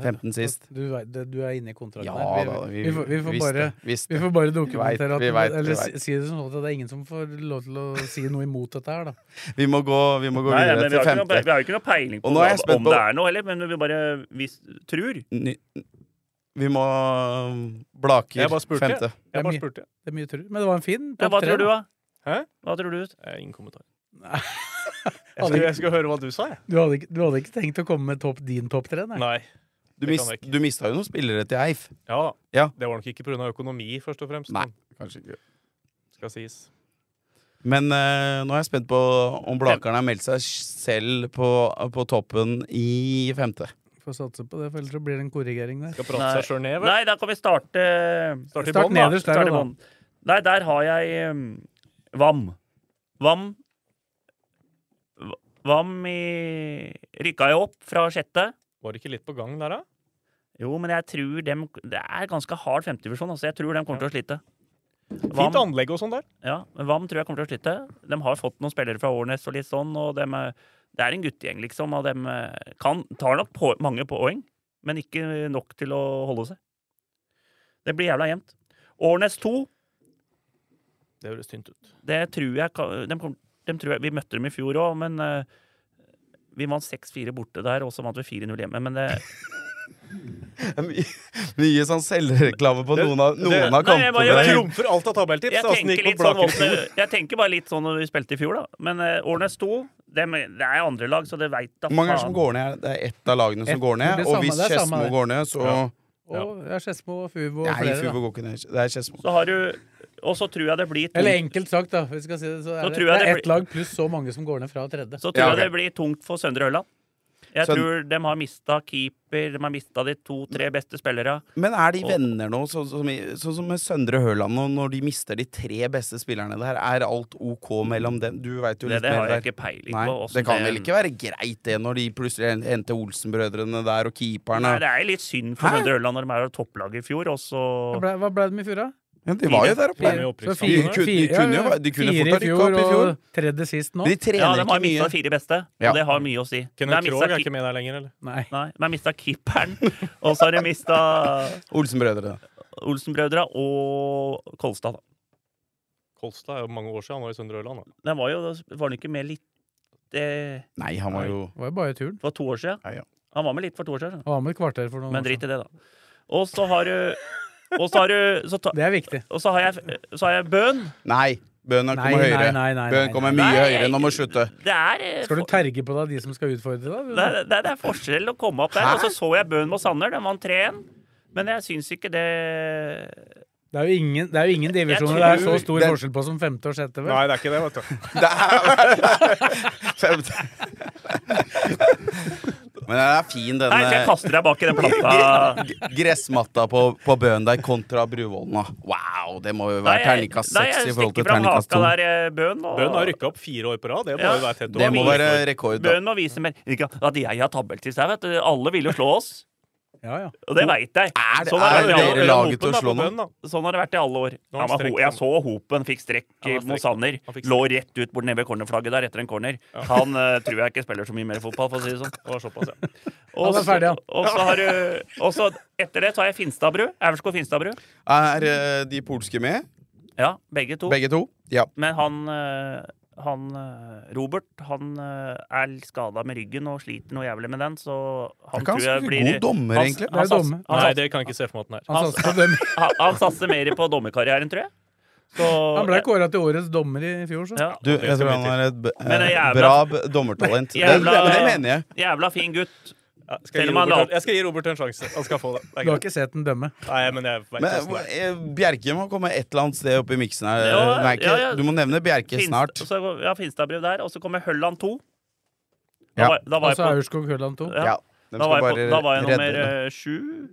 S4: 15 sist.
S2: Du, vet- det- du er inne i kontrakten
S4: Ja
S2: her.
S4: da, vi,
S2: vi, får- vi får
S4: visste,
S2: bare
S4: visste.
S2: Vi får bare
S4: Vi vet,
S2: dokumentere at
S4: vi vet, vi
S2: Eller
S4: vet.
S2: si- si det som sånn at det er ingen som får lov til å si noe imot dette her, da.
S4: Vi må gå, vi må gå
S3: Nei,
S4: videre
S3: men vi har, ikke
S4: til
S3: noe, pe- vi
S4: femte.
S3: har jo ikke noe peiling på
S4: Og nå er jeg
S3: hva-
S4: spent
S3: om
S4: på-
S3: det er noe heller, men vi bare vi s- tror.
S4: Ny, vi må Blaker
S5: Jeg bare spurte.
S4: femte.
S5: Jeg
S2: Det
S5: bare
S2: er mye.
S5: spurte.
S2: Det er mye tull. Men det var en fin
S3: Ja,
S2: topp
S3: hva
S2: tre,
S3: tror du,
S2: da.
S3: da?
S5: Hæ?
S3: Hva tror du?
S5: Eh, Ingen kommentar.
S2: Nei.
S5: Jeg skulle, jeg skulle høre hva du sa, jeg.
S2: Du hadde, ikke- du hadde ikke tenkt å komme med topp, din topp tre, nei?
S5: Nei.
S4: Du,
S5: Det kan
S4: mist,
S5: jeg ikke.
S4: du mista jo noen spillere til Eif.
S5: Ja da.
S4: Ja.
S5: Det var nok ikke pga. økonomi, først og fremst.
S4: Nei,
S5: men
S4: kanskje ikke.
S5: Skal sies.
S4: Men eh, nå er jeg spent på om Blakeren har meldt seg selv på, på toppen i femte.
S2: Får satse på det, for ellers så blir det en korrigering der.
S5: Skal prate seg sjøl ned, vel?
S3: Nei, da kan vi starte
S5: Starte i
S2: Start
S5: bånn, da.
S2: nederst der,
S3: starte
S2: da.
S3: bånd. Nei, der har jeg um, Vam. Vam V- Vam i Rykka jo opp fra sjette.
S5: Var det ikke litt på gang der, da?
S3: Jo, men jeg tror dem Det er ganske hard femtedivisjon, altså. Jeg tror dem kommer til å slite.
S5: Fint anlegg og sånn der.
S3: Ja, men Vam tror jeg kommer til å slite. De har fått noen spillere fra Årnes og litt sånn, og dem er, det er en guttegjeng, liksom. Og de kan, tar nok på, mange poeng, men ikke nok til å holde seg. Det blir jævla jevnt. Årnes 2,
S5: Det høres tynt ut.
S3: det tror jeg, kan- dem kom, dem tror jeg Vi møtte dem i fjor òg, men eh, vi vant 6-4 borte der, og så vant vi 4-0 hjemme. Men eh, det,
S4: Det er Mye, mye sånn selvreklame på
S5: Det-
S4: noen av, noen
S5: det-
S4: av
S3: Nei, jeg
S4: kampene.
S3: bare-
S5: Det
S4: der.
S5: trumfer alt av tabelltips.
S3: jeg,
S5: da, åssen det
S3: tenker
S5: gikk
S3: litt
S5: på
S3: sånn,
S5: Blaker i fjor.
S3: hvordan- jeg tenker bare litt sånn når vi spilte i fjor, da. Men eh, Årnes 2, dem, det er andre lag, så det veit da
S4: Hvor mange er det som går ned? her? Det er ett av lagene som
S2: Ett.
S4: går
S2: Det
S4: ned.
S2: blir
S4: Og
S2: samme-
S4: hvis
S2: det er samme
S4: Skedsmo
S2: det.
S4: går ned, så
S2: Og ja, Skedsmo og Fuvo og
S4: Nei,
S2: flere,
S4: Fuvo
S2: da.
S4: går ikke ned. Det er Skedsmo.
S3: Så har du Og så tror jeg det blir
S2: Eller
S3: tungt,
S2: enkelt sagt, da. Hvis vi skal si det, så er
S3: Så
S2: det,
S3: tror
S2: det
S3: jeg
S2: er
S3: det
S2: ett
S3: blir-
S2: lag pluss så mange som går ned fra tredje.
S3: så tror
S4: Ja, ok.
S3: jeg det blir tungt for Søndre Ørland. Jeg
S4: Søn-
S3: tror de har mista keeper, de har mista de to-tre beste spillerne.
S4: Men er de
S3: Og-
S4: venner nå, sånn som i- sånn som med Søndre Høland, og når de mister de tre beste spillerne der, er alt OK mellom dem? Du veit jo
S3: Det,
S4: litt
S3: det har
S4: mer
S3: jeg
S4: der.
S3: ikke peiling
S4: Nei,
S3: på. hvordan
S4: det kan vel ikke være greit, det, når de plutselig henter Olsen-brødrene der, og
S3: Nei,
S4: keeperne
S3: det er litt synd for
S4: Hæ?
S3: Søndre Ørland når de er topplaget i fjor, og så
S2: Hva ble, hva ble de i fjor, da?
S4: Men De var jo der
S5: Fire.
S4: oppe.
S5: Fire.
S2: Så
S4: De kunne- de kunne jo- de kunne
S2: fire
S4: fort
S2: i
S4: ha rykket opp
S2: fjor
S4: i fjor.
S2: og tredje sist nå.
S4: Men de
S3: Ja,
S4: trener
S3: de har
S4: ikke
S3: mista
S4: mye.
S3: fire beste,
S4: Ja.
S3: og det har mye å si. De har
S5: Kenneth Krog
S3: mista
S5: er
S3: keep-
S5: ikke med der lenger, eller?
S2: Nei.
S3: Nei, de har mista keeperen, og så har de mista
S4: Olsen-brødrene.
S3: Olsen-brødra og Kolstad, da.
S5: Kolstad er jo mange år siden han var i Søndre Ørland. da.
S3: De var jo Var han ikke med litt eh,
S4: Nei, han var jo
S2: Det var jo bare turen.
S3: for to år siden?
S4: Ja, ja.
S3: Han var med litt for to år siden.
S2: Han var med et kvarter for noen
S3: Men
S2: år
S3: drit
S2: siden.
S3: i det, da. Og så har du Og så har du så ta,
S2: Det er viktig.
S3: Og så har jeg, så har jeg bøn.
S4: Nei, bønnen
S2: Nei,
S4: kommer
S2: nei,
S4: høyere.
S2: nei, nei,
S4: Bønnen
S2: nei, nei.
S4: kommer mye
S3: Nei,
S4: høyere enn om å slutte.
S3: Det er, eh,
S2: Skal du
S3: for-
S2: terge på deg de som skal utfordre deg?
S3: det er, det er- det er forskjell å komme opp der. Og så så jeg bøn mot Sanner. Den vant 3-1. Men jeg syns ikke det
S2: Det er jo ingen, det er jo ingen divisjoner det
S3: tror-
S2: er så stor
S4: Den-
S2: forskjell på som femte og sjette, vel?
S5: Nei, det er ikke det, vet du.
S4: Det er- Femte. Men eh, den er
S3: Nei,
S4: fin,
S3: så jeg
S4: denne
S3: kaster deg bak i den plata.
S4: gressmatta på, på bønnen der kontra Bruvollen. da. Wow, det må jo være
S3: Nei, jeg-
S4: terningkast
S3: nei,
S4: seks i
S3: jeg
S4: forhold til
S3: stikker fram
S4: terningkast
S3: haka
S4: to.
S3: der, eh, bøn. Og,
S5: Bøen har rykka opp fire år på rad. Det må
S3: Ja.
S5: jo være tett
S4: Det
S5: over.
S4: må være rekord, da.
S3: Bøen må vise mer. Ikke at jeg har tabelltips her, vet du. Alle vil jo slå oss.
S2: Ja, ja.
S3: Og det veit jeg.
S4: Er
S3: har det
S4: det- er
S3: vært i alle-
S4: dere
S3: eller
S4: laget
S3: Hopen,
S4: til å
S3: da,
S4: slå
S3: på
S4: noen?
S3: bønnen, da. Sånn har det vært i alle år.
S5: Nå
S3: Ja,
S5: har
S3: men,
S5: han strekk,
S3: Ho-
S5: han.
S3: jeg så Hopen fikk strekk
S5: Ja, han
S3: mot
S5: strekk.
S3: Sanner.
S5: Han fikk
S3: Lå rett ut bort nede ved cornerflagget der etter en corner. Han eh, tror jeg ikke spiller så mye mer fotball, for å si det sånn.
S5: Det var såpass, ja.
S3: Og
S2: Han er
S3: så-
S2: ferdig, han.
S3: og så har du Og så etter det så har jeg Finstadbru. Aurskog Finstadbru.
S4: Er eh, de polske med?
S3: Ja, begge to.
S4: Begge to? Ja.
S3: Men han, eh, han eh, Robert, han eh, er skada med ryggen og sliter noe jævlig med den, så han
S4: Det er
S3: tror jeg
S4: ganske
S3: blir
S4: god dommer, egentlig. Altså,
S2: Det er
S3: sats-
S2: dommer.
S3: han
S5: Nei,
S3: sats-
S5: det kan jeg ikke se for meg at den er.
S2: Han
S3: Han-
S2: satser på dem.
S3: Han, han satser mer på dommerkarrieren, tror jeg. Så,
S2: Han ble kåra til årets dommer i fjor, så.
S3: ja,
S4: Du, jeg tror han er et b-
S3: Men det er
S4: eh,
S3: jævla-
S4: bra b- dommertalent. Det,
S3: Jævla-
S4: det, men det mener jeg.
S3: Jævla fin gutt.
S5: Ja, skal jeg,
S3: Selv
S5: gi
S3: om han la-
S5: Robert, jeg skal gi Robert en sjanse. Han skal få det. det er
S2: Du har
S5: greit.
S2: ikke sett den dømme.
S5: Nei, men jeg vet
S4: Men
S5: hvordan det er.
S4: eh, Bjerke må komme et eller annet sted opp i miksen her.
S3: Ja,
S4: Nei, ikke-
S3: ja, ja.
S4: Du må nevne Bjerke
S3: Finst-
S4: snart.
S3: Så, ja, Finstadbrev der. Og så kommer Hølland 2. Da
S4: Ja.
S3: var, da var jeg
S2: Altså
S3: på,
S2: Aurskog Høland 2.
S3: ja,
S4: Ja. De
S3: da var
S4: skal
S3: jeg,
S4: bare
S3: på, da var jeg
S4: redde
S3: nummer
S4: det.
S3: eh, sju.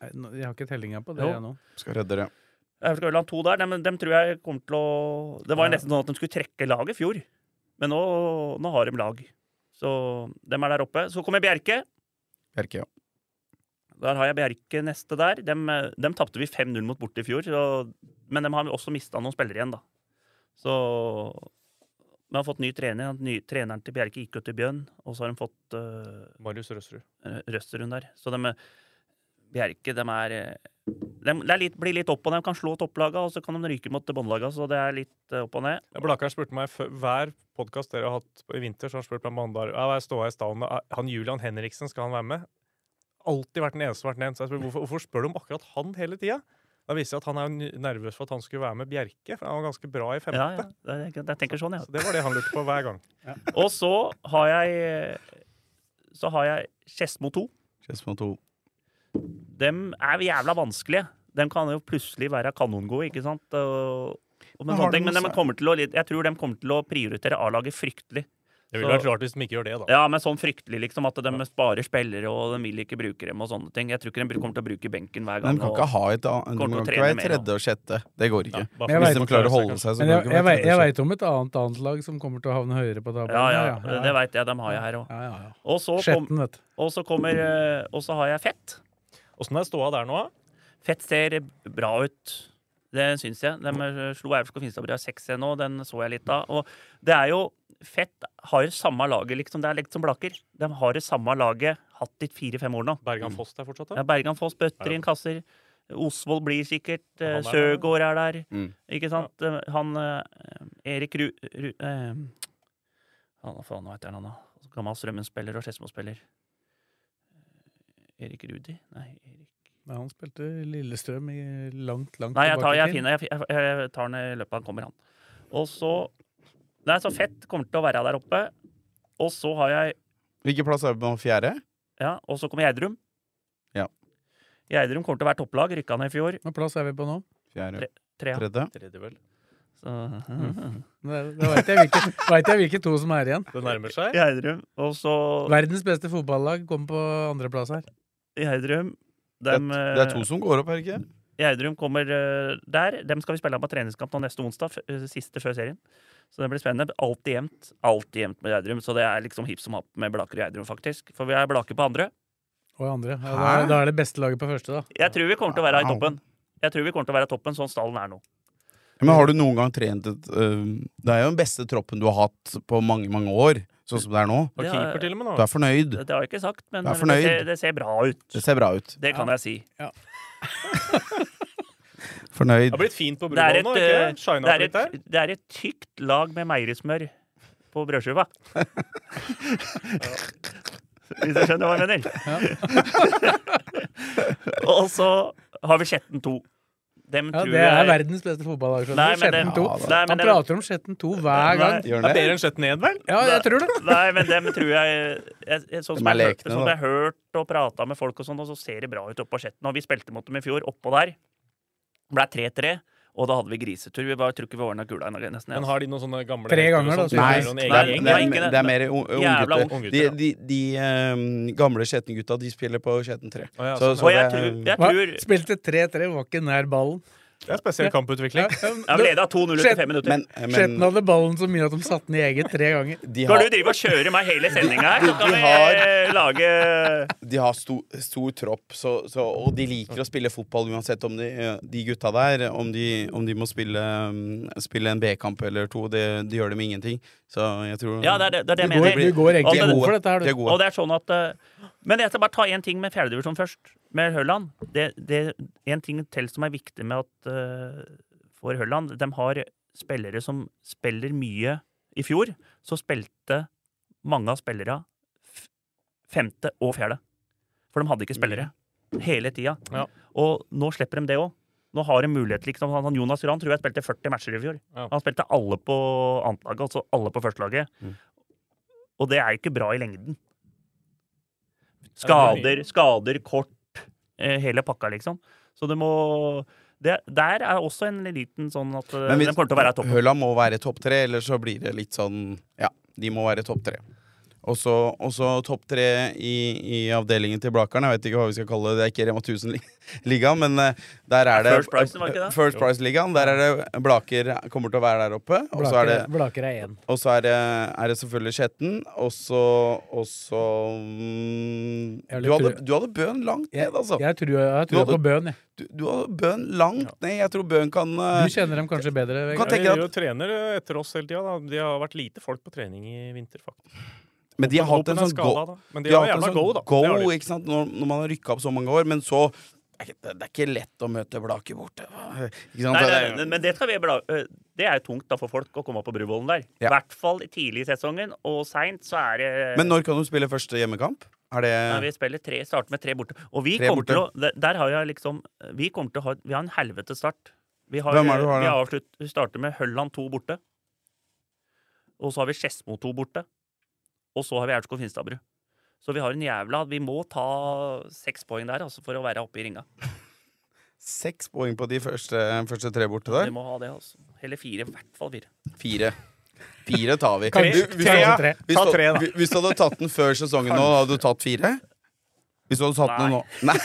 S2: Nei, nå- Jeg har ikke tellinga på det
S3: Jo.
S2: jeg nå.
S4: Skal redde det.
S3: Aurskog Hølland 2 der, dem, dem tror jeg kommer til å Det var jo
S2: Ja.
S3: nesten sånn at de skulle trekke laget i fjor. Men nå, nå har de lag. Så dem er der oppe. Så kommer Bjerke.
S4: Bjerke, ja.
S3: Der har jeg Bjerke neste der. Dem, eh, dem tapte vi 5-0 mot borte i fjor, så, men dem har vi også mista noen spillere igjen, da. Så Vi har fått ny trener. Ny, treneren til Bjerke gikk jo til Bjørn, og så har de fått eh,
S5: Marius Røsserud.
S3: Røsterund der. Så dem, eh, Bjerke, dem er eh, dem, Det er litt, blir litt opp og ned. De kan slå topplaga, og så kan de ryke mot topplaga, så det er litt eh, opp og ned.
S5: Blakkaren spurte meg før- hver podkast dere har hatt i vinter, så har han spurt meg om han der, ja, hva er ståa i stallen. Er- Han Julian Henriksen, skal han være med? Alltid vært den eneste som har vært nevnt. Så jeg spør, hvorfor, hvorfor spør du om akkurat han hele tida? Da viser det seg at han er n- nervøs for at han skulle være med Bjerke, for han var ganske bra i femte.
S3: Ja, ja, jeg, jeg tenker sånn, ja.
S5: Så det var det han lurte på hver gang.
S3: Og så har jeg eh, Så har jeg Skedsmo 2.
S4: Skedsmo 2.
S3: Dem er jævla vanskelige. Dem kan jo plutselig være kanongode, ikke sant? Og, og
S4: Men
S3: men
S4: har
S3: sånne ting,
S4: de
S3: men
S4: noe
S3: dem
S4: sær-
S3: kommer til å, jeg tror de kommer til å prioritere A-laget fryktelig.
S5: Det
S3: ville
S5: ville
S3: vært
S5: vært rart hvis de ikke gjør det, da.
S3: Ja, men sånn fryktelig, liksom. At de sparer spillere, og de vil ikke bruke dem og sånne ting. Jeg tror ikke de kommer til å bruke benken hver
S4: Men
S3: gang.
S4: de kan
S3: og-
S4: ikke ha et annet De
S3: Kommer til å
S4: kan ikke
S3: trene
S4: være
S3: mer nå.
S4: tredje og sjette. Det går ikke.
S5: bare
S2: Jeg
S5: for-
S4: Hvis de
S2: vet-
S4: klarer å holde seg, så
S2: Men jeg,
S4: kan de
S2: jeg,
S4: ikke være
S2: vei- jeg
S4: tredje og sjette.
S2: veit om et annet annet lag som kommer til å havne høyere på tabellen.
S3: Ja, ja,
S2: Ja, ja.
S3: det veit jeg. Dem har jeg her òg.
S2: Ja, ja, ja.
S3: Og så, kom,
S2: Skjetten, vet du.
S3: og så kommer eh, Og så har jeg Fett.
S5: Åssen er ståa der nå, da?
S3: Fett ser bra ut. Det syns jeg. De eh, slo Aurskog Finstadbru 6-1 nå, den så jeg litt av. Og det er jo Fett har samme laget, liksom. Det er litt som Blaker. De har det samme laget hatt i fire-fem år nå.
S5: Bergan Foss der fortsatt,
S3: Mm. Ja,
S5: da?
S3: Bergan Foss bøtter
S5: Ja.
S3: inn kasser. Osvold blir sikkert. eh,
S5: Han er der.
S3: Søgaard er der.
S4: Mm.
S3: Ikke sant? Eh, Han eh, Erik Ru... Ru eh, han, hva faen hva heter han, da? Gammel Strømmen-spiller og Skedsmo-spiller. Eh, Erik Rudi? Nei, Erik
S2: Nei, han spilte Lillestrøm i langt, langt
S3: Nei, jeg tar, jeg,
S2: i tid.
S3: finner, jeg, jeg, jeg tar den i løpet av den kommer, han. Og så Nei, så Fett kommer til å være der oppe. Og så har jeg
S4: Hvilken plass er vi på fjerde?
S3: Ja, og så kommer Geidrum.
S4: Ja.
S3: Geidrum kommer til å være topplag. Rykka ned i fjor.
S2: Hvilken plass er vi på nå?
S4: Fjerde,
S3: Trea.
S4: tredje?
S5: Tredje, vel.
S3: Så,
S2: Da veit jeg, hvilke- vet jeg hvilke to som er igjen.
S5: Det nærmer seg.
S3: Geidrum. Og så
S2: Verdens beste fotballag kommer på andreplass her.
S3: Geidrum.
S4: Det
S3: Dem,
S4: er, det er to som går opp, er det ikke?
S3: Geidrum kommer eh, der. Dem skal vi spille av på treningskamp nå neste onsdag. f- eh, Siste før serien. Så det blir spennende. Alltid jevnt. Alltid jevnt med Geidrum. Så det er liksom hipp som happ med Blaker og Geidrum, faktisk. For vi er Blaker på andre.
S2: Og andre. Ja, da, er, da er det beste laget på første, da.
S3: Jeg tror vi kommer til å være i toppen. Jeg tror vi kommer til å være i toppen sånn stallen er nå.
S4: Men har du noen gang trent et øh, Det er jo den beste troppen du har hatt på mange, mange år, sånn som det er nå.
S5: Og
S3: Ja,
S5: keeper til og med nå.
S4: Du er fornøyd.
S3: Det, det har jeg ikke sagt, men
S4: Jeg
S3: det
S4: er fornøyd.
S3: ser, det ser bra ut.
S4: Det ser bra ut.
S3: Det kan jeg si.
S5: Det
S4: Fornøyd.
S5: har blitt fint på
S3: Det er
S5: Bruvoll
S3: et,
S5: nå, ikke
S3: eh,
S5: det? Shine
S3: det
S5: opp
S3: er
S5: litt der.
S3: et, det er et tykt lag med meierismør på brødskiva. Hvis du skjønner hva jeg mener. Og så har vi Skjetten 2. Dem
S2: Ja,
S3: tror
S2: det er
S3: jeg
S2: verdens beste fotballag. skjønner
S3: Nei,
S2: du.
S3: men det-
S2: Skjetten
S3: Ja,
S2: 2.
S3: da. Nei, men
S2: Han
S3: det-
S2: prater om Skjetten 2 hver gang.
S3: Nei,
S4: Gjør
S5: Det er
S4: den det?
S5: bedre enn sjett ned, vel?
S2: Ja, jeg tror det.
S3: Nei, men dem tror jeg, jeg, jeg Sånn
S4: Dem
S3: som
S4: er
S3: jeg, hørt-
S4: lekne,
S3: sånn som
S4: da.
S3: jeg har hørt og prata med folk, og sånn, og så ser det bra ut oppå Skjetten. Og vi spilte mot dem i fjor, oppå der. Ble 3-3, og da hadde vi grisetur. Vi bare tror ikke vi ordna kula ennå, nesten.
S5: Men
S3: Ja.
S5: har de noen sånne gamle
S2: Tre
S5: helter og
S2: ganger, da,
S5: sånt som
S4: Nei,
S5: er noen
S4: det er,
S5: egen
S3: Nei,
S4: det
S5: gjeng?
S3: nei,
S4: er,
S3: ikke det.
S4: det er mer un-
S3: Jævla
S4: unggutter. De,
S5: unggutter,
S4: de, de øhm, gamle Skjetten-gutta, de spiller på Skjetten 3.
S5: Å, ja,
S4: Så,
S5: sånn,
S4: så
S3: Og jeg
S4: det
S3: tror,
S4: er-
S3: jeg
S2: Hva?
S3: tror
S2: Spilte 3-3, var ikke nær ballen.
S5: Det er spesiell kamputvikling.
S3: Ja, vi leda 2-0 etter fem minutter.
S4: Men, men
S2: Skjetten hadde ballen så mye at de satte den i eget tre ganger.
S4: de
S3: Skal
S4: har,
S3: du drive og kjøre meg hele sendinga her, så
S4: de-
S3: kan
S4: de
S3: vi
S4: har-
S3: eh, lage
S4: de har stor, stor tropp, så, så, og de liker å spille fotball uansett om de, de gutta der Om de, om de må spille, um, spille en B-kamp eller to. Det, det gjør dem ingenting. Så jeg tror
S3: Ja, det er det, det, er det jeg
S2: Du går,
S3: mener.
S2: du går
S3: Og
S2: egentlig
S3: det-
S2: god for dette her,
S4: de er
S2: du.
S4: gode.
S3: Og det er sånn at eh, Men jeg skal bare ta én ting med fjerdedivisjon først. Med Hørland. Det, det en ting til som er viktig med at eh, for Hørland De har spillere som spiller mye. I fjor så spilte mange av spillerne f- femte og fjerde. For de hadde ikke spillere hele tida.
S5: Mm. Ja.
S3: Og nå slipper de det òg. Nå har de mulighet. Liksom, han- han Jonas Rahn tror jeg spilte 40 matcher i fjor.
S5: Ja.
S3: Han spilte alle på annetlaget, altså alle på førstelaget.
S4: Mm.
S3: Og det er jo ikke bra i lengden. Skader, skader, kort, eh, hele pakka, liksom. Så det må det, Der er også en liten sånn at eh,
S4: Men hvis-
S3: den kommer til å være topp.
S4: Høla må være topp tre, eller så blir det litt sånn Ja, de må være topp tre. Og så og så topp tre i, i avdelingen til Blakeren. Jeg vet ikke hva vi skal kalle det. Det er ikke Rema 1000-ligaen, men eh, der er det
S3: First Price, var ikke det?
S4: First Price-ligaen. Der er det Blaker kommer til å være der oppe. Og så er det,
S2: Blaker, Blaker er én.
S4: og så er det, er det selvfølgelig Skjetten. Og så Og så mm,
S2: Jeg har
S4: du,
S2: litt
S4: hadde,
S2: tru-
S4: du hadde Bøhn langt
S2: Jeg,
S4: ned, altså.
S2: jeg tror, jeg tror
S4: Du-
S2: på Bøhn, jeg.
S4: Du, du hadde Bøhn langt ned. Jeg tror Bøhn kan eh,
S2: Du kjenner dem kanskje bedre. Vegard.
S4: kan
S5: Ja,
S4: tenke
S5: de
S4: deg
S5: er jo
S4: at,
S5: trener eh, etter oss hele tida. De har vært lite folk på trening i vinter, faktisk.
S4: men de har hatt en
S5: Håpen er
S4: sånn
S5: skada,
S4: go,
S5: da. Men
S4: De
S5: de, har
S4: hatt en
S5: jævla
S4: sånn
S5: go, da. Det har de.
S4: ikke sant? Når, når man har rykka opp så mange år. Men så det er ikke- Det er ikke lett å møte Blaker borte. Ikke sant?
S3: Nei,
S4: Det
S3: nei,
S4: er-
S3: nei, men det skal vi bla eh, Det er tungt da for folk å komme opp på Bruvollen der. I
S4: Ja.
S3: hvert fall tidlig i sesongen, og seint så er det
S4: Men når kan du spille første hjemmekamp? Er det
S3: Nei, vi spiller tre, starter med tre borte. Og vi
S4: Tre
S3: kommer til å der, der har jeg liksom Vi kommer til å ha Vi har en helvete start. Vi har,
S4: Hvem er det du har
S3: vi
S4: da?
S3: avslutt, vi starter med Hølland 2 borte. Og så har vi Skedsmo 2 borte. Og så har vi Aurskog Finstadbru. Så vi har en jævla Vi må ta seks poeng der altså, for å være oppe i ringa.
S4: seks poeng på de første, første tre borte
S3: Vi
S4: der?
S3: må ha det, altså. Hele fire, i hvert fall fire.
S4: Fire. Fire tar vi.
S2: Kan-
S4: Du, hvis,
S2: Ta
S4: du-
S2: tre.
S4: Hvis,
S5: Ta
S4: du-
S5: tre, da.
S4: hvis- hvis du hadde tatt den før sesongen nå, hadde du tatt fire? Hvis du hadde tatt den nå Nei,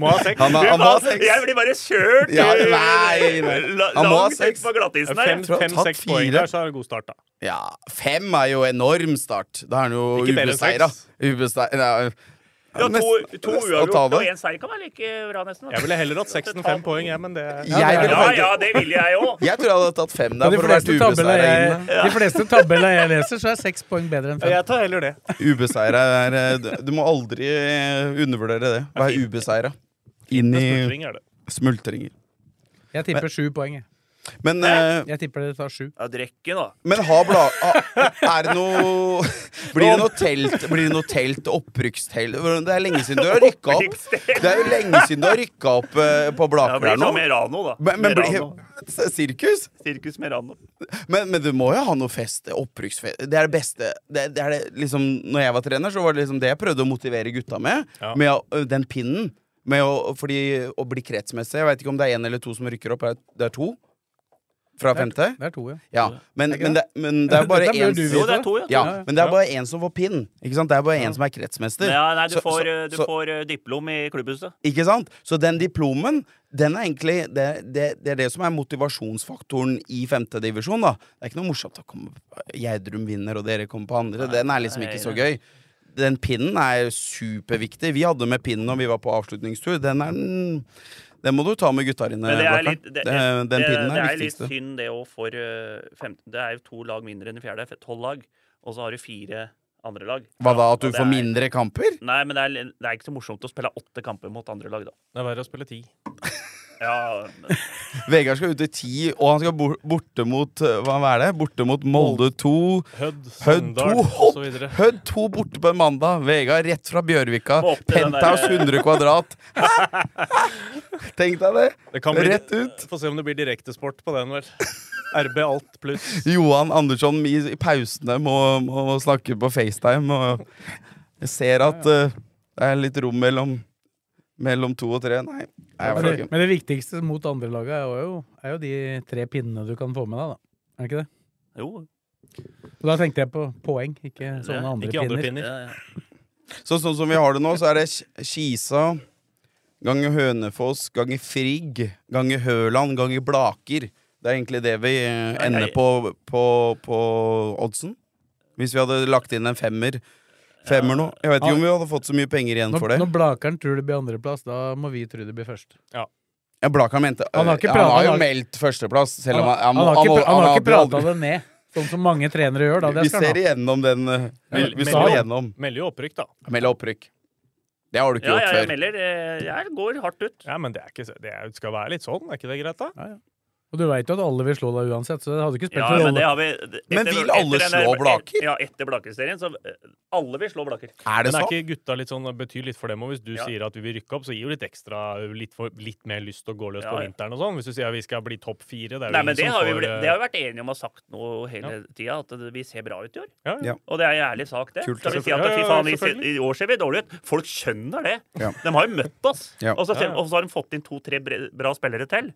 S5: Må ha seks.
S4: han, har- han må ha
S3: Fy faen,
S4: seks.
S3: Jeg blir bare kjørt
S4: Ja,
S3: eh,
S4: nei, nei.
S3: la-
S4: Han må ha
S3: langt
S4: seks.
S3: ut på glattisen her.
S5: Fem-
S4: tror jeg har tatt
S5: Fem-seks poeng
S4: fire.
S5: der, så er det god start, da.
S4: Ja, fem er jo enorm start. Da er han jo
S5: Ikke bedre enn
S4: ubeseira.
S5: seks.
S4: Ubeseira
S3: Ja, to to uavgjort og
S4: det.
S3: én seier kan være like bra, nesten. da.
S5: Jeg ville heller hatt seks enn fem poeng, jeg, men det er
S4: Jeg ville
S3: Ja,
S4: faktisk
S3: ja, det ville jeg òg.
S4: Jeg tror jeg hadde tatt fem
S2: Og
S4: der
S2: de
S4: for å
S2: fleste
S4: være
S2: tabbeller
S4: ubeseira
S2: jeg,
S4: inne.
S2: de fleste tabbeller jeg leser, så er seks poeng bedre enn fem.
S5: Jeg tar heller det.
S4: Ubeseira er eh, Du du må aldri eh, undervurdere det. Vær ubeseira. Inn i
S5: Smultring er det.
S4: smultringer.
S2: Jeg tipper sju poeng. jeg.
S4: Men, eh,
S2: Jeg tipper det tar sju.
S3: Ja, drikke, da.
S4: men ha bla... ha- Er det noe Blir det noe telt? Blir det noe telt? Opprykkstelt? Det er lenge siden du har rykka opp. Det er jo lenge siden du har rykka opp eh, på
S3: Det
S4: Blaker
S3: blir
S4: her nå.
S3: sånn Merano, da.
S4: Men, men blir,
S3: Merano.
S4: sirkus?
S3: Sirkus Merano.
S4: Men, men du må jo ha noe fest. Opprykksfest. Det er det beste. Det, det er det, liksom, når jeg var trener, så var det liksom det jeg prøvde å motivere gutta med.
S5: Ja.
S4: Med å, ø, den pinnen. Med å, fordi, å bli kretsmessig. Jeg veit ikke om det er én eller to som rykker opp. Er det- Det er to? Fra femte?
S2: Det er to, ja.
S4: Ja. Men, men, det, men det er bare
S2: Dette bør
S4: én
S2: du
S3: Jo,
S2: vite.
S3: det er to, ja.
S4: ja,
S2: Ja, ja.
S4: men det er bare én som får pinn. Ikke sant? Det er bare én som er kretsmester.
S3: Ja, nei, du
S4: Så-
S3: får,
S4: så-
S3: eh, du
S4: så- Eh,
S3: får eh, diplom i klubbhuset.
S4: ikke sant? Så den diplomen, den er egentlig det, det, det er det som er motivasjonsfaktoren i femtedivisjon, da. Det er ikke noe morsomt å komme på Gjerdrum vinner, og dere kommer på andre. Den er liksom ikke så gøy. Den pinnen er superviktig. Vi hadde med pinnen når vi var på avslutningstur. Den er den Den må du ta med gutta dine,
S3: Men det er
S4: Blakkaren.
S3: litt, det, det, det,
S4: Den- Den pinnen
S3: det er
S4: er
S3: litt
S4: viktigste.
S3: synd, det òg, for eh, femte Det er jo to lag mindre enn i fjerde. f- Tolv lag. Og så har du fire andre lag.
S4: Hva da, at
S3: Og
S4: du
S3: det
S4: får
S3: er-
S4: mindre kamper?
S3: Nei, men det er, det er ikke så morsomt å spille åtte kamper mot andre lag, da.
S5: Det er verre å spille ti.
S3: Ja, men-
S4: Vegard skal ut i ti, og han skal bor- borte mot eh, Hva er det? Borte mot Molde 2.
S5: Hødd,
S4: Hødd
S5: Sogndal
S4: 2 hopp!
S5: osv.
S4: Hødd 2 borte på en mandag. Vegard rett fra Bjørvika.
S3: Må opp til den
S4: Penthouse
S3: der- eh,
S4: 100 kvadrat. Hæ? Tenk deg det!
S5: Det kan bli,
S4: Rett ut.
S5: Få se om det blir direktesport på den, vel. RB alt pluss.
S4: Johan Andersson i, i pausene må, må, må snakke på FaceTime. Og jeg ser at eh, det er litt rom mellom, mellom to og tre. Nei, nei jeg
S2: Men
S4: var
S2: det,
S4: ikke.
S2: men det viktigste mot andre laga er jo, er jo de tre pinnene du kan få med deg, da. Er det ikke det?
S3: jo.
S2: Og da tenkte jeg på poeng, ikke sånne andre
S5: Ikke andre
S2: pinner.
S3: Ja,
S5: pinner.
S3: ja.
S4: Så sånn som vi har det nå, så er det Ki- Kisa, ganger Hønefoss, ganger Frigg, ganger Høland, ganger Blaker. Det er egentlig det vi eh, ender
S3: Nei.
S4: på, på, på oddsen. Hvis vi hadde lagt inn en femmer. Femmer nå. Jeg vet ikke om vi hadde fått så mye penger igjen for
S2: Når,
S4: det.
S2: når Blakeren tror det blir andreplass, da må vi tro det blir først.
S4: Ja, Blaker mente
S2: Han har ikke
S4: han
S2: pratet-
S4: har jo
S2: han-
S4: meldt førsteplass, selv om
S2: Han,
S4: han,
S2: han, har ikke,
S4: må-
S2: pra- han har ikke
S4: hadde aldri-
S2: prata det ned, sånn som mange trenere gjør. da det
S4: Vi
S2: skal han
S4: ser
S2: ha.
S4: igjennom den eh, Vi, vi
S5: Men-
S4: står
S5: men-
S4: igjennom.
S5: Melder jo opprykk, da.
S4: Meld opprykk. Det har du
S3: Ja,
S4: ikke
S3: ja, jeg
S4: gjort før.
S3: melder. eh, Jeg går hardt ut.
S5: Ja, men det, er ikke, så- det er, skal være litt sånn, er ikke det greit, da?
S2: Og du veit jo at alle vil slå deg uansett, så det hadde ikke
S3: Ja,
S2: spilt
S3: men
S2: noen
S3: det
S2: rolle.
S3: har vi etter,
S4: Men vil alle
S3: den
S4: slå
S3: der-
S4: Blaker?
S3: Ja, etter Blaker-serien. Så eh, alle vil slå Blaker.
S4: Er det
S5: Men er
S4: sånn?
S5: ikke gutta litt sånn, betyr litt for dem òg? Hvis du
S3: Ja.
S5: sier at vi vil rykke opp, så gir jo litt ekstra, eh, litt, for, litt mer lyst til å gå løs
S3: Ja,
S5: på
S3: ja.
S5: vinteren og sånn. Hvis du sier at vi skal bli topp fire, det
S3: Nei,
S5: er jo
S3: men
S5: ingen
S3: det
S5: som
S3: har, vi,
S5: får,
S3: vel-
S5: eh,
S3: det har vi vært enige om og sagt nå hele tida, at det- vi ser bra ut i år.
S5: ja, ja.
S4: Ja.
S3: Og det er en ærlig sak, det.
S4: Kult,
S3: Skal vi si at
S5: selvfølgelig.
S3: fy
S5: Ja, ja,
S3: faen, i,
S5: selvfølgelig.
S3: se- i år ser vi dårlig ut? Folk skjønner det.
S4: Ja.
S3: De har jo møtt oss.
S4: Ja.
S3: Og, så,
S5: Ja, ja.
S3: og så har de fått inn to-tre bre- bra spillere til.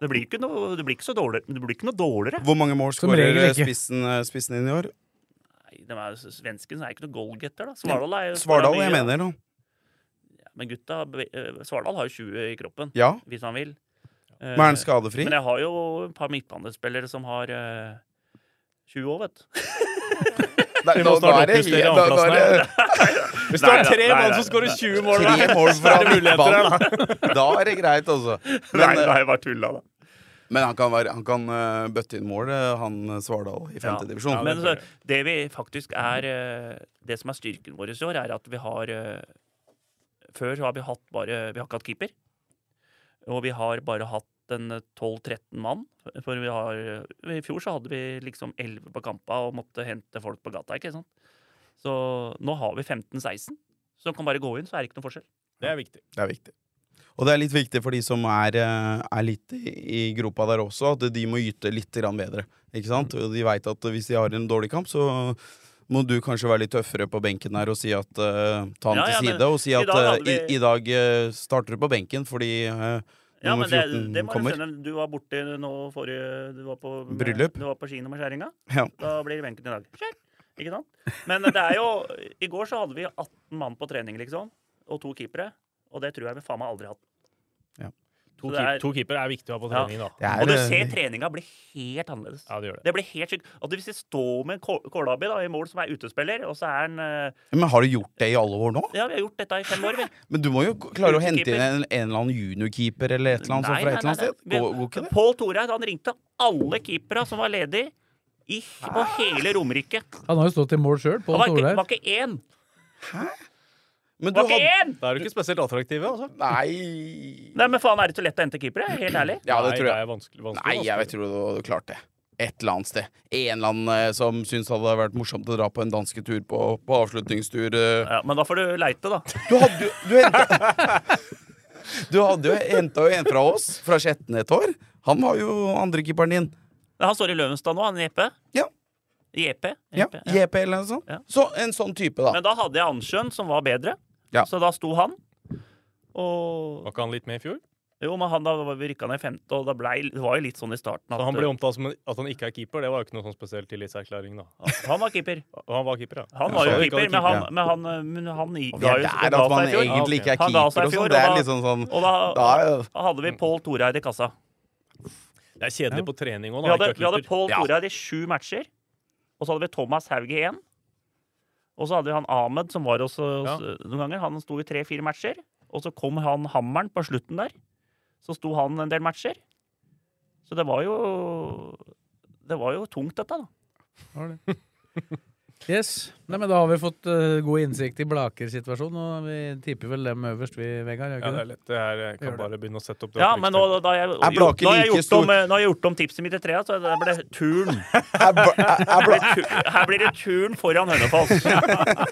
S3: Det blir ikke noe, det blir ikke så dårlig, det blir ikke noe dårligere.
S4: Hvor mange mål
S2: Som
S4: skårer
S2: regel
S4: eh,
S2: ikke.
S4: spissen, eh, spissen inn i år?
S3: Nei, de er, jo- svensken er ikke noe goalgetter, da. Svardal er jo
S4: Svardal,
S3: mye,
S4: jeg mener. nå.
S3: ja. Men gutta be- eh, Svardal har jo 20 i kroppen,
S4: Ja.
S3: hvis han vil. Eh,
S4: Men er han skadefri?
S3: Men jeg har jo et par midtbanespillere som har eh, 20 år, vet du.
S4: Nei,
S5: Vi
S4: nå-
S5: må
S4: nå
S5: snart
S4: er det
S5: oppjustere
S4: helt- nå- nå er
S5: andreplassen her.
S4: det-
S5: Hvis det
S3: Nei,
S5: er
S3: nei,
S5: tre
S3: nei,
S5: mann
S3: nei,
S5: som skårer 20 mål, da!
S4: Tre mål fra
S5: Det er muligheter
S4: midtbanen. Da er det greit, altså.
S3: Nei,
S4: Men,
S3: nei,
S4: eh,
S3: jeg bare tulla, da.
S4: men han kan, være, han kan eh, bøtte inn mål, eh, han eh, Svardal, i femtedivisjon.
S3: Ja,
S4: divisjon
S3: men så, det vi faktisk er eh, Det som er styrken vår i år, er at vi har eh, Før så har vi hatt bare Vi har ikke hatt keeper. Og vi har bare hatt en eh, 12-13 mann. For vi har I fjor så hadde vi liksom 11 på kampa og måtte hente folk på gata, ikke sant. Så nå har vi 15-16. Så de kan bare gå inn, så er det ikke noe forskjell.
S5: Det er viktig.
S4: Det er viktig. Og det er litt viktig for de som er, eh, er litt i, i gropa der også, at de må yte litt grann bedre. Ikke sant? Og De veit at hvis de har en dårlig kamp, så må du kanskje være litt tøffere på benken her og si at eh, Ta han
S3: Ja, ja,
S4: til
S3: men
S4: side og si
S3: i
S4: at
S3: dag hadde
S4: eh, i,
S3: vi-
S4: i dag eh, starter du på benken fordi eh,
S3: Ja,
S4: nummer
S3: men det,
S4: 14
S3: det må du
S4: kommer.
S3: skjønne. Du var borte nå forrige Du var på
S4: Bryllup.
S3: Du var på kino med skjæringa.
S4: Ja.
S3: Da blir det benken i dag. Skjær! Ikke sant? Men det er jo I går så hadde vi 18 mann på trening, liksom. Og to keepere. Og det tror jeg vi faen meg aldri har hatt.
S5: To,
S3: Så
S5: keep,
S3: det er-
S5: to keepere er viktig å ha på
S3: Ja.
S5: trening, da.
S4: Det er,
S3: Og du
S4: eh,
S3: ser treninga blir helt annerledes.
S5: Ja, det gjør det.
S3: Det blir helt sykt. At hvis vi står med en Kå- Kålabi da, i mål som er utespiller, og så er han eh,
S4: Men har du gjort det i alle år nå?
S3: Ja, vi har gjort dette i fem år, vi.
S4: Men du må jo k- klare å hente inn
S3: Utekeeper.
S4: en, en eller annen juniorkeeper eller et eller annet sånt fra et eller annet sted.
S3: nei.
S4: Går, går ikke det?
S3: Pål Toreid han ringte alle keepera som var ledige i, på
S4: Ah.
S3: hele Romerike.
S2: Han har jo stått i mål sjøl,
S3: Det
S2: Pål
S3: var ikke,
S2: Torleif.
S3: var ikke én!
S4: Men
S3: Det var ikke én!
S5: Da er du ikke spesielt attraktiv, altså.
S4: Nei
S3: Nei, men faen, er det så lett å hente keepere? Helt ærlig.
S4: Ja, det
S5: Nei,
S4: tror jeg.
S5: er vanskelig, vanskelig, altså.
S4: Nei, jeg
S5: vanskelig.
S4: tror du hadde klart det. Et eller annet sted. En eller annen eh, som syns det hadde vært morsomt å dra på en dansketur på, på avslutningstur. eh.
S3: Ja, men da får du leite, da.
S4: Du hadde jo Du, hentet, du hadde jo henta jo en fra oss, fra Skjetten et år. Han var jo andrekeeperen din.
S3: Men han står i E Løvenstad nå, han Jeppe.
S4: Ja.
S3: Jeppe.
S4: Ja,
S3: Jeppe, E ja.
S4: JP eller noe sånt.
S3: Ja.
S4: Så, en sånn type, da.
S3: Men da hadde jeg Ansjøen, som var bedre.
S4: Ja.
S3: Så da sto han. Og
S5: Var ikke han litt med i fjor?
S3: Jo, men han da var vi rykka ned i femte, og da blei Det var jo litt sånn i starten at
S5: Så han ble omtalt som en- at han ikke er keeper, det var jo ikke noe sånn spesiell tillitserklæring, da.
S3: han var keeper.
S5: Og han var keeper, ja.
S3: Han var jo
S4: Ja, så-
S3: keeper, men han, men han, men han i-
S4: Vi
S3: ga
S4: er
S3: jo
S4: der
S3: ga
S4: at man
S3: seg i fjor.
S4: egentlig ikke er
S3: Han ga
S4: keeper
S3: seg i
S4: og
S3: fjor,
S4: sånn. Det er
S3: og
S4: liksom sånn
S3: Og da,
S4: da er jo-
S3: da hadde vi Pål Toreid i kassa.
S5: Det er kjedelig på trening òg,
S3: Vi
S5: da.
S3: hadde,
S5: ikke
S3: vi hadde
S5: keeper.
S3: Pål
S4: Ja.
S3: Toreid i sju matcher. Og så hadde vi Thomas Haug i én. Og så hadde vi han Ahmed, som var hos oss
S5: Ja.
S3: eh, noen ganger. Han sto i tre-fire matcher. Og så kom han Hammeren på slutten der. Så sto han en del matcher. Så det var jo Det var jo tungt, dette, da.
S2: Var det. Yes. Nei, men da har vi fått eh, god innsikt i Blakers situasjon, og vi tipper vel dem øverst, vi, Vegard. Gjør
S5: Ja, det
S2: ikke
S5: er
S2: det?
S5: lett. Det her jeg
S2: Gjør
S5: kan
S2: det.
S5: bare begynne å sette opp det
S3: Ja, men nå, da har jeg,
S4: Er Blaker
S3: nå har jeg
S4: like
S3: gjort
S4: stor-
S3: om, eh, nå har jeg gjort om tipset mitt i trea, så det ble turn.
S4: Er Bla- er- er Bla-
S3: Her blir det turn foran Hønefoss.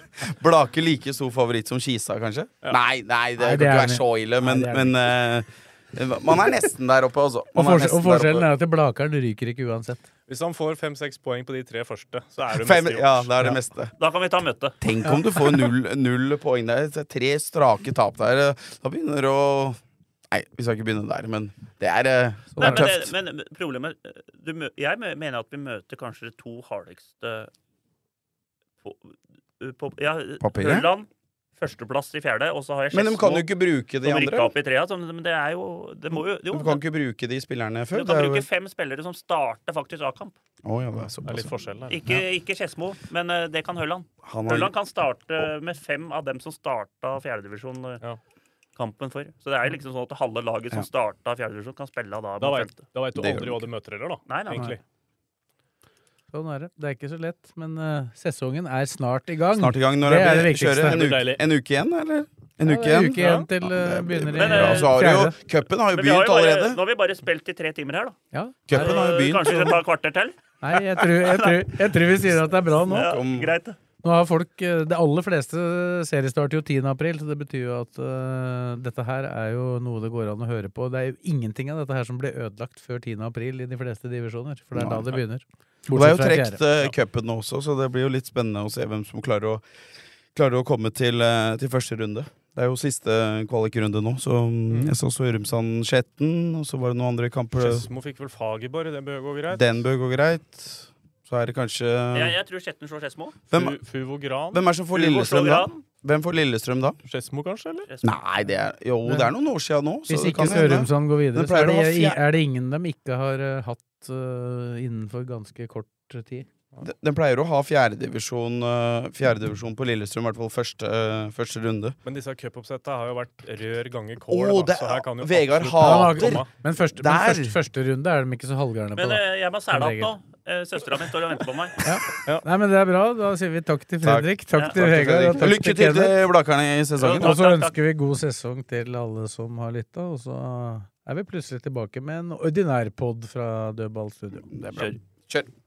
S4: Blake like stor favoritt som Kisa, kanskje? Nei, nei, det
S2: Nei,
S4: kan
S2: det
S4: ikke
S2: er
S4: være
S2: vi.
S4: så ille, men,
S2: Nei, det er vi.
S4: men eh, man er nesten der oppe, altså.
S2: Og,
S4: Man
S2: forskjell,
S4: er nesten
S2: og
S4: der
S2: forskjellen
S4: oppe.
S2: er at Blakeren ryker ikke uansett.
S5: Hvis han får fem-seks poeng på de tre første, så er det
S4: Fem,
S5: mest
S4: ja,
S5: gjort.
S4: det er det meste.
S3: Da kan vi ta møtet.
S4: Tenk om du får null, null poeng der. Det er Tre strake tap der. Da begynner det å Nei, vi skal ikke begynne der, men det er, eh, det
S3: Nei,
S4: er
S3: men,
S4: tøft.
S3: det, men problemet eh, du, mø- Jeg mø- mener at vi møter kanskje de to hardeste på, på ja,
S4: Papiret?
S3: Ørland, førsteplass i fjerde, og så har jeg
S4: Men de kan jo
S3: Skedsmo
S4: ikke bruke de
S3: som rykka
S4: andre.
S3: opp i trea. så- Men det er jo det må jo, jo
S4: Du kan ikke bruke de spillerne
S3: Du
S4: før.
S3: kan
S4: det er jo-
S3: bruke fem spillere som starter faktisk A-kamp.
S4: Å, ja, det er såpass,
S5: Det er litt
S4: ja.
S5: forskjell der.
S3: Ikke, ikke Skedsmo, men eh, det kan Høland.
S4: Han har-
S3: Høland kan starte med fem av dem som starta
S5: Ja.
S3: fjerdedivisjon-kampen for. Så det er jo liksom sånn at halve laget som starta fjerdedivisjon, kan spille da.
S5: Da
S3: mot
S5: veit
S3: femte.
S5: da vet du
S4: Det gjør
S5: aldri
S4: du
S5: hva du møter heller, da.
S3: Nei, nei, nei.
S5: egentlig.
S2: Sånn er det. Det er ikke så lett, men eh, sesongen er snart i gang.
S4: Snart i gang. Når
S2: Det
S4: det
S2: er det
S4: er
S2: viktigste.
S4: kjører en
S5: Det blir
S4: uke,
S5: deilig.
S4: en uke igjen, eller? En
S2: Ja, det
S4: uke
S2: er
S4: igjen?
S2: uke igjen til eh,
S4: Ja, det blir
S2: begynner
S3: Men,
S2: i
S4: bra.
S3: eh,
S4: Så har du jo
S2: fjerde.
S4: Cupen har jo
S3: Men vi har
S4: begynt
S3: jo bare,
S4: allerede.
S3: nå har vi bare spilt i tre timer her, da.
S2: Ja.
S4: Cupen har jo
S3: Eh, Kanskje vi skal
S4: begynt.
S3: ta et kvarter til?
S2: Nei, jeg tror, jeg, tror, jeg tror vi sier at det er bra nå.
S3: Ja,
S4: om-
S3: greit.
S2: Nå har folk, eh, Det aller fleste seriestarter jo 10. april, så det betyr jo at eh, dette her er jo noe det går an å høre på. Det er jo ingenting av dette her som ble ødelagt før 10. april i de fleste divisjoner, for det er da det begynner.
S4: Og Det er jo
S2: fra
S4: trukket
S2: fjerde.
S4: eh, cupen nå også, så det blir jo litt spennende å se hvem som klarer å, klarer å komme til, eh, til første runde. Det er jo siste kvalikrunde nå, så mm, jeg så Sørumsand Skjetten, og så var det noen andre kamper.
S5: Skedsmo fikk vel Fagerborg, det bør gå greit.
S4: Den bør gå greit. Så er det kanskje
S3: Jeg, jeg tror Skjetten slår Skedsmo.
S4: Hvem,
S5: Fu- Fuvo Gran?
S4: hvem er det som får
S3: Hugo
S4: Lillestrøm da?
S3: Sogran.
S4: Hvem får Lillestrøm da?
S5: Skedsmo, kanskje? eller?
S3: Skedsmo.
S4: Nei, det er Jo, det er noen år siden nå. Så
S2: Hvis
S4: det
S2: ikke
S4: kan hende.
S2: Sørumsand går videre,
S4: Det
S2: så
S4: pleier
S2: er det,
S4: å være fjer-
S2: er det ingen de ikke har eh, hatt eh, innenfor ganske kort tid.
S4: De- Den pleier å ha fjerdedivisjon uh, fjerdedivisjon på Lillestrøm, i hvert fall første, eh, første runde.
S5: Men disse cupoppsetta har jo vært rør ganger kål.
S4: Å,
S5: da,
S4: det
S5: så her kan jo
S4: er Vegard
S5: absolutt-
S4: hater!
S5: Komma.
S2: Men første, men
S4: Der!
S2: første, første runde er de ikke så halvgærne på,
S3: Men
S2: da.
S3: eh, jeg må sæle opp
S2: regel.
S3: nå. Eh, Søstera mi står og venter på meg.
S2: Nei, men det er bra. Da sier vi takk til
S4: Takk.
S2: Fredrik, takk,
S3: Ja.
S2: til Vegard og takk
S4: Lykke
S2: til
S4: til
S2: Kenneth.
S4: til Blakerne i
S3: Ja,
S4: sesongen.
S2: Og
S3: takk,
S2: så
S3: takk,
S2: ønsker vi god sesong til alle som har lytta, og så er vi plutselig tilbake med en ordinær pod fra Dødballstudio.
S4: Det er bra. Kjør.